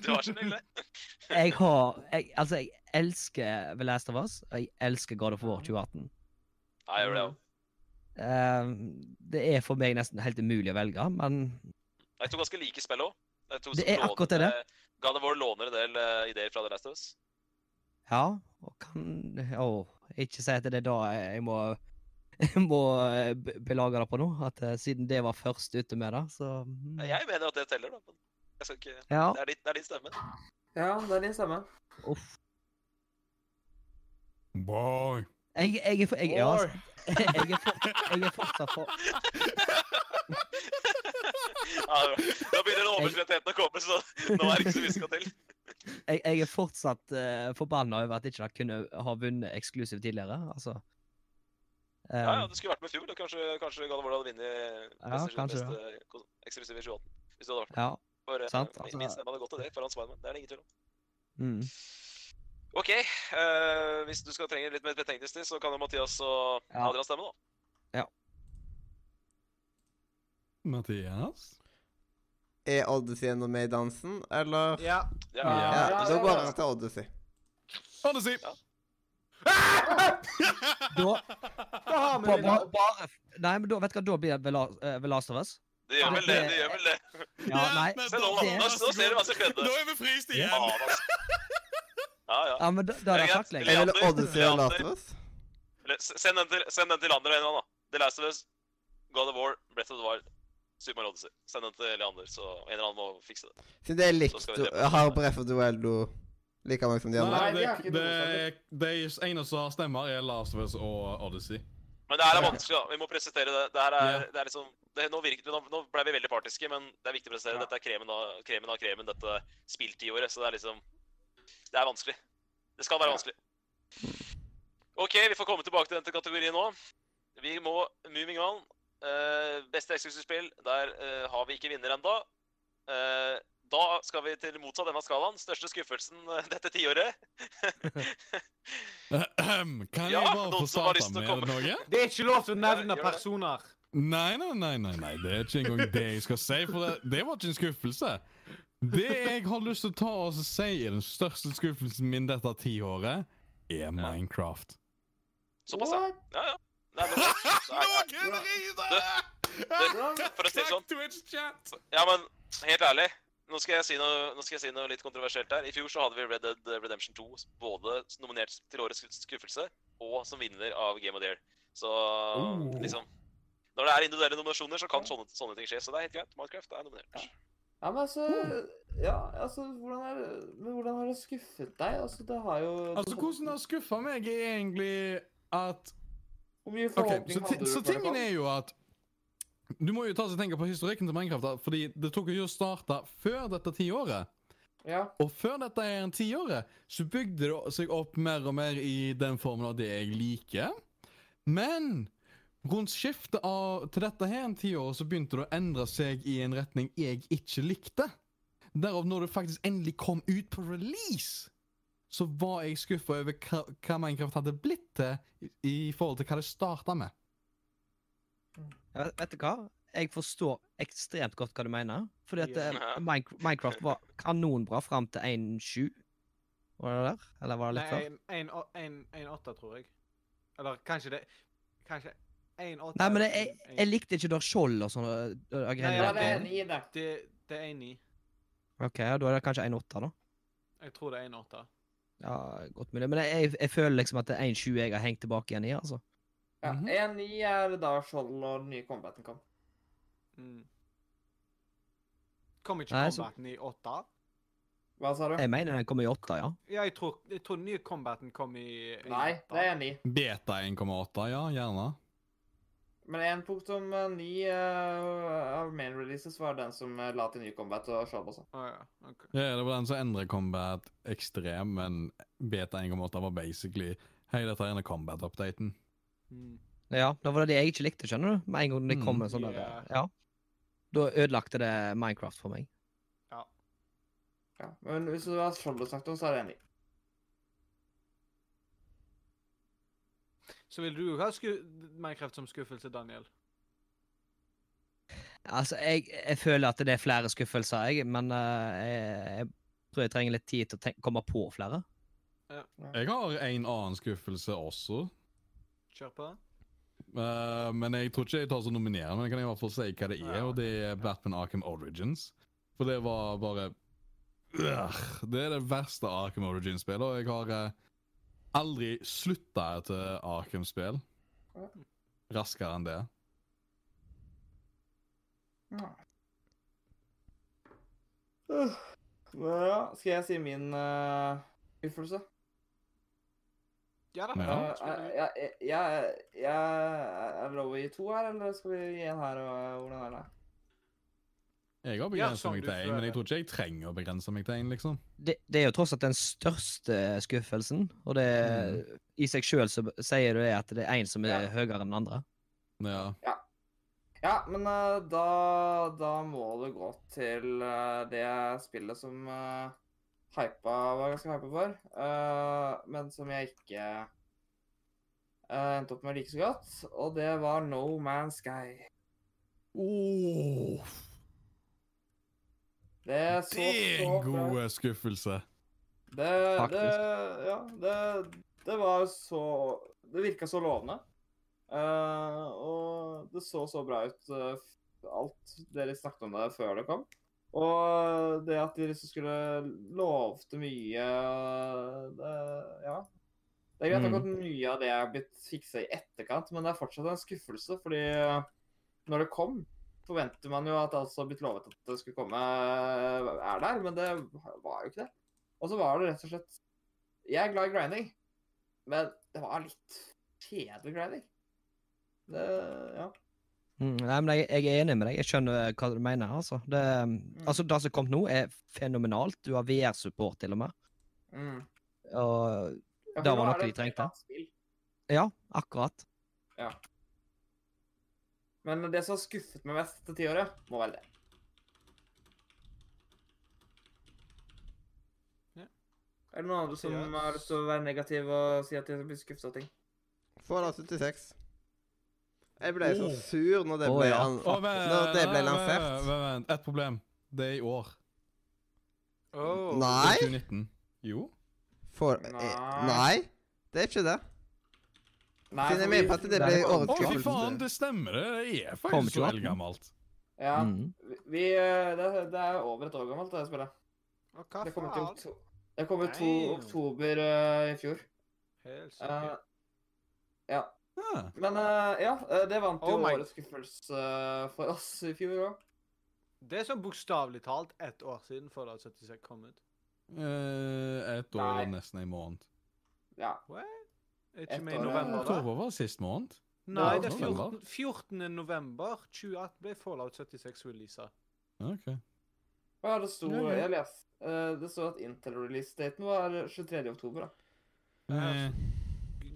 Speaker 2: du har ikke nøgle.
Speaker 8: Jeg har jeg, Altså, jeg elsker The Last of Us, og jeg elsker God of War 2018.
Speaker 2: Nei, jeg gjør det òg.
Speaker 8: Ehm, det er for meg nesten helt umulig å velge, men
Speaker 2: Det er to ganske like spill òg. Det er, to
Speaker 8: Det
Speaker 2: som
Speaker 8: er
Speaker 2: låner-
Speaker 8: akkurat det, det.
Speaker 2: eh, God of War låner en del eh, ideer fra The Last of Us.
Speaker 8: ja. Og kan Å, ikke si at det er da jeg må jeg må eh, be- belage det på nå, at eh, siden det var først ute med det, så mm.
Speaker 2: Jeg mener at det teller, da. Men jeg skal ikke...
Speaker 8: Ja.
Speaker 2: det, er din, det er din stemme.
Speaker 3: Ja, det er din stemme.
Speaker 8: Uff.
Speaker 6: Boy.
Speaker 8: Jeg, jeg er for, jeg, ja,
Speaker 6: Boy.
Speaker 8: altså, jeg, er for, jeg er fortsatt for
Speaker 2: Ja, det er bra. Nå begynner overslettheten å komme, så nå er det ikke så mye som skal til.
Speaker 8: Jeg, jeg er fortsatt uh, forbanna over at ikke de kunne ha vunnet eksklusivt tidligere. Altså
Speaker 2: Ja, ja,
Speaker 8: Ehm,
Speaker 2: Det skulle vært med i fjor. da. Kanskje, kanskje God of War hadde vunnet
Speaker 8: Ja,
Speaker 2: neste-
Speaker 8: kanskje det.
Speaker 2: neste kos- eksklusiv eh, i 2018. Hvis du hadde vært med.
Speaker 8: ja.
Speaker 2: For, eh,
Speaker 8: sant,
Speaker 2: min-
Speaker 8: altså-
Speaker 2: Min stemme hadde gått til det foran Spiderman. Det er det ingen tvil om.
Speaker 8: Mm.
Speaker 2: OK. eh, hvis du skal trenge litt mer betenkningstid, så kan jo Mathias og
Speaker 8: Ja.
Speaker 2: Adrian stemme, da.
Speaker 6: Mathias?
Speaker 1: Er Odyssey ennå med i dansen, eller?
Speaker 4: Ja.
Speaker 2: Ja.
Speaker 1: Ja, Da går han til Odyssey.
Speaker 6: Odyssey!
Speaker 8: Da,
Speaker 4: Da har vi
Speaker 8: ba,
Speaker 4: det.
Speaker 8: ba,
Speaker 4: da.
Speaker 8: bare Nei, men da, vet du hva, da blir det The La- eh, The Last of Us.
Speaker 2: Det gjør vel det. det, gjør vel det.
Speaker 8: Ja, nei.
Speaker 6: men
Speaker 2: Se, nå,
Speaker 6: da-
Speaker 8: det-
Speaker 2: nå, nå ser du hva som skjedde.
Speaker 6: Da er vi fryst
Speaker 2: Ja,
Speaker 6: igjen!
Speaker 2: altså. ja, ja.
Speaker 8: Ja, men da, da er det
Speaker 2: Jeg-
Speaker 8: takling.
Speaker 1: Jeg
Speaker 2: Leander,
Speaker 1: ville Odyssey og
Speaker 2: Leander.
Speaker 1: Last of Us.
Speaker 2: Eller, s- Send den til, send den til andre en gang, da. The Last of Us, God of War, Breath of the Wild, Super Mario Odyssey. Send den til Leander, så en eller annen må fikse det.
Speaker 1: Siden det er
Speaker 2: Så
Speaker 1: likt
Speaker 2: skal vi se på
Speaker 1: Jeg har Breff og Duello like mange som de andre.
Speaker 6: Nei,
Speaker 3: Nei,
Speaker 6: det,
Speaker 3: vi har
Speaker 6: det,
Speaker 3: ikke noe
Speaker 6: det er eneste som stemmer, er Last of Us og Odyssey.
Speaker 2: Men det her er vanskelig, da. Vi må presisere det. Det her er,
Speaker 6: Ja.
Speaker 2: det er liksom det, nå, virker, nå, nå ble vi veldig partiske, men det er viktig å presisere. Dette er kremen av kremen, av kremen dette spilltiåret, så det er liksom Det er vanskelig. Det skal være vanskelig. OK, vi får komme tilbake til denne kategorien nå. Vi må moving on. Eh, beste eksklusivspill, der eh, har vi ikke vinner ennå. da skal vi til motsatt ende av skalaen. Største skuffelsen eh, dette tiåret.
Speaker 6: Ahem, Kan
Speaker 2: Ja,
Speaker 6: jeg bare få
Speaker 2: noen som har lyst
Speaker 6: starte
Speaker 2: til å
Speaker 6: med
Speaker 2: komme.
Speaker 6: noe?
Speaker 4: Det er ikke lov til å
Speaker 2: Ja,
Speaker 4: nevne
Speaker 2: gjør det.
Speaker 4: personer.
Speaker 6: Nei, nei, nei, nei, nei, det er ikke engang det jeg skal si, for det, det var ikke en skuffelse. Det jeg har lyst til å ta og si er den største skuffelsen min dette tiåret, er Minecraft.
Speaker 2: Såpass, ja. ja, ja. Nei, men, nei, nei.
Speaker 6: griner!
Speaker 2: for å si det sånn.
Speaker 6: Twitch-chat!
Speaker 2: Ja, men helt ærlig. Nå skal, jeg si noe, nå skal jeg si noe litt kontroversielt her. I fjor så hadde vi Red Dead Redemption 2 både nominert til årets skuffelse og som vinner av Game of the Year. Så liksom Når det er individuelle nominasjoner, så kan sånne, sånne ting skje. Så det er helt greit. Minecraft er nominert.
Speaker 3: Ja, men altså Ja, altså, hvordan er Men hvordan har det skuffet deg? Altså, det har jo
Speaker 6: Altså, hvordan det har skuffa meg, er egentlig at
Speaker 3: Hvor mye
Speaker 6: Ok,
Speaker 3: forhåpning
Speaker 6: så, ti-
Speaker 3: hadde du?
Speaker 6: så
Speaker 3: for det kom?
Speaker 6: tingen er jo at Du må jo ta og tenke på historikken til Minecraft. da, Fordi det tok jo å starte før dette tiåret.
Speaker 3: Ja.
Speaker 6: Og før dette er en tiåret, så bygde det seg opp mer og mer i den formen av det jeg liker. Men rundt skiftet av, til dette her en tiåret, så begynte det å endre seg i en retning jeg ikke likte. Derav, når det faktisk endelig kom ut på release, så var jeg skuffa over hva, hva Minecraft hadde blitt til i, i forhold til hva det starta med.
Speaker 8: Ja, Vet vet du hva? Jeg forstår ekstremt godt hva du mener. Fordi at
Speaker 10: Ja.
Speaker 8: eh, Minec- Minecraft var kanonbra fram til 1.7. Var det der? Eller var det
Speaker 4: Nei,
Speaker 8: litt før?
Speaker 4: en- en å- en- en åtte, tror jeg. Eller kanskje det Kanskje en åtte.
Speaker 8: Nei, men det,
Speaker 4: eller
Speaker 8: jeg,
Speaker 4: en-
Speaker 8: jeg likte ikke Dar Skjold og sånne øh, øh,
Speaker 4: Nei,
Speaker 3: Ja,
Speaker 8: greier.
Speaker 4: ja,
Speaker 3: det
Speaker 8: der.
Speaker 3: er enig i det.
Speaker 4: Det, det er en ni.
Speaker 8: Ok, ja, Da er det kanskje 1.8, da.
Speaker 4: Jeg tror det er en åtte.
Speaker 8: Ja, godt mulig. Men jeg, jeg, jeg føler liksom at det er 1.7 jeg har hengt tilbake igjen i. altså.
Speaker 3: Ja,
Speaker 6: Mhm.
Speaker 3: 1-9 er da Skjold og den nye combaten kom.
Speaker 4: Mm. Kom ikke
Speaker 8: Nei, så-
Speaker 4: combaten i åtte?
Speaker 3: Hva sa du?
Speaker 8: Jeg mener den kommer i 8, ja.
Speaker 4: Ja, jeg tror, jeg tror den nye combaten kom i i
Speaker 3: Nei,
Speaker 4: åtte.
Speaker 3: det er 1-9.
Speaker 6: Beta 1,8, ja, gjerne.
Speaker 3: Men 1.9 uh, eh, av main releases var den som eh, la til ny combat og Skjold også.
Speaker 4: Å, Oh, ja. ok.
Speaker 6: Ja, det var den som endret Combat ekstrem, men Beta 1,8 var basically Hei, dette er en Combat-updaten.
Speaker 4: Mm.
Speaker 8: Ja, det var det jeg ikke likte, skjønner du. Med en gang det kom
Speaker 6: Mm.
Speaker 8: en sånn
Speaker 4: Ja.
Speaker 8: derre Ja. Da ødelagte det Minecraft for meg.
Speaker 3: Ja, men hvis det var Skjold du snakket om, så er jeg enig.
Speaker 4: Så vil du jo ha sku Minecraft som skuffelse, Daniel.
Speaker 8: Altså, jeg, jeg føler at det er flere skuffelser, jeg, men eh, jeg, jeg tror jeg trenger litt tid til å tenk- komme på flere.
Speaker 6: Jeg har en annen skuffelse også.
Speaker 4: Kjør på.
Speaker 6: Eh, men jeg tror ikke jeg tar så nominerer, men jeg kan i hvert fall si hva det er,
Speaker 4: Ja.
Speaker 6: og det er Batman Arkham Origins. For det var bare Ugh, Det er det verste Arkham Origins-spillet, og jeg har eh, aldri slutta et eh, Arkham-spill raskere enn det.
Speaker 3: Øh. Men ja, skal jeg si min uh, utførelse?
Speaker 4: Ja da.
Speaker 6: Ja.
Speaker 4: da
Speaker 3: Eh,
Speaker 4: spiller vi.
Speaker 3: jeg, jeg, jeg, jeg, eh, er det lov å gi to her, eller skal vi gi en her? og eh, hvordan er det?
Speaker 6: Jeg har
Speaker 4: Ja,
Speaker 6: begrensa
Speaker 4: som
Speaker 6: meg
Speaker 4: du
Speaker 6: til én, men
Speaker 4: føler.
Speaker 6: jeg tror ikke jeg trenger å begrense meg til én, liksom.
Speaker 8: Det, det er jo tross alt den største skuffelsen, og det i seg sjøl så b- sier det at det er én som er
Speaker 3: Mm. Ja.
Speaker 8: høyere enn den andre.
Speaker 6: Ja.
Speaker 3: Ja, men eh, da, da må det gå til eh, det spillet som uh, hypa, var ganske hypa for, eh, men som jeg ikke eh, endte opp med like så godt, og det var No Man's Sky.
Speaker 6: Oh,
Speaker 3: Det så
Speaker 6: det er
Speaker 3: så
Speaker 6: en
Speaker 3: bra
Speaker 6: god eh, skuffelse.
Speaker 3: Det,
Speaker 8: Faktisk.
Speaker 3: det, ja, det, det var så Det virka så lovende. Eh, og det så så bra ut, eh, f- alt dere snakket om det før det kom. Og det at de liksom skulle lovte mye det, Ja. Det er greit nok at mye av det er blitt fiksa i etterkant, men det er fortsatt en skuffelse, fordi når det kom, forventer man jo at alt som har blitt lovet at det skulle komme, er der, men det var jo ikke det. Og så var det rett og slett Jeg er glad i grinding, men det var litt kjedelig grinding. Det Ja.
Speaker 8: Mm, nei, men jeg, jeg er enig med deg. Jeg skjønner hva du mener. Altså, det,
Speaker 3: Mm.
Speaker 8: altså, det som kom nå, er fenomenalt. Du har VR-support, til og med.
Speaker 3: Mm.
Speaker 8: Og
Speaker 3: Ja, for
Speaker 8: Da
Speaker 3: nå
Speaker 8: var
Speaker 3: er
Speaker 8: nok de
Speaker 3: det et helt
Speaker 8: trengte.
Speaker 3: annet spill.
Speaker 8: ja, akkurat.
Speaker 3: Men det som har skuffet meg mest dette tiåret, må være det.
Speaker 4: Ja.
Speaker 3: Er det noen andre som
Speaker 4: Ja.
Speaker 3: har lyst til å være negativ og si at de blir skuffet av ting?
Speaker 1: Fallout 76. Jeg ble så sur når det
Speaker 8: Å,
Speaker 1: ble,
Speaker 8: ja.
Speaker 1: an-
Speaker 6: Å, men-
Speaker 1: når det ble
Speaker 6: nei,
Speaker 1: lansert.
Speaker 6: men- men- Et problem. Det er i år. Det
Speaker 4: Oh.
Speaker 6: er
Speaker 1: Nei?
Speaker 6: 2019. Jo.
Speaker 1: For, eh,
Speaker 3: Nei.
Speaker 1: nei, det er ikke det.
Speaker 3: Nei,
Speaker 1: Siden jeg mener på at det
Speaker 3: der
Speaker 1: ble
Speaker 3: var-
Speaker 1: årets
Speaker 6: Å, fy
Speaker 1: skuffelse.
Speaker 6: faen, det stemmer. Det Det er
Speaker 8: Kom
Speaker 6: faktisk
Speaker 8: til
Speaker 6: så
Speaker 8: 18.
Speaker 6: eldgammelt.
Speaker 3: Ja,
Speaker 8: Mm.
Speaker 3: vi, eh, det, det er over et år gammelt, det spillet.
Speaker 4: Og hva
Speaker 3: Det kom ut i
Speaker 4: faen?
Speaker 3: okto- det kom ut to-
Speaker 4: Damn.
Speaker 3: oktober eh, i fjor.
Speaker 4: Helt sikkert.
Speaker 3: Eh, ja.
Speaker 6: Ja.
Speaker 3: Men eh, ja, eh, det vant jo
Speaker 4: Oh my-
Speaker 3: årets skuffelse eh, for oss i fjor òg.
Speaker 4: Det er sånn bokstavelig talt ett år siden Fallout 76 kom ut.
Speaker 6: Eh, et år
Speaker 3: Nei.
Speaker 6: og nesten en måned. Eh,
Speaker 3: Ja.
Speaker 4: Er
Speaker 3: Ett
Speaker 4: Ikke med i
Speaker 3: år, ja.
Speaker 4: november, da?
Speaker 6: Oktober var sist måned.
Speaker 4: Nei,
Speaker 3: Ja,
Speaker 4: det er
Speaker 6: november.
Speaker 4: 14. 14. november 2018 ble Fallout 76 releasa.
Speaker 6: Ok.
Speaker 3: Å ja, det sto
Speaker 6: Ja, ja.
Speaker 3: Jeg les, eh, det sto at Intel-release-daten var 23. oktober, da.
Speaker 6: Eh,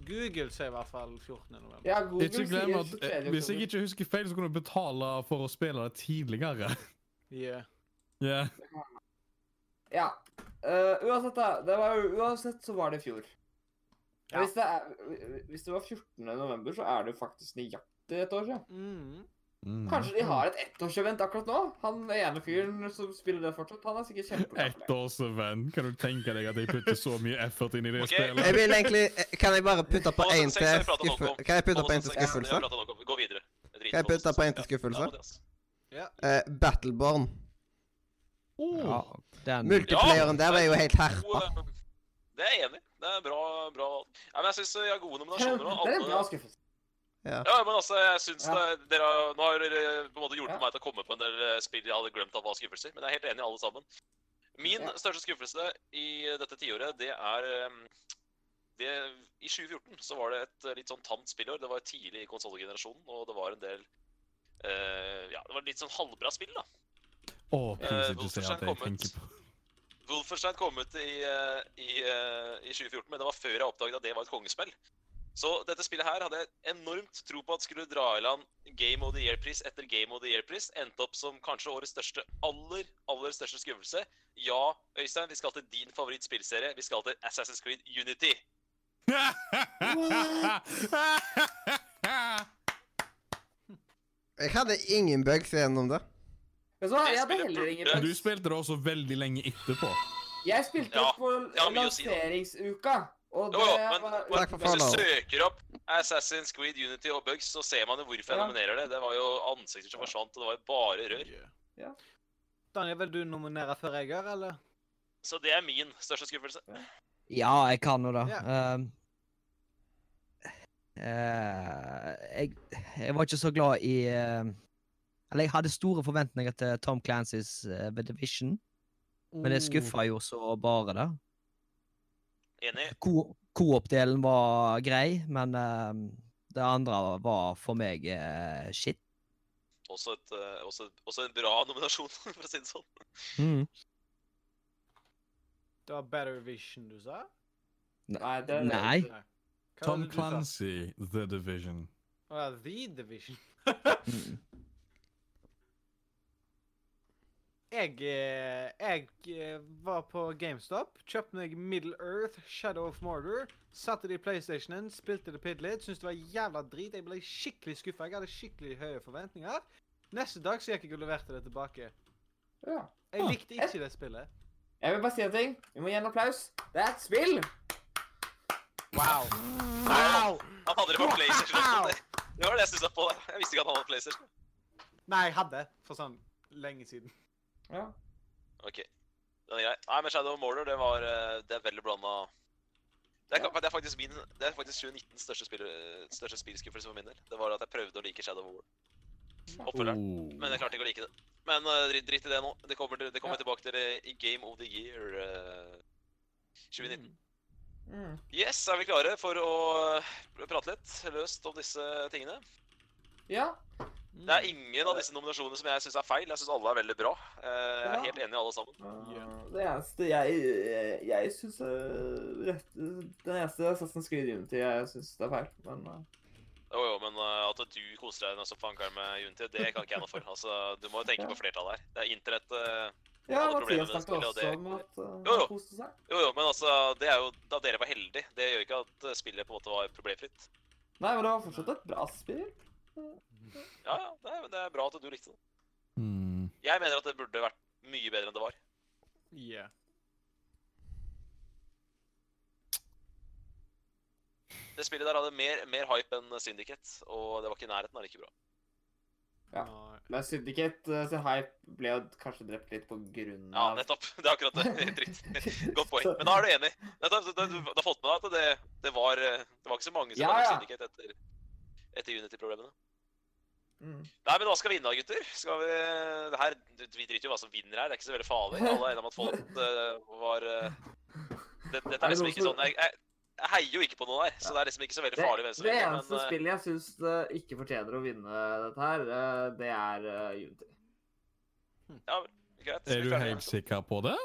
Speaker 4: Google sier i hvert fall 14. november.
Speaker 3: Ja, Google
Speaker 6: ikke glem at
Speaker 3: sier 23.
Speaker 6: eh, Hvis jeg
Speaker 3: oktober.
Speaker 6: ikke husker feil, så kunne du betale for å spille det tidligere.
Speaker 4: Yeah.
Speaker 6: Ja.
Speaker 3: Ja. Eh, uansett, da. Det var, jo- uansett så var det i fjor.
Speaker 4: Ja.
Speaker 3: Hvis, det er, hvis det var 14. november, så er det jo faktisk nøyaktig et år siden.
Speaker 4: Mm.
Speaker 6: Mm.
Speaker 3: Kanskje de har et ettårsevent akkurat nå? Han ene fyren som spiller det fortsatt, han er sikkert kjempeglad for
Speaker 6: Ett
Speaker 3: det.
Speaker 6: års venn. Kan du tenke deg at jeg putter så mye effort inn i det
Speaker 2: Ok.
Speaker 1: Jeg
Speaker 6: spillet?
Speaker 1: vil egentlig eh, Kan jeg bare putte på
Speaker 2: Fallout
Speaker 1: én
Speaker 2: 76 har
Speaker 1: til
Speaker 2: vi pratet nok om.
Speaker 1: skuffelse? Kan jeg putte på en til
Speaker 2: Fallout 76, det
Speaker 1: skuffelse?
Speaker 2: har vi pratet nok om. Gå videre. Jeg
Speaker 1: Kan
Speaker 2: driter
Speaker 1: jeg
Speaker 2: i Fallout
Speaker 1: putte på en til
Speaker 2: 76.
Speaker 1: skuffelse?
Speaker 2: Ja, altså. ja, Mathias.
Speaker 1: Eh, Battleborn.
Speaker 8: Ja,
Speaker 3: Oh.
Speaker 8: den
Speaker 1: Multiplayeren der var jo helt herpa.
Speaker 2: God, eh, Det er jeg enig i. Det er bra, bra Nei, men jeg syns jeg har gode nominasjoner. og
Speaker 3: Det er en bra
Speaker 2: alle-
Speaker 3: skuffelse.
Speaker 2: Ja, men altså, jeg synes
Speaker 3: Ja.
Speaker 2: det, dere har, Nå har dere eh, på en måte hjulpet
Speaker 3: Ja.
Speaker 2: meg til å komme på en del eh, spill jeg hadde glemt at var skuffelser, men jeg er helt enig i alle sammen. Min
Speaker 3: Ja.
Speaker 2: største skuffelse i dette tiåret, det er eh, det, I 2014 så var det et eh, litt sånn tamt spillår. Det var tidlig i konsollgenerasjonen, og det var en del eh, Ja, det var litt sånn halvbra spill, da.
Speaker 6: Å, please
Speaker 2: Eh,
Speaker 6: ikke si at jeg
Speaker 2: Wolfenstein kom ut.
Speaker 6: tenker på
Speaker 2: Wolfenstein kom ut i, eh, i, eh, i 2014, men det var før jeg oppdaget at det var et kongespill. Så dette spillet her hadde jeg enormt tro på at skulle dra i land Game of the Year-pris etter Game of the Year-pris. Endte opp som kanskje årets største, aller, aller største skuffelse. Ja, Øystein, vi skal til din favorittspillserie. Vi skal til Assassin's Creed Unity.
Speaker 1: Jeg hadde ingen bugs gjennom det.
Speaker 3: Vet du hva, jeg hadde heller ingen
Speaker 6: Du
Speaker 3: bugs.
Speaker 6: spilte det også veldig lenge etterpå.
Speaker 3: Jeg spilte det på
Speaker 2: har mye å si, da.
Speaker 3: lanseringsuka, og
Speaker 2: Jo,
Speaker 3: det
Speaker 2: jo, men
Speaker 3: var
Speaker 1: Takk for
Speaker 2: hvis du
Speaker 1: faen,
Speaker 2: søker opp Assassin's Creed Unity og Bugs, så ser man jo hvorfor jeg
Speaker 3: Ja.
Speaker 2: nominerer det. Det var jo ansikter som forsvant, og det var jo bare rør.
Speaker 4: Daniel, vil du nominere før jeg gjør, eller?
Speaker 2: Så det er min største skuffelse.
Speaker 8: Ja, jeg kan jo det.
Speaker 4: Ja.
Speaker 8: Ehm, eh, jeg, jeg var ikke så glad i eh, Eller jeg hadde store forventninger til Tom Clancys eh, The Division, men det skuffa jo så bare det.
Speaker 2: Enig?
Speaker 8: Ko- Coop-delen var grei, men ehm, det andre var for meg eh, shit.
Speaker 2: Også, et, eh, også, også en bra nominasjon, for å si det sånn.
Speaker 4: Det var Better Vision du sa?
Speaker 3: Nei, det er
Speaker 8: Nei.
Speaker 4: Hva var
Speaker 6: Tom
Speaker 4: det du sa?
Speaker 6: Clancy, The Division.
Speaker 4: Å ja, The Division.
Speaker 8: Mm.
Speaker 4: Jeg, eh, jeg eh, var på GameStop, kjøpte meg Middle Earth, Shadow of Mordor, satte det i PlayStationen, spilte det bitte litt, syntes det var jævla drit. Jeg ble skikkelig skuffa. Jeg hadde skikkelig høye forventninger. Neste dag så gikk jeg og leverte det tilbake.
Speaker 3: Ja.
Speaker 4: Jeg likte ikke det spillet.
Speaker 3: Jeg vil bare si en ting. Vi må gi en applaus. Det er et spill!
Speaker 4: Wow.
Speaker 2: Han hadde det på PlayStation. også, Det, det var det jeg stussa på. der. Jeg visste ikke at han hadde PlayStation.
Speaker 4: Nei, jeg hadde for sånn lenge siden.
Speaker 3: Ja.
Speaker 2: Ok, den er grei. Nei, men Shadow of Mordor, det var eh, Det er veldig blanda det er, det er faktisk min Det er faktisk 2019 største, spill, eh, største spillskuffelse for min del. Det var at jeg prøvde å like Shadow of War. Oppfølgeren.
Speaker 6: Oh.
Speaker 2: Men jeg klarte ikke å like det. Men eh, drit, drit i det nå. Det kommer, til, det kommer tilbake til det i Game of the Year eh, 2019.
Speaker 3: Mm.
Speaker 2: Yes, er vi klare for å eh, prate litt løst om disse tingene?
Speaker 3: Ja.
Speaker 2: Det er ingen av disse nominasjonene som jeg syns er feil. Jeg syns alle er veldig bra. Eh, Jeg
Speaker 3: Ja.
Speaker 2: er helt enig i alle sammen.
Speaker 3: Det eneste jeg, jeg, jeg syns rett Den eneste Assassin's Creed Unity jeg syns det er feil, men øh,
Speaker 2: Jo, jo, men eh, at du koser deg som fankeren med Unity, det kan ikke jeg noe for. Altså, Du må jo tenke på flertallet her. Det er internett eh,
Speaker 3: Ja,
Speaker 2: Hadde problemer med det
Speaker 3: Mathias snakket
Speaker 2: spillet, og
Speaker 3: også
Speaker 2: det-
Speaker 3: om at øh,
Speaker 2: Jo, jo.
Speaker 3: han koste seg.
Speaker 2: Jo, jo, men altså, det er jo da dere var heldige. Det gjør ikke at eh, spillet på en måte var problemfritt.
Speaker 3: Nei, men det var fortsatt et bra spill.
Speaker 2: Ja, ja, det er, det er bra at du likte det.
Speaker 6: Mm.
Speaker 2: Jeg mener at det burde vært mye bedre enn det var.
Speaker 4: Yeah.
Speaker 2: Det spillet der hadde mer, mer hype enn Syndicate, og det var ikke i nærheten av like bra.
Speaker 3: Ja.
Speaker 4: Nei.
Speaker 3: Men Syndicate øh, sin hype ble jo kanskje drept litt på grunn
Speaker 2: Ja,
Speaker 3: av
Speaker 2: nettopp. Det er akkurat det. Helt riktig. Godt poeng. Men da er du enig. Nettopp, du, du, du har fått med deg at det, det, var, eh, det var ikke så mange som
Speaker 3: Ja,
Speaker 2: var i
Speaker 3: ja.
Speaker 2: Syndicate etter, etter Unity-problemene.
Speaker 3: Mm.
Speaker 2: Nei, men hva skal vi vinne da, gutter? Skal vi det her, Vi driter jo i hva som vinner her, det er ikke så veldig farlig. Alle er enige om at Fallout eh, var eh, det, Dette er
Speaker 3: Er det
Speaker 2: liksom
Speaker 3: noen
Speaker 2: ikke
Speaker 3: som-
Speaker 2: sånn jeg, jeg, jeg heier jo ikke på noen her, så det er liksom ikke så veldig
Speaker 3: Det,
Speaker 2: farlig hvem som
Speaker 3: det
Speaker 2: vinner.
Speaker 3: eneste
Speaker 2: Men eh,
Speaker 3: spillet jeg syns ikke fortjener å vinne dette her, øh, det er øh, Unity.
Speaker 2: greit. skal
Speaker 6: Er
Speaker 2: vi
Speaker 6: du
Speaker 2: klare det?
Speaker 6: helt sikker på det?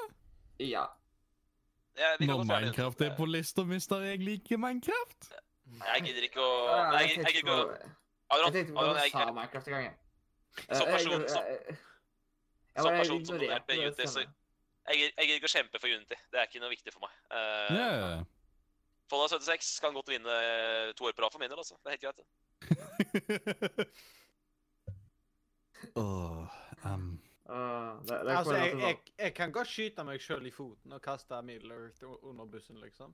Speaker 3: Ja.
Speaker 2: Ja,
Speaker 6: Når
Speaker 2: vi kan godt fjerne den.
Speaker 6: Minecraft er på lista, mister jeg liker Minecraft.
Speaker 2: Nei, Jeg gidder ikke å
Speaker 3: Ja,
Speaker 2: Nei, jeg
Speaker 3: jeg
Speaker 2: gidder jeg
Speaker 3: tenkte
Speaker 2: gidder ikke å
Speaker 3: på- Jeg
Speaker 2: Adrian,
Speaker 3: tenkte på
Speaker 2: Adrian,
Speaker 3: hva du
Speaker 2: jeg,
Speaker 3: sa
Speaker 2: jeg,
Speaker 3: om Minecraft en gang, jeg.
Speaker 2: Som
Speaker 3: Eh, jeg-
Speaker 2: person- som-
Speaker 3: jeg-
Speaker 2: som
Speaker 3: bare
Speaker 2: person som
Speaker 3: ignorerte
Speaker 2: donerte
Speaker 3: det
Speaker 2: Unity, så-
Speaker 3: stemmen.
Speaker 2: jeg gidder- jeg gidder ikke å kjempe for Unity. Det er ikke noe viktig for meg. Uh,
Speaker 6: Yeah.
Speaker 2: Fallout 76 kan godt vinne to år på rad for min del, altså. Det er helt greit. det.
Speaker 6: Åh, ehm,
Speaker 3: Ah, det, det er
Speaker 4: Altså,
Speaker 3: korrekt
Speaker 4: jeg,
Speaker 3: at du
Speaker 4: jeg, jeg kan godt skyte meg sjøl i foten og kaste Middle Earth u- under bussen, liksom.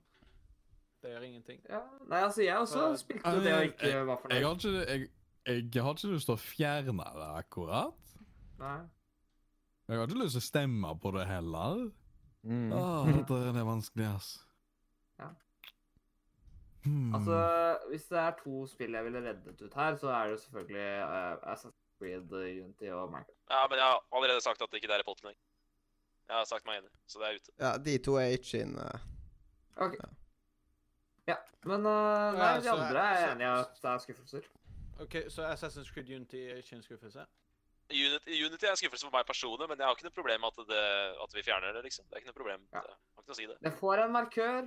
Speaker 4: Det gjør ingenting.
Speaker 3: sa- ja. Nei, altså, jeg også
Speaker 4: Eh,
Speaker 3: spilte jo det og ikke var
Speaker 6: Eh, jeg,
Speaker 3: fornøyd.
Speaker 6: har ikke, jeg, jeg har ikke lyst til å fjerne det akkurat.
Speaker 3: Nei.
Speaker 6: Jeg har ikke lyst til å stemme på det heller.
Speaker 8: Mm.
Speaker 6: Åh, dette er det vanskelig, ass.
Speaker 3: Ja.
Speaker 6: Hmm.
Speaker 3: Altså, hvis det er to spill jeg ville reddet ut her, så er det jo selvfølgelig eh, Assassin's Creed, Unity og Minecraft.
Speaker 2: Ja, men jeg har allerede sagt at det ikke er i potten engang. Jeg har sagt meg enig, så det er ute.
Speaker 1: Ja, de to er ikke eh. inne.
Speaker 3: Ok. Ja, men eh, nei,
Speaker 4: Ja,
Speaker 3: de
Speaker 4: så-
Speaker 3: andre er jeg
Speaker 4: så-
Speaker 3: enig i at det er skuffelser.
Speaker 4: OK, så Assassin's Creed Unity er ikke en skuffelse?
Speaker 2: Unity, Unity er en skuffelse for meg personlig, men jeg har ikke noe problem med at, det, at vi fjerner det, liksom. Det er ikke noe problem.
Speaker 3: Ja.
Speaker 2: Det- Jeg har ikke noe å si det.
Speaker 3: Det får en markør.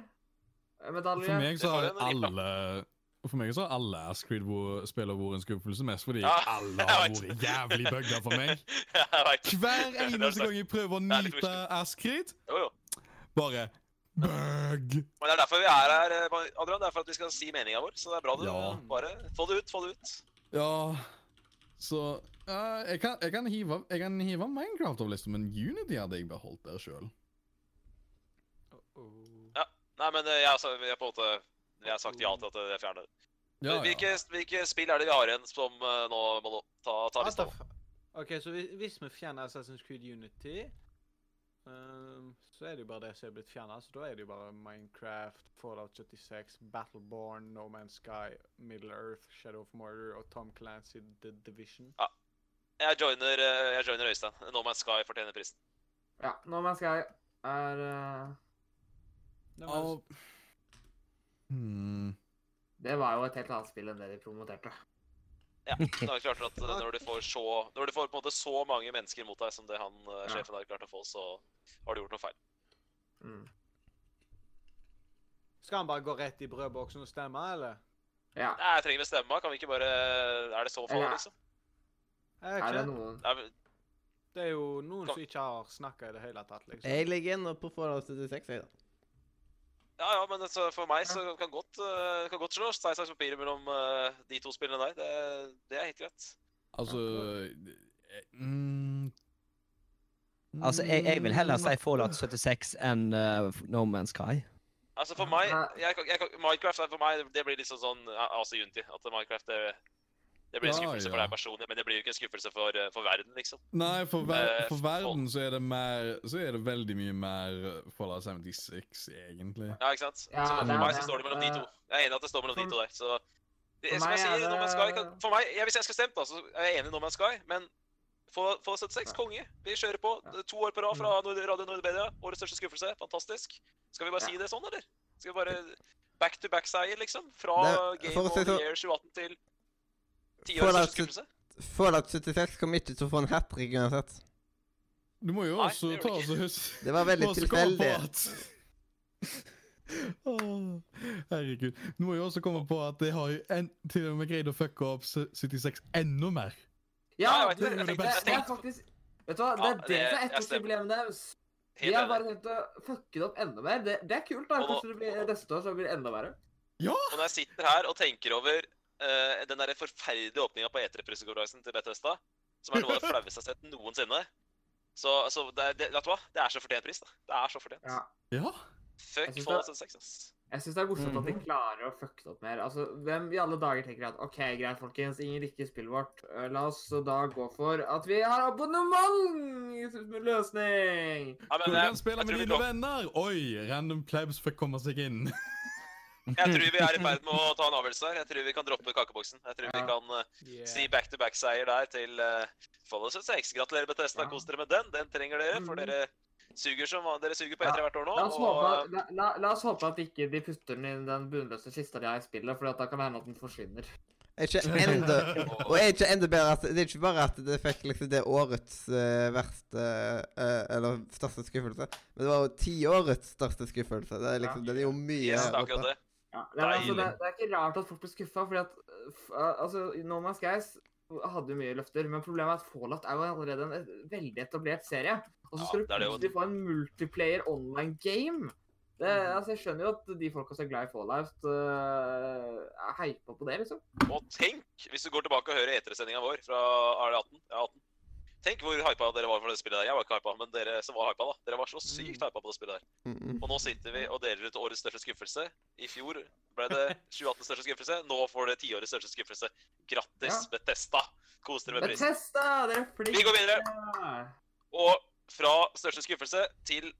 Speaker 3: eh, Medalje.
Speaker 6: For meg så
Speaker 2: Det
Speaker 6: har
Speaker 2: var en av de
Speaker 6: alle For meg så har alle Ask Creed-spillere vært en skuffelse, mest fordi
Speaker 2: Ja,
Speaker 6: alle
Speaker 2: jeg
Speaker 6: har
Speaker 2: vet.
Speaker 6: vært jævlig bugga for meg.
Speaker 2: Ja, jeg vet.
Speaker 6: Hver
Speaker 2: Det er
Speaker 6: eneste
Speaker 2: sant.
Speaker 6: gang jeg prøver å
Speaker 2: Det er litt
Speaker 6: nyte
Speaker 2: koselig.
Speaker 6: Ask Creed,
Speaker 2: Jo, jo.
Speaker 6: bare bug.
Speaker 2: Men det er derfor vi er her, eh, Adrian. Det er for at vi skal si meninga vår. Så det er bra du
Speaker 6: Ja.
Speaker 2: bare Få det ut, få det ut.
Speaker 6: Ja Så eh, jeg, kan, jeg, kan hive, jeg kan hive Minecraft av lista, men Unity hadde jeg beholdt der sjøl.
Speaker 2: Nei, men eh, jeg, altså, jeg, på en måte, jeg har sagt ja til at jeg fjerner det.
Speaker 6: Ja,
Speaker 2: Men
Speaker 6: ja.
Speaker 2: Hvilke, hvilke spill er det vi har igjen som eh, nå må nå ta, ta
Speaker 4: What
Speaker 2: lista?
Speaker 4: the f- OK, så hvis, hvis vi fjerner Assassin's Creed Unity, ehm, så er det jo bare det som er blitt fjerna. Så da er det jo bare Minecraft, Fallout 76, Battleborn, No Man's Sky, Middle Earth, Shadow of Murder og Tom Clancy The Division.
Speaker 2: Jeg joiner, eh, jeg joiner Øystein. No Man's Sky fortjener prisen.
Speaker 3: Ja, nå må jeg skal er eh,
Speaker 4: No Man's-
Speaker 6: Hmm.
Speaker 3: Det var jo et helt annet spill enn det de promoterte.
Speaker 2: Ja, det er klart at eh, når du får så, når du får, på en måte, så mange mennesker mot deg som det han eh,
Speaker 3: Ja.
Speaker 2: sjefen har klart å få, så har du gjort noe feil.
Speaker 3: Mm.
Speaker 4: Skal han bare gå rett i brødboksen og stemme, eller?
Speaker 3: Ja.
Speaker 2: Nei, jeg trenger bestemme meg. Kan vi ikke bare Er det så farlig,
Speaker 3: Ja.
Speaker 2: liksom?
Speaker 4: Jeg vet
Speaker 3: Er det
Speaker 4: ikke.
Speaker 3: noen
Speaker 2: Nei, men-
Speaker 4: Det er jo noen som ikke har snakka i det hele tatt, liksom.
Speaker 1: Jeg ligger inne på Fallout 76, jeg, da.
Speaker 2: ja, ja, men altså, for meg så kan godt, eh, kan godt slå stein, saks, papir mellom eh, de to spillene der. Det, det er helt greit.
Speaker 6: Altså eh, mm,
Speaker 8: Altså, jeg, jeg vil heller si Fallout 76 enn eh, No Man's Sky.
Speaker 2: Altså for meg,
Speaker 3: Nei.
Speaker 2: jeg, kan- jeg, kan- Minecraft er for meg, det blir liksom sånn ja, altså Unity. At Minecraft det, det blir en
Speaker 6: Ja,
Speaker 2: skuffelse for
Speaker 6: ja.
Speaker 2: deg personlig, men det blir jo ikke en skuffelse for, eh, for verden, liksom.
Speaker 6: Nei, for, ver
Speaker 2: Eh,
Speaker 6: for verden så er det mer Så er det veldig mye mer Fallout 76, egentlig.
Speaker 2: Ja, ikke sant?
Speaker 3: Ja,
Speaker 2: så for
Speaker 6: det er
Speaker 2: meg
Speaker 6: det.
Speaker 2: så står det mellom de to. Jeg er enig i at det står mellom de
Speaker 3: for-
Speaker 2: to der. Så det,
Speaker 3: for
Speaker 2: som
Speaker 3: meg
Speaker 2: jeg
Speaker 3: er
Speaker 2: sier, No Man's Sky
Speaker 3: det-
Speaker 2: kan, For meg, ja, hvis jeg skal stemme, da, så er jeg enig i No Man's Sky, men for, for 76, konge. Vi kjører på.
Speaker 3: Ja. Mm.
Speaker 2: To år på rad fra Nord Radio Nordmedia. Årets største skuffelse. Fantastisk. Skal vi bare
Speaker 3: Ja.
Speaker 2: si det sånn, eller? Skal vi bare back to back-seier, liksom? Fra
Speaker 1: Det-
Speaker 2: Game
Speaker 1: for å
Speaker 2: of
Speaker 1: si så-
Speaker 2: the Year 2018 til tiårets
Speaker 1: Fallout
Speaker 2: største skuffelse?
Speaker 1: Fallout 76 kommer ikke til å få en hat trick uansett.
Speaker 6: Du må jo
Speaker 2: Nei,
Speaker 6: også
Speaker 2: det gjør
Speaker 6: ta
Speaker 2: det
Speaker 6: oss og huske
Speaker 1: Det var veldig
Speaker 6: også komme på
Speaker 1: tilfeldig.
Speaker 6: at- Åh, Herregud. Du må jo også komme på at de har jo en, til og med greid å fucke opp 76 enda mer.
Speaker 3: Ja,
Speaker 2: Nei, jeg vet
Speaker 3: det,
Speaker 2: ikke, jeg
Speaker 3: det, det,
Speaker 2: tenkte- jeg
Speaker 3: er
Speaker 2: tenkte-
Speaker 3: faktisk Vet du hva, det
Speaker 2: Ja,
Speaker 3: er det
Speaker 2: det-
Speaker 3: som er
Speaker 2: jeg stemmer.
Speaker 3: ettårsjubileet deres. De
Speaker 2: Helt
Speaker 3: har
Speaker 2: enig.
Speaker 3: bare tenkt å fucke det opp enda mer. Det, det er kult. da,
Speaker 2: Og nå-
Speaker 3: Kanskje det blir, neste år så blir det enda verre.
Speaker 2: Og når jeg sitter her og tenker over eh, den der forferdelige åpninga på E3-pressekonferansen til Bethesda, som er noe av det flaueste jeg har sett noensinne Så altså, det, er- det, vet du hva? Det er så fortjent pris, da. Det er så fortjent.
Speaker 3: Ja.
Speaker 6: Ja.
Speaker 2: Fuck
Speaker 3: Jeg synes
Speaker 2: Fallout
Speaker 3: det-
Speaker 2: 76, ass.
Speaker 3: Jeg syns det er morsomt at de klarer å fucke det opp mer. Altså, Hvem i alle dager tenker at OK, greit, folkens, ingen liker spillet vårt. Eh, La oss da gå for at vi har abonnementløsning!
Speaker 2: Ja, men,
Speaker 6: Du
Speaker 2: jeg,
Speaker 6: kan spille
Speaker 2: jeg,
Speaker 6: med
Speaker 2: tror vi
Speaker 6: dine
Speaker 2: kom,
Speaker 6: venner! Oi, random plebs fikk komme seg inn.
Speaker 2: jeg tror vi er i ferd med å ta en avgjørelse her. Jeg tror vi kan droppe kakeboksen. Jeg tror vi
Speaker 3: Ja.
Speaker 2: kan eh,
Speaker 4: Yeah.
Speaker 2: si back-to-back-seier der til eh, Fallout 76. Gratulerer, Bethesda.
Speaker 3: Ja.
Speaker 2: Kos dere med den. Den trenger dere, for
Speaker 3: Mhm.
Speaker 2: dere suger som van- dere suger på
Speaker 3: Ja.
Speaker 2: E3 hvert år nå.
Speaker 3: La oss,
Speaker 2: og, eh,
Speaker 3: håpe, la, la, la oss håpe at ikke de putter den i den bunnløse kista de har i spillet, for da kan det hende at den forsvinner.
Speaker 1: Er ikke enda
Speaker 2: og,
Speaker 1: Og er ikke enda bedre at det er ikke bare at det fikk liksom det årets eh, verste eh, Eller største skuffelse, men det var jo tiårets største skuffelse. Det er liksom, Den er jo mye
Speaker 2: yes, det er
Speaker 1: her
Speaker 2: akkurat
Speaker 1: oppe.
Speaker 2: det.
Speaker 3: Ja, det, er, altså,
Speaker 6: Deilig.
Speaker 3: det, det er ikke rart at folk blir skuffa, fordi at øh, f- øh, altså, No Man's Skies hadde jo mye løfter, men problemet er at Fallout er jo allerede en et- veldig etablert serie. Og så
Speaker 2: Ja,
Speaker 3: skal du
Speaker 2: det er det jo.
Speaker 3: plutselig få en multiplayer online game. Det,
Speaker 2: Mhm.
Speaker 3: altså, jeg skjønner jo at de folka som er glad i Fallout, øh, er hypa på det, liksom.
Speaker 2: Og tenk, hvis du går tilbake og hører E3-sendinga vår fra er det 18? Ja, 18. Tenk hvor hypa dere var for det spillet der. Jeg var ikke hypa, men dere som var hypa, da. Dere var så
Speaker 3: Mm.
Speaker 2: sykt hypa på det spillet der.
Speaker 1: Mm, mm.
Speaker 2: Og nå sitter vi og deler ut årets største skuffelse. I fjor ble det 2018 største skuffelse. Nå får dere tiårets største skuffelse. Grattis,
Speaker 3: Ja.
Speaker 2: Bethesda. Kos dere med prisen.
Speaker 3: Bethesda, dere er flinke!
Speaker 2: Vi går videre. Og fra største skuffelse til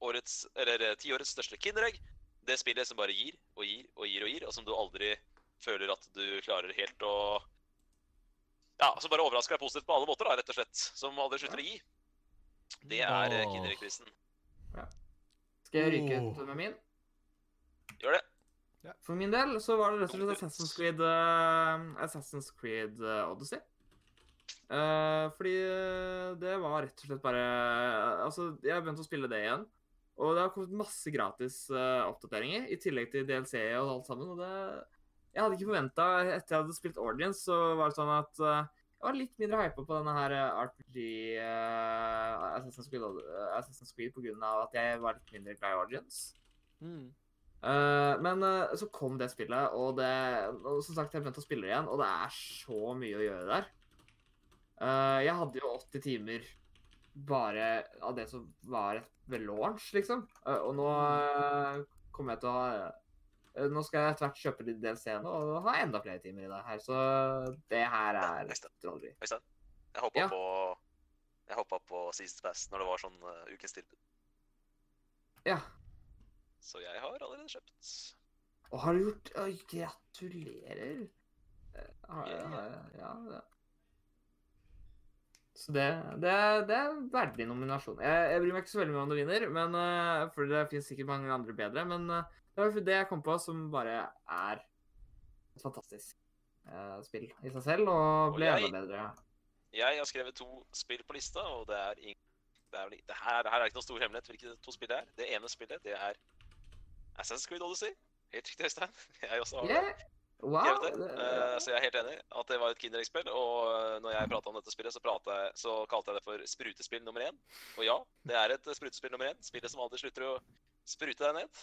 Speaker 2: årets, eller eh, tiårets største kinderegg. Det spillet som bare gir og gir og gir og gir, og som du aldri føler at du klarer helt å Ja, som bare overrasker deg positivt på alle måter, da, rett og slett. Som aldri slutter å gi. Det er eh,
Speaker 6: Åh.
Speaker 2: kindereggprisen.
Speaker 3: Skal jeg ryke ut
Speaker 6: Åh.
Speaker 3: med min?
Speaker 2: Gjør det.
Speaker 3: For min del så var det rett og slett Assassin's Creed, eh, Assassin's Creed eh, Odyssey. Eh, fordi eh, det var rett og slett bare Altså, jeg har begynt å spille det igjen. Og det har kommet masse gratis eh, oppdateringer, i tillegg til DLC og alt sammen. Og det, Jeg hadde ikke forventa Etter jeg hadde spilt Origins, så var det sånn at eh, jeg var litt mindre hypa på denne her eh, RPG eh, Assassin's Creed, eh, Assassin's Creed på grunn av at jeg var litt mindre glad i Origins.
Speaker 10: Mm.
Speaker 3: Eh, men eh, så kom det spillet, og det og Som sagt, jeg begynte å spille det igjen, og det er så mye å gjøre der. Eh, jeg hadde jo 80 timer bare av det som var ved launch, liksom. Eh, og nå eh, kommer jeg til å ha eh, Nå skal jeg etter hvert kjøpe de DLC-ene og ha enda flere timer i det her, så det her er trolleri.
Speaker 2: Øystein, jeg hoppa
Speaker 3: Ja.
Speaker 2: på Jeg hoppa på Seasons Pass når det var sånn eh, ukens tilbud.
Speaker 3: Ja.
Speaker 2: Så jeg har allerede kjøpt.
Speaker 3: Og har du gjort Oi, gratulerer. Eh, har-
Speaker 2: Ja.
Speaker 3: har- ja, det. Så det, det, det er en verdig nominasjon. Jeg, jeg bryr meg ikke så veldig mye om du vinner, men, eh, for det finnes sikkert mange andre bedre. Men eh, det var det jeg kom på, som bare er et fantastisk eh, spill i seg selv, og
Speaker 2: Og
Speaker 3: ble
Speaker 2: jeg-
Speaker 3: enda bedre.
Speaker 2: Jeg har skrevet to spill på lista, og det er ing... Det, er, vel ikke- det, her, det her er ikke noe stor hemmelighet hvilke to spill det er. Det ene spillet det er Assassin's Creed Odyssey. Helt riktig, Øystein. Jeg også har det.
Speaker 3: Yeah. Wow!
Speaker 2: skrevet det. Eh, så jeg er helt enig at det var et Kinderegg-spill. Og eh, når jeg prata om dette spillet, så, pratet jeg, så kalte jeg det for sprutespill nummer én. Og ja, det er et eh, sprutespill nummer én. Spillet som aldri slutter å sprute deg ned.